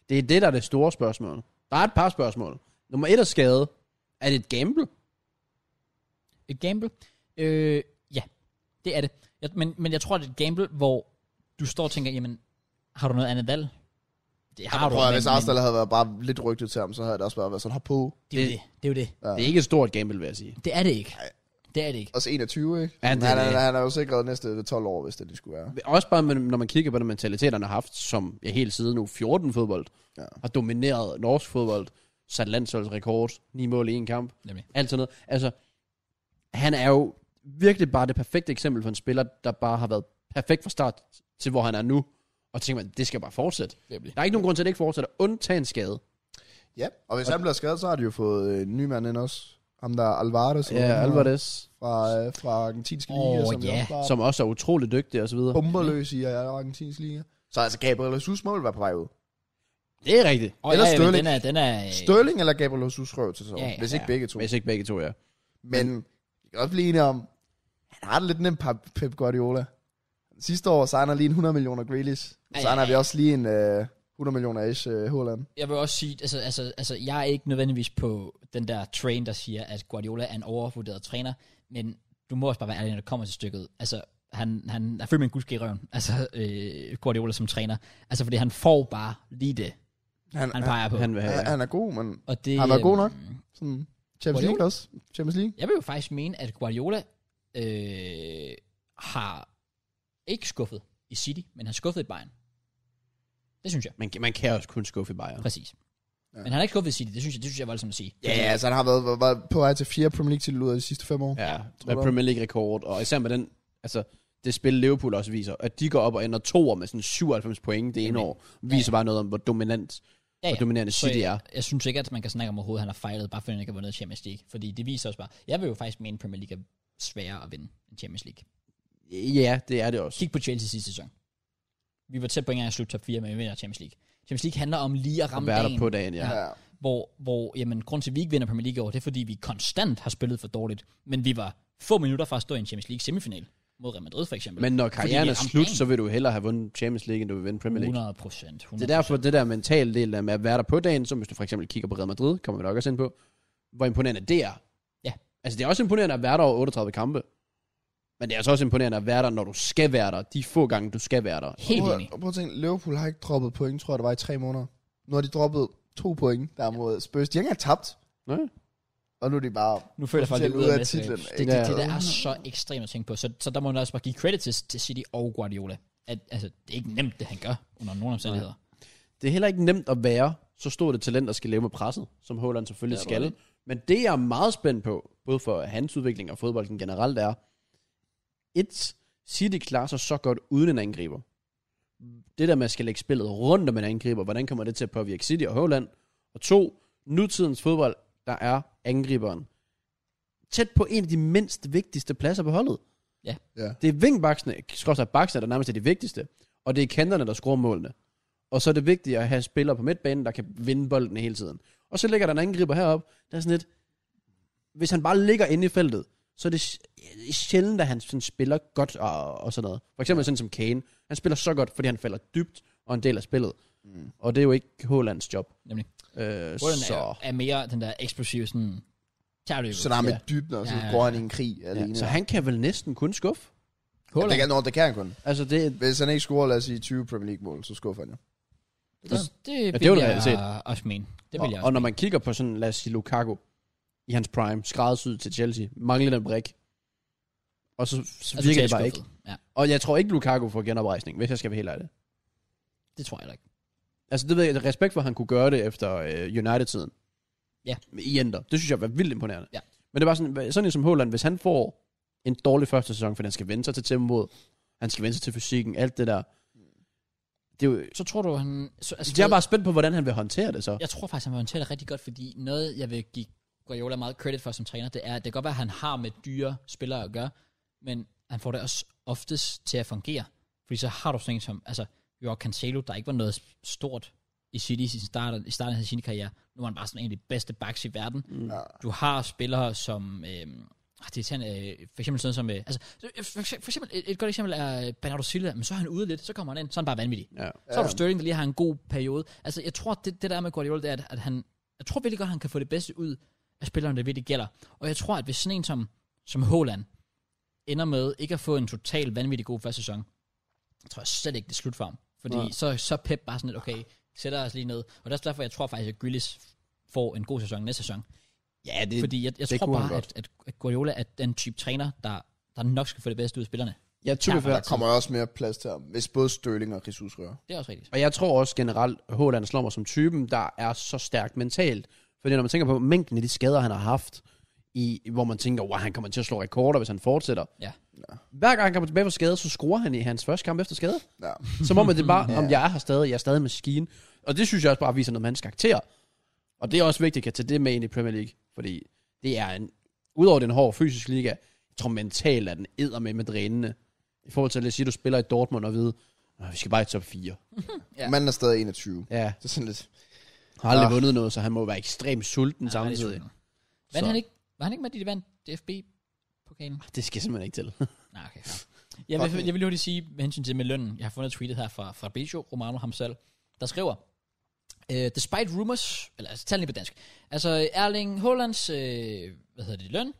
Det er det, der er det store spørgsmål. Der er et par spørgsmål. Nummer et er skade. Er det et gamble? Et gamble? Øh, ja, det er det. Jeg, men, men jeg tror, det er et gamble, hvor du står og tænker, jamen, har du noget andet valg? Det har du, Prøv, at, men, hvis Arsenal havde været bare lidt rygtet til ham, så havde det også bare været sådan, hop på. det, er jo det. det er jo det. Ja. Det er ikke et stort gamble, vil jeg sige. Det er det ikke. Det er det ikke. Også 21, ikke? Ja, det er han, det. er, han er jo sikret næste 12 år, hvis det, det skulle være. Også bare, men- når man kigger på den mentalitet, han har haft, som jeg helt siden nu 14 fodbold, Ja. har domineret norsk fodbold, sat landsholdsrekord, ni mål i en kamp, Nemlig. alt sådan noget. Altså, han er jo virkelig bare det perfekte eksempel på en spiller, der bare har været perfekt fra start til, hvor han er nu. Og tænker man, det skal bare fortsætte. Der er ikke nogen grund til, at det ikke fortsætter. Undtagen skade. Ja, og hvis han bliver skadet, så har de jo fået øh, en ny mand ind også. Ham der er Alvarez. eller hvad han hedder, Alvarez, Fra, øh, fra Argentinske Åh, Liga, som ja. yeah. bare som også er utrolig dygtig og så videre. bomberløs i øh, Argentinske Liga. Så altså Gabriel Jesus må vel være på vej ud. Det er rigtigt. Og Eller ja, men Sterling. den er, den er... Sterling eller Gabriel Jesus røv til så, Ja, ja, hvis ikke ja. begge to. Hvis ikke begge to, ja. Men vi kan også blive enige om, han har det lidt nemt, Pep- Pep Guardiola. Sidste år signer lige en 100 millioner Grealish. Ja, Og ja, signer vi ja. også lige en øh, 100 millioner ish øh, Holland. Jeg vil også sige, altså, altså, altså, jeg er ikke nødvendigvis på den der train, der siger, at Guardiola er en overvurderet træner, men du må også bare være ærlig, når det kommer til stykket. Altså, han, han er fyldt med en gusk i røven, altså øh, Guardiola som træner. Altså, fordi han får bare lige det, Han, han øh. han, peger på. Han vil have, han, han er god, men og det, han var god øhm, nok. sådan, Champions Guardiola? League også. Champions League. Jeg vil jo faktisk mene, at Guardiola øh, har ikke skuffet i City, men har skuffet i Bayern. Det synes jeg, man, man kan også kun skuffe i Bayern. præcis. Ja. Ja. Men han har ikke skuffet i City, det synes jeg, det synes jeg er voldsomt at sige. Ja, yeah, altså han har været, været- været på vej til fire Premier League titler ud af de sidste fem år. Ja, tror med du? Premier League-rekord, og især med den, altså, det spil Liverpool også viser, at de går op og ender toer med sådan 97 point det ene Jamen. år, viser bare noget om, hvor dominant Ja, og dominerende Så City er. jeg, jeg synes ikke, at man kan snakke om overhovedet, at han har fejlet, bare fordi han ikke har vundet Champions League. Fordi det viser også bare, jeg vil jo faktisk mene, at Premier League er sværere at vinde end Champions League. Ja, det er det også. Kig på Chelsea sidste sæson. Vi var tæt på ikke engang at slutte top 4, men vi vinder Champions League. Champions League handler om lige at At ramme være dagen, der på dagen, ja. Ja. hvor, hvor jamen, grund til, at vi ikke vinder Premier League over, det er, fordi vi konstant har spillet for dårligt. Men vi var få minutter fra at stå i en Champions League semifinal mod Real Madrid for eksempel. Men når Fordi vi karrieren er ramte slut, dagen. så vil du hellere have vundet Champions League, end du vil vinde Premier League. 100 procent. Det er derfor, det der mentale del af med at være der på dagen, som hvis du for eksempel kigger på Real Madrid, kommer vi nok også ind på, hvor imponerende det er. Ja. Altså, det er også imponerende at være der over 38 kampe. Men det er altså også imponerende at være der, når du skal være der. De få gange, du skal være der. Helt prøv, enig. at- prøv at tænke, Liverpool har ikke droppet point, tror jeg, det var i tre måneder. Nu har de droppet to point, der er mod Spurs. De har ikke engang tabt, Nej. og nu er de bare... Nu føler jeg faktisk, at Officielt det er ude ude af titlen. af titlen. Det, det, Ja. det, der er så ekstremt at tænke på. Så, så der må man også bare give credit til, til City og Guardiola. At, altså, det er ikke nemt, det han gør, under nogen omstændigheder. Det er heller ikke nemt at være så stort et talent, der skal leve med presset, som Haaland selvfølgelig Ja, det er skal. Men det, jeg er meget spændt på, både for hans udvikling og fodbolden generelt, er, et, City klarer sig så godt uden en angriber. Det der med at skal lægge spillet rundt om en angriber, hvordan kommer det til at påvirke City og Haaland? Og to, nutidens fodbold, der er angriberen tæt på en af de mindst vigtigste pladser på holdet. Ja. Ja. Det er vingbaksene, skråstrej baksene, der nærmest er de vigtigste. Og det er kanterne, der scorer målene. Og så er det vigtigt at have spillere på midtbanen, der kan vinde bolden hele tiden. Og så ligger der en angriber herop, der er sådan lidt, hvis han bare ligger inde i feltet, så er det sj- sjældent, at han sådan spiller godt og, og sådan noget. For eksempel sådan som Kane. Han spiller så godt, fordi han falder dybt og er en del af spillet. Mm. Og det er jo ikke Haalands job. Nemlig. Øh, Guardiola er, så, er mere den der eksplosive sådan... Tager løbet. Så der er med Ja. dybden, og så Ja, ja, ja. går han i en krig ja, alene. så han kan vel næsten kun skuffe. ja, det, kan, nå, det kan han kun. Altså det, Hvis han ikke scorer, lad os sige, 20 Premier League-mål, så skuffer han jo. det, det, det vil er jo en jeg realitet. også mene. Det vil og, jeg også og når man kigger på sådan, lad os sige, Lukaku i hans prime, skræddersyet til Chelsea, mangler den brik. Og så, Altså, så virker det Altså, bare ikke. Ja, Og jeg tror ikke, Lukaku får genoprejsning, hvis jeg skal være helt ærlig. det tror jeg da ikke. Altså, det ved jeg, respekt for, at han kunne gøre det efter øh, United-tiden. Ja. I Ender. Det synes jeg var vildt imponerende. Ja. Men det var sådan, hvad- sådan en som Haaland, hvis han får en dårlig første sæson, fordi han skal vende sig til tempoet, han skal vende sig til fysikken, alt det der. Det er jo, Så tror du, han... Så, altså, jeg er bare spændt på, hvordan han vil håndtere det så. Jeg tror faktisk, han har håndteret det rigtig godt, fordi noget, jeg vil give Guardiola meget credit for som træner, det er, at det kan godt være, at han har med dyre spillere at gøre, men han får det også oftest til at fungere. Fordi så har du sådan en som, altså, Joao Cancelo, der ikke var noget stort i City i, sin start, i starten af sin karriere. Nu er han bare sådan en af de bedste backs i verden. Mm. Du har spillere som, øh, det er tændt, øh, for eksempel sådan noget som, øh, altså, for, for- for eksempel, et, et godt eksempel er øh, Bernardo Silva, men så er han ude lidt, så kommer han ind, så er han bare vanvittig. Ja. Så har du Sterling, der lige har en god periode. Altså, jeg tror, det, det der er med Guardiola, det er, at, at han, jeg tror virkelig godt, han kan få det bedste ud af spilleren, der virkelig gælder. Og jeg tror, at hvis sådan en som, som Haaland ender med ikke at få en total vanvittig god første sæson, jeg tror jeg slet ikke, det er slut for ham. Fordi Nej. så, så er Pep bare sådan lidt, okay, sætter os lige ned. Og det er også derfor, jeg tror faktisk, at Grealish får en god sæson næste sæson. Ja, det, Fordi, Fordi jeg, jeg det tror kunne han bare, at, at at Guardiola er den type træner, der, der nok skal få det bedste ud af spillerne. jeg tror, Der kommer også mere plads til ham, hvis både Støling og Jesus rører. Det er også rigtigt. Og jeg tror også generelt, at Håland slår mig som typen, der er så stærkt mentalt. Fordi når man tænker på mængden af de skader, han har haft, i, hvor man tænker, wow, han kommer til at slå rekorder, hvis han fortsætter. Ja. Hver gang han kommer tilbage fra skade, så scorer han i hans første kamp efter skade. Ja. Som om, at det er bare, om jeg er her stadig, jeg er stadig en maskine. Og det synes jeg også bare viser noget med hans karakter. Og det er også vigtigt at kan tage det med ind i Premier League. Fordi det er en, udover den hårde fysiske liga, jeg tror mentalt er den æder med med drænende. I forhold til at lad os sige, du spiller i Dortmund og vide, "Nå, vi skal bare i top 4. Ja. ja. Manden er stadig 21. Ja, Det er sådan lidt... har aldrig Ah. vundet noget, så han må være ekstremt sulten ja, Han er lidt samtidig. sulten. Vandt Så- han ikke, var han ikke med, at de vandt DFB-pokalen? Det skal simpelthen ikke til. Nej, okay. fair. Jeg vil, Fuck. jeg vil lige hurtigt sige med hensyn til med lønnen. Jeg har fundet tweetet her fra Fabrizio Romano ham selv, der skriver, uh, despite rumors, eller altså tallene på dansk, altså Erling Haalands, uh, hvad hedder det, løn,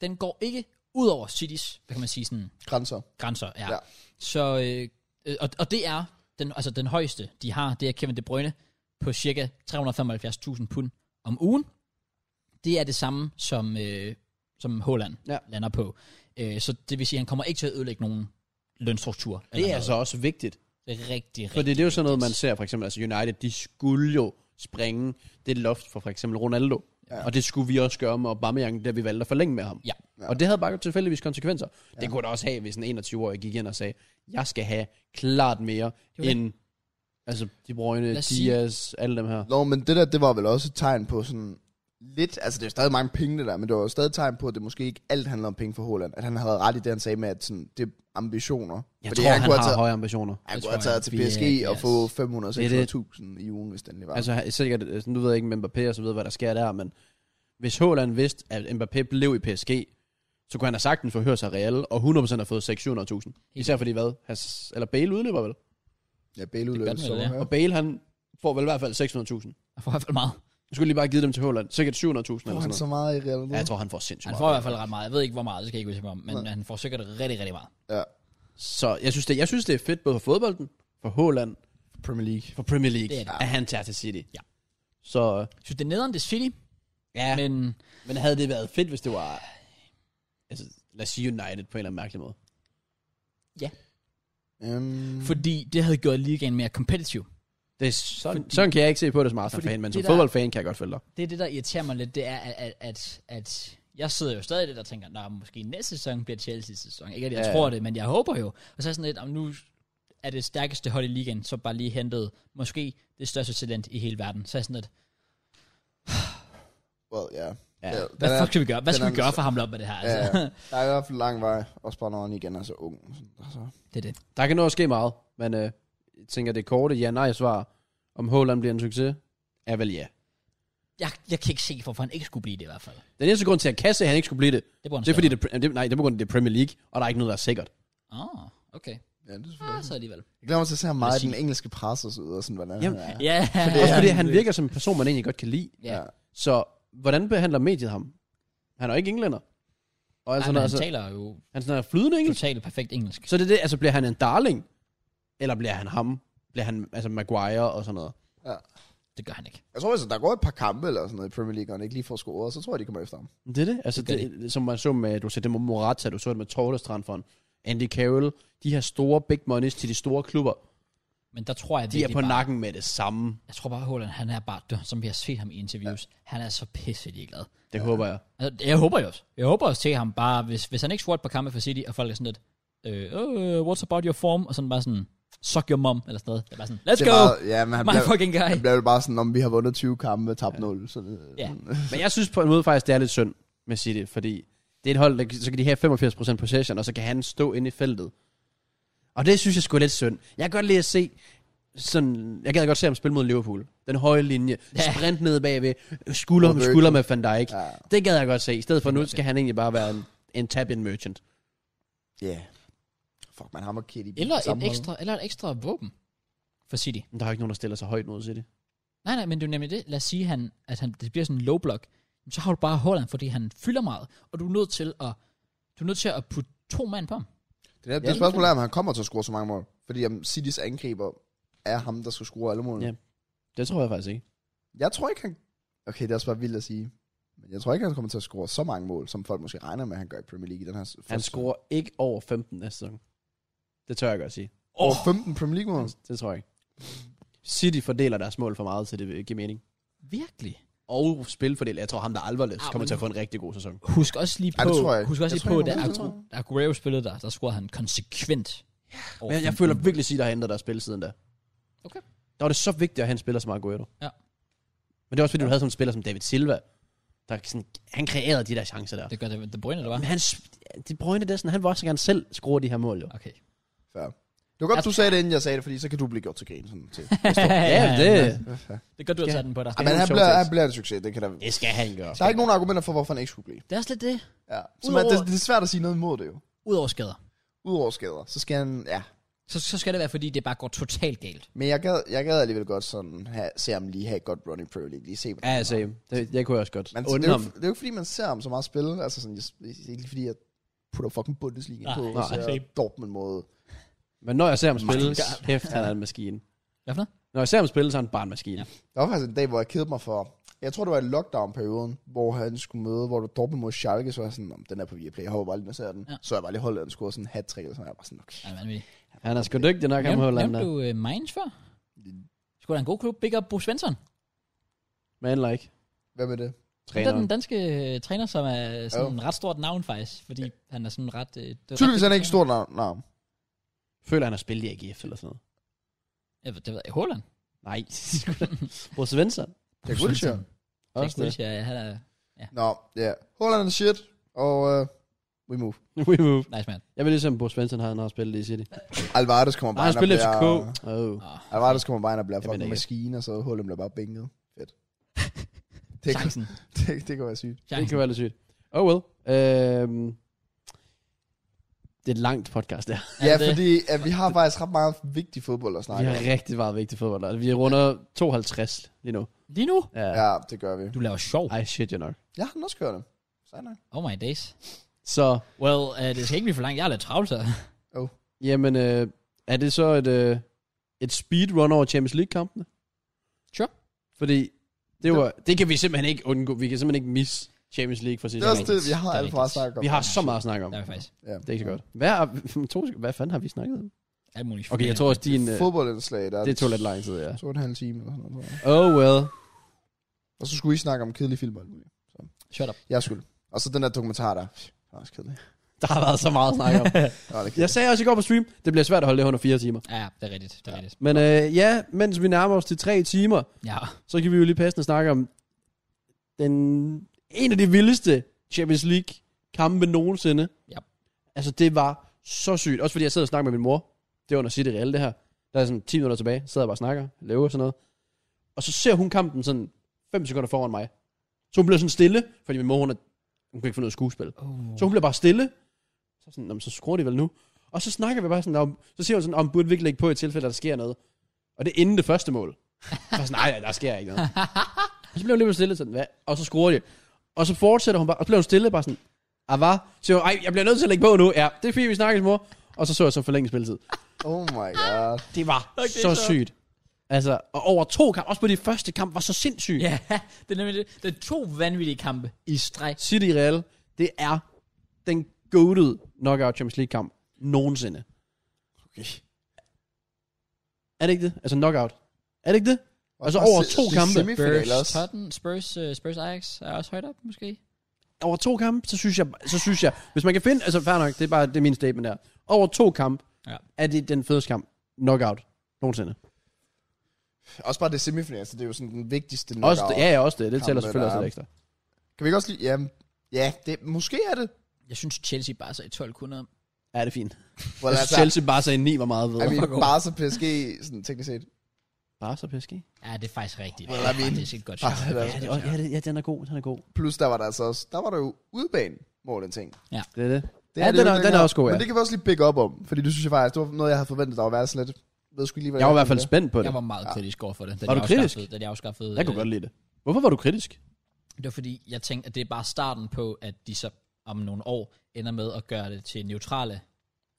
den går ikke ud over Citys, hvad kan man sige, sådan Grænser. grænser. Ja. ja. Ja. Så, øh, øh, og, og det er den, altså den højeste, de har, det er Kevin De Bruyne på cirka 375.000 pund om ugen. Det er det samme, som, øh, som Holland ja. Ja. lander på. Øh, så det vil sige, at han kommer ikke til at ødelægge nogen lønstruktur. eller Det er noget. altså også vigtigt. Det er rigtig, For rigtig. det, det er jo sådan noget, man ser for eksempel, altså United, de skulle jo springe det loft for for eksempel Ronaldo. Ja. Og det skulle vi også gøre med Aubameyang, da vi valgte at forlænge med ham. Ja. Ja. Og det havde bare tilfældigvis konsekvenser. Ja. Det kunne det også have, hvis en 21-årig gik ind og sagde, jeg skal have klart mere var det. end altså, de brøgne, Lad os sige- Diaz, alle dem her. Nå, men det der, det var vel også et tegn på sådan lidt, altså det er jo stadig mange penge det der, men det var jo stadig et tegn på, at det måske ikke alt handler om penge for Holland, at han havde ret i det, han sagde med, at sådan, det er ambitioner. Jeg tror, han, han kunne har have taget, høje ambitioner. han Det kunne have tror jeg. taget til PSG og Yes. få Det er 500-600.000 i ugen, hvis den lige var. Altså han- sikkert, øh, sådan, du ved ikke med Mbappé og så videre, hvad der sker der, men hvis Haaland vidste, at Mbappé blev i PSG, så kunne han have sagtens forhøre sig Real, og 100% har fået 600.000. Især fordi hvad? Has, eller Bale udløber vel? ja, Bale gør den udløb, så vel, ja. ja. Og Bale han får vel i hvert fald 600.000. Han får i hvert fald meget. Jeg skulle lige bare give dem til Haaland. Sikkert 700.000 eller Får sådan han så noget. meget i Real Ja, Madrid? jeg tror, han får sindssygt Han får i meget. hvert fald ret meget. Jeg ved ikke, hvor meget, det skal jeg ikke huske mig om, men Nej. han får sikkert rigtig, rigtig meget. Ja, Så jeg synes, det, jeg synes, det er fedt både for fodbolden, for Haaland, Premier League. for Premier League, Det er det det. at han tager til City. Ja. Så Jeg synes, det er nederen, det er City, ja, Mm. ja. men, men men havde det været fedt, hvis det var, altså, lad os sige United på en eller anden mærkelig måde. Um, fordi det havde gjort ligaen mere kompetitiv. Det er sådan, Fordi- fordi, sådan kan jeg ikke se på det som Fordi Arsenal-fan, men som det der- fodboldfan kan jeg godt følge dig. det er det, der irriterer mig lidt, det er, at, at, at, at jeg sidder jo stadig lidt og tænker, nej, måske næste sæson bliver Chelsea's sæson. Ikke at jeg Ja, ja, ja. tror det, men jeg håber jo. Og så er jeg sådan lidt, om nu er det stærkeste hold i ligaen, så bare lige hentet måske det største talent i hele verden. Så er jeg sådan lidt, well, yeah. Ja. Ja, hvad den er- fuck skal vi gøre? Hvad den skal er vi gøre altså- for ham op med det her? Ja, Altså, ja. der er i hvert fald lang vej, også bare når han igen er så ung. Altså, det er det. Der kan nå at ske meget, men øh, jeg tænker, det korte ja-nej-svar, om Haaland bliver en succes, er vel ja. Jeg, jeg kan ikke se, hvorfor han ikke skulle blive det i hvert fald. Den eneste grund til, at Kasse han ikke skulle blive det, Det, burde han det er fordi, selv det, er- det, nej, det er på grund af, det er Premier League, og der er ikke noget, der er sikkert. have. Ah, okay. ja, det er Ah, selvfølgelig. så alligevel. Jeg glæder mig til at se ham meget i Sige. den engelske presse og så videre, sådan hvordan Jamen, han er. Ja. Det Også fordi, han virker som en person, man egentlig godt kan lide. Ja. Ja. Så hvordan behandler mediet ham? Han er jo ikke englænder. Og Altså, Ej, altså, når, men han altså, taler jo han snakker flydende engelsk. totalt perfekt engelsk. Så det er det, altså bliver han en darling? Eller bliver han ham? Bliver han altså Maguire og sådan noget? Det gør han ikke. Jeg tror, hvis der går et par kampe eller sådan noget i Premier League, og han ikke lige får scoret, så tror jeg, de kommer efter ham. Det er det. Altså, Det gør det, det, som man så med, du så det med Morata, du så det med Tordestrand for Andy Carroll. De her store big monies til de store klubber, Men der tror jeg de er virkelig på bare- nakken med det samme. Jeg tror bare, Holland, han er bare, død, som vi har set ham i interviews, ja. han er så pisse ligeglad. Det håber jeg. Altså, jeg håber jo også. Jeg håber også til ham bare, hvis, hvis han ikke scorer på kampe for City, og folk er sådan lidt, øh, øh, what's about your form? Og sådan bare sådan, suck your mom, eller sådan noget. Det er bare sådan, let's Det go, er bare, ja, men han my bliver, fucking guy. han bliver jo bare sådan, om vi har vundet 20 kampe, tabt 0. Så det, Ja. Men jeg synes på en måde faktisk, det er lidt synd med City, fordi det er et hold, der, så kan de have 85% possession, og så kan han stå inde i feltet. Og det synes jeg sgu er lidt synd. Jeg kan godt lide at se, sådan, jeg gad godt se ham spille mod Liverpool. Den høje linje, Ja. ja. sprint ned bagved, skulder om Robertson. skulder med Van Dijk. Ja. Ja. Det gad jeg godt se. I stedet for nu skal han egentlig bare være en, en tap-in merchant. Yeah. Fuck, man hammer Kitty. Eller et, ekstra, eller et ekstra våben for City. Men der er jo ikke nogen, der stiller sig højt mod City. Nej, nej, men det er jo nemlig det. Lad os sige, han, at han, det bliver sådan en low block. Jamen, Så har du bare Holland, fordi han fylder meget, og du er nødt til at, du er nødt til at putte to mand på ham. Det, der, det spørgsmål er, om han kommer til at score så mange mål. Fordi om Citys angriber er ham, der skal score alle målene. Ja. Det tror jeg faktisk ikke. Jeg tror ikke, han... Okay, det er også bare vildt at sige. Men jeg tror ikke, han kommer til at score så mange mål, som folk måske regner med, at han gør i Premier League i den her s- Han første- Altså- scorer ikke over 15 næste sæson. Det tør jeg godt sige. over 15 Premier League mål. Det tror jeg ikke. City fordeler deres mål for meget, så det giver mening. Virkelig? Og spilfordeler. Jeg tror, ham der er Alvarez Ah, kommer men- til at få en rigtig god sæson. Husk også lige Ej, på, det tror jeg ikke. husk også Jeg lige tror på ikke, da han kommer til Agu- da Aguero spillede der, der scorede han konsekvent. over Men jeg 15. føler virkelig, at der har ændret deres spil siden da. Okay. Der var det så vigtigt, at han spiller så meget Aguero. Ja. Men det er også fordi, du havde sådan en spiller som David Silva, der sådan, han kreerede de der chancer der. Det gør det, det brønde, der var. Men han, de brøgne der, sådan, han vil også gerne selv score de her mål, jo. Okay. Fair. Det var godt, Jeg- du sagde det, inden jeg sagde det, fordi så kan du blive gjort til grin sådan til. Ja, det, Hvad fanden? Det gør du at Ja. tage den på dig. Ej, men en han sjov bliver, tekst. han bliver en succes, det kan der... det skal han gøre. Der er ikke nogen argumenter for, hvorfor han ikke skulle blive. Det er også lidt det. Ja. Så man, det, Udover- det, er svært at sige noget imod det jo. Udover skader. Udover skader, så skal han... Ja. Så, så skal det være, fordi det bare går totalt galt. Men jeg gad, jeg gad alligevel godt sådan have, se ham lige have et godt run i Premier League. Lige se, hvordan Ja, han altså, var. det, jeg kunne også godt Man, det, undre er jo, ham. ikke- det er jo ikke, fordi man ser ham så meget spille. Altså sådan, jeg, det er ikke fordi, jeg putter fucking Bundesliga Nej, på. nej, og ser det er ikke- Dortmund mod... Men når jeg ser ham spille, God. kæft, han er en maskine. Hvad for noget? Når jeg ser ham spille, så er han bare en maskine. Ja. Der var faktisk en dag, hvor jeg kedede mig for... Jeg tror, det var i lockdown-perioden, hvor han skulle møde, hvor du Dortmund mod Schalke, så var jeg sådan, om den er på Viaplay, jeg hopper bare lige ind og ser den. Ja. Ja. Så jeg bare lige holdt, at den scorer sådan en hat-trick, og sådan, og jeg var sådan, okay. Ja, vanvittigt. Han er sgu dygtig nok, ham Nævnte- Holland Nævnte der. du uh, Mainz før? Skulle der en god klub? Big up Bo Svensson. Man like. Hvad med det? Det er Træneren. den danske øh, træner, som er sådan Jo. en ret stort navn faktisk, fordi han er sådan ret... Øh, det er ret- Tydeligvis er han ikke stor navn. Nej. Føler han har spillet i AGF eller sådan noget? Jeg ved, det ved jeg. Holland. Nej. Hvor Svensson? Det er Wilshere. Jack Også det. Wilshere, ja, han er... Nå, ja. Holland er shit, og uh, we move. We move. Nice man. Jeg vil ligesom, Bo Svensson har, han har spillet i City. Alvarez kommer Nej, bare han ind og spillede i FCK. bliver... Oh. Oh, Alvarez kommer bare ind og bliver Jeg fucking mener ikke. maskine, og så Holland bliver bare bænket. Fedt. Det, kan- chancen. det, det kan være sygt. Det chancen. kan være lidt sygt. Oh well. Øhm, det er et langt podcast, der. Er Ja, det- fordi at vi har faktisk ret meget vigtig fodbold at Vi snakke om. har rigtig meget vigtig fodbold. og Vi runder 52 lige nu. Lige nu? Ja. Ja, det gør vi. Du laver sjov. Ej, shit, you know. Ja, den også kører det. Sejt nok. Oh my days. Så, Well, uh, det skal ikke blive for langt. Jeg er lidt travlt, så. jamen, øh, er det så et, øh, et speedrun over Champions League-kampene? Sure. Fordi det, var, det kan vi simpelthen ikke undgå. Vi kan simpelthen ikke misse Champions League for Det sidste er også det, vi har Det er alt for at rigtigt. snakke om. Vi har så meget at snakke om. Der er vi faktisk Ja. Det er ikke så godt. Hvad, er, to, sek- hvad fanden har vi snakket om? alt muligt. Okay, jeg tror også, din... Øh, Fodboldindslag, der det tog lidt lang tid, ja. To og en halv time eller sådan noget. tror jeg. Oh well. Og så skulle I snakke om kedelige film. og alt muligt. Shut up. Jeg skulle. Og så den der dokumentar der. Det var også kedeligt. Der har været så meget at snakke om. Det var lidt Jeg kedeligt. sagde også i går på stream, det bliver svært at holde det her under fire timer. Ja, ja, det er rigtigt. Det er rigtigt. Men øh, ja, mens vi nærmer os til tre timer, Ja. så kan vi jo lige passende snakke om den, en af de vildeste Champions League kampe nogensinde. Ja. Altså det var så sygt. Også fordi jeg sad og snakkede med min mor. Det var under City Real det her. Der er sådan 10 minutter tilbage. Sidder jeg bare og snakker. Laver og sådan noget. Og så ser hun kampen sådan 5 sekunder foran mig. Så hun bliver sådan stille. Fordi min mor hun, er, hun kan ikke finde noget skuespil. Oh. Så hun bliver bare stille. Så sådan, "Nå, men så skruer de vel nu. Og så snakker vi bare sådan om, så siger hun sådan, om burde vi ikke lægge på i tilfælde, at der sker noget. Og det er inden det første mål. Så er jeg sådan, nej, nej, der sker ikke noget. og så bliver hun lige pludselig stille, sådan, hvad? Og så skruer de. Og så fortsætter hun bare, og så bliver hun stille, bare sådan, ah, hvad? Så siger hun, ej, jeg bliver nødt til at lægge på nu. Ja, det er fint, vi snakkes, mor. Og så så jeg så forlænget spilletid. Oh my god. Det var Okay, så, så. sygt. Altså, og over to kampe, også på de første kamp, var så sindssygt. Ja, det er nemlig det. Det er to vanvittige kampe i streg. City Real, det er den goated knockout Champions League kamp nogensinde. Okay. Er det ikke det? Altså knockout. Er det ikke det? Altså over to Det er kampe. Semifinaler Spurs, også. Tottenham, Spurs, uh, Spurs Ajax er også højt op, måske. Over to kampe, så synes jeg, så synes jeg hvis man kan finde, altså fair nok, det er bare det er min statement der. Over to kampe, Ja. ja. er det den fedeste kamp knockout nogensinde. Også bare det semifinal, så det er jo sådan den vigtigste knockout. Også, ja, ja, også det. Det tæller Kampen, selvfølgelig også der lidt er- ekstra. Kan vi ikke også lige... Ja, ja det, måske er det. Jeg synes, Chelsea bare så i 12 kunder. Ja, det er fint. Well, Altså, Chelsea bare sagde 9 var meget I bedre. mean, Fuck off. Barca PSG, sådan teknisk set. Bare så PSG. Ja, det er faktisk rigtigt. Well, I det er mean- faktisk et godt shot. Ah, det Ja, er også Ja, det det, er også- ja, det, ja, den er god, den er god. Plus, der var der altså også... Der var der jo udbane mål en ting. Det er det. Det Ja, jo den er- ikke den er længere. også god, ja. Men det kan vi også lige big up om, fordi det synes jeg faktisk, det var noget, jeg havde forventet, der var været sådan lidt... Ved sgu ikke lige, hvad Jeg var i er hvert fald med det. spændt på det. Jeg var meget kritisk over for det. da Var de du kritisk? afskaffede- Da de afskaffede... Jeg kunne øh, godt lide det. Hvorfor var du kritisk? Det var fordi, jeg tænkte, at det er bare starten på, at de så om nogle år ender med at gøre det til neutrale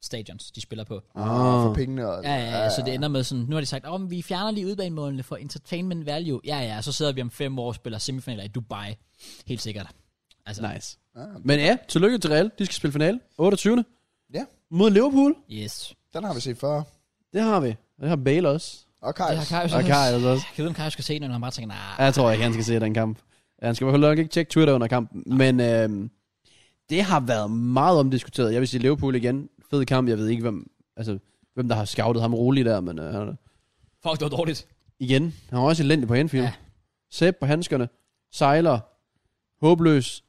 stadions, de spiller på. Ah. For pengene og... Ja, ja, ja, så det ender med sådan, nu har de sagt, om oh, vi fjerner lige udbanemålene for entertainment value. Ja, ja, så sidder vi om fem år og spiller semifinaler i Dubai. Helt sikkert. Altså, Nice. Men ja, tillykke til Real. De skal spille finale. 28. Ja. Mod Liverpool. yes. Den har vi set før. Det har vi. Og det har Bale også. Og Det Kajs. har Kajus Og også. Kajus også. Jeg kan vide, om Kajus skal se den, eller han bare tænker, nej, Ja, Jeg tror ikke, han skal se den kamp. Han skal i hvert fald nok ikke tjekke Twitter under kampen. Men øhm, det har været meget omdiskuteret. Jeg vil sige Liverpool igen. Fed kamp. Jeg ved ikke, hvem, altså, hvem der har scoutet ham roligt der. Men øh, han- fuck, det var dårligt. igen, han var også elendig på Anfield. Ja. Ja. Sæb på handskerne. Sejler. Håbløs.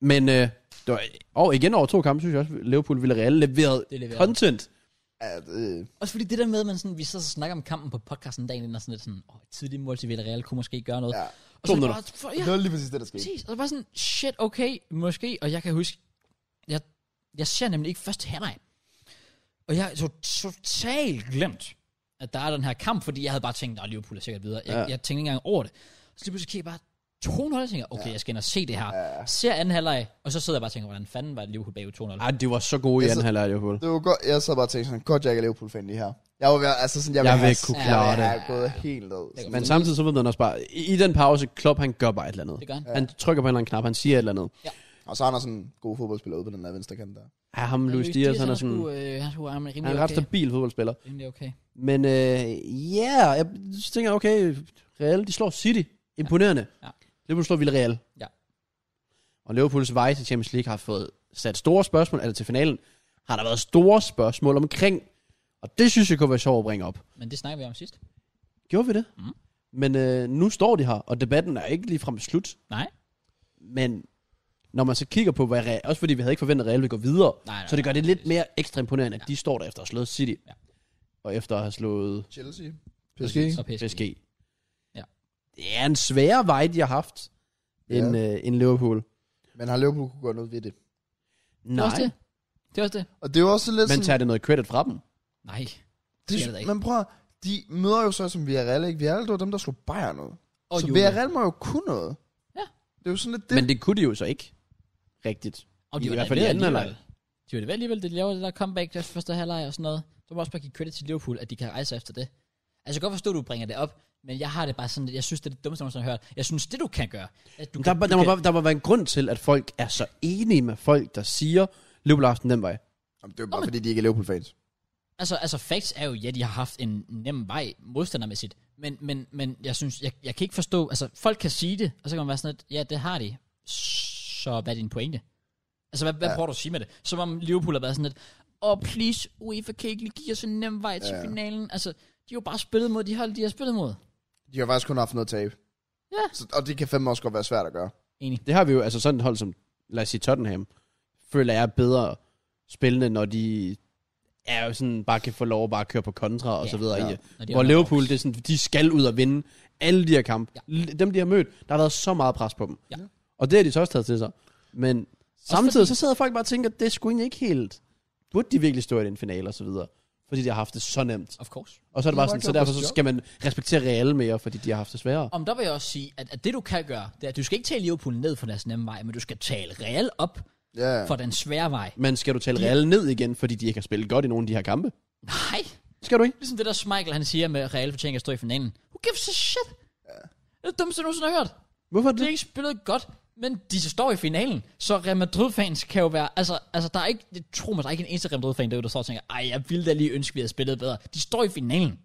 Men øh, det var, og igen over to kampe, synes jeg også, Liverpool ville reelt leveret Det leverede. content. Ja, det- Også fordi det der med, at man sådan, vi så snakker om kampen på podcasten dagen inden, og sådan lidt sådan, åh, et tidligt mål til Villarreal kunne måske gøre noget. Ja. og To så er det minutter. bare, for, Det ja, var lige præcis det, der skete. præcis. Og det var sådan, shit, okay, måske. Og jeg kan huske, jeg, jeg ser nemlig ikke første halvleg. Og jeg har to, totalt glemt, at der er den her kamp, fordi jeg havde bare tænkt, at Liverpool er sikkert videre. Jeg, Ja. ja. jeg tænkte ikke engang over det. Så lige pludselig kigger jeg bare 2-0, og tænker, okay, ja. jeg skal ind og se det her. Ja. Ser anden halvleg, og så sidder jeg bare og tænker, hvordan fanden var det Liverpool bagud 2-0? Ej, det var så gode i Altså, anden halvleg, Liverpool. Det var godt, jeg sad bare og tænkte sådan, godt jeg ikke er Liverpool-fan lige her. Jeg var ved, altså sådan, jeg, Jeg ville vil have- kunne jeg klare ville det. have gået helt ud. Det kan Men samtidig så ved man også bare, i, i den pause, Klopp han gør bare et eller andet. Det gør han. Han trykker på en eller anden knap, han siger et eller andet. Og så er der sådan en god fodboldspiller ude på den der venstre kant der. Ja, ham Luis Diaz, han er sådan, sgu, øh, han skulle, han er han er rimelig en ret okay. stabil fodboldspiller. Rimelig okay. Men øh, ja, jeg så tænker, jeg, okay, Real, de slår City. Imponerende. Ja. Liverpool slår Villarreal. Ja. Og Liverpools vej til Champions League har fået sat store spørgsmål, altså til finalen, har der været store spørgsmål omkring, og det synes jeg kunne være sjovt at bringe op. Men det snakker vi om sidst. Gjorde vi det? Mm. Men øh, nu står de her, og debatten er ikke ligefrem slut. Nej. Men når man så kigger på, hvad Real, også fordi vi havde ikke forventet, at Real ville gå videre, Nej, nej, så det gør det nej, lidt præcis. mere ekstra imponerende, at de står der efter at have slået City, Ja. og efter at have slået Chelsea. Og PSG. PSG. Ja. Det er en sværere vej, de har haft, end, øh, end Liverpool. Men har Liverpool kunne gøre noget ved det? Det er Nej, også det. Det er også det. Og det er jo også lidt men sådan... tager det noget credit fra dem? Nej. Det, skal det da ikke. men prøv at- de møder jo så som Villarreal, ikke? Villarreal, det var dem, der slog Bayern ud. Og så Juve. Villarreal må jo kunne noget. Ja. Det er jo sådan lidt det. Det... Men det kunne de jo så ikke rigtigt. Og I de var hvert da fald i ved anden alligevel. halvleg. De var det ved alligevel, det laver det der comeback til første halvleg og sådan noget. Så må jeg også bare give credit til Liverpool, at de kan rejse efter det. Altså jeg kan godt forstå, at du bringer det op, men jeg har det bare sådan, lidt- jeg synes, det er det dummeste, jeg nogensinde har hørt. Jeg synes, det du kan gøre, at du Der, kan, der, du der, må, kan bare- der må være en grund til, at folk er så enige med folk, der siger, Liverpool har haft den den vej. Jamen, det er jo Nå, bare, men- fordi de ikke er Liverpool-fans. Altså, altså facts er jo, ja, de har haft en nem vej modstandermæssigt, men, men, men jeg synes, jeg, jeg kan ikke forstå, altså folk kan sige det, og så kan man være sådan lidt, ja, det har de, så hvad er din pointe? Altså, hvad, hvad ja. prøver du at sige med det? Som om Liverpool har været sådan lidt, oh please, UEFA kan ikke lige give os en nem vej til ja. finalen, altså, de har jo bare spillet mod de hold, de har spillet mod. De har faktisk kun haft noget tab. Ja. Så, og det kan fandme også godt være svært at gøre. Enig. Det har vi jo, altså sådan et hold som, lad os sige Tottenham, føler jeg er bedre spillende, når de er jo sådan, bare kan få lov at bare køre på kontra og Ja, så videre. ja. Ja. Når de Hvor underdogs. Liverpool, det er sådan, de skal ud og vinde alle de her kampe. Ja. Ja. Dem, de har mødt, der har været så meget pres på dem. Ja. Og det har de så også taget til sig. Men samtidig fordi- så sidder folk bare og tænker, det er sgu egentlig ikke helt... Burde de virkelig stå i den finale og så videre? Fordi de har haft det så nemt. Of course. Og så er det De har bare bare sådan, så gjort derfor deres så job. skal man respektere Real mere, fordi de har haft det sværere. Om der vil jeg også sige, at, at det du kan gøre, det er, at du skal ikke tale Liverpool ned for deres nemme vej, men du skal tale Real op Ja. for den svære vej. Men skal du tale Real ned igen, fordi de ikke har spillet godt i nogle af de her kampe? Nej, Skal du ikke? Ligesom det der Schmeichel, han siger med Real fortjener at stå i finalen. Who gives a shit? Det er det dummeste, jeg nogensinde har hørt. Hvorfor De har ikke spillet godt, men de står i finalen. Så Real Madrid-fans kan jo være... Altså, altså der er ikke... Det tror mig, der er ikke en eneste Real Madrid-fan derude, der står og tænker, ej, jeg ville da lige ønske, vi havde spillet bedre. De står i finalen.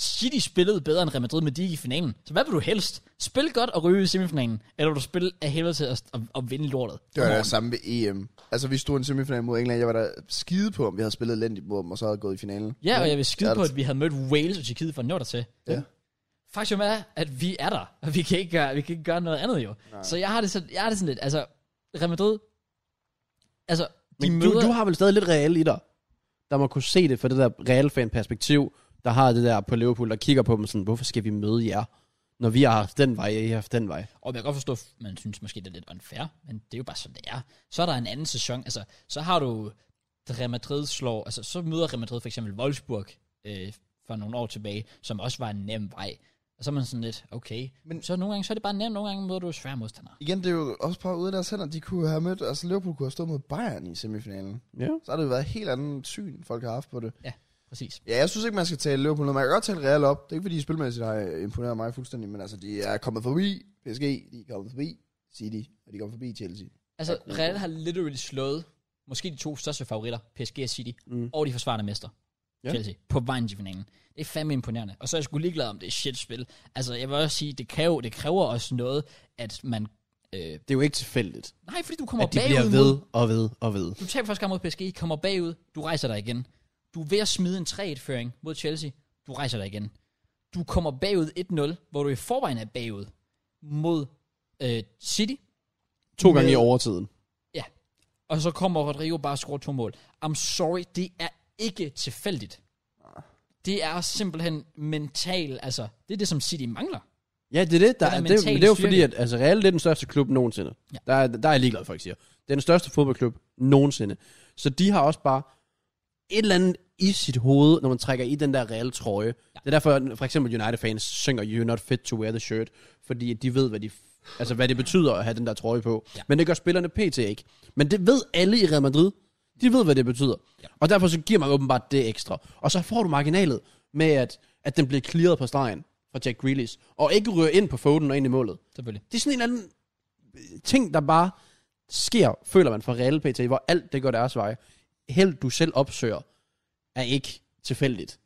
City spillede bedre end Real Madrid, men de gik i finalen. Så hvad vil du helst? Spil godt og ryge i semifinalen? Eller vil du spille af helvede til at, at, at vinde lortet? Det var det samme ved EM. Altså, vi stod i en semifinal mod England. Jeg var da skide på, om vi havde spillet elendigt mod dem, og så havde gået i finalen. Ja, og jeg vil skide Ja, altså. på, det- at vi havde mødt Wales og Tjekkiet for at nå der til. Ja. Faktum er, at vi er der, og vi kan ikke gøre, vi kan ikke gøre noget andet jo. Nej. Så jeg har, det sådan, jeg har det sådan lidt, altså, Real Madrid, altså, de Men møder... du, du har vel stadig lidt Real i dig, der må kunne se det fra det der Real-fan-perspektiv, der har det der på Liverpool, der kigger på dem sådan, hvorfor skal vi møde jer, når vi har haft den vej, og I har haft den vej. Og jeg kan godt forstå, at man synes måske, det er lidt unfair, men det er jo bare sådan, det er. Så er der en anden sæson, altså, så har du Real Madrid slår, altså, så møder Real Madrid for eksempel Wolfsburg øh, for nogle år tilbage, som også var en nem vej. Og så er man sådan lidt, okay. Men, Men- så nogle gange, så er det bare nemt, nogle gange møder du svære modstandere. Igen, det er jo også bare ude af deres hænder. De kunne have mødt, altså Liverpool kunne have stået mod Bayern i semifinalen. Ja. Så har det jo været et helt andet syn, folk har haft på det. Præcis. Ja, jeg synes ikke, man skal tale Liverpool noget. Man kan godt tale Real op. Det er ikke, fordi de spilmæssigt har øh, imponeret mig fuldstændig, men altså, de er kommet forbi PSG, de er kommet forbi City, og de er kommet forbi Chelsea. Altså, Ja, Real har literally slået måske de to største favoritter, PSG og City, Mm. mm. og de forsvarende mester, Ja. ja. Chelsea, på vejen til finalen. Det er fandme imponerende. Og så er jeg sgu ligeglad om det er shit spil. Altså, jeg vil også sige, det kræver, det kræver også noget, at man... Øh, Det er jo ikke tilfældigt, nej, fordi du kommer at de bagud. bliver ved og ved og ved. Mod, du taber første gang mod PSG, kommer bagud, du rejser dig igen. Du er ved at smide en 3-1-føring mod Chelsea, du rejser dig igen. Du kommer bagud 1-0, hvor du i forvejen er bagud mod øh, City, To gange i Med- overtiden. Og så kommer Rodrigo bare og scorer to mål. I'm sorry, det er ikke tilfældigt. Det er simpelthen mental, altså, det er det, som City mangler. Ja, det er det. Den Der, er der det, men mentale det er jo styrke. fordi, at altså, Real det er den største klub nogensinde. Ja. Ja. Der, er, der er jeg ligeglad, for, at folk siger. Det er den største fodboldklub nogensinde. Så de har også bare et eller andet i sit hoved, når man trækker i den der reelle trøje. Ja. Det er derfor, for eksempel United-fans synger, you're not fit to wear the shirt, fordi de ved, hvad, de, altså, hvad det betyder at have den der trøje på. Ja. Ja. Men det gør spillerne pt. ikke. Men det ved alle i Real Madrid. De ved, hvad det betyder. Ja. Og derfor så giver man åbenbart det ekstra. Og så får du marginalet med, at, at den bliver clearet på stregen fra Jack Grealish, og ikke rører ind på Foden og ind i målet. Selvfølgelig. Det er sådan en eller anden øh, ting, der bare sker, føler man fra Real PT, hvor alt det går deres vej. Held du selv opsøger, er ikke tilfældigt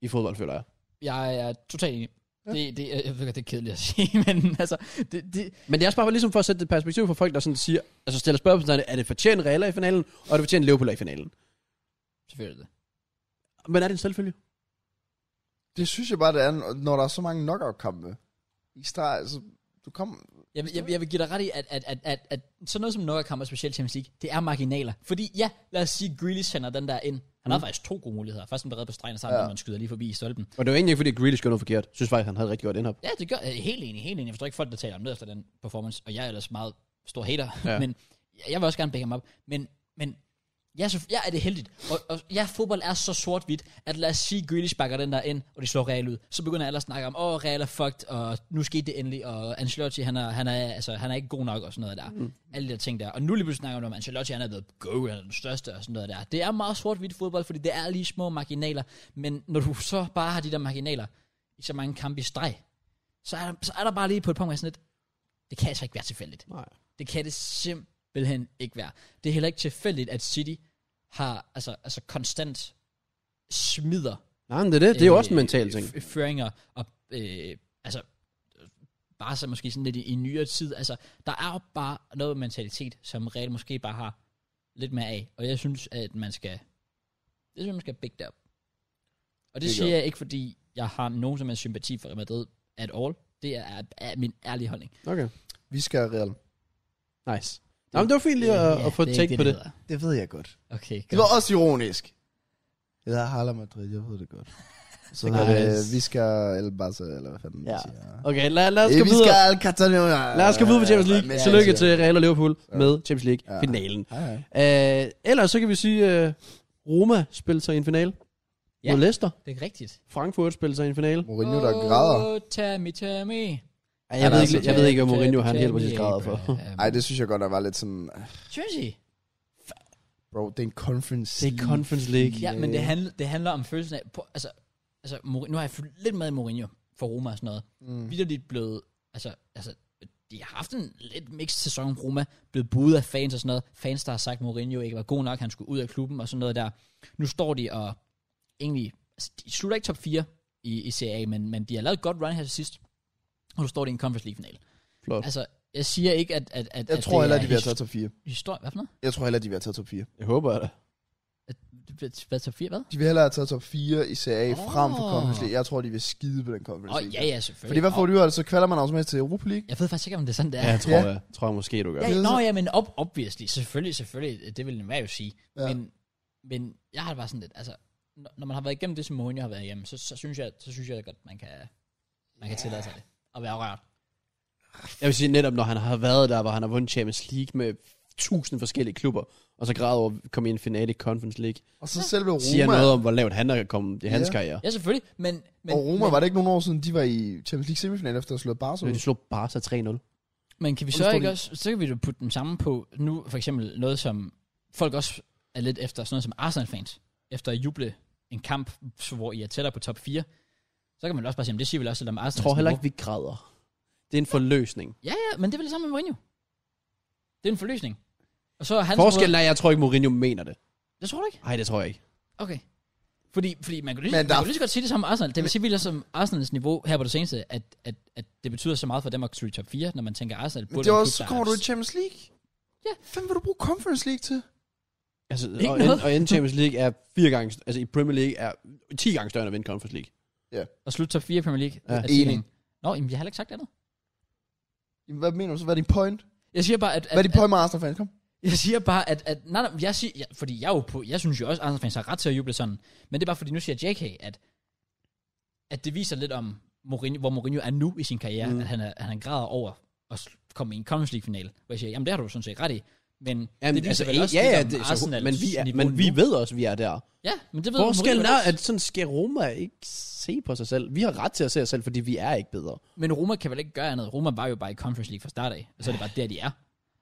i fodbold, føler jeg. Jeg er totalt enig. Ja. Det, det, er- jeg ved godt, det er kedeligt at sige, men altså, det, det, Men det er også bare for- ligesom for at sætte det i perspektiv for folk, der sådan siger, altså stiller spørgsmål, er det fortjent Real er i finalen, og er det fortjent Liverpool er i finalen? selvfølgelig er det. Men er det en selvfølge? Det synes jeg bare, det er, når der er så mange knockout-kampe. I start, altså, du kom... Jeg, vil- jeg, vil- jeg vil give dig ret i, at, at, at, at, at sådan noget som Nørrekamp og specielt Champions League, det er marginaler. Fordi ja, lad os sige, Grealish sender den der ind. Han mm. har faktisk to gode muligheder. Først en berede på stregen, og så har Ja. ja. man skyder lige forbi i stolpen. Og det var egentlig ikke, fordi Grealish gjorde noget forkert. Jeg synes faktisk, han havde et rigtig godt indhop. Ja, det gør jeg. er Helt enig, helt enig. Jeg forstår ikke folk, der taler om det efter den performance, og jeg er ellers meget stor hater, ja. Ja. men jeg- jeg vil også gerne bække ham op. Men, men ja, så, ja, er det heldigt. Og, og ja, fodbold er så sort-hvidt, at lad os sige, Grealish bakker den der ind, og de slår Real ud. Så begynder alle at snakke om, åh, Real er fucked, og nu skete det endelig, og Ancelotti, han er, han er, altså, han er ikke god nok, og sådan noget der. Mm. Alle de der ting der. Og nu lige pludselig snakker man om, Ancelotti, han er blevet go, han er den største, og sådan noget der. Det er meget sort-hvidt fodbold, fordi det er lige små marginaler, men når du så bare har de der marginaler, i så mange kampe i streg, så er der, så er der bare lige på et punkt, hvor jeg er sådan lidt, det kan altså ikke være tilfældigt. Nej. Det kan det simpelthen ikke være. Det er heller ikke tilfældigt, at City har, altså, altså konstant smider Nej, men det er det. Det er jo øh, også en mental ting. f- Føringer og, øh, altså, øh, bare så måske sådan lidt i, i nyere tid. Altså, der er jo bare noget mentalitet, som Real måske bare har lidt mere af. Og jeg synes, at man skal, jeg synes, man skal big det op. Og det, Det det siger gør. jeg ikke, fordi jeg har nogen som helst sympati for Real Madrid at all. Det er, er min ærlige holdning. Okay. Vi skal have Real. Nice. øh. Nå, men det var fint lige at, at få et er take ikke på det. hedder. Det ved jeg godt. Okay, Det godt. var også ironisk. Jeg hedder Harlem Madrid, jeg ved det godt. Så Nice. nice. vi skal El Barca, eller hvad fanden ja. Ja. man siger. Øh, Okay, lad, lad os gå vi videre. skal El Catalonia. Lad os gå videre på Champions League. Ja, Tillykke ja. til Real og Liverpool med Champions League-finalen. Hej, hej. Øh, ellers så kan vi sige, øh, Roma spillede sig i en finale. Ja. Mod Leicester. Det er rigtigt. Frankfurt spillede sig i en finale. Mourinho, der græder. Oh, Tammy, Tammy. Ej, Han jeg, er ved altså- ikke, jeg ved ikke, om Mourinho han Tammy helt præcis grader for. Abraham. Ej, det synes jeg godt, der var lidt sådan... ah, Synes I? Bro, det er en conference. Det er Conference League. Ja, men øh. det handler, det handler om følelsen af... På, altså, altså, Mourinho- nu har jeg fulgt lidt med i Mourinho for Roma og sådan noget. Mm. Vitterligt blevet... Altså, altså, de har haft en lidt mixed sæson, Roma. Blevet budet af fans og sådan noget. Fans, der har sagt, Mourinho ikke var god nok, han skulle ud af klubben og sådan noget der. Nu står de og egentlig... Altså, de slutter ikke top 4 i, i CA, men, men de har lavet et godt run her til sidst. Og nu står de i en Conference League-final. Flot. Altså, jeg siger ikke, at... at, at Jeg at tror det heller, er de vil have his- taget top 4. Historie, hvad for noget? Jeg tror heller, de vil have taget top 4. Jeg håber det. Hvad- Hvad top 4, hvad? De vil hellere have taget top 4 i CA Åh. oh. frem for Conference League. Jeg tror, de vil skide på den Åh, Conference oh, League. ja, ja, selvfølgelig. Fordi hvad får Åh, du ud af det? Så kvalder man automatisk til Europa League. Jeg ved faktisk ikke, om det er sådan, det er. Ja, Ja, jeg tror, Ja. jeg, tror jeg måske, du gør. ja, nå, ja, men op, obviously. Selvfølgelig, selvfølgelig. Det vil den være jo sige. Ja. Ja. Men, men jeg har det bare sådan lidt, altså, når når man har været igennem det, som Mourinho har været igennem, så, så, synes, jeg, så synes jeg godt, man kan, man kan tillade sig det. At være rørt. Jeg vil sige, netop når han har været der, hvor han har vundet Champions League med tusind forskellige klubber, og så græder over at komme i en finale i Conference League. Og så selve Roma. Siger noget om, hvor lavt han er kommet i hans Ja. karriere. Ja, selvfølgelig. Men, men, og Roma, men, var det ikke nogle år siden, de var i Champions League semifinal efter at have slået Barca Så de ud? slog Barca 3-0. men kan vi så Undskyld. ikke også, så kan vi jo putte den samme på nu, for eksempel noget, som folk også er lidt efter, sådan noget som Arsenal-fans, efter at juble en kamp, hvor I er tættere på top 4, så kan man også bare sige, "Jamen, det siger vel også lidt om Jeg Arsenal. tror heller ikke, vi græder. Det er en forløsning. Ja, ja, men det er vel det samme med Mourinho. Det er en forløsning. Og så er hans Forskellen er, jeg tror ikke, Mourinho mener det. Måde, det tror du ikke? Nej, det tror jeg ikke. Okay. Fordi, fordi man kan lige, Men man der- kan lige så godt sige det samme om Arsenal. Det vil sige, at vi er som Arsenals niveau her på det seneste, at, at, at det betyder så meget for dem at stryge top 4, når man tænker Arsenal. Men det var også, så kommer du i Champions League. Ja. Hvem vil du bruge Conference League til? Altså, Ikke og, noget. en, og en Champions League er fire gange, altså i Premier League er 10 gange større end at vinde Conference League. Og slutte top 4 i Premier League. Ja. er Enig. tingen. Nå, jamen, jeg har heller ikke sagt andet. Jamen, Hvad mener du så? Hvad er din point? Jeg siger bare, at... Hvad er at, din point med Arsenal fans? Kom. at jeg siger bare, at... at nej, nej, jeg siger, ja, fordi jeg, er jo på, jeg synes jo også, at Arsenal fans har ret til at juble sådan. Men det er bare, fordi nu siger JK, at, at det viser lidt om, Mourinho, hvor Mourinho er nu i sin karriere. Mm. Mm. At han, er, at han græder over at s- komme i en Conference League-final. Hvor jeg siger, jamen det har du sådan set ret i. Men Jamen, det viser altså, vel også ja, lidt ja, om det, så, Arsenals men vi, er, niveau men vi nu. ved også, at vi er der. Ja, men det ved Forskellen Mourinho er, godt. at sådan skal Roma ikke se på sig selv. Vi har ret til at se os selv, fordi vi er ikke bedre. Men Roma kan vel ikke gøre andet. Roma var jo bare i Conference League fra start af, og så er det bare der, de er.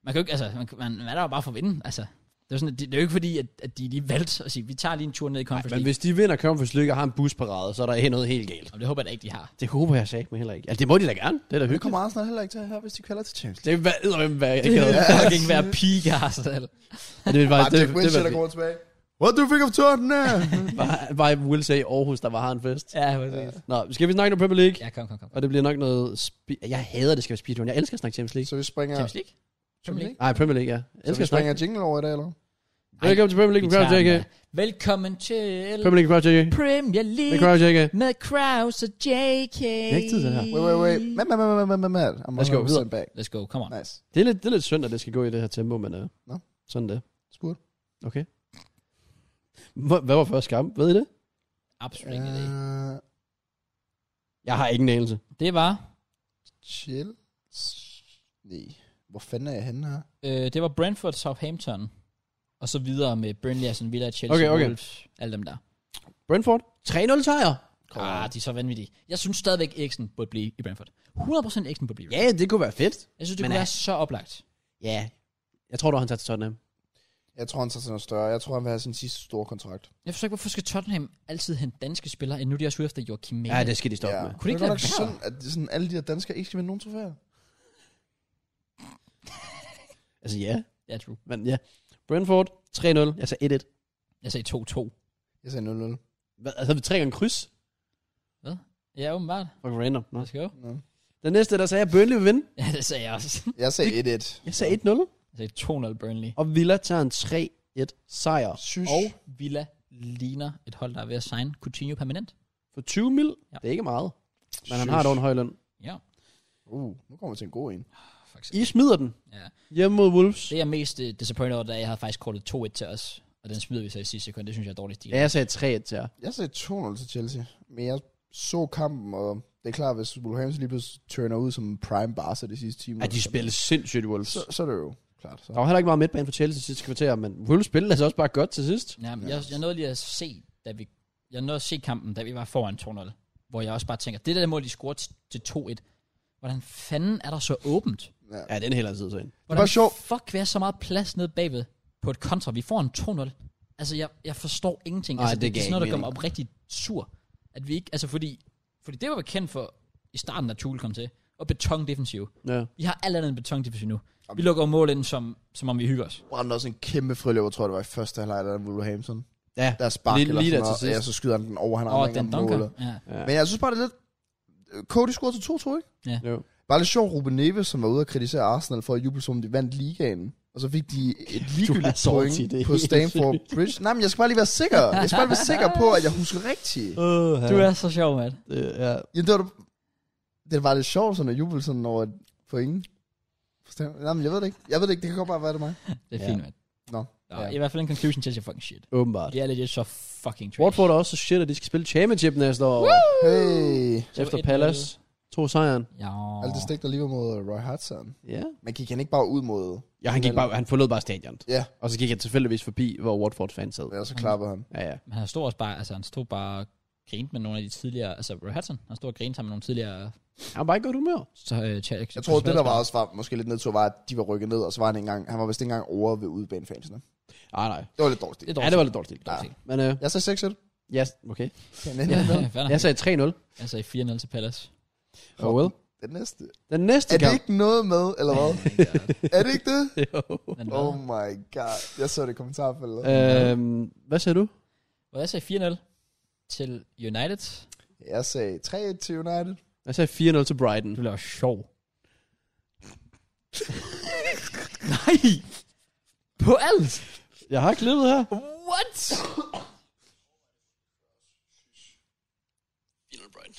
Man kan jo ikke, altså, man, man, man er der jo bare for at vinde, altså. Det er, jo sådan, at det, det er jo ikke fordi, at, at de lige valgte at sige, vi tager lige en tur ned i Conference Men League. hvis de vinder Conference League og har en busparade, så er der noget helt galt. Og det håber jeg da ikke, de har. Det håber jeg sagt mig heller ikke. Altså, det må de da gerne. Det er da Det hyggeligt. kommer Arsenal heller ikke til her, hvis de kvalder til Champions League. Det er hvad, hvad jeg Det gad. kan fucking være peak Arsenal. Det var Bare det, Jack det, Wilshere, der det, var, går tilbage. What do you think of Tottenham? var, var, var Will i Aarhus, der var har en fest. Ja, præcis. Nå, skal vi snakke om Premier League? Ja. Ja, kom, kom, kom. Og det bliver nok noget... Spe- jeg hader, det skal være speedrun. Jeg elsker at snakke Champions League. så vi springer... Champions League? Champions League? Nej, Premier League, ja. Jeg Så elsker vi at snakke. springer jingle over i dag, eller? Ej, Velkommen til Premier League vi med Kraus tager den JK. der. Velkommen til Premier League med Kraus JK. Premier Med League Kraus JK. med Kraus og JK. Det er ikke tid til det her. Wait, wait, wait. Mad, mad, mad, mad, mad, mad, mad. I'm Let's go Ah. 100% videre. Back. Let's go, come on. Nice. Det er lidt, det er lidt synd, at det skal gå i det her tempo, men uh, Nå. sådan det. Skud. Okay. Hvor- Hvad var første kamp? Ved I det? Absolut Øh. ingen idé. Uh, Jeg har ingen anelse. Det var, chill. Nej. Hvor fanden er jeg henne her? øh, det var Brentford, Southampton, og så videre med Burnley, Aston Villa, Chelsea, Okay, okay. Wolves, alle dem der. Brentford? 3-0 sejr. Ah, de er så vanvittige. Jeg synes stadigvæk, Eriksen burde blive i Brentford. 100% Eriksen burde blive i Ja, det kunne være fedt. Jeg synes, det men kunne er- være så oplagt. Ja. Jeg tror dog, han tager til Tottenham. Jeg tror, han tager sådan noget større. Jeg tror, han vil have sin sidste store kontrakt. Jeg forstår ikke, hvorfor skal Tottenham altid hente danske spillere, end nu er de også ude efter Joachim Mæle. Ja, det skal de stoppe med. Kunne det ikke er lade godt nok være? synd, at det er sådan, alle de her danskere ikke skal vinde nogen trofæer? Altså ja, Ja, true. men ja. Brentford, 3-0. Jeg sagde 1-1. Jeg sagde 2-2. Jeg sagde 0-0. Hvad, altså, havde vi tre gange kryds? Ja, åbenbart. Fuck random. Nå. Let's go. Nå. Den næste, der sagde jeg, Burnley vil vinde. Ja, det sagde jeg også. Jeg sagde 1-1. Jeg sagde 1-0. Jeg sagde 2-0 Burnley. Og Villa tager en 3-1 sejr. Sysh. Og Villa ligner et hold, der er ved at signe Coutinho permanent. For 20 mil, Ja. det er ikke meget. Men han har dog en høj løn. Ja, Uh, nu kommer vi til en god en. faktisk. I smider den. Ja. Hjemme mod Wolves. Det jeg er mest øh, disappointed over, det er, at jeg havde faktisk kortet 2-1 til os. Og den smider vi så i sidste sekund. Det synes jeg er dårlig stil. Ja, jeg sagde 3-1 til jer. Jeg sagde 2-0 til Chelsea, men jeg så kampen, og det er klart, hvis Wolverhampton lige pludselig turner ud som prime Barca de sidste timer. Ja, de spillede sindssygt Wolves. Så, så er det jo klart. Så. Der var heller ikke meget midtbane for Chelsea sidste kvarter, men Wolves spillede altså også bare godt til sidst. Ja, men jeg, jeg nåede lige at se, da vi, jeg nåede at se kampen, da vi var foran 2-0. Hvor jeg også bare tænker, det der mål, de scorer til, til 2-1. Hvordan fanden er der så åbent? Ja. Ja, den hælder tid ind. Hvordan sjovt. fuck kan være så meget plads nede bagved på et kontra? Vi får en 2-0. Altså, jeg, jeg forstår ingenting. Ej, altså, det det, det gav er sådan noget, der ikke gør mig oprigtigt sur. At vi ikke, altså fordi, fordi det var vi kendt for i starten, da Tuchel kom til. Og betongdefensiv. Ja. Vi har alt andet end betongdefensiv nu. Vi lukker mål ind, som, som om vi hygger os. brændte også en kæmpe friløber, tror jeg, det var i første halvleg af Wolverhampton. Ja. Der spark Lige- eller lige sådan der til noget, sidst. ja, så skyder han den over, han rammer Og ikke den engang dunker. målet. Ja. ja. Men jeg synes bare, det er lidt... Cody scorede til 2-2, ikke? Jo. Bare lidt sjovt, Ruben Neves, som var ude og kritisere Arsenal for at juble, som om de vandt ligaen. Og så fik de et ligegyldigt så point til det. på Stamford Bridge. Nej, men jeg skal bare lige være sikker. Jeg skal bare være sikker på, at jeg husker rigtigt. Uh, Du er så sjov, mand. ja. Jamen, det var, da- det var lidt sjovt, sådan at juble sådan over et point. Forstår du? Nej, men jeg ved det ikke. Jeg ved det ikke. Det kan godt bare være det er mig. Det er Ja. ja. fint, mand. Nå. Nå, Ja. ja. I hvert fald en conclusion til, at jeg fucking shit. Åbenbart. Det er legit så fucking trash. Watford er også så shit, at de skal spille championship næste år. Hey. Så Efter et- Palace. Tog sejren. Ja. Alt det stik, der lige var mod Roy Hudson. Ja. Men gik han ikke bare ud mod... Ja, han, gik bare, han forlod bare stadion. Ja, Og så gik han tilfældigvis forbi, hvor Watford fan sad. og så klappede han. Ja, ja. Men han stod også bare, altså han stod bare og grinte med nogle af de tidligere, altså Roy Hudson, han stod og grinte sammen med nogle tidligere... Han var bare i godt humør. Så, øh, tja- Jeg tror, det der var også var måske lidt nedtur, var, at de var rykket ned, og så var han ikke engang, han var vist ikke engang over ved udebanefansene. Ah, nej. Det var lidt dårligt. Det er Ja, dårligt. det var lidt dårligt stil. Dårligt Men øh, Jeg sagde 6 -1. ja, okay. Den, Ja, fair nok. Jeg sagde 3-0. Jeg sagde 4-0 til Palace. Oh, well. den næste. Den næste Er det kamp. ikke noget med, eller hvad? er det ikke det? Men øh, Oh hvad? my god. Jeg så det i kommentarfeltet. Øhm, hvad sagde du? Og jeg sagde 4-0 til United. Jeg sagde 3 til United. Jeg sagde 4-0 til Brighton. Du laver sjov. Nej! På alt! Jeg har klippet her. What? 4-0 Brighton.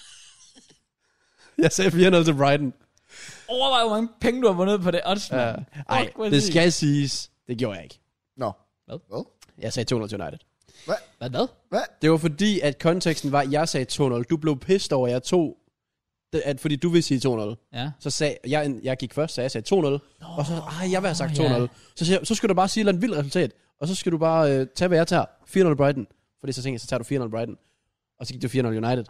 jeg sagde 4-0 til Brighton. Overvej, hvor mange penge du har vundet på det odds. Ja. mand. Ej, Fuck, hvor er det sygt. skal siges. Det gjorde jeg ikke. Nå. Hvad? Hvad? Jeg sagde 2-0 til United. Hvad, hvad? Hvad? Det var fordi, at konteksten var, at jeg sagde 2-0. Du blev pissed over, at jeg tog... det- At fordi du ville sige 2-0. Ja. Så sagde jeg, jeg gik først, så jeg sagde 2-0. og så, ah, jeg vil have sagt 2-0. ja. Så, siger, jeg, så skal du bare sige et eller andet vildt resultat. Og så skal du bare øh, tage, hvad jeg tager. 4-0 Brighton. Fordi så tænkte jeg, så tager du 4-0 Brighton. Og så gik du 4-0 United.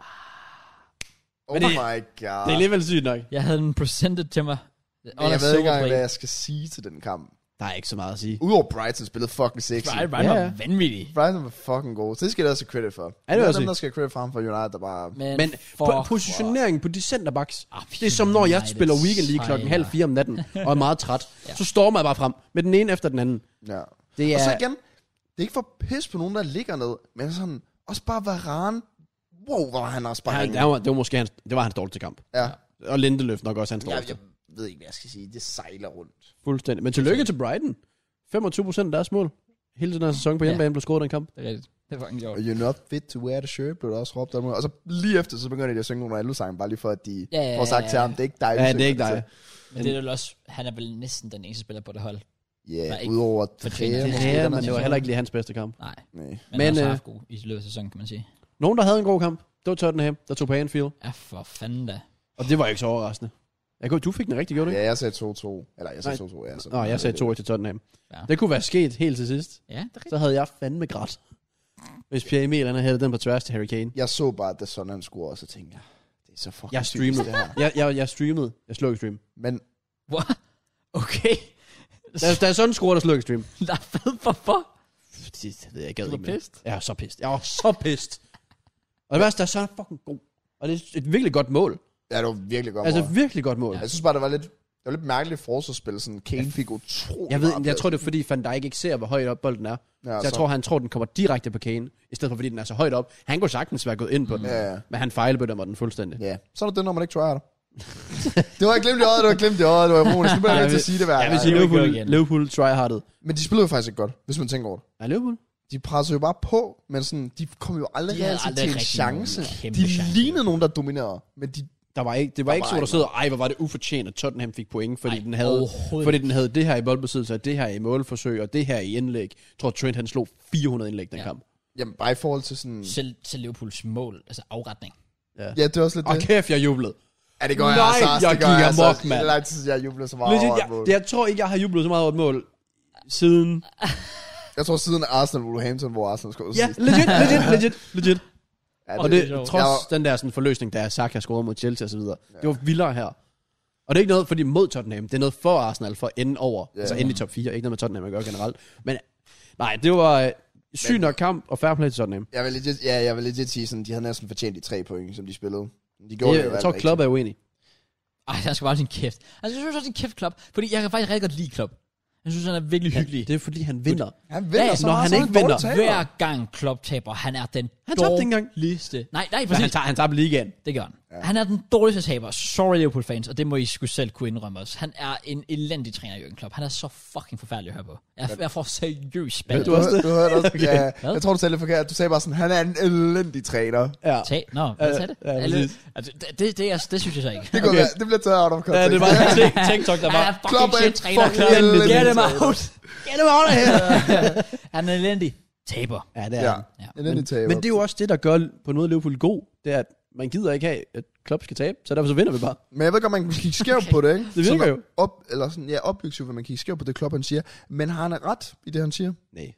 Oh Men det- my god. Det er alligevel sygt nok. Jeg havde en presented til mig. Men jeg ved ikke engang, hvad jeg skal sige til den kamp. Der er ikke så meget at sige. Udover Brighton spillede fucking sexy. Brian, Brian var Ja, ja. vanvittig. Brighton var fucking gode. Så det skal jeg også have credit for. det vil jeg er dem, sige. der skal have credit for ham for United, der bare... Men, Men for, po- positioneringen på de centerbacks, Ah, det er som når jeg United spiller weekend lige sejler. klokken halv fire om natten, og er meget træt. Så stormer jeg bare frem med den ene efter den anden. Ja. Det Og så er, igen, det er ikke for pis på nogen, der ligger ned, men sådan, også bare Varane. Wow, hvor var han også bare han, ringe. det, var, det var måske hans, det var hans dårligste kamp. Ja. Og Lindeløf nok også hans Jeg, dårligste. jeg ved ikke, hvad jeg skal sige. Det sejler rundt. Fuldstændig. Men tillykke til Brighton. 25 procent af deres mål. Hele den her sæson på hjemmebane blev scoret i den kamp. Det er rigtigt. Det var fucking sjovt. Og you're not fit to wear the shirt, blev der også råbt om. Og så lige efter, så begynder de at synge nogle Ronaldo-sange, bare lige for, at de Ja, ja, får sagt ja, til ja. ham, det er ikke dig, vi Ja, det synger er ikke dig. til. Men det er vel også, han er vel næsten den eneste spiller på det hold. Der er Ja, ikke udover fortjener Trea, det. måske, Ja, den men er- det var heller ikke lige hans bedste kamp. Nej, Nej. men, men Men, han har også øh, haft god i løbet af sæsonen, kan man sige. Nogen, der havde en god kamp, det var Tottenham, der tog på Anfield. Ja, for fanden da. Og det var ikke så overraskende. Jeg kunne, du fik den rigtig, gjorde du ikke? Ja, jeg sagde 2-2. Eller, jeg sagde 2-2, ja. Så. Nå, jeg sagde 2 til Tottenham. Ja. Det kunne være sket helt til sidst. Ja, det er rigtigt. så havde jeg fandme grædt. Hvis Pierre Emil, han havde hældt den på tværs til Harry Kane. Jeg så bare, at sådan han scorede, og så tænkte jeg, det er så fucking Jeg typisk, streamede. det her. Jeg, jeg, jeg streamede. Jeg slog ikke stream. Men What? Okay. Da, da jeg sådan scorede, der slog ikke stream. Der er fed hvorfor? Det ved jeg, jeg gad Du var ikke mere. pissed? Jeg var så pissed. Jeg var så pissed. Og det værste, der er sådan fucking god. Og det er et virkelig godt mål. ja, det var virkelig godt. Altså mål. virkelig godt mål. Jeg synes bare, det var lidt, det var lidt mærkeligt forsvarsspil. Sådan, Kane fik utrolig Jeg ved, meget jeg plads. tror det er fordi Van Dijk ikke ser, hvor højt op bolden er. Ja, Så jeg så- tror, han tror, den kommer direkte på Kane, i stedet for fordi den er så højt op. Han kunne sagtens være gået ind på den, Ja, ja. men han fejlbedømmer den fuldstændig. Ja, så er det det, når man ikke tryharder. det var ikke glemt i øjet, det var glemt i øjet, det var ironisk. Nu bliver jeg nødt til at sige det hver Jeg vil gang. sige, det er jo Liverpool, ikke igen. Liverpool tryhardet. Men de spillede jo faktisk ikke godt, hvis man tænker over det. Er Liverpool? De pressede jo bare på, men sådan, de kom jo aldrig, De havde altid aldrig til en rigtig chance. nogen kæmpe De chance. lignede nogen, der dominerede, men de Der var ikke, det var ikke var sådan, der ikke sidder, ej, hvor var det ufortjent, at Tottenham fik point, fordi, Ej, den, havde, overhovedet fordi den havde det her i boldbesiddelse, og det her i målforsøg, og det her i indlæg. Jeg tror, Trent han slog 400 indlæg den Ja. ja. kamp. Jamen, bare i forhold til sådan... Selv, selv Liverpools mål, altså afretning. Ja, det er også lidt Og det. kæft, jeg jublede. Ja, det gør jeg Nej, altså også, jeg det gør gik altså amok, også. mand. Det er lang tid, siden, jeg jublede så meget Legit, over et jeg, mål. jeg tror ikke, jeg har jublet så meget over et mål siden. Jeg tror, siden Arsenal Wolverhampton, hvor Arsenal skulle Ja, legit, legit, legit, legit. ja, Og er det, sjovt. trods Jeg- den der sådan forløsning, der er sagt, jeg scorede mod Chelsea osv., ja. det var vildere her. Og det er ikke noget, fordi mod Tottenham, det er noget for Arsenal, for at ende over, Ja. ja. altså ende i top 4, ikke noget med Tottenham at gøre generelt. Men nej, det var øh, syg nok kamp, og fair play til Tottenham. Jeg vil legit, ja, jeg vil legit sige sådan, de havde næsten fortjent de tre point, som de spillede. De gjorde det Jeg, jo jeg alt tror, rigtigt. Klopp er uenig. Ej, jeg skal bare holde sin kæft. Altså, jeg synes også, det er en kæft klub, fordi jeg kan faktisk rigtig godt lide klub. Jeg synes, han er virkelig hyggelig. Det er fordi, han vinder. Han vinder, Ja, så når meget, han så er ikke en dårlig vinder, taber. Hver gang Klopp taber, han er den Han tabte ikke engang. dårligste. Nej, nej, Men præcis. han tager, han tager ligaen. Det gør han. Ja. Han er den dårligste taber. Sorry Liverpool fans, og det må I sgu selv kunne indrømme os. Han er en elendig træner, Jürgen Klopp. Han er så fucking forfærdelig at høre på. Jeg, jeg får seriøst spændt. Du, også du, det? du hørte også, okay. ja, Hvad? jeg tror, du sagde lidt forkert. Du sagde bare sådan, han er en elendig træner. Ja. Tag, nå, hvad sagde det? ja, Alle, præcis. altså, det, det, det, er, det synes jeg så ikke. Det, okay. Okay. være, det bliver taget out of ja, context. det var en ting- TikTok, der Han er var... fucking Klopp er shit en træner. fucking Klopp. elendig Get him træner. out. Ja, det var under her. Han er elendig. Taber. Ja, det Ja, er ja. Ja. elendig taber. Men det er jo også det, der gør på noget Liverpool god. Det er, at man gider ikke have, at Klopp skal tabe, så derfor så vinder vi bare. Men jeg ved godt, man kan kigge skævt okay. på det, ikke? Det virker Sådan jo. Op, eller sådan, ja, objektivt, hvad man kigge skævt på det, Klopp han siger. Men har han ret i det, han siger? Nej.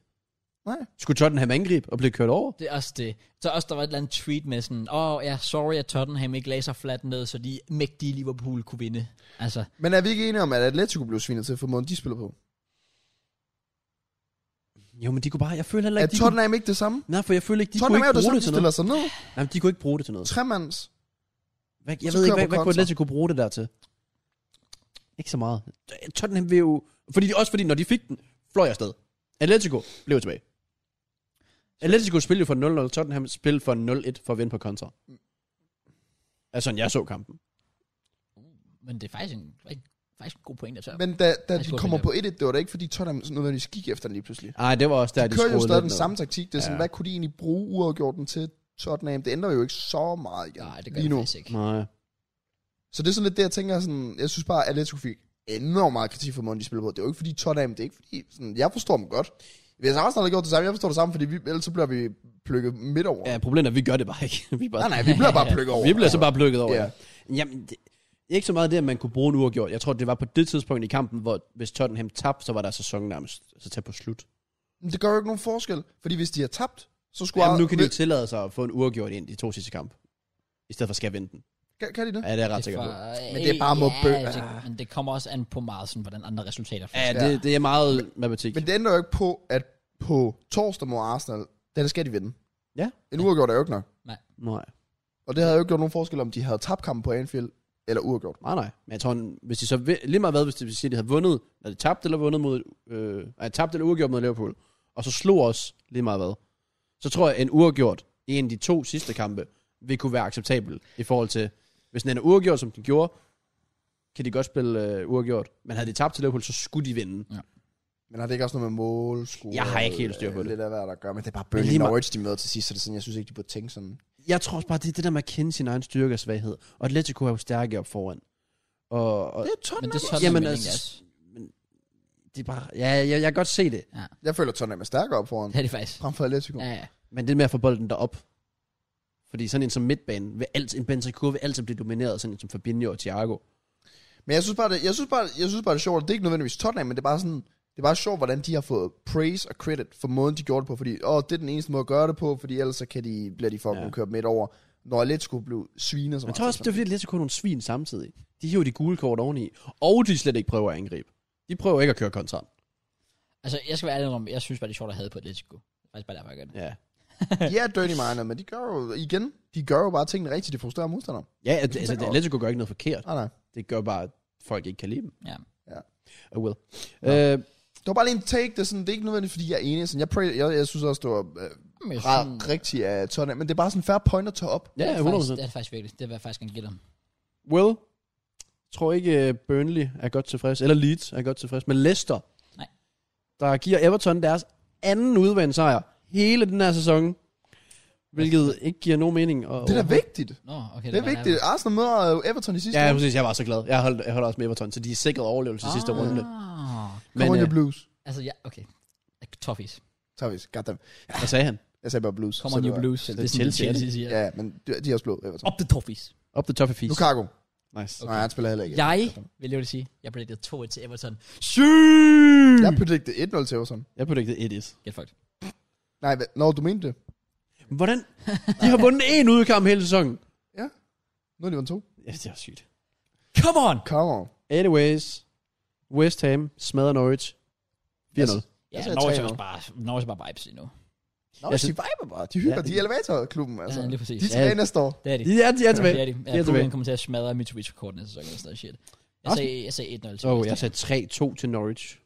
Nej. Skulle Tottenham angribe og blive kørt over? Det er også det. Så også der var et eller andet tweet med sådan, åh oh, ja, sorry at Tottenham ikke lagde sig fladt ned, så de mægtige Liverpool kunne vinde. Altså, Men er vi ikke enige om, at Atletico blev svinet til for måden, de spiller på? Jo, men de kunne bare, jeg føler heller Er ikke, de kunne, Tottenham ikke det samme? nej, for jeg føler ikke, de Tottenham kunne er jo ikke det bruge samme, det de til noget. stiller sig ned. Nej, men de kunne ikke bruge det til noget. Tremands. Hvad, jeg Så ved ikke, kører hvad, på hvad kunne kontra. Atletico kunne bruge det der til? Ikke så meget. Tottenham vil jo... Fordi, de- også fordi, når de fik den, fløj jeg afsted. Atletico blev tilbage. Atletico spillede for 0-0, Tottenham spillede for 0-1 for at vinde på kontra. Altså, sådan jeg så kampen. men det er faktisk en, faktisk en god point, der tør. Men da, da Jeg de tror, kommer det på 1-1, det var da ikke, fordi Tottenham sådan nødvendigvis gik efter den lige pludselig. Nej, det var også der, De de, kører jo skruede stadig lidt den ned. samme taktik. Det er sådan, Ja. hvad kunne de egentlig bruge uafgjorten til Tottenham? Det ændrer jo ikke så meget igen, Nej, det gør lige det nu. faktisk ikke. Nej. Så det er sådan lidt det, jeg tænker sådan, jeg synes bare, at Atletico fik enormt meget kritik for måden, de spiller på. Det er jo ikke fordi Tottenham, det er ikke fordi, sådan, jeg forstår dem godt. Hvis Arsenal har gjort det samme, jeg forstår det samme, fordi vi, ellers så bliver vi plukket midt over. Ja, problemet er, at vi gør det bare ikke. vi er bare Nej, nej, vi bliver bare plukket over. Vi bliver så bare bløkket over. Ja. Ja. Jamen, det, ikke så meget det, at man kunne bruge en uafgjort. Jeg tror, det var på det tidspunkt i kampen, hvor hvis Tottenham tabte, så var der sæsonen nærmest så tæt på slut. Men det gør jo ikke nogen forskel, fordi hvis de har tabt, så skulle Jamen, nu kan de jo tillade sig at få en uafgjort ind i de to sidste kamp. I stedet for skal vinde den. kan, kan de det? Ja, det er jeg ret sikker på. for, øh, Men det er bare mod ja, bø- det- Men det kommer også an på meget, sådan, hvordan andre resultater Ja, det, det er meget matematik. Men det ændrer jo ikke på, at på torsdag mod Arsenal, der skal de vinde. Ja. En uafgjort er jo ikke nok. Nej, Og det havde jo ikke gjort nogen forskel, om de havde tabt kampen på Anfield, eller uafgjort. nej, nej. Men jeg tror, hvis de så vi- lige meget hvad, hvis de siger, de havde vundet, eller de tabt eller vundet mod, øh, nej, tabt eller uafgjort mod Liverpool, og så slog os lige meget hvad, så tror jeg, en uafgjort i en af de to sidste kampe, vil kunne være acceptabel i forhold til, hvis den er uafgjort, som den gjorde, kan de godt spille øh, uafgjort. Men havde de tabt til Liverpool, så skulle de vinde. Men har det ikke også noget med mål, score, Jeg har ikke helt styr på øh, det. Lidt af hvad der gør, men det er bare Men Burnley lige meget- Norwich, de møder til sidst, så det er sådan, jeg synes ikke, de burde tænke sådan. Jeg tror også bare, det er det der med at kende sin egen styrke og svaghed. Og Atletico er jo stærke op foran. Og, og Det er Tottenham. Men det er Jamen, sådan, Jamen, altså- altså, også. det er bare... Ja, jeg, jeg kan godt se det. Jeg føler, Tottenham er stærkere op foran. Det er det faktisk. Frem for Atletico. Ja, ja. Men det med at få bolden derop. Fordi sådan en som midtbanen, vil alt, en Bentancur vil altid blive domineret, af sådan en som Fabinho og Thiago. Men jeg synes bare, det, jeg synes bare, jeg synes bare, det er sjovt. Det er ikke nødvendigvis Tottenham, men det er bare sådan, det er bare sjovt, hvordan de har fået praise og credit for måden, de gjorde det på. Fordi, åh, det er den eneste måde at gøre det på, fordi ellers så kan de, bliver de fucking Ja. ja. kørt midt over. Når Atletico blev sviner så Men jeg meget. tror også, det er fordi, Atletico er nogle svin samtidig. De hiver de gule kort oveni, og de slet ikke prøver at angribe. De prøver ikke at køre kontra. Altså, jeg skal være ærlig om, jeg synes bare, det er sjovt at have på Atletico. Det er Faktisk bare derfor, jeg gør det. Ja. de er dirty minor, men de gør jo, igen, de gør jo bare tingene rigtigt, de frustrerer modstandere. Ja, at- altså, Atletico gør ikke noget forkert. Nej, nej. Det gør bare, at folk ikke kan lide dem. Ja. Oh well. Ja. Øh, Det var bare lige en take, det er, sådan, det er ikke nødvendigt, fordi jeg er enig. Sådan, jeg, pra- jeg, jeg synes også, det var øh, Men jeg ret, synes- rigtigt af Tottenham, men det er bare sådan en færre point at tage op. det ja, er faktisk, 100%. det er det faktisk virkelig. Det vil jeg faktisk gerne give dem. Well, tror ikke øh, Burnley er godt tilfreds, eller Leeds er godt tilfreds, men Leicester, Nej. der giver Everton deres anden udvandssejr hele den her sæson, Altså, hvilket ikke giver nogen mening. Og, Det er da vigtigt. Nå, okay. Det er var vigtigt. nærmere. Arsenal møder jo Everton i sidste Ja, ja, præcis, jeg var så glad. Jeg holdt, jeg holdt også med Everton, så de er sikret overlevelse ah. sidste Ah. runde. Come on, Men your øh, blues. Altså, ja, okay. Toffees. Tager vi. Goddamn. hvad sagde han? Jeg sagde bare blues. Come så on, det you var- blues. det Det er er sådan, Chelsea, er det? Chelsea siger. Ja, men de, de er også blå, Everton. Op the Toffees. Op the top of fees. Lukaku. Nice. Nej, han spiller heller ikke. Jeg, vil jeg jo sige, jeg predicted 2-1 til Everton. Syy! Jeg predicted 1-0 til Everton. Jeg predicted 1 Get fucked. Nej, hvad- når du mente det. Hvordan? De har vundet én udkamp hele sæsonen. Nu er de vundet to. Ja, det er sygt. Come on! Come on. Anyways, West Ham smadrer Norwich 4-0. Yes. Altså, Ja, Jeg sagde Norwich er 3-0. også bare, Norwich er bare vibes lige nu. Nå, Jeg de synes- viber bare. De hygger. Ja, de det- er elevatorklubben, altså. Ja, lige præcis. de er tilbage Ja. næste år. Det er de. De er, de er Det tilbage. er de. De Ja, er Fulham tilbage. kommer til at smadre Mitrovic-rekorden i sæsonen og sådan noget shit. Jeg Også- sagde, jeg sagde 1-0 til West Åh, oh, Ham. jeg sagde 3-2 til Norwich.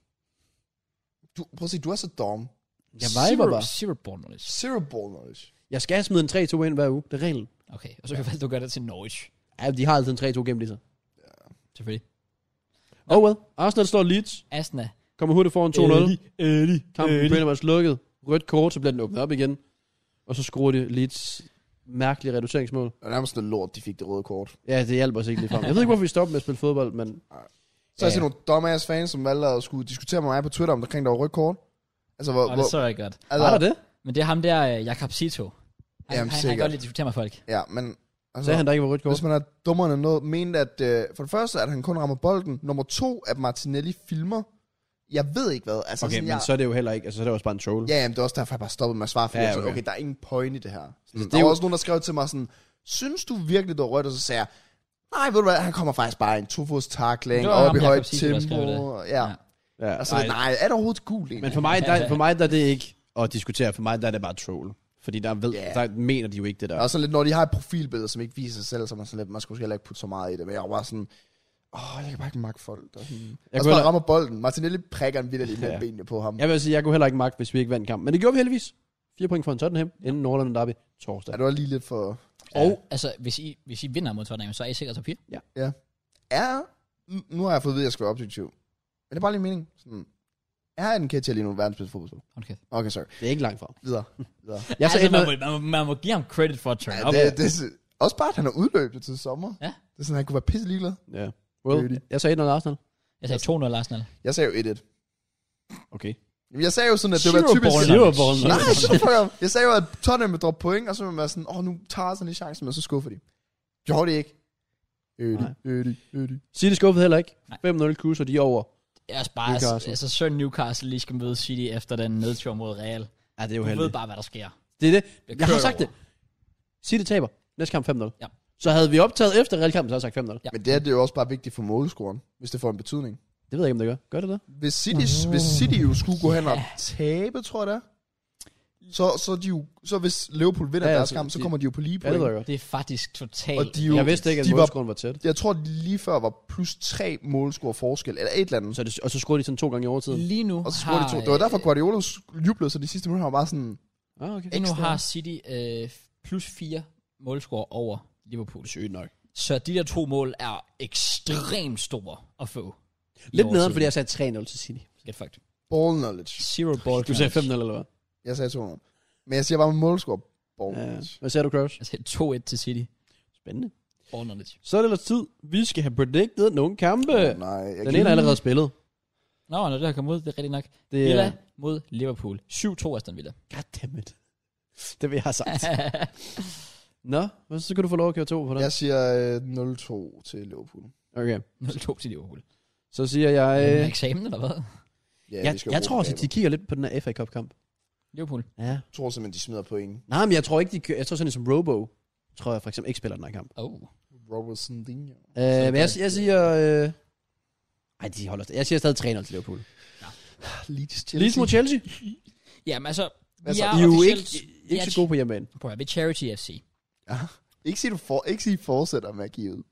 Du, prøv at se, du er så dum. Jeg viber Zero- bare. Zero born knowledge. Zero ball knowledge. Jeg skal smide en 3-2 ind hver uge. Det er reglen. Okay, og så kan jeg faktisk, du gør det til Norwich. Ja, de har altid en 3-2 gennem lige så. Selvfølgelig. Oh well. Arsenal slår Leeds. Asna. Kommer hurtigt foran 2-0. Eddie. Kampen begynder man lukket. Rødt kort, så bliver den åbnet op igen. Og så skruer det Leeds mærkelige reduceringsmål. Det var nærmest noget lort, de fik det røde kort. Ja, det hjælper os ikke lige frem. Jeg ved ikke, hvorfor vi stopper med at spille fodbold, men... Så er jeg set nogle dumbass fans, som valgte at skulle diskutere med mig på Twitter omkring der var rødt kort. Altså, hvor... Og hvor det så jeg godt. Altså, var der det? Men det er ham der, øh, Jakob Sito. Han, Jamen, han, han kan sikkert. godt lide at diskutere med folk. Ja, men Altså, Sagde han, der ikke var rødt kort? hvis man er dummere end noget, mente, at øh, for det første, at han kun rammer bolden. Nummer to, at Martinelli filmer. Jeg ved ikke hvad. Altså, Okay, sådan, men jeg, så er det jo heller ikke, altså så er det også bare en troll. Ja, jamen, det er også derfor, jeg bare stoppede med at svare, fordi Ja, ja, okay. okay. Altså, okay, der er ingen point i det her. Så det der er var jo- også nogen, der skrev til mig sådan, synes du virkelig, du er rødt? Og så sagde jeg, nej, ved du hvad, han kommer faktisk bare i en tofods Det takling, var op ham, i Jacob højt Siegel, der skrev tempo. det. og- Ja. Ja. ja. Ja, Altså, nej. nej, er det overhovedet gul egentlig? Men for mig, der, for mig der er det ikke at diskutere, for mig der er det bare troll. Fordi der, ved, Ja. Altså, der mener de jo ikke det der. Og sådan lidt, når de har et profilbillede, som ikke viser sig selv, så er man sådan lidt, man skulle måske heller ikke putte så meget i det, men jeg var bare sådan, åh, jeg kan bare ikke magte folk. Og, sådan. og så kunne bare heller- rammer bolden. Martinelli prikker en vildt lige Ja. mellem benene på ham. Jeg vil sige, jeg kunne heller ikke magte, hvis vi ikke vandt kampen. Men det gjorde vi heldigvis. Fire point for en Tottenham, inden Nordland Derby torsdag. Ja, det var lige lidt for... Og altså, hvis I, hvis I vinder mod Tottenham, så er I sikkert top 4. er, nu- nu har jeg fået at vide, at jeg skal være objektiv. Men det er bare lige mening. Sådan, er en Ketcher lige nu verdens bedste fodboldspiller? Hold kæft. Okay, sorry. Det er ikke langt fra. Videre. Videre. Jeg så altså, man, altså, må, man, må, man må give ham credit for at turn Ja, up. det, det, er- også bare, at han er udløbet til sommer. Ja. Det er sådan, han kunne være pisse ligeglad. ja. Well, Beauty. jeg sagde 1-0 Arsenal. Jeg altså- sagde 2-0 Arsenal. Jeg sagde jo 1-1. Okay. Jamen, Jeg sagde jo sådan, at det Zero var typisk... ball. Zero Zero ball. ball. Nej, så fuck up. Jeg sagde jo, at Tottenham ville droppe point, og så ville man være sådan, åh, nu tager sådan en chance, men så skuffer de. Gjorde de ikke. Øh, Ødi, Nej. ødi, ødi. City skuffede heller ikke. Nej. 5-0 kus, og de er over. Jeg er også bare, Newcastle. Newcastle. altså, så Newcastle lige skal møde City efter den nedtur mod Real. Ja, det er jo Du ved heldigt. bare, hvad der sker. Det er det. bliver Jeg har kørt sagt det. over. City taber. Næste kamp 5-0. Ja. Så havde vi optaget efter realkampen, så havde jeg sagt 5-0. Ja. Men det er, det er jo også bare vigtigt for målscoren, hvis det får en betydning. Det ved jeg ikke, om det gør. Gør det det? Hvis City, hvis City jo skulle gå hen og tabe, tror jeg det er, så, så, er de jo, så hvis Liverpool vinder ja, Ja, ja, deres så kamp, så de- kommer de jo på lige Ja, det point. ved jeg godt. Det er faktisk totalt... og de er jo, Jeg vidste ikke, at de var, målscoren var tæt. jeg tror, de lige før var plus tre målscore forskel, eller et eller andet. Så det, og så scorede de sådan to gange i overtiden. Lige nu Og så har... øh, scorede de to. Det var derfor, Guardiola jublede, så de sidste minutter han var bare sådan, Ah, okay. Lige nu ekstra. har City øh, plus 4 målscore over Liverpool. Sygt nok. Så de der to mål er ekstremt store at få. i Lidt nederen, overtiden. fordi jeg sagde 3-0 til City. Get fucked. ball knowledge. Zero ball. Du sagde 5-0 eller hvad? Jeg sagde 200. Men jeg siger bare målscore, ball Ja. knowledge. Øh, Hvad sagde du, Kraus? Jeg sagde 2-1 til City. Spændende. Ball knowledge. Så er det ellers tid. Vi skal have predicted nogle kampe. Åh, nej, jeg Den ene er allerede spillet. Nå, når det her kommer ud, det er rigtigt nok. Det Villa er... mod Liverpool. 7-2 Aston Villa. Goddammit. Det vil jeg have sagt. Nå, hvad så kan du få lov at køre to på den. Jeg siger øh, 0-2 til Liverpool. Okay. 0-2 til Liverpool. Så siger jeg... Øh. Øh, eksamen, eller hvad? Ja, jeg, vi skal jo jeg bruge tror også, at begrebet. de kigger lidt på den her FA Cup-kamp. Liverpool. Ja. Jeg tror simpelthen, de smider point. Nej, men jeg tror ikke, de kører. Jeg tror sådan en som Robo, tror jeg for eksempel ikke spiller den her kamp. Oh. Robertson Dinho. Øh, men jeg, jeg siger... Øh, ej, de holder stadig. Jeg siger stadig 3-0 til Liverpool. Leeds Chelsea. Leeds mod Chelsea. Jamen altså, vi Altså, er I er jo ikke, officielt... ikke så gode på hjemmebane. Prøv at høre, vi er Charity FC. Ikke sige, du for, ikke sige fortsætter med at give ud.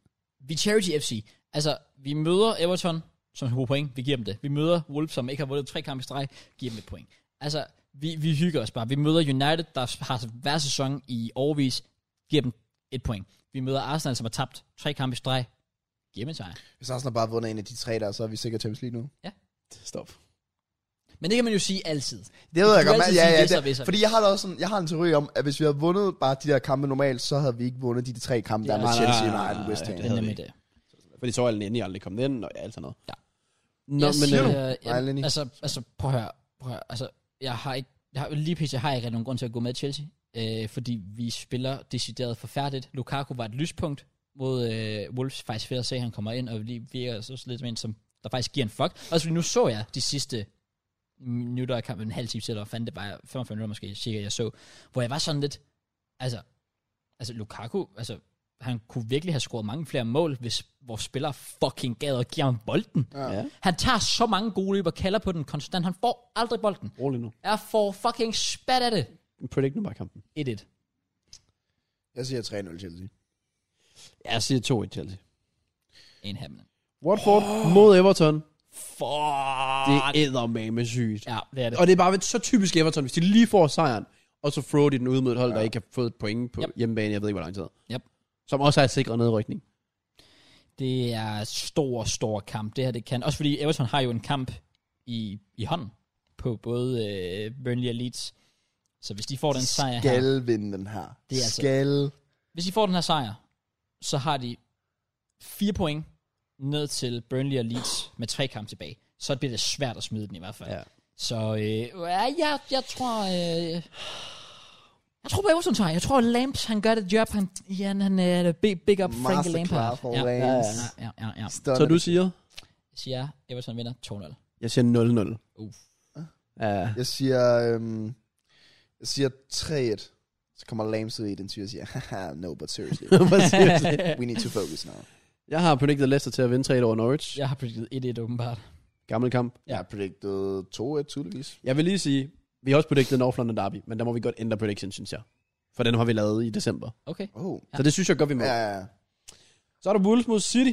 Vi er Charity FC. Altså, vi møder Everton, som har point. Vi giver dem det. Vi møder Wolves, som ikke har vundet tre kampe i streg. Giver dem et point. Altså, vi, vi hygger os bare. Vi møder United, der har hver sæson i årvis. Giver dem et point. Vi møder Arsenal, som har tabt tre kampe i streg. Giver dem en sejr. Hvis Arsenal bare har vundet en af de tre der, så er vi sikkert Champions League nu. Stop. Men det kan man jo sige altid. Det ved jeg Du godt. kan men- altid Ja, sige ja, hvis og hvis og det, fordi jeg har da også sådan, jeg har en teori om, at hvis vi havde vundet bare de der kampe normalt, så havde vi ikke vundet de, de tre kampe, der Ja, er med nej, Chelsea, nej, United, nej, West Ham. det Det er havde vi nemlig ikke. det. Fordi så er den endelig aldrig kommet ind, og alt sådan noget. Ja. Nå, jeg men... siger, Øh, øh, Nej, Lenny. jamen, altså, altså, prøv at høre. Prøv at høre. Altså, jeg har ikke, jeg har, lige pisse, jeg har ikke rigtig nogen grund til at gå med Chelsea. Øh, fordi vi spiller decideret forfærdeligt. Lukaku var et lyspunkt mod øh, Wolves. Faktisk fedt at se, at han kommer ind og lige virker så lidt som en, som der faktisk giver en fuck. Også fordi nu så jeg de sidste minutter af kampen, en halv time til, eller hvad fanden det var, 45 minutter måske, cirka, jeg så, hvor jeg var sådan lidt, altså, altså Lukaku, altså, han kunne virkelig have scoret mange flere mål, hvis vores spillere fucking gad at give ham bolden. ja. Han tager så mange gode løb og kalder på den konstant. Han får aldrig bolden. Rolig nu. Jeg får fucking spat af det. Predict nu bare kampen. 1-1. Jeg siger 3-0 Chelsea. Jeg siger 2-1 Chelsea. En halv. Watford mod Everton. Det Fuck. er eddermame sygt. Ja, det er det. Og det er bare så typisk Everton, hvis de lige får sejren, og så throw de den ud mod et hold, der ikke har fået et point på Yep. hjemmebane, jeg ved ikke, hvor lang tid. Yep. Som også har sikret nedrykning. Det er stor, stor kamp. Det her, det kan. Også fordi Everton har jo en kamp i, i hånden på både øh, Burnley og Leeds. Så hvis de får den sejr her, Skal vinde den her. Det er altså- Skal. hvis de får den her sejr, så har de fire point ned til Burnley og Leeds med tre kampe tilbage. Så bliver det svært at smide den i hvert fald. Ja. Så øh, ja, jeg, jeg tror... Øh, Jeg tror på Everton, tager. Jeg tror, Lamps, han gør det job. Han, han, han er big, big up Frankie Lampard. Masterclass for Ja, ja, Lampard. ja, ja, ja. Stunner. Så du siger? Jeg siger, Everton vinder 2-0. Jeg siger 0-0. Uff. Ja. Jeg siger, øhm, jeg siger 3-1. Så kommer Lames ud i den og siger, haha, no, but seriously. Seriously. We need to focus now. jeg har predicted Leicester til at vinde 3-1 over Norwich. Jeg har predicted 1-1 åbenbart. Gammel kamp. Ja. Jeg har predicted 2-1, tydeligvis. Jeg vil lige sige, vi har også predicted North London Derby, men der må vi godt ændre prediction, synes jeg. For den har vi lavet i december. Okay. Oh. Så det synes jeg godt, vi må. Ja, ja, ja. Så er der Wolves mod City.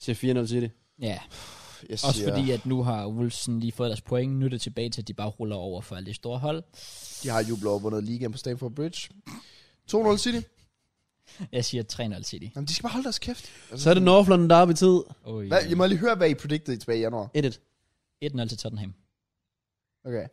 Til 4-0 City. Ja, Jeg siger, også fordi, at nu har Wilson lige fået deres point. Nu er det tilbage til, at de bare ruller over for alle de store hold. de har jublet over vundet ligaen på Stamford Bridge. 2-0 City. Jeg siger 3-0 City. Jamen, de skal bare holde deres kæft. Altså, Så er det North London Derby tid. Oh, Hvad, jeg må lige høre, hvad I predicted tilbage i januar. 1-1. 1-0 til Tottenham. Okay.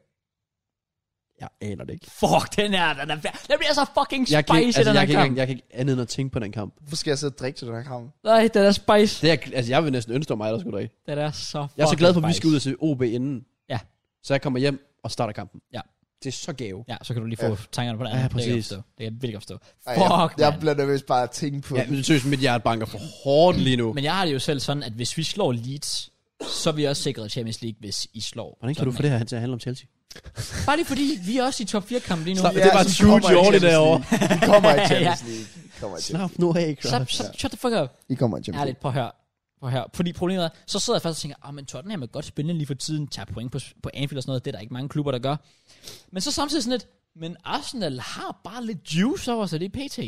Jeg aner det ikke. Fuck, den her, den er fær- Den bliver så fucking spicy, Jeg kan, ikke- altså, den jeg, her kan ikke, kamp. engang- jeg kan ikke andet end at tænke på den kamp. Hvorfor skal jeg sidde og drikke til den her kamp? Nej, den er spice. Det er, altså, jeg vil næsten ønske mig, der skulle derind. Den er så fucking Jeg er så glad for, at vi spicy. skal ud og se OB inden. Ja. Så jeg kommer hjem og starter kampen. Ja. Det er så gave. Ja, så kan du lige få tankerne på det andet. Ja, Det kan jeg præcis. godt forstå. Det kan jeg virkelig godt forstå. Ej, Fuck, jeg, jeg mand. bliver nervøs bare at tænke på Ja, det. men det synes mit hjerte banker for hårdt lige nu. Men jeg har det jo selv sådan, at hvis vi slår Leeds, så er vi også sikret Champions League, hvis I slår. Hvordan kan du få det her til at handle om Chelsea? det? Bare lige fordi, vi er også i top 4 kampen lige nu. Slap- Slap, Ja, det var så True kommer I Jordi Champions derovre. League. I kommer i Champions League. I kommer i Champions Slap nu af, slap, Kraft. slap, shut the fuck up. League. I kommer i Champions League. Ærligt, på her. På her. Fordi problemet er, så sidder jeg faktisk og tænker, ah, men Tottenham er godt spillende lige for tiden, tager point på, på Anfield og sådan noget, det er der ikke mange klubber, der gør. Men så samtidig sådan lidt, men Arsenal har bare lidt juice over sig, det er pt.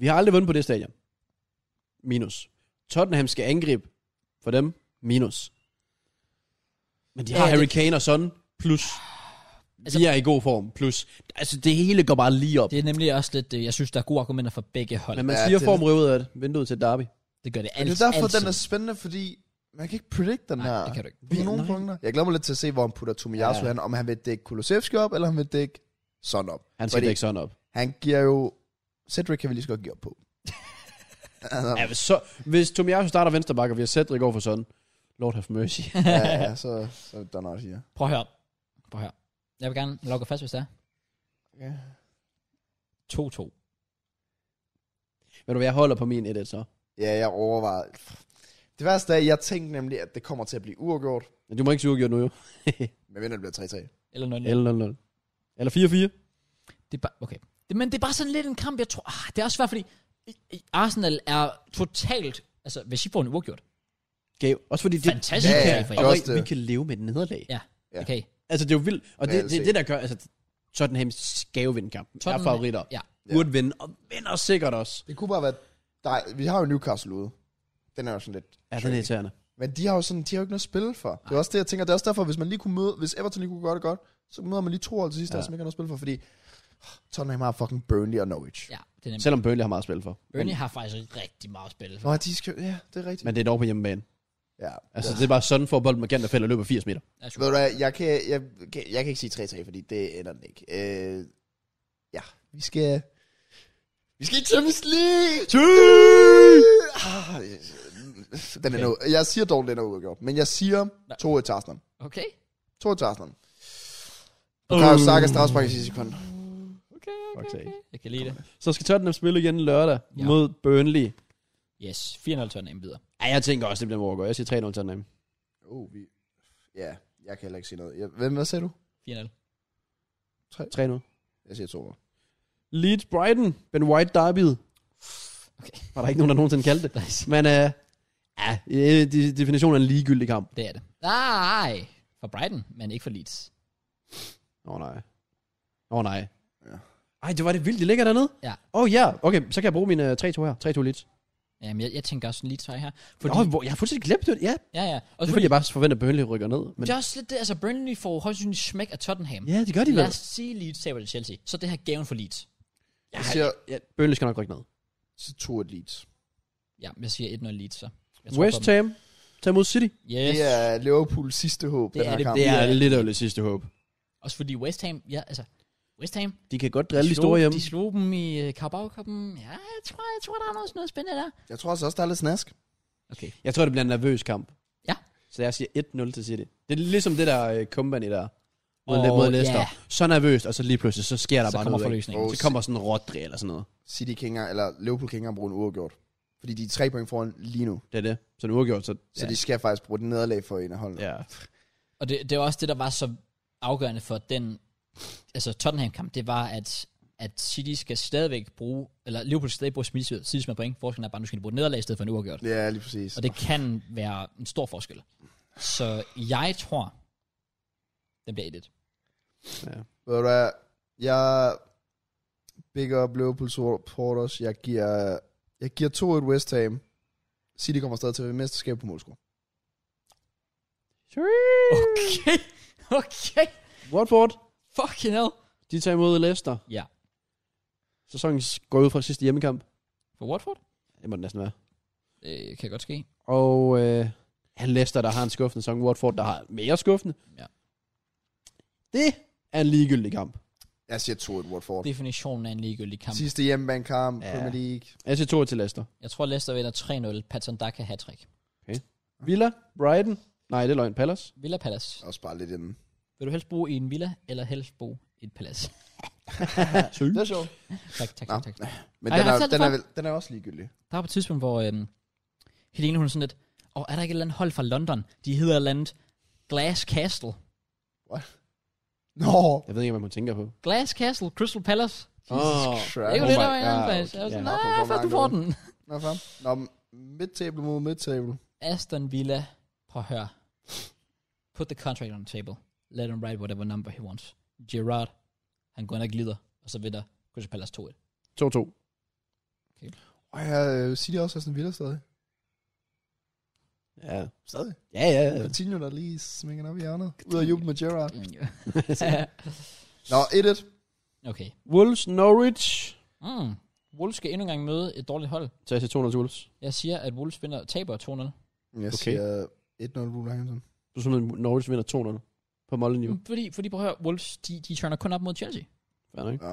Vi har aldrig vundet på det stadion. Minus. Tottenham skal angribe for dem. Minus. Men de Ja, har det- Harry Kane og Son. Plus. Altså- Altså, vi er i god form. Plus. Altså, det hele går bare lige op. Det er nemlig også lidt, øh, jeg synes, der er gode argumenter for begge hold. Men man Ja, siger, det- får dem ud af det. Vinduet til Derby. Det gør det Men altid. det er derfor, altid. den er spændende, fordi man kan ikke predict den Nej, her. det kan du ikke. På nogle Nej. punkter. Jeg glæder mig lidt til at se, hvor han putter Tomiyasu Ja. ja. hen. Om han vil dække Kulusevski op, eller han vil dække Son op. Han skal Fordi ikke sådan op. Han giver jo... Cedric kan vi lige så godt give op på. altså, Ja, hvis, så, hvis Tomiyasu starter venstre bakke, og vi har Cedric over for sådan. Lord have mercy. ja, ja, så, så er det der nok, siger. Prøv at høre. Prøv at høre. Jeg vil gerne lukke fast, hvis det er. Okay. 2-2. Ved du hvad, jeg holder på min 1-1 så. Ja, jeg overvejer... Det værste er, at jeg tænkte nemlig, at det kommer til at blive uafgjort. Men du må ikke sige uafgjort nu jo. Men vinder det bliver 3-3. Eller 0 Eller 0-0. Eller 4-4. Det er bare, okay. Det, men det er bare sådan lidt en kamp, jeg tror... Ah, det er også svært, fordi i- i- Arsenal er totalt... Altså, hvis I får en uafgjort, Gave. Også fordi det, Fantastisk vi, Ja, kan, ja, det er og også det. vi kan leve med et nederlag. Ja. Ja. okay. Altså, det er jo vildt. Og det, Reelt det, er set. det, der gør, altså, Tottenham skal jo vinde kampen. Tottenham, Tottenham- er favoritter. ja. Ja. Burde vinde, og vinder sikkert også. Det kunne bare være... Nej, vi har jo Newcastle ude. Den er jo sådan lidt... Ja, den er irriterende. Men de har jo sådan, de har jo ikke noget at spille for. Det er også det, jeg tænker. Det er også derfor, hvis man lige kunne møde, hvis Everton lige kunne gøre det godt, så møder man lige to hold til sidst, Ja. ja. som ikke har noget at spille for, fordi Tottenham har fucking Burnley og Norwich. Ja. Ja, det er nemlig. Selvom Burnley har meget at spille for. Burnley har faktisk rigtig meget at spille for. Nå, de skal, ja, det er rigtigt. Men Men, det er dog på hjemmebane. ja. Altså, det er bare sådan for bolden med Gant, der fælder og løber 80 meter. Ja, Ved du hvad, jeg kan, jeg, kan- jeg kan ikke sige 3-3, fordi det ender den ikke. Øh, ja, vi skal... Vi skal i Champions League! Ah, den er okay. Jeg siger dog, den er uafgjort. Men jeg siger 2-1 til Arsenal. Okay. 2-1 til Arsenal. Bukayo Saka strafspark i sidste sekund. Okay, Fuck okay, sake. okay. Jeg kan lide det. Så skal Tottenham spille igen lørdag Ja. ja. mod Burnley. Yes, 4-0 Tottenham videre. Ja, jeg tænker også, det bliver overgået. Jeg siger 3-0 Tottenham. Oh, vi... Ja, jeg kan heller ikke sige noget. Jeg, hvem, hvad sagde du? 4-0. 3-0. Jeg siger to. Leeds Brighton. Ben White derbyet. Okay. Var der ikke nogen, der nogensinde kaldte det? Nice. Men øh, ja, øh, de- definitionen er en ligegyldig kamp. Det er det. Nej, for Brighton, men ikke for Leeds. Åh oh, nej. Åh oh, nej. Ja. Ej, det var det vildt, de ligger dernede. Ja. Åh oh, ja, okay, så kan jeg bruge mine øh, 3-2 her. 3-2 Leeds. Jamen, jeg, jeg tænker også Leeds her. Fordi... Fordi, Nå, hvor, jeg har fuldstændig glemt det. Ja, det ja, ja. er Også fordi, jeg bare forventer, at Burnley rykker ned. Men... Men... Det er også lidt det, altså Burnley får højst sandsynligt smæk af Tottenham. Ja, det gør de Lad vel. os sige, Leeds taber til Chelsea. Så det her gaven for Leeds. Jeg siger, Ja, Burnley skal nok rykke ned. så to et Leeds. Ja, jeg siger 1-0 Leeds, så. Jeg tror West på dem. Ham tager mod City. Yes. Det er Liverpools sidste håb, Det det er den her det. kamp. Det er lidt af det sidste håb. Også fordi West Ham, ja, altså, West Ham, De kan godt drille de slog- store hjemme. de slog dem i uh, carabao Cup'en. Ja, jeg tror, jeg tror, der er noget, noget spændende der. Jeg tror altså også, der er lidt snask. Okay. Jeg tror, det bliver en nervøs kamp. Ja. Så jeg siger 1-0 til City. Det er ligesom det der øh, company der. mod, oh, mod Åh, Leicester. ja. Så nervøst, og så lige pludselig, så sker der Så bare kommer noget. ikke? forløsningen. Oh, Så kommer sådan en Rodri eller sådan noget. City kan ikke engang- eller Liverpool kan ikke engang bruge en uafgjort. Fordi de er tre point foran lige nu. Det er det. Så en uafgjort, så... Så ja. de skal faktisk bruge det nederlag for en af holdene. ja. Og det, det var også det, der var så afgørende for den altså Tottenham-kamp, det var, at, at City skal stadigvæk bruge, eller Liverpool skal stadig bruge City City som er point. Forskellen er bare, at nu skal de bruge et nederlag i stedet for en uafgjort. Ja, lige præcis. Og det kan være en stor forskel. Så jeg tror, den bliver 1-1. ja. Ved du hvad, jeg big up Liverpool supporters. Jeg giver, jeg giver 2-1 West Ham. City kommer stadig til at være mesterskab på målscore. Okay, okay. Watford, Fucking hell. de tager imod Leicester. Ja. Sæsonen går ud fra sidste hjemmekamp. For Watford? Det må det næsten være. Det kan godt ske. Og øh, ja, Leicester, der har en skuffende sæson. Watford, der har en mere skuffende. Ja. Det er en ligegyldig kamp. Jeg siger 2-1 Watford. Definitionen af en ligegyldig kamp. Sidste hjemmebanekamp, Ja. ja. Premier League. Jeg siger 2 til Leicester. Jeg tror, Leicester vinder 3-0. Patson Daka hattrick. Villa, Brighton. Nej, det er løgn. Palace. Villa Palace. Også bare lidt inden. Vil du helst bo i en villa, eller helst bo i et palads? Søg. Det er sjovt. tak, tak, Nå. tak, tak. Men Ej, jeg den har er, selv den, er, for- vel- den er også ligegyldig. Der var på et tidspunkt, hvor øhm, Helene hun er sådan lidt, og er der ikke et eller andet hold fra London? De hedder et eller andet Glass Castle. Nå, Jeg ved ikke, hvad man tænker på. Glass Castle, Crystal Palace. Jesus Åh, Det Christ. er jo Oh det, my der var en anden God. plads. Jeg var sådan, Ja. Nå, nej, kom, fuck, du kom, får kom. den. Nå, fam. Nå, midtable mod midtable. Aston Villa, prøv at høre. Put the contract on the table. Let him write whatever number he wants. Gerard, han går ind og glider, og så vinder Crystal Palace 2-1. 2-2. Og jeg siger også Aston Villa stadig. Ja. Stadig. Ja, ja, ja. Coutinho, der lige sminger den op i hjørnet. Ud af jubel med Gerrard. Nå, 1-1. okay. Wolves, Norwich. Mm. Wolves skal endnu engang møde et dårligt hold. Så jeg siger 200 til Wolves. Jeg siger, at Wolves vinder, taber 2-0. Jeg Okay. siger 1-0 Wolverhampton. Du synes, at Norwich vinder 200 på Molyneux. Mm. Fordi, fordi prøv at høre, Wolves, de, de turner kun op mod Chelsea. Fair, ikke? Ja.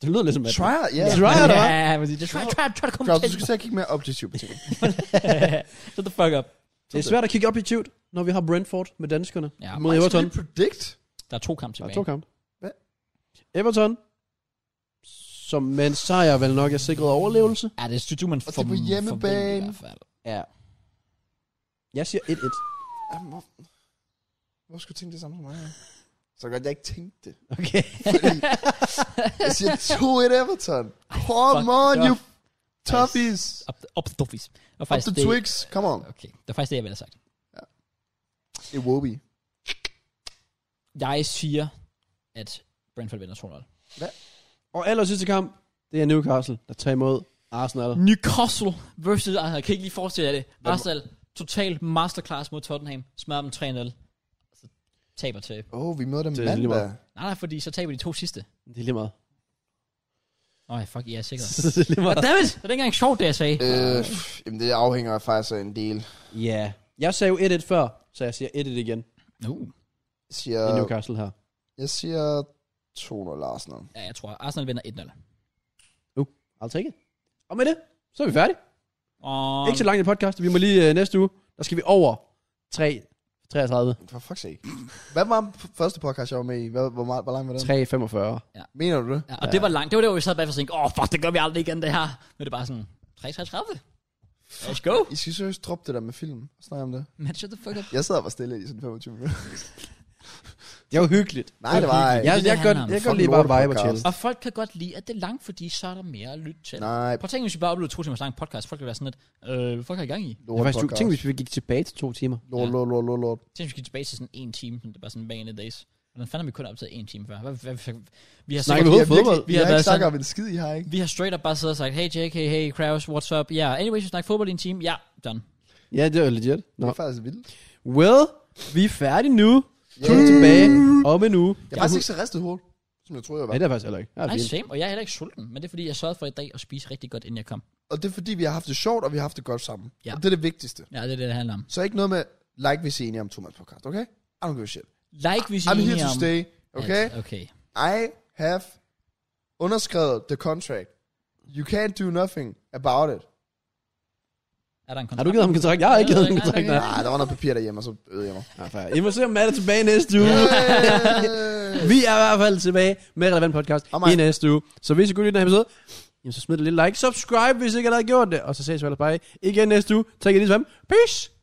Det lyder lidt som, at... Try, ja. Ja. Try it, hva'? Ja, præcis. Try, try, try to come Claus, Klaus, du skal til at kigge mere objektivt på ting. Shut the fuck up. Det er svært at kigge objektivt, når vi har Brentford med danskerne. Ja, mod Everton. Skal vi predict? der er to kampe Der er tilbage. to kampe. Hvad? Everton, som med en sejr vel nok er sikret overlevelse. Ja, det synes du, man Og for, det er på hjemmebane. i hvert fald. Ja. Jeg siger 1-1. Jamen, hvor... Hvor skulle du tænke det samme som mig? ja? Så godt, jeg ikke tænkte det. Okay. Fordi jeg siger 2-1 Everton. Come fuck on, off. you toughies. Up, the- up the duffies. Og Up the det, twigs. Come on. Okay, det var faktisk det, jeg ville have sagt. It will be. Jeg siger, at Brentford vinder 2-0. Og aller sidste kamp, det er Newcastle, der tager imod Arsenal. Newcastle versus Arsenal. Jeg kan ikke lige forestille jer det. Arsenal, total masterclass mod Tottenham. Smadrer dem 3-0. Så taber til. Åh, oh, vi møder dem Det er lige mandag. meget. Nej, nej, fordi så taber de to sidste. Det er lige meget. Åh, fuck, I er sikre. det er lige Og meget. dammit, det er ikke engang sjovt, det jeg sagde. Øh, pff, jamen, det afhænger faktisk af en del. Ja. Jeg sagde jo 1-1 før, så jeg siger 1-1 igen Uh. Jeg siger, i Newcastle her. jeg siger 2-0 Arsenal. Ja, jeg tror, Arsenal vinder 1-0. I'll take it. Og med det, så er vi færdige. Og... Ikke så langt i podcast. Vi må lige øh, næste uge, der skal vi over 3, 33, For fuck's sake. Hvad var den f- første podcast, jeg var med i? Hvad, hvor, meget, hvor lang var den? 3, 45. Mener du det? Ja, og ja. det var langt. Det var der, hvor vi sad bagfra og tænkte, åh, oh, fuck, det gør vi aldrig igen, det her. Men det er bare sådan, 3-33. Let's go. I skal seriøst droppe det der med film. Snak om det. Man, shut the fuck up. Jeg sad og var stille i sådan 25 minutter. Det er jo hyggeligt. Nej, det var Ja. ikke. Jeg, det, det jeg, handler gør, om. jeg gør Fucking lige bare vibe og lortepodcast. chill. Og folk kan godt lide, at det er langt, fordi så er der mere at lytte til. Nej. Nej, Prøv at tænke, hvis vi bare uploadede to timers lang podcast. Folk vil være sådan lidt, øh, hvad fuck er I gang i? lort Jeg faktisk, du, podcast. tænk, hvis vi gik tilbage til to timer. Lort, lort, lort, lort, lort. Tænk, hvis vi gik tilbage til sådan en time, sådan, det var sådan back in the days. Hvordan fanden har vi kun optaget en time før? Hvad, hvad, hvad, vi har sikkert- Snakker vi overhovedet virkelig- fodbold? Vi Vi har har været ikke snakket sådan- om en skid, I har ikke. vi har straight up bare siddet og sagt, hey JK, hey Kraus, what's up? Ja, yeah. anyways, vi snakker fodbold i en time. Ja, done. Ja, det er jo legit. Det Nå. er faktisk vildt. Well, vi er færdige nu. Yeah. Kig tilbage om en uge. Jeg er faktisk ikke så ristet hoved, som jeg troede, jeg Nej, var. det er faktisk heller ikke. Ja, det Nej, er fint. same. Og jeg er heller ikke sulten, men det er fordi, jeg sørgede for i dag at spise rigtig godt, inden jeg kom. Og det er fordi, vi har haft det sjovt, og vi har haft det godt sammen. Ja. Og det er det vigtigste. Ja, det er det, det handler om. Så ikke noget med, like hvis I er enige om Thomas podcast, okay? I don't give a shit. Like, hvis I er I'm here enige to om, stay, okay? At, okay. I have underskrevet the contract. You can't do nothing about it. Er der en Har kontrakt? du givet ham en kontrakt? Jeg har ikke givet ham en Nej, nej, kontrakt. nej. Nej, Nej, der var noget papir derhjemme, og så øde jeg mig. nej, fair. I må se, om Matt er tilbage næste uge. Vi er i hvert fald tilbage med Relevant Podcast Og mig. i næste uge. Så hvis I kunne lide den her episode, jamen så smid et lille like, subscribe, hvis I ikke allerede har gjort det. Og så ses vi ellers bare igen næste uge. Tak i lige sammen. Peace!